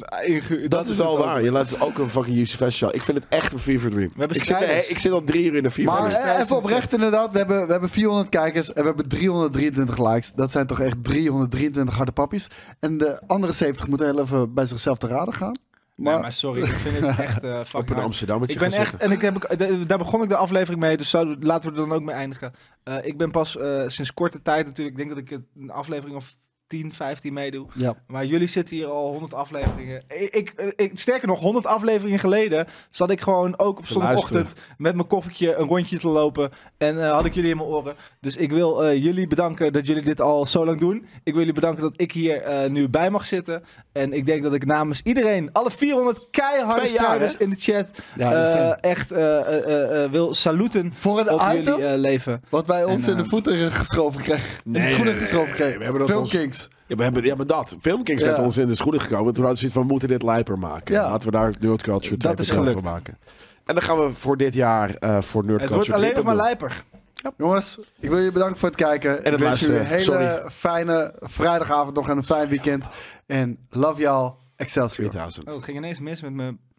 Speaker 3: inge-
Speaker 2: Dat, is
Speaker 3: het
Speaker 2: wel
Speaker 3: ook.
Speaker 2: waar. Je laat ook een fucking Yusuf Festival. Ik vind het echt een fever dream.
Speaker 3: hebben
Speaker 2: ik, zit,
Speaker 3: strijders.
Speaker 2: ik zit al drie uur in een fever
Speaker 4: Maar
Speaker 2: dream.
Speaker 4: eh, even oprecht inderdaad, we hebben, we hebben 400 kijkers en we hebben 323 likes. Dat zijn toch echt 323 harde pappies. En de andere 70 moeten heel even bij zichzelf te raden gaan.
Speaker 3: Maar,
Speaker 4: Maar,
Speaker 3: maar sorry, ik vind het echt eh
Speaker 2: Op
Speaker 3: fucking
Speaker 2: een
Speaker 3: hard.
Speaker 2: Amsterdammetje
Speaker 3: Ik ben
Speaker 2: gaan
Speaker 3: echt,
Speaker 2: zitten.
Speaker 3: en ik heb, ik- de- daar begon ik de aflevering mee, dus zouden- laten we er dan ook mee eindigen. Eh, ik ben pas eh, sinds korte tijd natuurlijk, ik denk dat ik het een aflevering of 10, 15 meedoe.
Speaker 4: ja.
Speaker 3: Maar jullie zitten hier al 100 afleveringen. Ik, ik, eh, ik, sterker nog, 100 afleveringen geleden zat ik gewoon ook op zondagochtend met mijn koffietje een rondje te lopen. En eh, had ik jullie in mijn oren. Dus ik wil eh, jullie bedanken dat jullie dit al zo lang doen. Ik wil jullie bedanken dat ik hier eh, nu bij mag zitten. En ik denk dat ik namens iedereen, alle 400 keiharde
Speaker 4: Twee jaar,
Speaker 3: strijders in de chat,
Speaker 4: Ja, dat
Speaker 3: eh,
Speaker 4: zijn-
Speaker 3: echt eh, eh, eh, eh, wil saluten
Speaker 4: Voor het
Speaker 3: op
Speaker 4: item
Speaker 3: jullie eh, leven.
Speaker 4: wat wij ons
Speaker 3: En,
Speaker 4: in de
Speaker 3: eh,
Speaker 4: voeten geschoven kregen. in de
Speaker 2: nee,
Speaker 4: schoenen
Speaker 2: nee,
Speaker 4: geschoven
Speaker 2: nee,
Speaker 4: kregen.
Speaker 2: we hebben dat
Speaker 4: Film
Speaker 2: ons-
Speaker 4: Kings.
Speaker 2: Ja, we hebben, ja, maar dat. Filmkings
Speaker 4: Ja.
Speaker 2: werd ons in de schoenen gekomen. Toen hadden ze zoiets van, we moeten dit lijper maken.
Speaker 4: Ja.
Speaker 2: Laten we daar Nerd Culture
Speaker 3: Dat is
Speaker 2: 2.0 van
Speaker 3: gelukt.
Speaker 2: maken. En dan gaan we voor dit jaar eh, voor Nerd
Speaker 3: Het wordt
Speaker 2: Culture
Speaker 3: alleen nog
Speaker 2: 3.0.
Speaker 3: maar lijper.
Speaker 4: Jongens, ik wil je bedanken voor het kijken.
Speaker 2: het
Speaker 4: ik wens jullie een hele
Speaker 2: luisteren.
Speaker 4: fijne vrijdagavond nog en een fijn weekend. En love y'all. Excelsior.
Speaker 2: 2000.
Speaker 3: Oh, het Oh, ging ineens mis met mijn